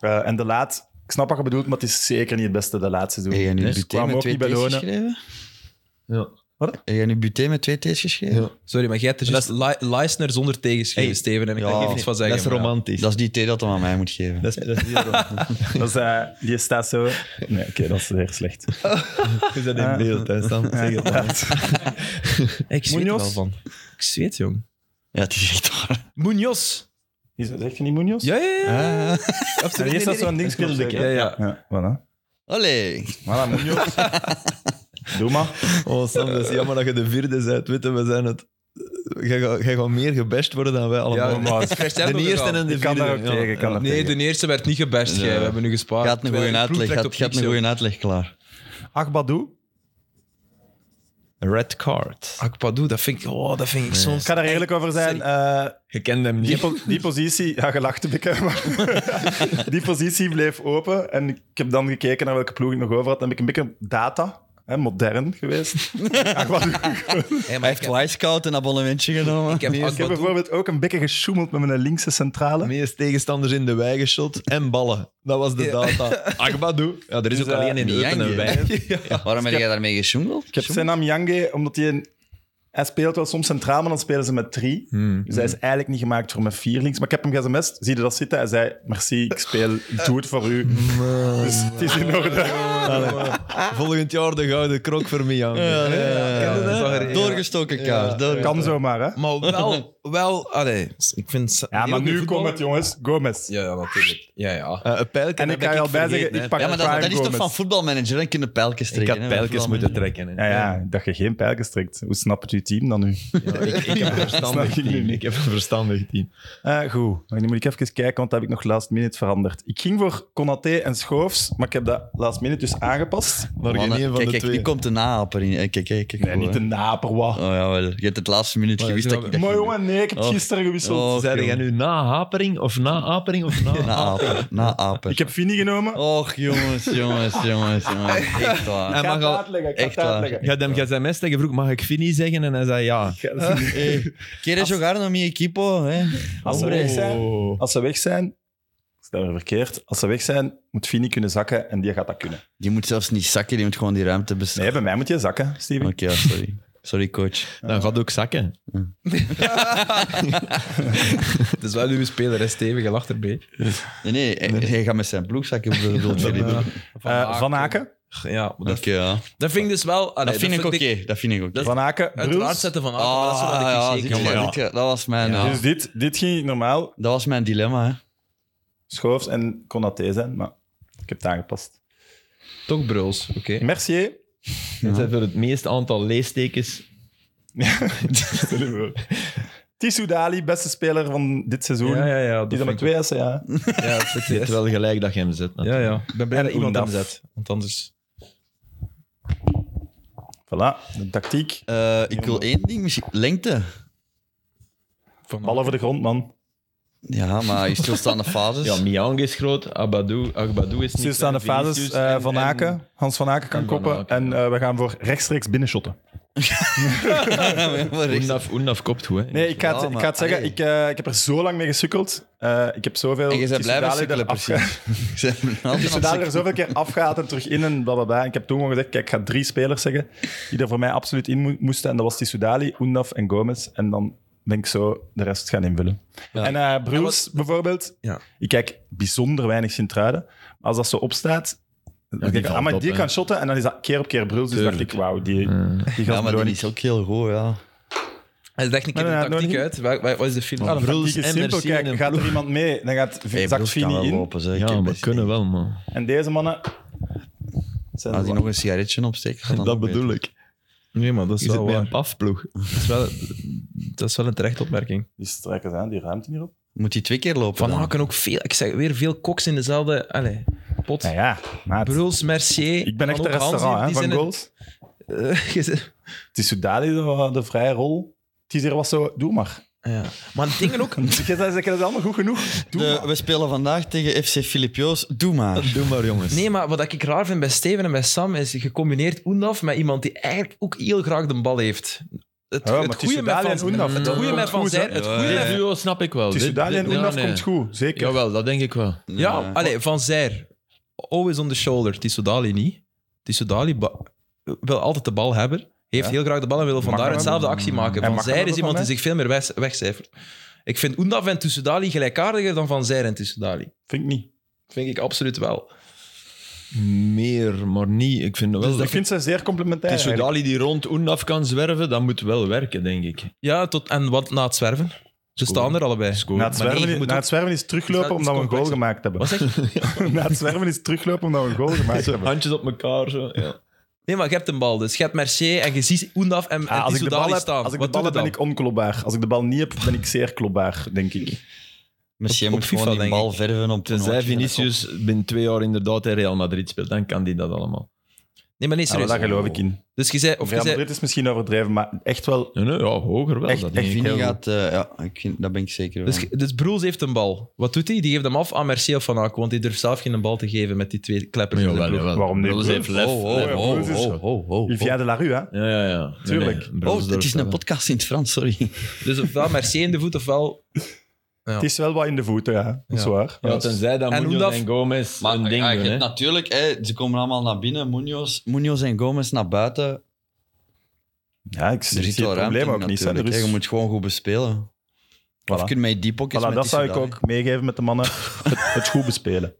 Speaker 3: Eh, en de laat, ik snap wat je bedoelt, maar het is zeker niet het beste de laatste seizoen.
Speaker 2: Heb jij nu
Speaker 3: Nee, ze
Speaker 2: Buté
Speaker 3: kwamen
Speaker 2: met
Speaker 3: ook
Speaker 2: twee
Speaker 3: niet bij
Speaker 2: T's
Speaker 3: Lonen.
Speaker 2: geschreven?
Speaker 4: [LAUGHS] Ja.
Speaker 3: Wat?
Speaker 2: Heb jij nu Buté met twee T's geschreven?
Speaker 1: Sorry, maar jij hebt er juist Lei- Leisner zonder tegenschrijven,
Speaker 4: Hey.
Speaker 1: Steven. En ik
Speaker 2: Ja.
Speaker 1: kan hier iets van zeggen.
Speaker 4: dat is
Speaker 1: maar ja.
Speaker 4: romantisch.
Speaker 2: Dat is die T dat hem aan mij moet geven.
Speaker 4: Dat is, dat is heel romantisch.
Speaker 3: Dat is, eh, die staat zo... Nee, oké, dat is weer slecht.
Speaker 4: Is dat
Speaker 3: Ah.
Speaker 4: in beeld, hè, Sam?
Speaker 3: Ja,
Speaker 4: Zeg het maar.
Speaker 3: [LAUGHS] inderdaad.
Speaker 1: Ik zweet er
Speaker 3: Munoz?
Speaker 1: wel van. Ik zweet, jong.
Speaker 2: Ja, het is echt waar.
Speaker 1: Munoz.
Speaker 3: Is- Zegt je niet Munoz?
Speaker 1: Ja, ja, ja.
Speaker 2: Ah,
Speaker 3: Ja,
Speaker 1: Absoluut.
Speaker 3: die is dat
Speaker 1: Nee, nee,
Speaker 3: zo'n ding speelde ik.
Speaker 1: nee. Ja, ja.
Speaker 3: Ja, voilà.
Speaker 2: Allee.
Speaker 3: Voilà,
Speaker 1: [LAUGHS]
Speaker 3: Munoz. Doe maar.
Speaker 4: Oh, Sam, dat is jammer dat je de vierde bent. Weet je, we zijn het... Jij gaat- jij gaat meer gebashed worden dan wij allemaal.
Speaker 1: Ja,
Speaker 4: [LAUGHS]
Speaker 3: maar het is
Speaker 1: Vers
Speaker 4: de
Speaker 1: hebben we
Speaker 4: eerste
Speaker 1: gedaan.
Speaker 4: en de vierde.
Speaker 3: Ik kan daar ook
Speaker 4: ja.
Speaker 3: tegen. ik Kan daar
Speaker 1: Nee,
Speaker 3: tegen.
Speaker 1: de eerste werd niet gebest. jij.
Speaker 2: Ja.
Speaker 1: We hebben nu gespaard.
Speaker 2: Gaat een goede
Speaker 1: Terwijl de ploeg
Speaker 2: uitleg.
Speaker 1: trekt op
Speaker 2: Gaat, gaat
Speaker 1: niks,
Speaker 2: een
Speaker 1: jong.
Speaker 2: goede uitleg klaar.
Speaker 3: Agbadou.
Speaker 4: Red card.
Speaker 1: Akpadou, dat vind ik, oh, dat vind ik
Speaker 3: Ik
Speaker 1: soms...
Speaker 3: ga daar eerlijk over zijn. eh,
Speaker 4: Je kent hem
Speaker 3: Die,
Speaker 4: niet.
Speaker 3: po- die positie, ja, gelachte bikken, maar [LAUGHS] die positie bleef open. En ik heb dan gekeken naar welke ploeg ik nog over had. Dan heb ik een beetje data, hè, modern
Speaker 1: [LAUGHS]
Speaker 3: geweest. Ja, wat-
Speaker 1: Hey,
Speaker 2: Hij
Speaker 1: maar ik
Speaker 2: heeft Wisecout een abonnementje genomen.
Speaker 1: ik heb
Speaker 3: ik heb
Speaker 1: Akpadou...
Speaker 3: bijvoorbeeld ook een beetje gesjoemeld met mijn linkse centrale.
Speaker 4: Meest tegenstanders in de wei geschot en ballen. Dat was de data. Agbadou. Ja, er is ook
Speaker 3: Dus, eh,
Speaker 4: alleen in Eupen
Speaker 2: Niang,
Speaker 4: een wei.
Speaker 2: Waarom heb jij daarmee gesjoemeld?
Speaker 3: Ik heb Senam Yange, omdat hij een... Hij speelt wel soms centraal, maar dan spelen ze met drie. Dus hij is eigenlijk niet gemaakt voor met vier links. Maar ik heb hem gesmest. Zie je dat zitten? Hij zei, merci, ik speel, ik doe het voor [LAUGHS] u. Dus het is in orde.
Speaker 4: Volgend jaar de gouden krok voor Mian. Ja,
Speaker 2: Doorgestoken kaart. door-
Speaker 3: Kan zomaar, hè?
Speaker 1: Maar wel, wel... Allee, ik vind...
Speaker 3: Ja, maar nu
Speaker 1: voetbal-
Speaker 3: komt het, jongens. Gomez.
Speaker 1: Ja, ja, natuurlijk. Ja, ja.
Speaker 4: een pijlke
Speaker 3: En ik ga je al bij zeggen, ik pak
Speaker 2: Ja, maar dat,
Speaker 3: Ryan
Speaker 2: dat is toch
Speaker 3: Gomez.
Speaker 2: van voetbalmanager? Dan kunnen pijltjes trekken.
Speaker 4: had pijlkes moeten trekken. hè.
Speaker 3: Ja, ja, dat je geen pijltjes trekt. Hoe snapt u uw team dan nu?
Speaker 4: ik, ik
Speaker 3: [LAUGHS]
Speaker 4: heb een verstandig
Speaker 3: Snap ik nu
Speaker 4: team.
Speaker 3: niet.
Speaker 4: Ik heb een verstandig team.
Speaker 3: Ah, goed, dan moet ik even kijken, want dat heb ik nog last minute veranderd. Ik ging voor Konaté en Schoofs, maar ik heb dat last minute dus aangepast.
Speaker 2: Maar
Speaker 3: geen een van
Speaker 2: kijk,
Speaker 3: de
Speaker 2: kijk,
Speaker 3: twee.
Speaker 2: nu komt de naaper in. Eh, Kijk, kijk, kijk.
Speaker 3: Nee,
Speaker 2: goed,
Speaker 3: niet
Speaker 2: hè.
Speaker 3: een naper, wat.
Speaker 2: Oh jawel, je hebt het laatste minuut gewist dat ik...
Speaker 3: Maar jongen, nee, ik heb het
Speaker 2: Oh.
Speaker 3: gisteren gewisseld.
Speaker 2: Oh,
Speaker 4: Zeiden jij nu na Hapering of na Apering of na...
Speaker 2: Na apen, na apen.
Speaker 3: Ik heb Vini genomen.
Speaker 2: Och, jongens, jongens, jongens, jongens. Echt waar.
Speaker 4: Hij
Speaker 3: ik ga het
Speaker 4: mag al-
Speaker 3: uitleggen, ik ga
Speaker 2: echt
Speaker 3: het uitleggen.
Speaker 4: Je had hem sms tegen vroeg, mag ik Fini zeggen? En hij zei ja.
Speaker 3: Ik ga het zien.
Speaker 2: Hey, ¿Quieres jugar en mi equipo? Hè?
Speaker 4: Oh.
Speaker 3: Als ze weg zijn, als ze weg zijn ik stel er verkeerd, als ze weg zijn, moet Vini kunnen zakken en die gaat dat kunnen.
Speaker 2: Die moet zelfs niet zakken, die moet gewoon die ruimte bestaan.
Speaker 3: Nee, bij mij moet je zakken, Steven.
Speaker 2: Oké, ja, sorry. Sorry, coach.
Speaker 4: Dan Nou, gaat ook zakken.
Speaker 1: Het is wel uw speler, hè, stevig, je lacht erbij.
Speaker 2: Nee, nee, hij, hij gaat met zijn ploeg zakken. bedoel- bedoel Filip. Oké,
Speaker 3: Van, Eh, Van Aken.
Speaker 1: Ja, maar dat,
Speaker 2: ja.
Speaker 1: dat vind ik dus wel... allee,
Speaker 2: Ah, Dat vind ik
Speaker 1: ik-
Speaker 2: oké, dat vind ik oké.
Speaker 3: Van Aken,
Speaker 1: Uiteraard
Speaker 3: Bruls.
Speaker 1: zetten van Aken, maar dat is
Speaker 2: Ah,
Speaker 1: wat ik
Speaker 2: ja,
Speaker 1: niet
Speaker 2: zie
Speaker 1: zeker
Speaker 2: je,
Speaker 1: ben.
Speaker 2: dit ga- dat was mijn... eh,
Speaker 3: Dus dit, dit ging normaal
Speaker 2: Dat was mijn dilemma, hè.
Speaker 3: Schoofs en Konaté zijn, maar ik heb het aangepast.
Speaker 1: Toch bruls, oké.
Speaker 3: Mercier.
Speaker 4: Dat zijn voor het meeste aantal leestekens.
Speaker 3: Tissou Dali, beste speler van dit seizoen.
Speaker 1: Ja, ja, ja. dat
Speaker 3: Die is
Speaker 1: vind
Speaker 3: dan
Speaker 1: ik
Speaker 3: met twee S'en, ja.
Speaker 1: ook-
Speaker 4: [LAUGHS]
Speaker 1: Ja, dat
Speaker 4: Het is
Speaker 1: is-
Speaker 4: wel gelijk dat je hem zet. natuurlijk.
Speaker 1: ja, ja. Ik ben blij
Speaker 3: En
Speaker 1: dat iemand hem
Speaker 3: Oendaf.
Speaker 1: zet. Want anders...
Speaker 3: Voilà, de tactiek.
Speaker 2: Eh, ik wil één ding misschien... Lengte.
Speaker 1: Van
Speaker 3: Bal over de grond, man.
Speaker 2: Ja, maar je stilstaande fases. [LAUGHS]
Speaker 4: Ja, Miang is groot, Abadou, Agbadou is niet...
Speaker 3: Ze staan de
Speaker 4: en
Speaker 3: fases
Speaker 4: Vinicius
Speaker 3: eh,
Speaker 4: en-
Speaker 3: van
Speaker 4: en-
Speaker 3: Aken. Hans van Aken kan
Speaker 4: en Van
Speaker 3: koppen.
Speaker 4: Aken.
Speaker 3: En eh, we gaan voor rechtstreeks binnenshotten.
Speaker 2: Maar echt-
Speaker 4: Oendaf, Oendaf kopt goed, hè.
Speaker 3: Nee, ik ga het,
Speaker 2: Ja,
Speaker 3: ik
Speaker 2: maar-
Speaker 3: ga het zeggen.
Speaker 2: allee.
Speaker 3: Ik, eh, ik heb er zo lang mee gesukkeld. Eh, ik heb zoveel...
Speaker 2: En je bent blij
Speaker 3: Tissou
Speaker 2: met
Speaker 3: Dali
Speaker 2: sukkelen,
Speaker 3: eraf ge-
Speaker 2: precies. [LAUGHS] Ze hebben een
Speaker 3: Dus
Speaker 2: aantal-
Speaker 3: we daar er zoveel keer afgehaald en terug in en blablabla. En ik heb toen gewoon gezegd, kijk, ik ga drie spelers zeggen die er voor mij absoluut in mo- moesten. En dat was Tissoudali, Oendaf en Gomez. En dan ben ik zo de rest gaan invullen.
Speaker 2: Ja.
Speaker 3: En eh Bruce bijvoorbeeld.
Speaker 1: Ja.
Speaker 3: Ik kijk bijzonder weinig Sint-Truiden. Als dat zo opstaat... dan denk ik,
Speaker 4: valt
Speaker 3: ah, maar
Speaker 4: op,
Speaker 3: die
Speaker 4: hè.
Speaker 3: kan shotten. En dan is dat keer op keer Bruls. Dus dacht ik, wauw, die, die
Speaker 2: Ja,
Speaker 3: gaat
Speaker 2: maar
Speaker 3: ja,
Speaker 2: die is ook heel goed, ja.
Speaker 1: Hij legt een keer
Speaker 3: Nee,
Speaker 1: de
Speaker 3: nee, nog
Speaker 1: tactiek
Speaker 3: niet.
Speaker 1: uit. Wa- wa- Wat is de film?
Speaker 3: Ja, de
Speaker 4: Bruls
Speaker 3: tactiek is
Speaker 4: en
Speaker 3: simpel.
Speaker 4: Merci
Speaker 3: Kijk,
Speaker 4: in een
Speaker 3: gaat er
Speaker 4: ploeg.
Speaker 3: iemand mee, dan gaat,
Speaker 2: Hey,
Speaker 3: zakt
Speaker 2: Bruls kan
Speaker 3: Vini
Speaker 2: wel
Speaker 3: in.
Speaker 2: lopen, zeg. Ik
Speaker 4: Ja,
Speaker 2: heb
Speaker 4: we
Speaker 2: best-
Speaker 4: kunnen wel, man.
Speaker 3: En deze mannen... Zijn
Speaker 2: Als
Speaker 3: zo-
Speaker 2: hij nog een sigaretje opsteekt, gaat nog
Speaker 4: ik.
Speaker 1: Nee, maar dat
Speaker 4: Je zit bij een pafploeg.
Speaker 1: dat is wel, dat is wel een terechte opmerking.
Speaker 3: Die strekken zijn, die ruimte hierop.
Speaker 2: beter. Moet hij twee keer lopen
Speaker 1: Van
Speaker 2: dan?
Speaker 1: Haken ook veel, ik zeg weer veel koks in dezelfde allez, pot.
Speaker 3: Nou ja, maat.
Speaker 1: Bruls, Mercier.
Speaker 3: Ik ben echt
Speaker 1: maar
Speaker 3: een
Speaker 1: ook Hansi,
Speaker 3: restaurant hè,
Speaker 1: die
Speaker 3: van
Speaker 1: zijn
Speaker 3: goals.
Speaker 1: het- eh, [LAUGHS] je zit-
Speaker 3: Het is Soudali de, de vrije rol. Het is hier was zo, doe maar.
Speaker 1: ja. Maar dingen
Speaker 3: [LAUGHS]
Speaker 1: ook.
Speaker 3: Je zei, dat is allemaal goed genoeg. Doe
Speaker 2: De-
Speaker 3: maar.
Speaker 2: we spelen vandaag tegen FC Filipios. Doe maar.
Speaker 4: Doe maar, jongens.
Speaker 1: Nee, maar wat ik raar vind bij Steven en bij Sam is gecombineerd Oendaf met iemand die eigenlijk ook heel graag de bal heeft. Het,
Speaker 3: Ja, maar
Speaker 1: het goede
Speaker 3: tussen
Speaker 1: met
Speaker 3: Dali
Speaker 1: Van
Speaker 3: en Oendaf,
Speaker 1: het
Speaker 3: dat
Speaker 1: goede met
Speaker 3: komt
Speaker 1: Van
Speaker 3: goed,
Speaker 1: Zijl-
Speaker 3: hè?
Speaker 1: het goede
Speaker 4: Dit
Speaker 1: met-
Speaker 4: duo snap ik wel.
Speaker 3: Tussen
Speaker 4: Dit-
Speaker 3: Dali
Speaker 4: dit-
Speaker 3: en
Speaker 4: ja,
Speaker 3: Oendaf
Speaker 4: nee.
Speaker 3: komt goed, zeker.
Speaker 4: Jawel, dat denk ik wel.
Speaker 1: Ja, allee, Van Zijr. Always on the shoulder. Tissoudali niet. Tissoudali ba- wil altijd de bal hebben. Heeft heel graag de bal en wil vandaar
Speaker 3: hem
Speaker 1: hetzelfde actie maken.
Speaker 3: En
Speaker 1: Van
Speaker 3: mag
Speaker 1: Zijr
Speaker 3: hem
Speaker 1: is
Speaker 3: dat
Speaker 1: iemand
Speaker 3: dan,
Speaker 1: die zich veel meer weg- wegcijfert. Ik vind Oendaf en Tissoudali gelijkaardiger dan Van Zijr en Tissoudali.
Speaker 3: Vind ik niet.
Speaker 1: Vind ik absoluut wel.
Speaker 4: Meer, maar niet. Ik vind wel...
Speaker 3: Dus ik vind ze zeer complementair.
Speaker 4: Het is
Speaker 3: eigenlijk.
Speaker 4: Dali die rond Oendaf kan zwerven, dat moet wel werken, denk ik.
Speaker 1: Ja, tot, en wat na het zwerven? Ze staan er allebei.
Speaker 3: Na het,
Speaker 1: Maar nee,
Speaker 3: zwerven,
Speaker 1: je moet
Speaker 3: na
Speaker 1: ook-
Speaker 3: het zwerven is teruglopen
Speaker 1: Is dat iets
Speaker 3: omdat we een goal
Speaker 1: complexer?
Speaker 3: gemaakt hebben.
Speaker 1: Wat zeg je?
Speaker 3: [LAUGHS] na het zwerven is teruglopen omdat we een goal gemaakt hebben.
Speaker 4: Handjes op elkaar, zo. Ja.
Speaker 1: Nee, maar je hebt een bal. Dus je hebt Mercier en je ziet Oendaf en,
Speaker 3: Ah,
Speaker 1: en
Speaker 3: als ik de
Speaker 1: Tissoudali
Speaker 3: bal heb,
Speaker 1: staan.
Speaker 3: als ik de
Speaker 1: Wat
Speaker 3: bal
Speaker 1: doe
Speaker 3: heb
Speaker 1: je dan?
Speaker 3: ben ik onklopbaar. Als ik de bal niet heb, ben ik zeer klopbaar, denk ik.
Speaker 2: Misschien
Speaker 1: Op- op
Speaker 2: moet gewoon
Speaker 1: FIFA,
Speaker 2: die
Speaker 1: denk
Speaker 2: bal verven op de
Speaker 4: Tenzij Vinicius binnen twee jaar inderdaad in Real Madrid speelt, dan kan die dat allemaal.
Speaker 1: Nee, maar nee,
Speaker 3: Nou,
Speaker 1: serieus.
Speaker 3: daar geloof ik in.
Speaker 1: Dus je zei... Of je
Speaker 3: Real
Speaker 1: zei
Speaker 3: Madrid is misschien overdreven, maar echt wel...
Speaker 4: Nee, nee, ja, hoger wel.
Speaker 3: Echt-
Speaker 4: dat
Speaker 3: echt
Speaker 4: denk ik
Speaker 2: Vini
Speaker 4: wel.
Speaker 2: gaat... eh, ja, ik, vind- dat ben ik zeker
Speaker 1: Dus,
Speaker 2: van.
Speaker 1: dus Broels heeft een bal. Wat doet hij? Die geeft hem af aan Mercier of Van Aken, want die durft zelf geen bal te geven met die twee kleppers.
Speaker 4: Maar
Speaker 1: in de
Speaker 4: jawel,
Speaker 1: ploeg.
Speaker 4: jawel.
Speaker 3: Waarom niet?
Speaker 4: Bruls heeft lef.
Speaker 2: Oh, oh,
Speaker 4: lef.
Speaker 2: oh, oh,
Speaker 3: Broers is-
Speaker 2: oh, oh, oh.
Speaker 3: Via de la Rue, hè?
Speaker 4: Ja, ja, ja. Nee,
Speaker 3: Tuurlijk.
Speaker 4: nee, Bruls
Speaker 2: Oh, het
Speaker 4: durft
Speaker 2: is een
Speaker 4: wel.
Speaker 2: podcast in het Frans, sorry.
Speaker 1: Dus ofwel Mercier in de voet, ofwel...
Speaker 3: Het is wel wat in de voeten, ja. Dat is
Speaker 1: Ja.
Speaker 3: waar.
Speaker 4: Ja, tenzij dat
Speaker 1: En
Speaker 4: Munoz
Speaker 1: Oendaf-
Speaker 4: en Gomez een ding
Speaker 2: ja, je
Speaker 4: doen,
Speaker 2: hebt
Speaker 4: hè.
Speaker 2: natuurlijk, hè, ze komen allemaal naar binnen. Munoz, Munoz en Gomez naar buiten.
Speaker 3: Ja, ik
Speaker 2: Er
Speaker 3: zie,
Speaker 2: zit
Speaker 3: zie
Speaker 2: wel
Speaker 3: het
Speaker 2: ruimte
Speaker 3: probleem
Speaker 2: in
Speaker 3: ook niet. hè. Er
Speaker 2: natuurlijk, hè.
Speaker 3: is-
Speaker 2: Je moet gewoon goed bespelen.
Speaker 3: Voilà.
Speaker 2: Of kun je met die pockets
Speaker 3: Voilà,
Speaker 2: met
Speaker 3: dat zou ik
Speaker 2: Tissot
Speaker 3: ook meegeven met de mannen. Het, het goed bespelen.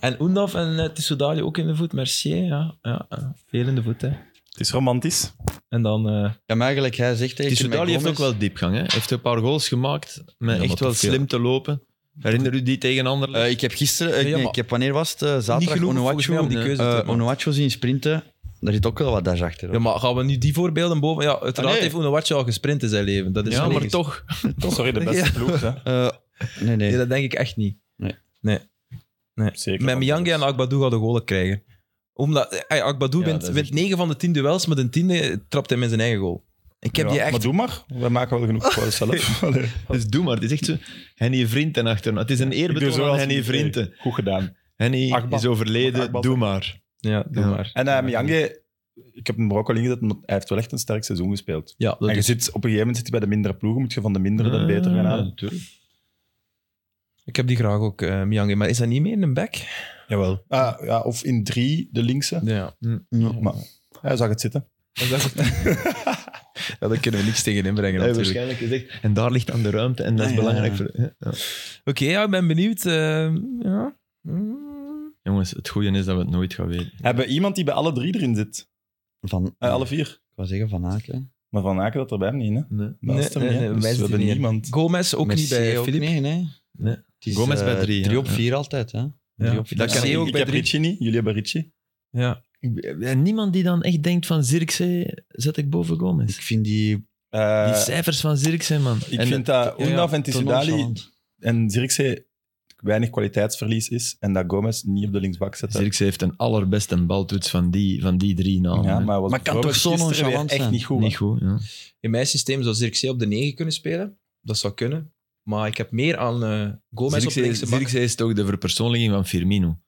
Speaker 1: En Oendaf en uh, Tissoudali ook in de voet. Mercier, ja. ja eh, veel in de voet, hè.
Speaker 3: Het is romantisch.
Speaker 1: En dan... eh,
Speaker 2: Ja, maar eigenlijk, hij zegt tegen
Speaker 4: Tissoudali heeft ook wel diepgang. Hè? Hij heeft een paar goals gemaakt, met
Speaker 2: maar
Speaker 4: echt wel
Speaker 2: toch veel.
Speaker 4: slim te lopen. Herinner u die tegen Anderlecht?
Speaker 2: ik heb gisteren, eh,
Speaker 1: Ja,
Speaker 2: nee,
Speaker 1: maar-
Speaker 2: ik heb wanneer was het? eh, zaterdag
Speaker 1: genoeg volgens mij
Speaker 2: Onuachu,
Speaker 1: om die keuze te
Speaker 2: eh,
Speaker 1: maken.
Speaker 2: Onuachu zien sprinten. Daar zit ook wel wat dash achter. hoor.
Speaker 1: Ja, maar gaan we nu die voorbeelden boven... Ja, uiteraard
Speaker 2: Ah, nee.
Speaker 1: heeft Oenewartje al gesprint in zijn leven. Dat is
Speaker 4: Ja,
Speaker 1: niet
Speaker 4: maar [LAUGHS]
Speaker 1: eens-
Speaker 4: toch.
Speaker 3: Sorry, de beste ploeg. Hè.
Speaker 2: Eh, nee, nee.
Speaker 1: Nee, dat denk ik echt niet.
Speaker 2: Nee.
Speaker 1: Nee. nee.
Speaker 3: Zeker.
Speaker 1: Met Miyanga en Akbadou gaan de golen krijgen. Omdat, ey, Akbadou
Speaker 4: dus. Ja,
Speaker 1: wint,
Speaker 4: dat is
Speaker 1: wint 9 van de 10 duels, maar de 10 trapt hem in zijn eigen goal. Ik heb
Speaker 3: Ja,
Speaker 1: die echt...
Speaker 3: Maar doe maar. We maken wel genoeg voor zelf. Allee.
Speaker 4: Dus doe maar. Het is echt zo. Henny Vrienden achterna. Het is een
Speaker 3: Ik doe
Speaker 4: eerbetoon
Speaker 3: zoals
Speaker 4: aan Henny
Speaker 3: niet.
Speaker 4: Vrienden.
Speaker 3: Nee, Goed gedaan.
Speaker 4: Henny
Speaker 3: Akbar.
Speaker 4: is overleden.
Speaker 3: Akbar.
Speaker 4: Doe maar.
Speaker 1: Ja, doe
Speaker 4: Ja.
Speaker 1: maar.
Speaker 3: En eh Miyanga, ik heb hem er ook al ingezet, maar hij heeft wel echt een sterk seizoen gespeeld.
Speaker 1: Ja, dat
Speaker 3: en je
Speaker 1: is-
Speaker 3: zit, op een gegeven moment zit hij bij de mindere ploegen, moet je van de mindere
Speaker 4: Ah.
Speaker 3: dan beter gaan halen.
Speaker 1: ik heb die graag ook, eh Miyanga. Maar is dat niet meer in een back?
Speaker 3: Jawel. Ah, ja, of in drie, de linkse.
Speaker 1: Ja.
Speaker 4: Hm.
Speaker 3: Maar hij zag het zitten.
Speaker 1: ja, daar kunnen we niks tegen inbrengen
Speaker 4: Ja,
Speaker 1: natuurlijk.
Speaker 4: waarschijnlijk is echt. En daar ligt aan de ruimte en dat is
Speaker 2: Ah, ja.
Speaker 4: belangrijk voor. hè? Ja.
Speaker 1: Oké, ja, ik ben benieuwd. eh, ja.
Speaker 4: Hm.
Speaker 1: Mm.
Speaker 4: Jongens, het goede is dat we het nooit gaan weten.
Speaker 3: Hebben iemand die bij alle drie erin zit?
Speaker 2: Van,
Speaker 3: Eh, alle vier.
Speaker 2: Ik wou zeggen Van Aken.
Speaker 3: Maar Van Aken dat erbij niet, hè?
Speaker 4: Nee.
Speaker 3: Dat is hem
Speaker 1: Nee,
Speaker 3: niet,
Speaker 1: nee,
Speaker 3: hè?
Speaker 1: nee,
Speaker 3: Dus
Speaker 1: wij
Speaker 3: we
Speaker 1: zitten
Speaker 3: hebben
Speaker 1: niet in.
Speaker 3: niemand.
Speaker 1: Gomez ook
Speaker 2: Merci
Speaker 1: niet bij
Speaker 2: ook
Speaker 1: Filip.
Speaker 2: Nee, nee.
Speaker 4: Nee.
Speaker 2: Het is,
Speaker 4: Gomez bij
Speaker 2: eh,
Speaker 4: drie, ja.
Speaker 2: Drie op
Speaker 4: Ja.
Speaker 2: vier altijd, hè. Drie op vier.
Speaker 1: Dat kan
Speaker 2: Ja,
Speaker 1: je ook
Speaker 3: ik
Speaker 1: bij
Speaker 3: heb
Speaker 1: drie.
Speaker 3: Ritchie niet, jullie hebben Ritchie.
Speaker 1: Ja.
Speaker 4: En eh, niemand die dan echt denkt van Zirkzee zet ik boven Gomez.
Speaker 2: Ik vind die...
Speaker 3: Eh,
Speaker 4: Die cijfers van Zirkzee, man.
Speaker 3: ik
Speaker 4: en
Speaker 3: vind dat
Speaker 1: ja,
Speaker 3: Oendaf en
Speaker 2: te
Speaker 3: Tissoudali
Speaker 2: nonchalant.
Speaker 3: en Zirkzee weinig kwaliteitsverlies is en dat Gomez niet op de linksbak zet. hè.
Speaker 4: Zirkzee eh, heeft een allerbeste baltoets van die, van die drie namen.
Speaker 3: Ja,
Speaker 4: hè.
Speaker 3: maar, was
Speaker 2: Maar kan
Speaker 3: bijvoorbeeld
Speaker 2: toch zo
Speaker 3: gisteren
Speaker 2: nonchalant
Speaker 3: weer echt
Speaker 2: zijn?
Speaker 3: niet goed. hè?
Speaker 4: Niet goed, ja.
Speaker 1: In mijn systeem zou Zirkzee op de 9 kunnen spelen. Dat zou kunnen. Maar ik heb meer aan eh Gomez op de
Speaker 4: Zirkzee,
Speaker 1: linkse bank.
Speaker 4: Zirkzee is toch de verpersoonlijking van Firmino.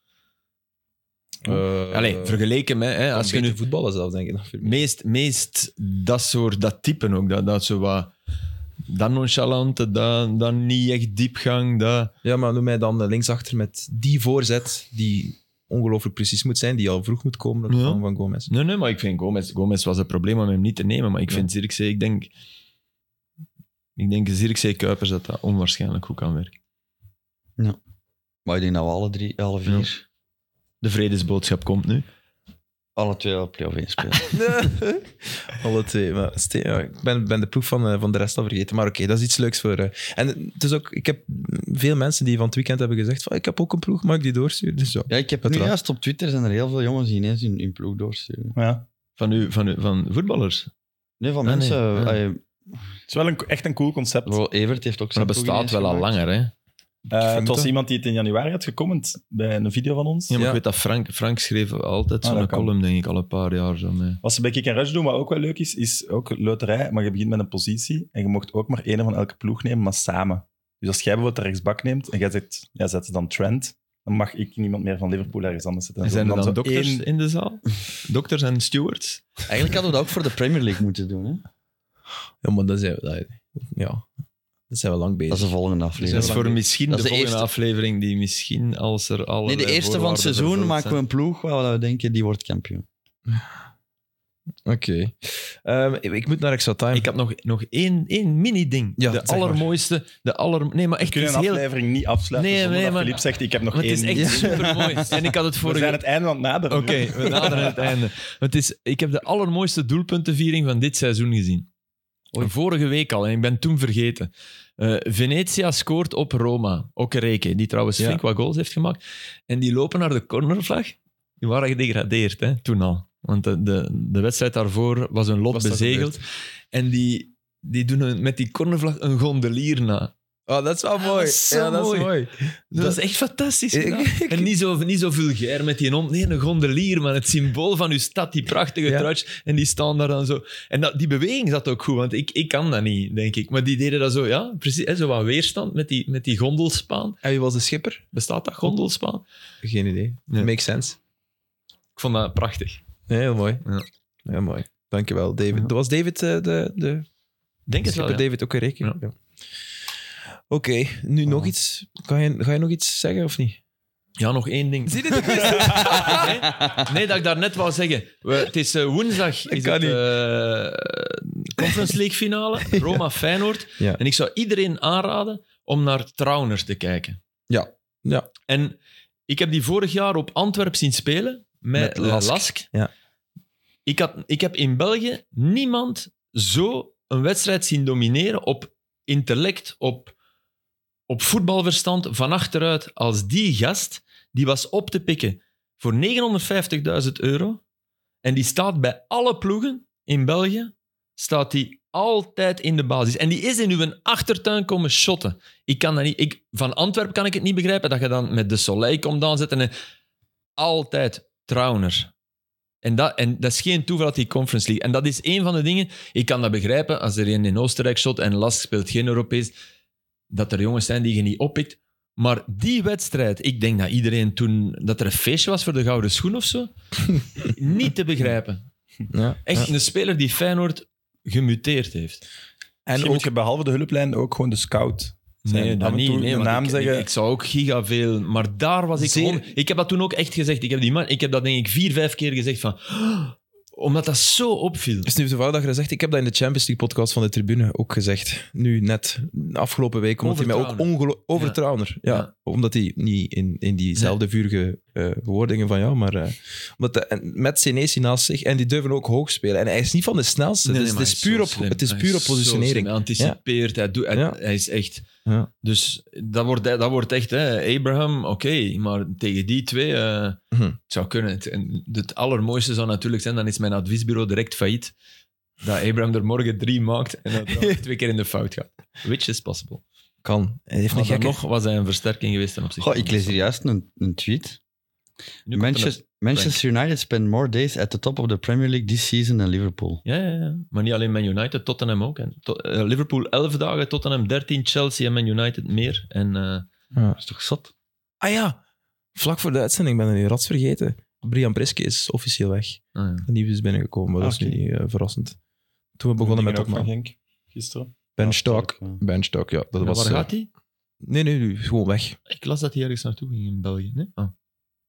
Speaker 1: Eh,
Speaker 4: Allee, vergeleken met... Hè, als je nu
Speaker 1: voetballen zelf, denk ik. Dan
Speaker 4: meest, meest dat soort, dat typen ook, dat, dat zo wat... Dat nonchalante, dat, dat niet echt diepgang, dat...
Speaker 1: ja, maar noem mij dan eh, linksachter met die voorzet die ongelooflijk precies moet zijn, die al vroeg moet komen op
Speaker 4: Ja.
Speaker 1: ja. van Gomez.
Speaker 4: Nee, nee, maar ik vind Gomez, Gomez was het probleem om hem niet te nemen. Maar ik vind Zirkzee, ik denk... Ik denk Zirkzee Kuipers dat dat onwaarschijnlijk goed kan werken.
Speaker 2: Maar ik denk dat we alle drie, alle vier,
Speaker 4: De vredesboodschap komt nu.
Speaker 2: alle twee op play-off één spelen.
Speaker 4: [LAUGHS]
Speaker 1: Alle twee. Maar ste- ja, ik ben, ben de ploeg van, eh, van de rest al vergeten. Maar oké, dat is iets leuks voor... eh, en het is ook... Ik heb veel mensen die van het weekend hebben gezegd van ik heb ook een ploeg, mag ik die doorsturen? Dus ja.
Speaker 2: Ja, ik heb nu
Speaker 1: Uiteraard.
Speaker 2: juist op Twitter zijn er heel veel jongens die ineens hun, hun ploeg doorsturen.
Speaker 3: Ja.
Speaker 4: Van, u, van, u, van voetballers.
Speaker 2: Nee, van
Speaker 4: Ah,
Speaker 2: mensen.
Speaker 4: nee. Ah.
Speaker 2: eh,
Speaker 3: Het is wel een, echt een cool concept.
Speaker 2: bijvoorbeeld Evert heeft ook
Speaker 4: Maar
Speaker 2: zijn
Speaker 4: dat
Speaker 2: ploeg
Speaker 4: bestaat wel
Speaker 2: ineens
Speaker 4: al
Speaker 2: gemaakt.
Speaker 4: langer, hè? Ja,
Speaker 3: Eh, het
Speaker 1: vermoed
Speaker 3: was
Speaker 1: dat.
Speaker 3: iemand die het in januari had gecomment bij een video van ons.
Speaker 4: maar
Speaker 1: Ja.
Speaker 4: ik weet dat Frank, Frank schreef altijd
Speaker 3: Ah,
Speaker 4: zo'n
Speaker 3: dat kan.
Speaker 4: column, denk ik, al een paar jaar. Zo mee.
Speaker 3: Wat ze bij Kick en Rush doen, wat ook wel leuk is, is ook loterij, maar je begint met een positie en je mocht ook maar één van elke ploeg nemen, maar samen. Dus als jij bijvoorbeeld de rechtsbak neemt en jij zegt, ja, zet ze dan Trent, dan mag ik niemand meer van Liverpool ergens anders zetten.
Speaker 4: En zijn er
Speaker 3: doen we
Speaker 4: dan
Speaker 3: zo
Speaker 4: dokters
Speaker 3: één-
Speaker 4: in de zaal? dokters en stewards?
Speaker 2: Eigenlijk hadden we dat ook voor de Premier League moeten doen. Hè?
Speaker 1: Ja, maar dat zijn we... Dat, ja, dat zijn we lang bezig.
Speaker 2: Dat is de volgende
Speaker 4: Dat is
Speaker 2: aflevering.
Speaker 4: voor misschien
Speaker 2: Dat
Speaker 4: de,
Speaker 2: is de
Speaker 4: volgende
Speaker 2: eerste.
Speaker 4: aflevering die misschien als er alle
Speaker 2: Nee, de eerste van het seizoen maken we een ploeg waar we denken die wordt
Speaker 4: [LAUGHS]
Speaker 2: kampioen.
Speaker 1: Oké. Ehm, ik, ik moet naar extra time.
Speaker 4: Ik had nog, nog één, één mini-ding.
Speaker 1: Ja,
Speaker 4: de
Speaker 1: zeg maar.
Speaker 4: allermooiste. De aller... Nee, maar
Speaker 3: We
Speaker 4: echt, het
Speaker 3: kunnen
Speaker 4: is
Speaker 3: een
Speaker 4: heel...
Speaker 3: aflevering niet afsluiten
Speaker 4: Nee,
Speaker 3: zonder
Speaker 4: nee,
Speaker 3: dat
Speaker 4: maar-
Speaker 3: Philippe zegt, ik heb nog
Speaker 4: Maar het
Speaker 3: één.
Speaker 4: is echt supermooi.
Speaker 3: [LAUGHS]
Speaker 4: En ik had het
Speaker 3: We
Speaker 4: vorige...
Speaker 3: zijn het einde aan het naderen.
Speaker 4: Oké,
Speaker 3: [LAUGHS]
Speaker 4: we naderen het einde. Want Het is, ik heb de allermooiste doelpuntenviering van dit seizoen gezien. Vorige week al, en ik ben toen vergeten. Eh Venetia scoort op Roma. Okereke, die trouwens flink wat goals heeft gemaakt. En die lopen naar de cornervlag. Die waren gedegradeerd, hè, toen al. Want de, de, de wedstrijd daarvoor was hun lot
Speaker 1: Was dat
Speaker 4: bezegeld. En die, die doen een- met die cornervlag een gondelier na.
Speaker 1: Oh, dat is wel mooi.
Speaker 4: dat is zo
Speaker 1: ja, dat
Speaker 4: mooi.
Speaker 1: is mooi.
Speaker 4: Dat, is echt fantastisch.
Speaker 1: Ik-
Speaker 4: gedaan. [LAUGHS] En niet zo, niet zo vulgair met die hond. Nee, een gondelier, maar het symbool van uw stad, die prachtige
Speaker 1: Ja.
Speaker 4: truitjes. En die staan daar dan zo. En dat, die beweging zat ook goed, want ik, ik kan dat niet, denk ik. Maar die deden dat zo, ja, precies. Hè, zo aan weerstand met die, met die gondelspaan.
Speaker 1: En wie was de schipper?
Speaker 4: Bestaat dat, gondelspaan?
Speaker 1: Geen idee.
Speaker 4: Nee.
Speaker 1: Makes sense.
Speaker 4: Ik vond dat prachtig.
Speaker 1: Nee, heel mooi.
Speaker 4: Ja.
Speaker 1: Heel mooi. Dankjewel, David.
Speaker 4: Ja.
Speaker 1: Was David eh, de, de
Speaker 4: Denk het wel,
Speaker 1: schipper?
Speaker 4: ja.
Speaker 1: David ook een rekening?
Speaker 4: Ja.
Speaker 1: Ja. Oké, nu nog iets. Kan je, ga je nog iets zeggen of niet?
Speaker 4: Ja, nog één ding.
Speaker 1: Zie je
Speaker 4: [LAUGHS]
Speaker 1: dit?
Speaker 4: nee, nee, dat ik daar net wou zeggen. We- het is eh, woensdag, is
Speaker 1: kan
Speaker 4: het
Speaker 1: niet.
Speaker 4: eh, Conference League
Speaker 1: [LAUGHS]
Speaker 4: finale, Roma-Feyenoord.
Speaker 1: Ja.
Speaker 4: En ik zou iedereen aanraden om naar Trauners te kijken.
Speaker 1: Ja. Ja.
Speaker 4: En ik heb die vorig jaar op Antwerp zien spelen met,
Speaker 1: Met
Speaker 4: eh,
Speaker 1: Lask.
Speaker 4: Lask.
Speaker 1: Ja.
Speaker 4: Ik, had, ik heb in België niemand zo een wedstrijd zien domineren op intellect, op, op voetbalverstand van achteruit als die gast. Die was op te pikken voor 950.000 euro. En die staat bij alle ploegen in België, staat die altijd in de basis. En die is in uw achtertuin komen shotten. Ik kan dat niet, ik, van Antwerpen kan ik het niet begrijpen, dat je dan met de Soleil komt aanzetten. En, altijd trouwner. En dat, en dat is geen toeval dat die Conference League... En dat is een van de dingen... Ik kan dat begrijpen als er een in Oostenrijk shot en Lask speelt geen Europees. Dat er jongens zijn die je niet oppikt. Maar die wedstrijd, ik denk dat iedereen toen... Dat er een feestje was voor de gouden schoen of zo. niet te begrijpen.
Speaker 1: Ja.
Speaker 4: Echt een speler die Feyenoord gemuteerd heeft.
Speaker 3: En
Speaker 1: En
Speaker 3: moet
Speaker 1: ook,
Speaker 3: je behalve de hulplijn ook gewoon de scout zijn.
Speaker 4: Nee,
Speaker 3: Af
Speaker 4: dat
Speaker 3: en
Speaker 4: niet.
Speaker 3: toe
Speaker 4: Nee,
Speaker 3: de
Speaker 4: want
Speaker 3: naam
Speaker 4: ik,
Speaker 3: zeggen.
Speaker 4: Ik, ik zou ook giga veel... Maar daar was ik...
Speaker 1: Zeer-
Speaker 4: on- ik heb dat toen ook echt gezegd. Ik heb, die man, ik heb dat denk ik vier, vijf keer gezegd van... "Oh, omdat dat zo opviel.
Speaker 1: het is Dus nu toevallig dat je dat zegt. Ik heb dat in de Champions League podcast van de tribune ook gezegd. Nu net, afgelopen week. Omdat hij mij ook ongelooflijk... Over
Speaker 4: Ja.
Speaker 1: Trauner, Ja.
Speaker 4: Ja.
Speaker 1: Omdat hij niet in, in diezelfde vurige eh, bewoordingen van jou, maar... eh, omdat de- en met Senesi naast zich. En die durven ook hoog spelen. En hij is niet van de snelste.
Speaker 4: Nee,
Speaker 1: dus
Speaker 4: nee,
Speaker 1: het
Speaker 4: maar
Speaker 1: is
Speaker 4: hij
Speaker 1: puur
Speaker 4: zo
Speaker 1: op,
Speaker 4: slim.
Speaker 1: het is
Speaker 4: Hij
Speaker 1: puur op
Speaker 4: zo slim.
Speaker 1: positionering.
Speaker 4: Hij anticipeert, hij, doet, hij,
Speaker 1: Ja.
Speaker 4: hij is echt...
Speaker 1: Ja.
Speaker 4: Dus dat wordt, dat wordt echt, hè, Abraham, oké, maar tegen die twee, eh,
Speaker 1: Mhm.
Speaker 4: het zou kunnen. Het, en het allermooiste zou natuurlijk zijn, dan is mijn adviesbureau direct failliet, dat Abraham er morgen drie maakt en dat
Speaker 1: [LAUGHS]
Speaker 4: hij twee keer in de fout gaat. Which is possible.
Speaker 1: Kan. Hij heeft een
Speaker 4: Maar dan
Speaker 1: gekke...
Speaker 4: nog was hij een versterking geweest ten opzichte
Speaker 2: Goh, ik lees hier juist een, een tweet.
Speaker 4: Nu komt er een-
Speaker 2: Manchester, Manchester United spend more days at the top of the Premier League this season than Liverpool.
Speaker 4: Ja, ja, ja, maar niet alleen Man United, Tottenham ook. En to- eh, Liverpool 11 dagen, Tottenham 13, Chelsea en Man United meer. En eh,
Speaker 2: Dat is toch zot?
Speaker 1: Ah ja, vlak voor de uitzending ben ik nu rats vergeten. Brian Priske is officieel weg.
Speaker 4: ah, ja.
Speaker 1: Nieuw is binnengekomen, maar dat
Speaker 3: Ah,
Speaker 1: is
Speaker 3: oké.
Speaker 1: niet eh, verrassend. Toen we begonnen met
Speaker 3: Dingen ook van
Speaker 1: opname.
Speaker 3: Genk gisteren.
Speaker 1: Ben
Speaker 2: Stok.
Speaker 1: Stock. Ben Stock, ja. Dat
Speaker 4: En
Speaker 1: was,
Speaker 4: waar
Speaker 1: eh,
Speaker 4: gaat hij?
Speaker 1: Nee, nee, nee, gewoon weg.
Speaker 4: Ik las dat hij ergens naartoe ging in België. Nee? Ah.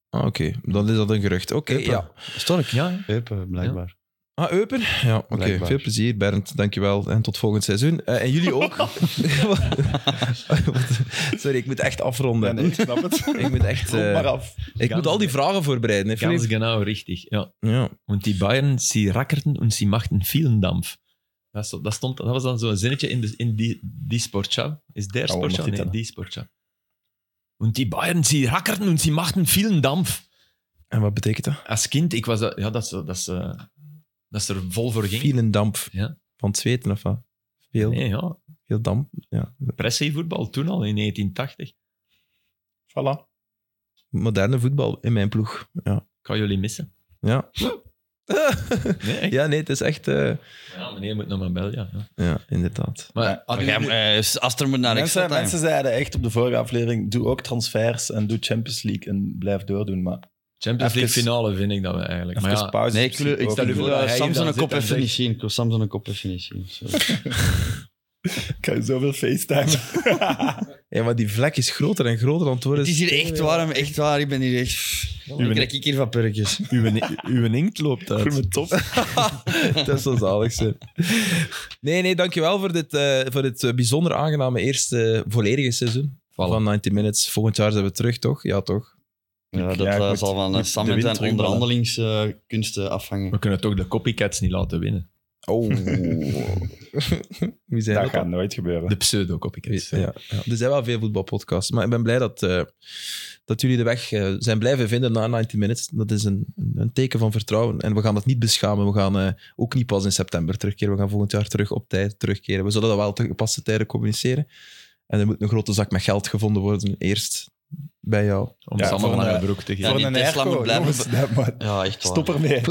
Speaker 1: Ah, oké. Dan is dat een gerucht. Oké,
Speaker 2: Eupen.
Speaker 1: ja.
Speaker 2: Stork.
Speaker 4: Ja, ja.
Speaker 2: Eupen, blijkbaar.
Speaker 1: Ah, Eupen? Ja, oké.
Speaker 2: Blijkbaar.
Speaker 1: Veel plezier, Bernd. Dankjewel. En tot volgend seizoen. Eh, en jullie ook. [LAUGHS] Sorry, ik moet echt afronden.
Speaker 3: Nee, nee, ik snap het.
Speaker 1: Ik moet
Speaker 3: [LAUGHS]
Speaker 1: echt...
Speaker 3: Kom
Speaker 1: eh,
Speaker 3: maar af.
Speaker 1: ik moet al die vragen voorbereiden, hè,
Speaker 4: Ganz
Speaker 1: Filip?
Speaker 4: genau richtig. Ja.
Speaker 1: Ja.
Speaker 4: Want die Bayern, sie rackerten und sie machten vielen Dampf. Dat, stond, dat, stond, dat was dan zo'n zinnetje in, de, in die, die Sportschau. Is der
Speaker 3: Oh,
Speaker 4: Sportschau?
Speaker 3: mag dit
Speaker 4: Nee,
Speaker 3: dan?
Speaker 4: die Sportschau. Und die Bayern, sie rackerten und sie machten vielen Dampf.
Speaker 1: En wat betekent dat?
Speaker 4: Als kind, ik was dat, ja, dat, ze- dat, ze- dat ze er vol voor ging.
Speaker 1: Veel damp.
Speaker 4: Ja.
Speaker 1: Van het zweten of wat? Veel,
Speaker 4: Nee, ja.
Speaker 1: veel damp. Ja.
Speaker 4: Pressievoetbal toen al in 1980. Ik
Speaker 3: Voilà.
Speaker 1: Moderne voetbal in mijn ploeg. Ja.
Speaker 4: kan jullie missen.
Speaker 1: Ja.
Speaker 4: Nee, echt?
Speaker 1: Ja, nee, het is echt... eh,
Speaker 4: Ja, meneer moet naar mijn bel, ja. ja.
Speaker 1: ja, inderdaad.
Speaker 4: Maar
Speaker 2: Maar
Speaker 4: hadden
Speaker 2: jij
Speaker 4: jullie-
Speaker 2: moet- eh, Aster moet naar extra
Speaker 3: mensen,
Speaker 2: time.
Speaker 3: mensen zeiden echt op de vorige aflevering, doe ook transfers en doe Champions League en blijf doordoen. Maar
Speaker 4: Champions League
Speaker 3: Even-
Speaker 4: finale vind ik dat we eigenlijk.
Speaker 3: even
Speaker 4: Maar ja,
Speaker 3: pauze.
Speaker 2: Nee, ik, wil- ik
Speaker 3: Ook
Speaker 2: stel u
Speaker 3: niet. [LAUGHS]
Speaker 2: voor
Speaker 4: dat
Speaker 2: dat
Speaker 4: hij
Speaker 2: Samson
Speaker 4: dan
Speaker 2: een
Speaker 4: zit
Speaker 2: kop
Speaker 4: en
Speaker 2: even
Speaker 4: zegt-
Speaker 2: niet zien. Ik wil Samson een kop even niet zien. Zo.
Speaker 3: Ik kan je zoveel facetimen.
Speaker 1: Ja, maar die vlek is groter en groter aan
Speaker 4: [LAUGHS]
Speaker 1: het worden. Dus
Speaker 2: Het is hier echt warm, echt waar. Ik ben hier echt... Nu krijg ik hier van purkjes.
Speaker 1: Uw inkt loopt uit.
Speaker 3: me top.
Speaker 1: Dat zou zalig zijn. Nee, nee, dankjewel voor dit, eh, voor dit eh, bijzonder aangename eerste volledige seizoen van 90 Minutes. Volgend jaar zijn we terug, toch? Ja, toch?
Speaker 2: Ja, dat
Speaker 3: Ja, ik
Speaker 2: eh,
Speaker 3: moet-
Speaker 2: zal van
Speaker 3: moet
Speaker 2: eh,
Speaker 3: de
Speaker 2: Sam en
Speaker 3: wind
Speaker 2: zijn
Speaker 3: terugbellen.
Speaker 2: onderhandelingskunsten afhangen.
Speaker 4: we kunnen toch de copycats niet laten winnen.
Speaker 1: Oh. Wie zijn
Speaker 3: Dat
Speaker 1: dat?
Speaker 3: gaat nooit gebeuren.
Speaker 4: De pseudo-copycats.
Speaker 1: Ja, ja. Er zijn wel veel voetbalpodcasts, maar ik ben blij dat, eh, dat jullie de weg eh, zijn blijven vinden na 90 Minutes. Dat is een, een teken van vertrouwen en we gaan dat niet beschamen. We gaan eh, ook niet pas in september terugkeren. We gaan volgend jaar terug op tijd terugkeren. We zullen dat wel te gepaste tijden communiceren. En er moet een grote zak met geld gevonden worden, eerst bij jou.
Speaker 4: Om
Speaker 3: Ja,
Speaker 4: ze allemaal
Speaker 3: voor
Speaker 4: naar
Speaker 3: een-
Speaker 1: eh,
Speaker 4: hun broek te
Speaker 2: Ja,
Speaker 4: geven.
Speaker 3: Voor
Speaker 2: die
Speaker 3: een
Speaker 2: Tesla
Speaker 3: airco,
Speaker 2: moet blijven
Speaker 3: jongens, dat moet-
Speaker 2: [LAUGHS] [LAUGHS] Ja, echt waar.
Speaker 3: Stop ermee.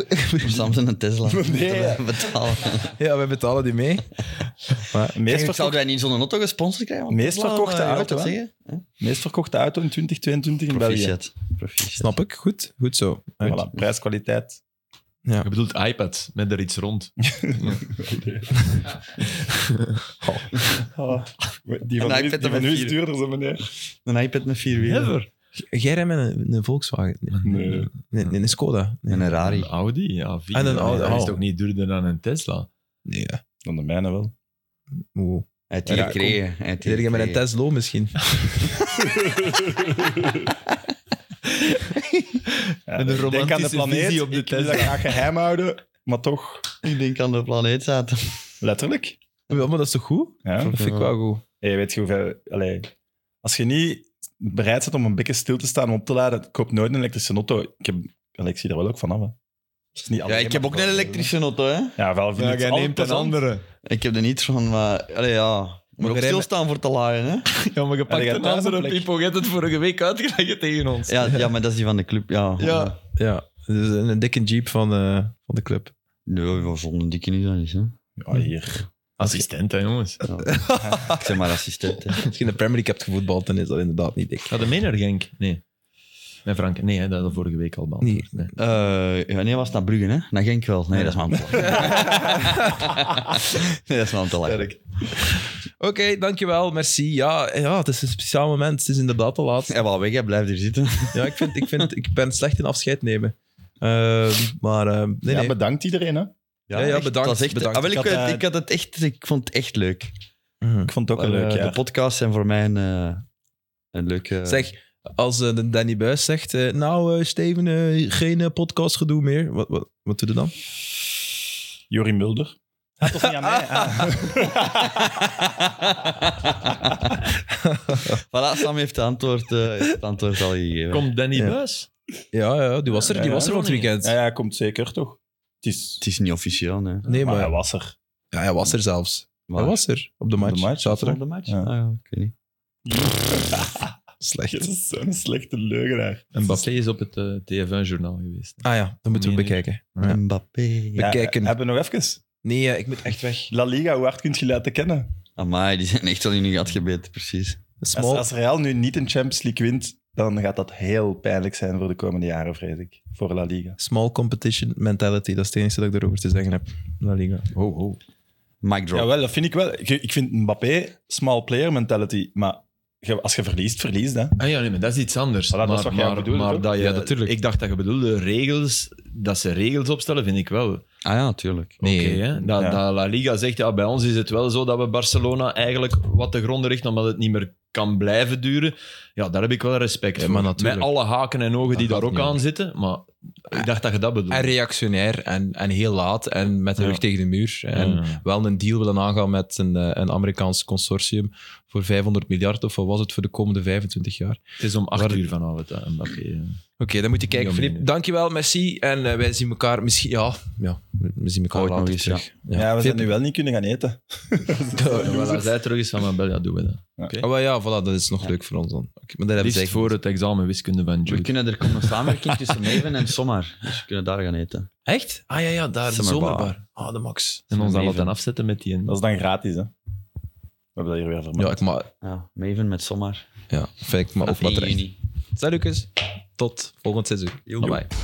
Speaker 3: [LAUGHS]
Speaker 2: Samson en Tesla.
Speaker 3: Nee.
Speaker 2: [LAUGHS] Betalen.
Speaker 1: Ja, wij betalen die mee.
Speaker 3: Meest,
Speaker 2: Meest
Speaker 3: verkocht,
Speaker 2: Zouden wij niet zo'n auto gesponsord krijgen? Want
Speaker 3: Meest
Speaker 2: Tesla,
Speaker 3: verkochte
Speaker 2: eh, je
Speaker 3: auto,
Speaker 2: wilt dat
Speaker 3: hè?
Speaker 2: zeggen?
Speaker 3: meest verkochte auto in 2022 in België.
Speaker 2: Proficiat. Proficiat.
Speaker 1: Snap ik. Goed, goed zo. Uit.
Speaker 3: Voilà, prijs-kwaliteit.
Speaker 4: Je bedoelt iPad, met er iets rond.
Speaker 3: Oh, die
Speaker 2: [LAUGHS] En dan
Speaker 3: van,
Speaker 2: ik
Speaker 3: nu,
Speaker 2: vind
Speaker 3: die
Speaker 2: dat
Speaker 3: van nu
Speaker 2: met
Speaker 3: is
Speaker 2: vier.
Speaker 3: duurder, zo meneer.
Speaker 2: Een iPad met vier wielen.
Speaker 4: Never.
Speaker 1: Jij rijdt met een, een Volkswagen. Nee,
Speaker 3: Nee.
Speaker 1: nee, nee, een Skoda. Nee.
Speaker 2: En een Rari.
Speaker 4: Een Audi, ja. vier.
Speaker 1: En een
Speaker 4: Ja,
Speaker 1: Audi,
Speaker 4: Dat is
Speaker 1: oh.
Speaker 4: toch niet duurder dan een Tesla?
Speaker 1: Nee, ja.
Speaker 3: Dan de mijne wel.
Speaker 1: Oeh.
Speaker 2: Hij heeft die
Speaker 1: Ja,
Speaker 2: gekregen. Hij heeft die
Speaker 1: Zit jij met een
Speaker 2: gekregen.
Speaker 1: Tesla misschien?
Speaker 3: Ja,
Speaker 4: Met een
Speaker 3: ik denk aan de
Speaker 4: romantische
Speaker 3: planeet.
Speaker 4: visie op de
Speaker 3: ik wil dat
Speaker 4: Tesla.
Speaker 3: graag geheim houden, maar toch.
Speaker 2: Ik denk aan de planeet zaten.
Speaker 3: Letterlijk.
Speaker 1: Ja, maar dat is toch goed?
Speaker 3: Ja.
Speaker 1: Dat vind ik wel goed.
Speaker 3: Hey, weet je hoeveel... Allee, als je niet bereid bent om een beetje stil te staan om op te laden, koop nooit een elektrische auto. Ik, heb, allee, ik zie er wel ook van af. hè. Het is niet
Speaker 2: Ja,
Speaker 3: alleen
Speaker 2: ik heb
Speaker 3: maar
Speaker 2: ook een
Speaker 3: Valverde.
Speaker 2: elektrische auto, hè.
Speaker 3: Ja, wel vind ik het altijd plezant.
Speaker 2: Ik heb er niets van, maar... Allee, ja. Moet ook
Speaker 1: jij
Speaker 2: stilstaan voor te laaien, hè.
Speaker 4: Ja, maar je pakt
Speaker 3: je
Speaker 4: een
Speaker 3: hebt thuis
Speaker 4: andere
Speaker 3: een plek.
Speaker 4: Pipo. Je hebt het vorige week uitgelegd tegen ons.
Speaker 2: Ja, ja, maar dat is die van de club, ja.
Speaker 4: Ja.
Speaker 1: Ja, dus een, een dikke jeep van, eh, van de club. [LAUGHS]
Speaker 2: Nee, we vonden dikke niet dat is, hè.
Speaker 3: Ja, Oh, hier.
Speaker 4: Assistent, hè, jongens.
Speaker 2: Ik zeg maar assistent, hè.
Speaker 1: Misschien de Premier League hebt gevoetbald, dan is dat inderdaad niet dik.
Speaker 4: Gaat de mee naar Genk? Nee. Nee, Frank. Nee, hè, dat hadden we vorige week al beantwoord.
Speaker 1: Nee.
Speaker 4: Nee.
Speaker 2: Eh, ja, nee, was het naar Brugge, hè? Naar Genk wel. Nee, dat is maar om te lachen. nee, dat is maar om te lachen.
Speaker 1: Oké, dankjewel, merci. Ja, ja, het is een speciaal moment. Het is inderdaad de laatste.
Speaker 2: Ja, wel weg, hè. Blijf hier zitten.
Speaker 1: Ja, ik, vind, ik, vind, ik ben slecht in afscheid nemen. Ehm, maar ehm, nee,
Speaker 3: Ja,
Speaker 1: nee.
Speaker 3: bedankt iedereen. Hè.
Speaker 1: Ja, ja,
Speaker 2: echt,
Speaker 1: bedankt,
Speaker 2: het was echt,
Speaker 1: bedankt.
Speaker 2: Ah, wel, ik,
Speaker 3: Ik had,
Speaker 2: weet-
Speaker 3: eh,
Speaker 2: ik had het echt... Ik vond het echt leuk.
Speaker 1: Mhm.
Speaker 3: Ik vond het ook een
Speaker 2: Maar,
Speaker 3: leuk
Speaker 2: eh,
Speaker 3: jaar.
Speaker 2: De podcasts zijn voor mij een, eh, een leuke...
Speaker 1: Zeg, als eh, de Danny Buis zegt, eh, nou eh, Steven, eh, geen eh, podcastgedoe meer. Wat, wat, wat doe je dan?
Speaker 3: Jori Mulder. Ah, toch niet aan [LAUGHS] mij. Ah.
Speaker 2: voilà, Sam heeft het antwoord, eh, het antwoord al gegeven.
Speaker 4: Komt Danny
Speaker 1: Ja.
Speaker 4: Buis?
Speaker 1: Ja, ja die was er, die
Speaker 3: Ja,
Speaker 1: was er
Speaker 4: ja.
Speaker 1: van het weekend.
Speaker 3: Ja, ja, komt zeker toch? Het is...
Speaker 2: Het is niet officieel, nee.
Speaker 1: Nee,
Speaker 3: Maar
Speaker 1: maar
Speaker 3: hij was er.
Speaker 1: ja, hij was er zelfs. Hij was er op eh,
Speaker 3: de
Speaker 1: de match,
Speaker 3: match,
Speaker 1: zaterdag.
Speaker 2: de match?
Speaker 3: Ja.
Speaker 2: Ah, ja, ik weet niet.
Speaker 1: Slecht.
Speaker 3: [LAUGHS] Dat is zo'n slechte leugenaar.
Speaker 4: En Bappé is op het TF1-journaal geweest.
Speaker 1: Ah ja, dat moeten we
Speaker 4: Meen ik.
Speaker 1: bekijken. Ja.
Speaker 2: Mbappé.
Speaker 3: Ja,
Speaker 1: Bekijken.
Speaker 3: Hebben we nog even?
Speaker 1: Nee, eh, ik moet echt weg.
Speaker 3: La Liga, hoe hard kun je laten kennen?
Speaker 2: Amai, die zijn echt al in hun gat gebeten, precies.
Speaker 3: Als,
Speaker 1: Small.
Speaker 3: als Real nu niet een Champions League wint, dan gaat dat heel pijnlijk zijn voor de komende jaren, vrees ik. Voor La Liga.
Speaker 1: Small competition mentality, dat is het enige dat ik erover te zeggen heb. La Liga.
Speaker 4: Ho, ho.
Speaker 2: Mic drop.
Speaker 3: Jawel, dat vind ik wel. Ik- Ik vind Mbappé small player mentality, maar je- als je verliest, verliest. Hè.
Speaker 4: Ah ja, nee, maar dat is iets anders.
Speaker 3: Voilà, dat is
Speaker 4: Maar-
Speaker 3: wat jij
Speaker 4: maar,
Speaker 3: bedoelde,
Speaker 4: maar
Speaker 3: toch?
Speaker 4: dat je,
Speaker 1: Ja, natuurlijk.
Speaker 4: Ik dacht dat je bedoelde regels, dat ze regels opstellen, vind ik wel.
Speaker 2: Ah ja, tuurlijk.
Speaker 4: Nee,
Speaker 1: Oké.
Speaker 4: hè? Dat,
Speaker 3: Ja.
Speaker 4: dat La Liga zegt, ja, bij ons is het wel zo dat we Barcelona eigenlijk wat de gronden richten, omdat het niet meer kan blijven duren. Ja, daar heb ik wel respect
Speaker 1: Ja,
Speaker 4: voor.
Speaker 1: maar natuurlijk.
Speaker 4: Met alle haken en ogen die
Speaker 2: Dat
Speaker 4: daar ook
Speaker 2: niet,
Speaker 4: aan zitten, maar ik dacht dat je dat bedoelde.
Speaker 1: En reactionair en, en heel laat en met de rug
Speaker 3: Ja.
Speaker 1: tegen de muur. En
Speaker 4: Ja.
Speaker 1: wel een deal willen aangaan met een, eh, een Amerikaans consortium voor 500 miljard, of wat was het voor de komende 25 jaar? Oké,
Speaker 4: Het is om acht
Speaker 1: Waar-
Speaker 4: uur vanavond, hè, Mbappé. hè.
Speaker 1: dan moet je kijken,
Speaker 4: Ja,
Speaker 1: Filip.
Speaker 4: meneer.
Speaker 1: Dankjewel, merci. En eh, wij zien elkaar misschien... Ja, ja we zien elkaar
Speaker 2: Ooit nog
Speaker 1: later
Speaker 2: eens,
Speaker 1: terug.
Speaker 3: Ja, we zijn nu wel niet kunnen gaan eten.
Speaker 4: Ja, wel, Als hij terug is van Mabel, ja, doen we dat.
Speaker 1: Ah, wel ja, voilà, dat is nog leuk voor ons dan. Oké, maar dat hebben ze
Speaker 4: Liefst
Speaker 1: echt
Speaker 4: voor het examen wiskunde van
Speaker 2: We
Speaker 4: Jude.
Speaker 2: kunnen, er komt een samenwerking tussen Neven en Sommer. Dus we kunnen daar gaan eten.
Speaker 1: Echt? Ah ja, ja daar, de
Speaker 2: Summerbar.
Speaker 1: zomerbar. Ah, de max.
Speaker 4: En ons dan
Speaker 2: Maven.
Speaker 4: laten afzetten met die...
Speaker 3: Dat is dan gratis, hè? We hebben dat hier weer vermeld.
Speaker 1: Ja, ik ma
Speaker 2: Ja, Maven met Sommer.
Speaker 1: ja, fijn, ik ma ook
Speaker 2: Vanaf
Speaker 1: wat
Speaker 2: 1
Speaker 1: terecht.
Speaker 2: juni.
Speaker 1: Salut, Lucas. Tot volgend seizoen. Bye bye.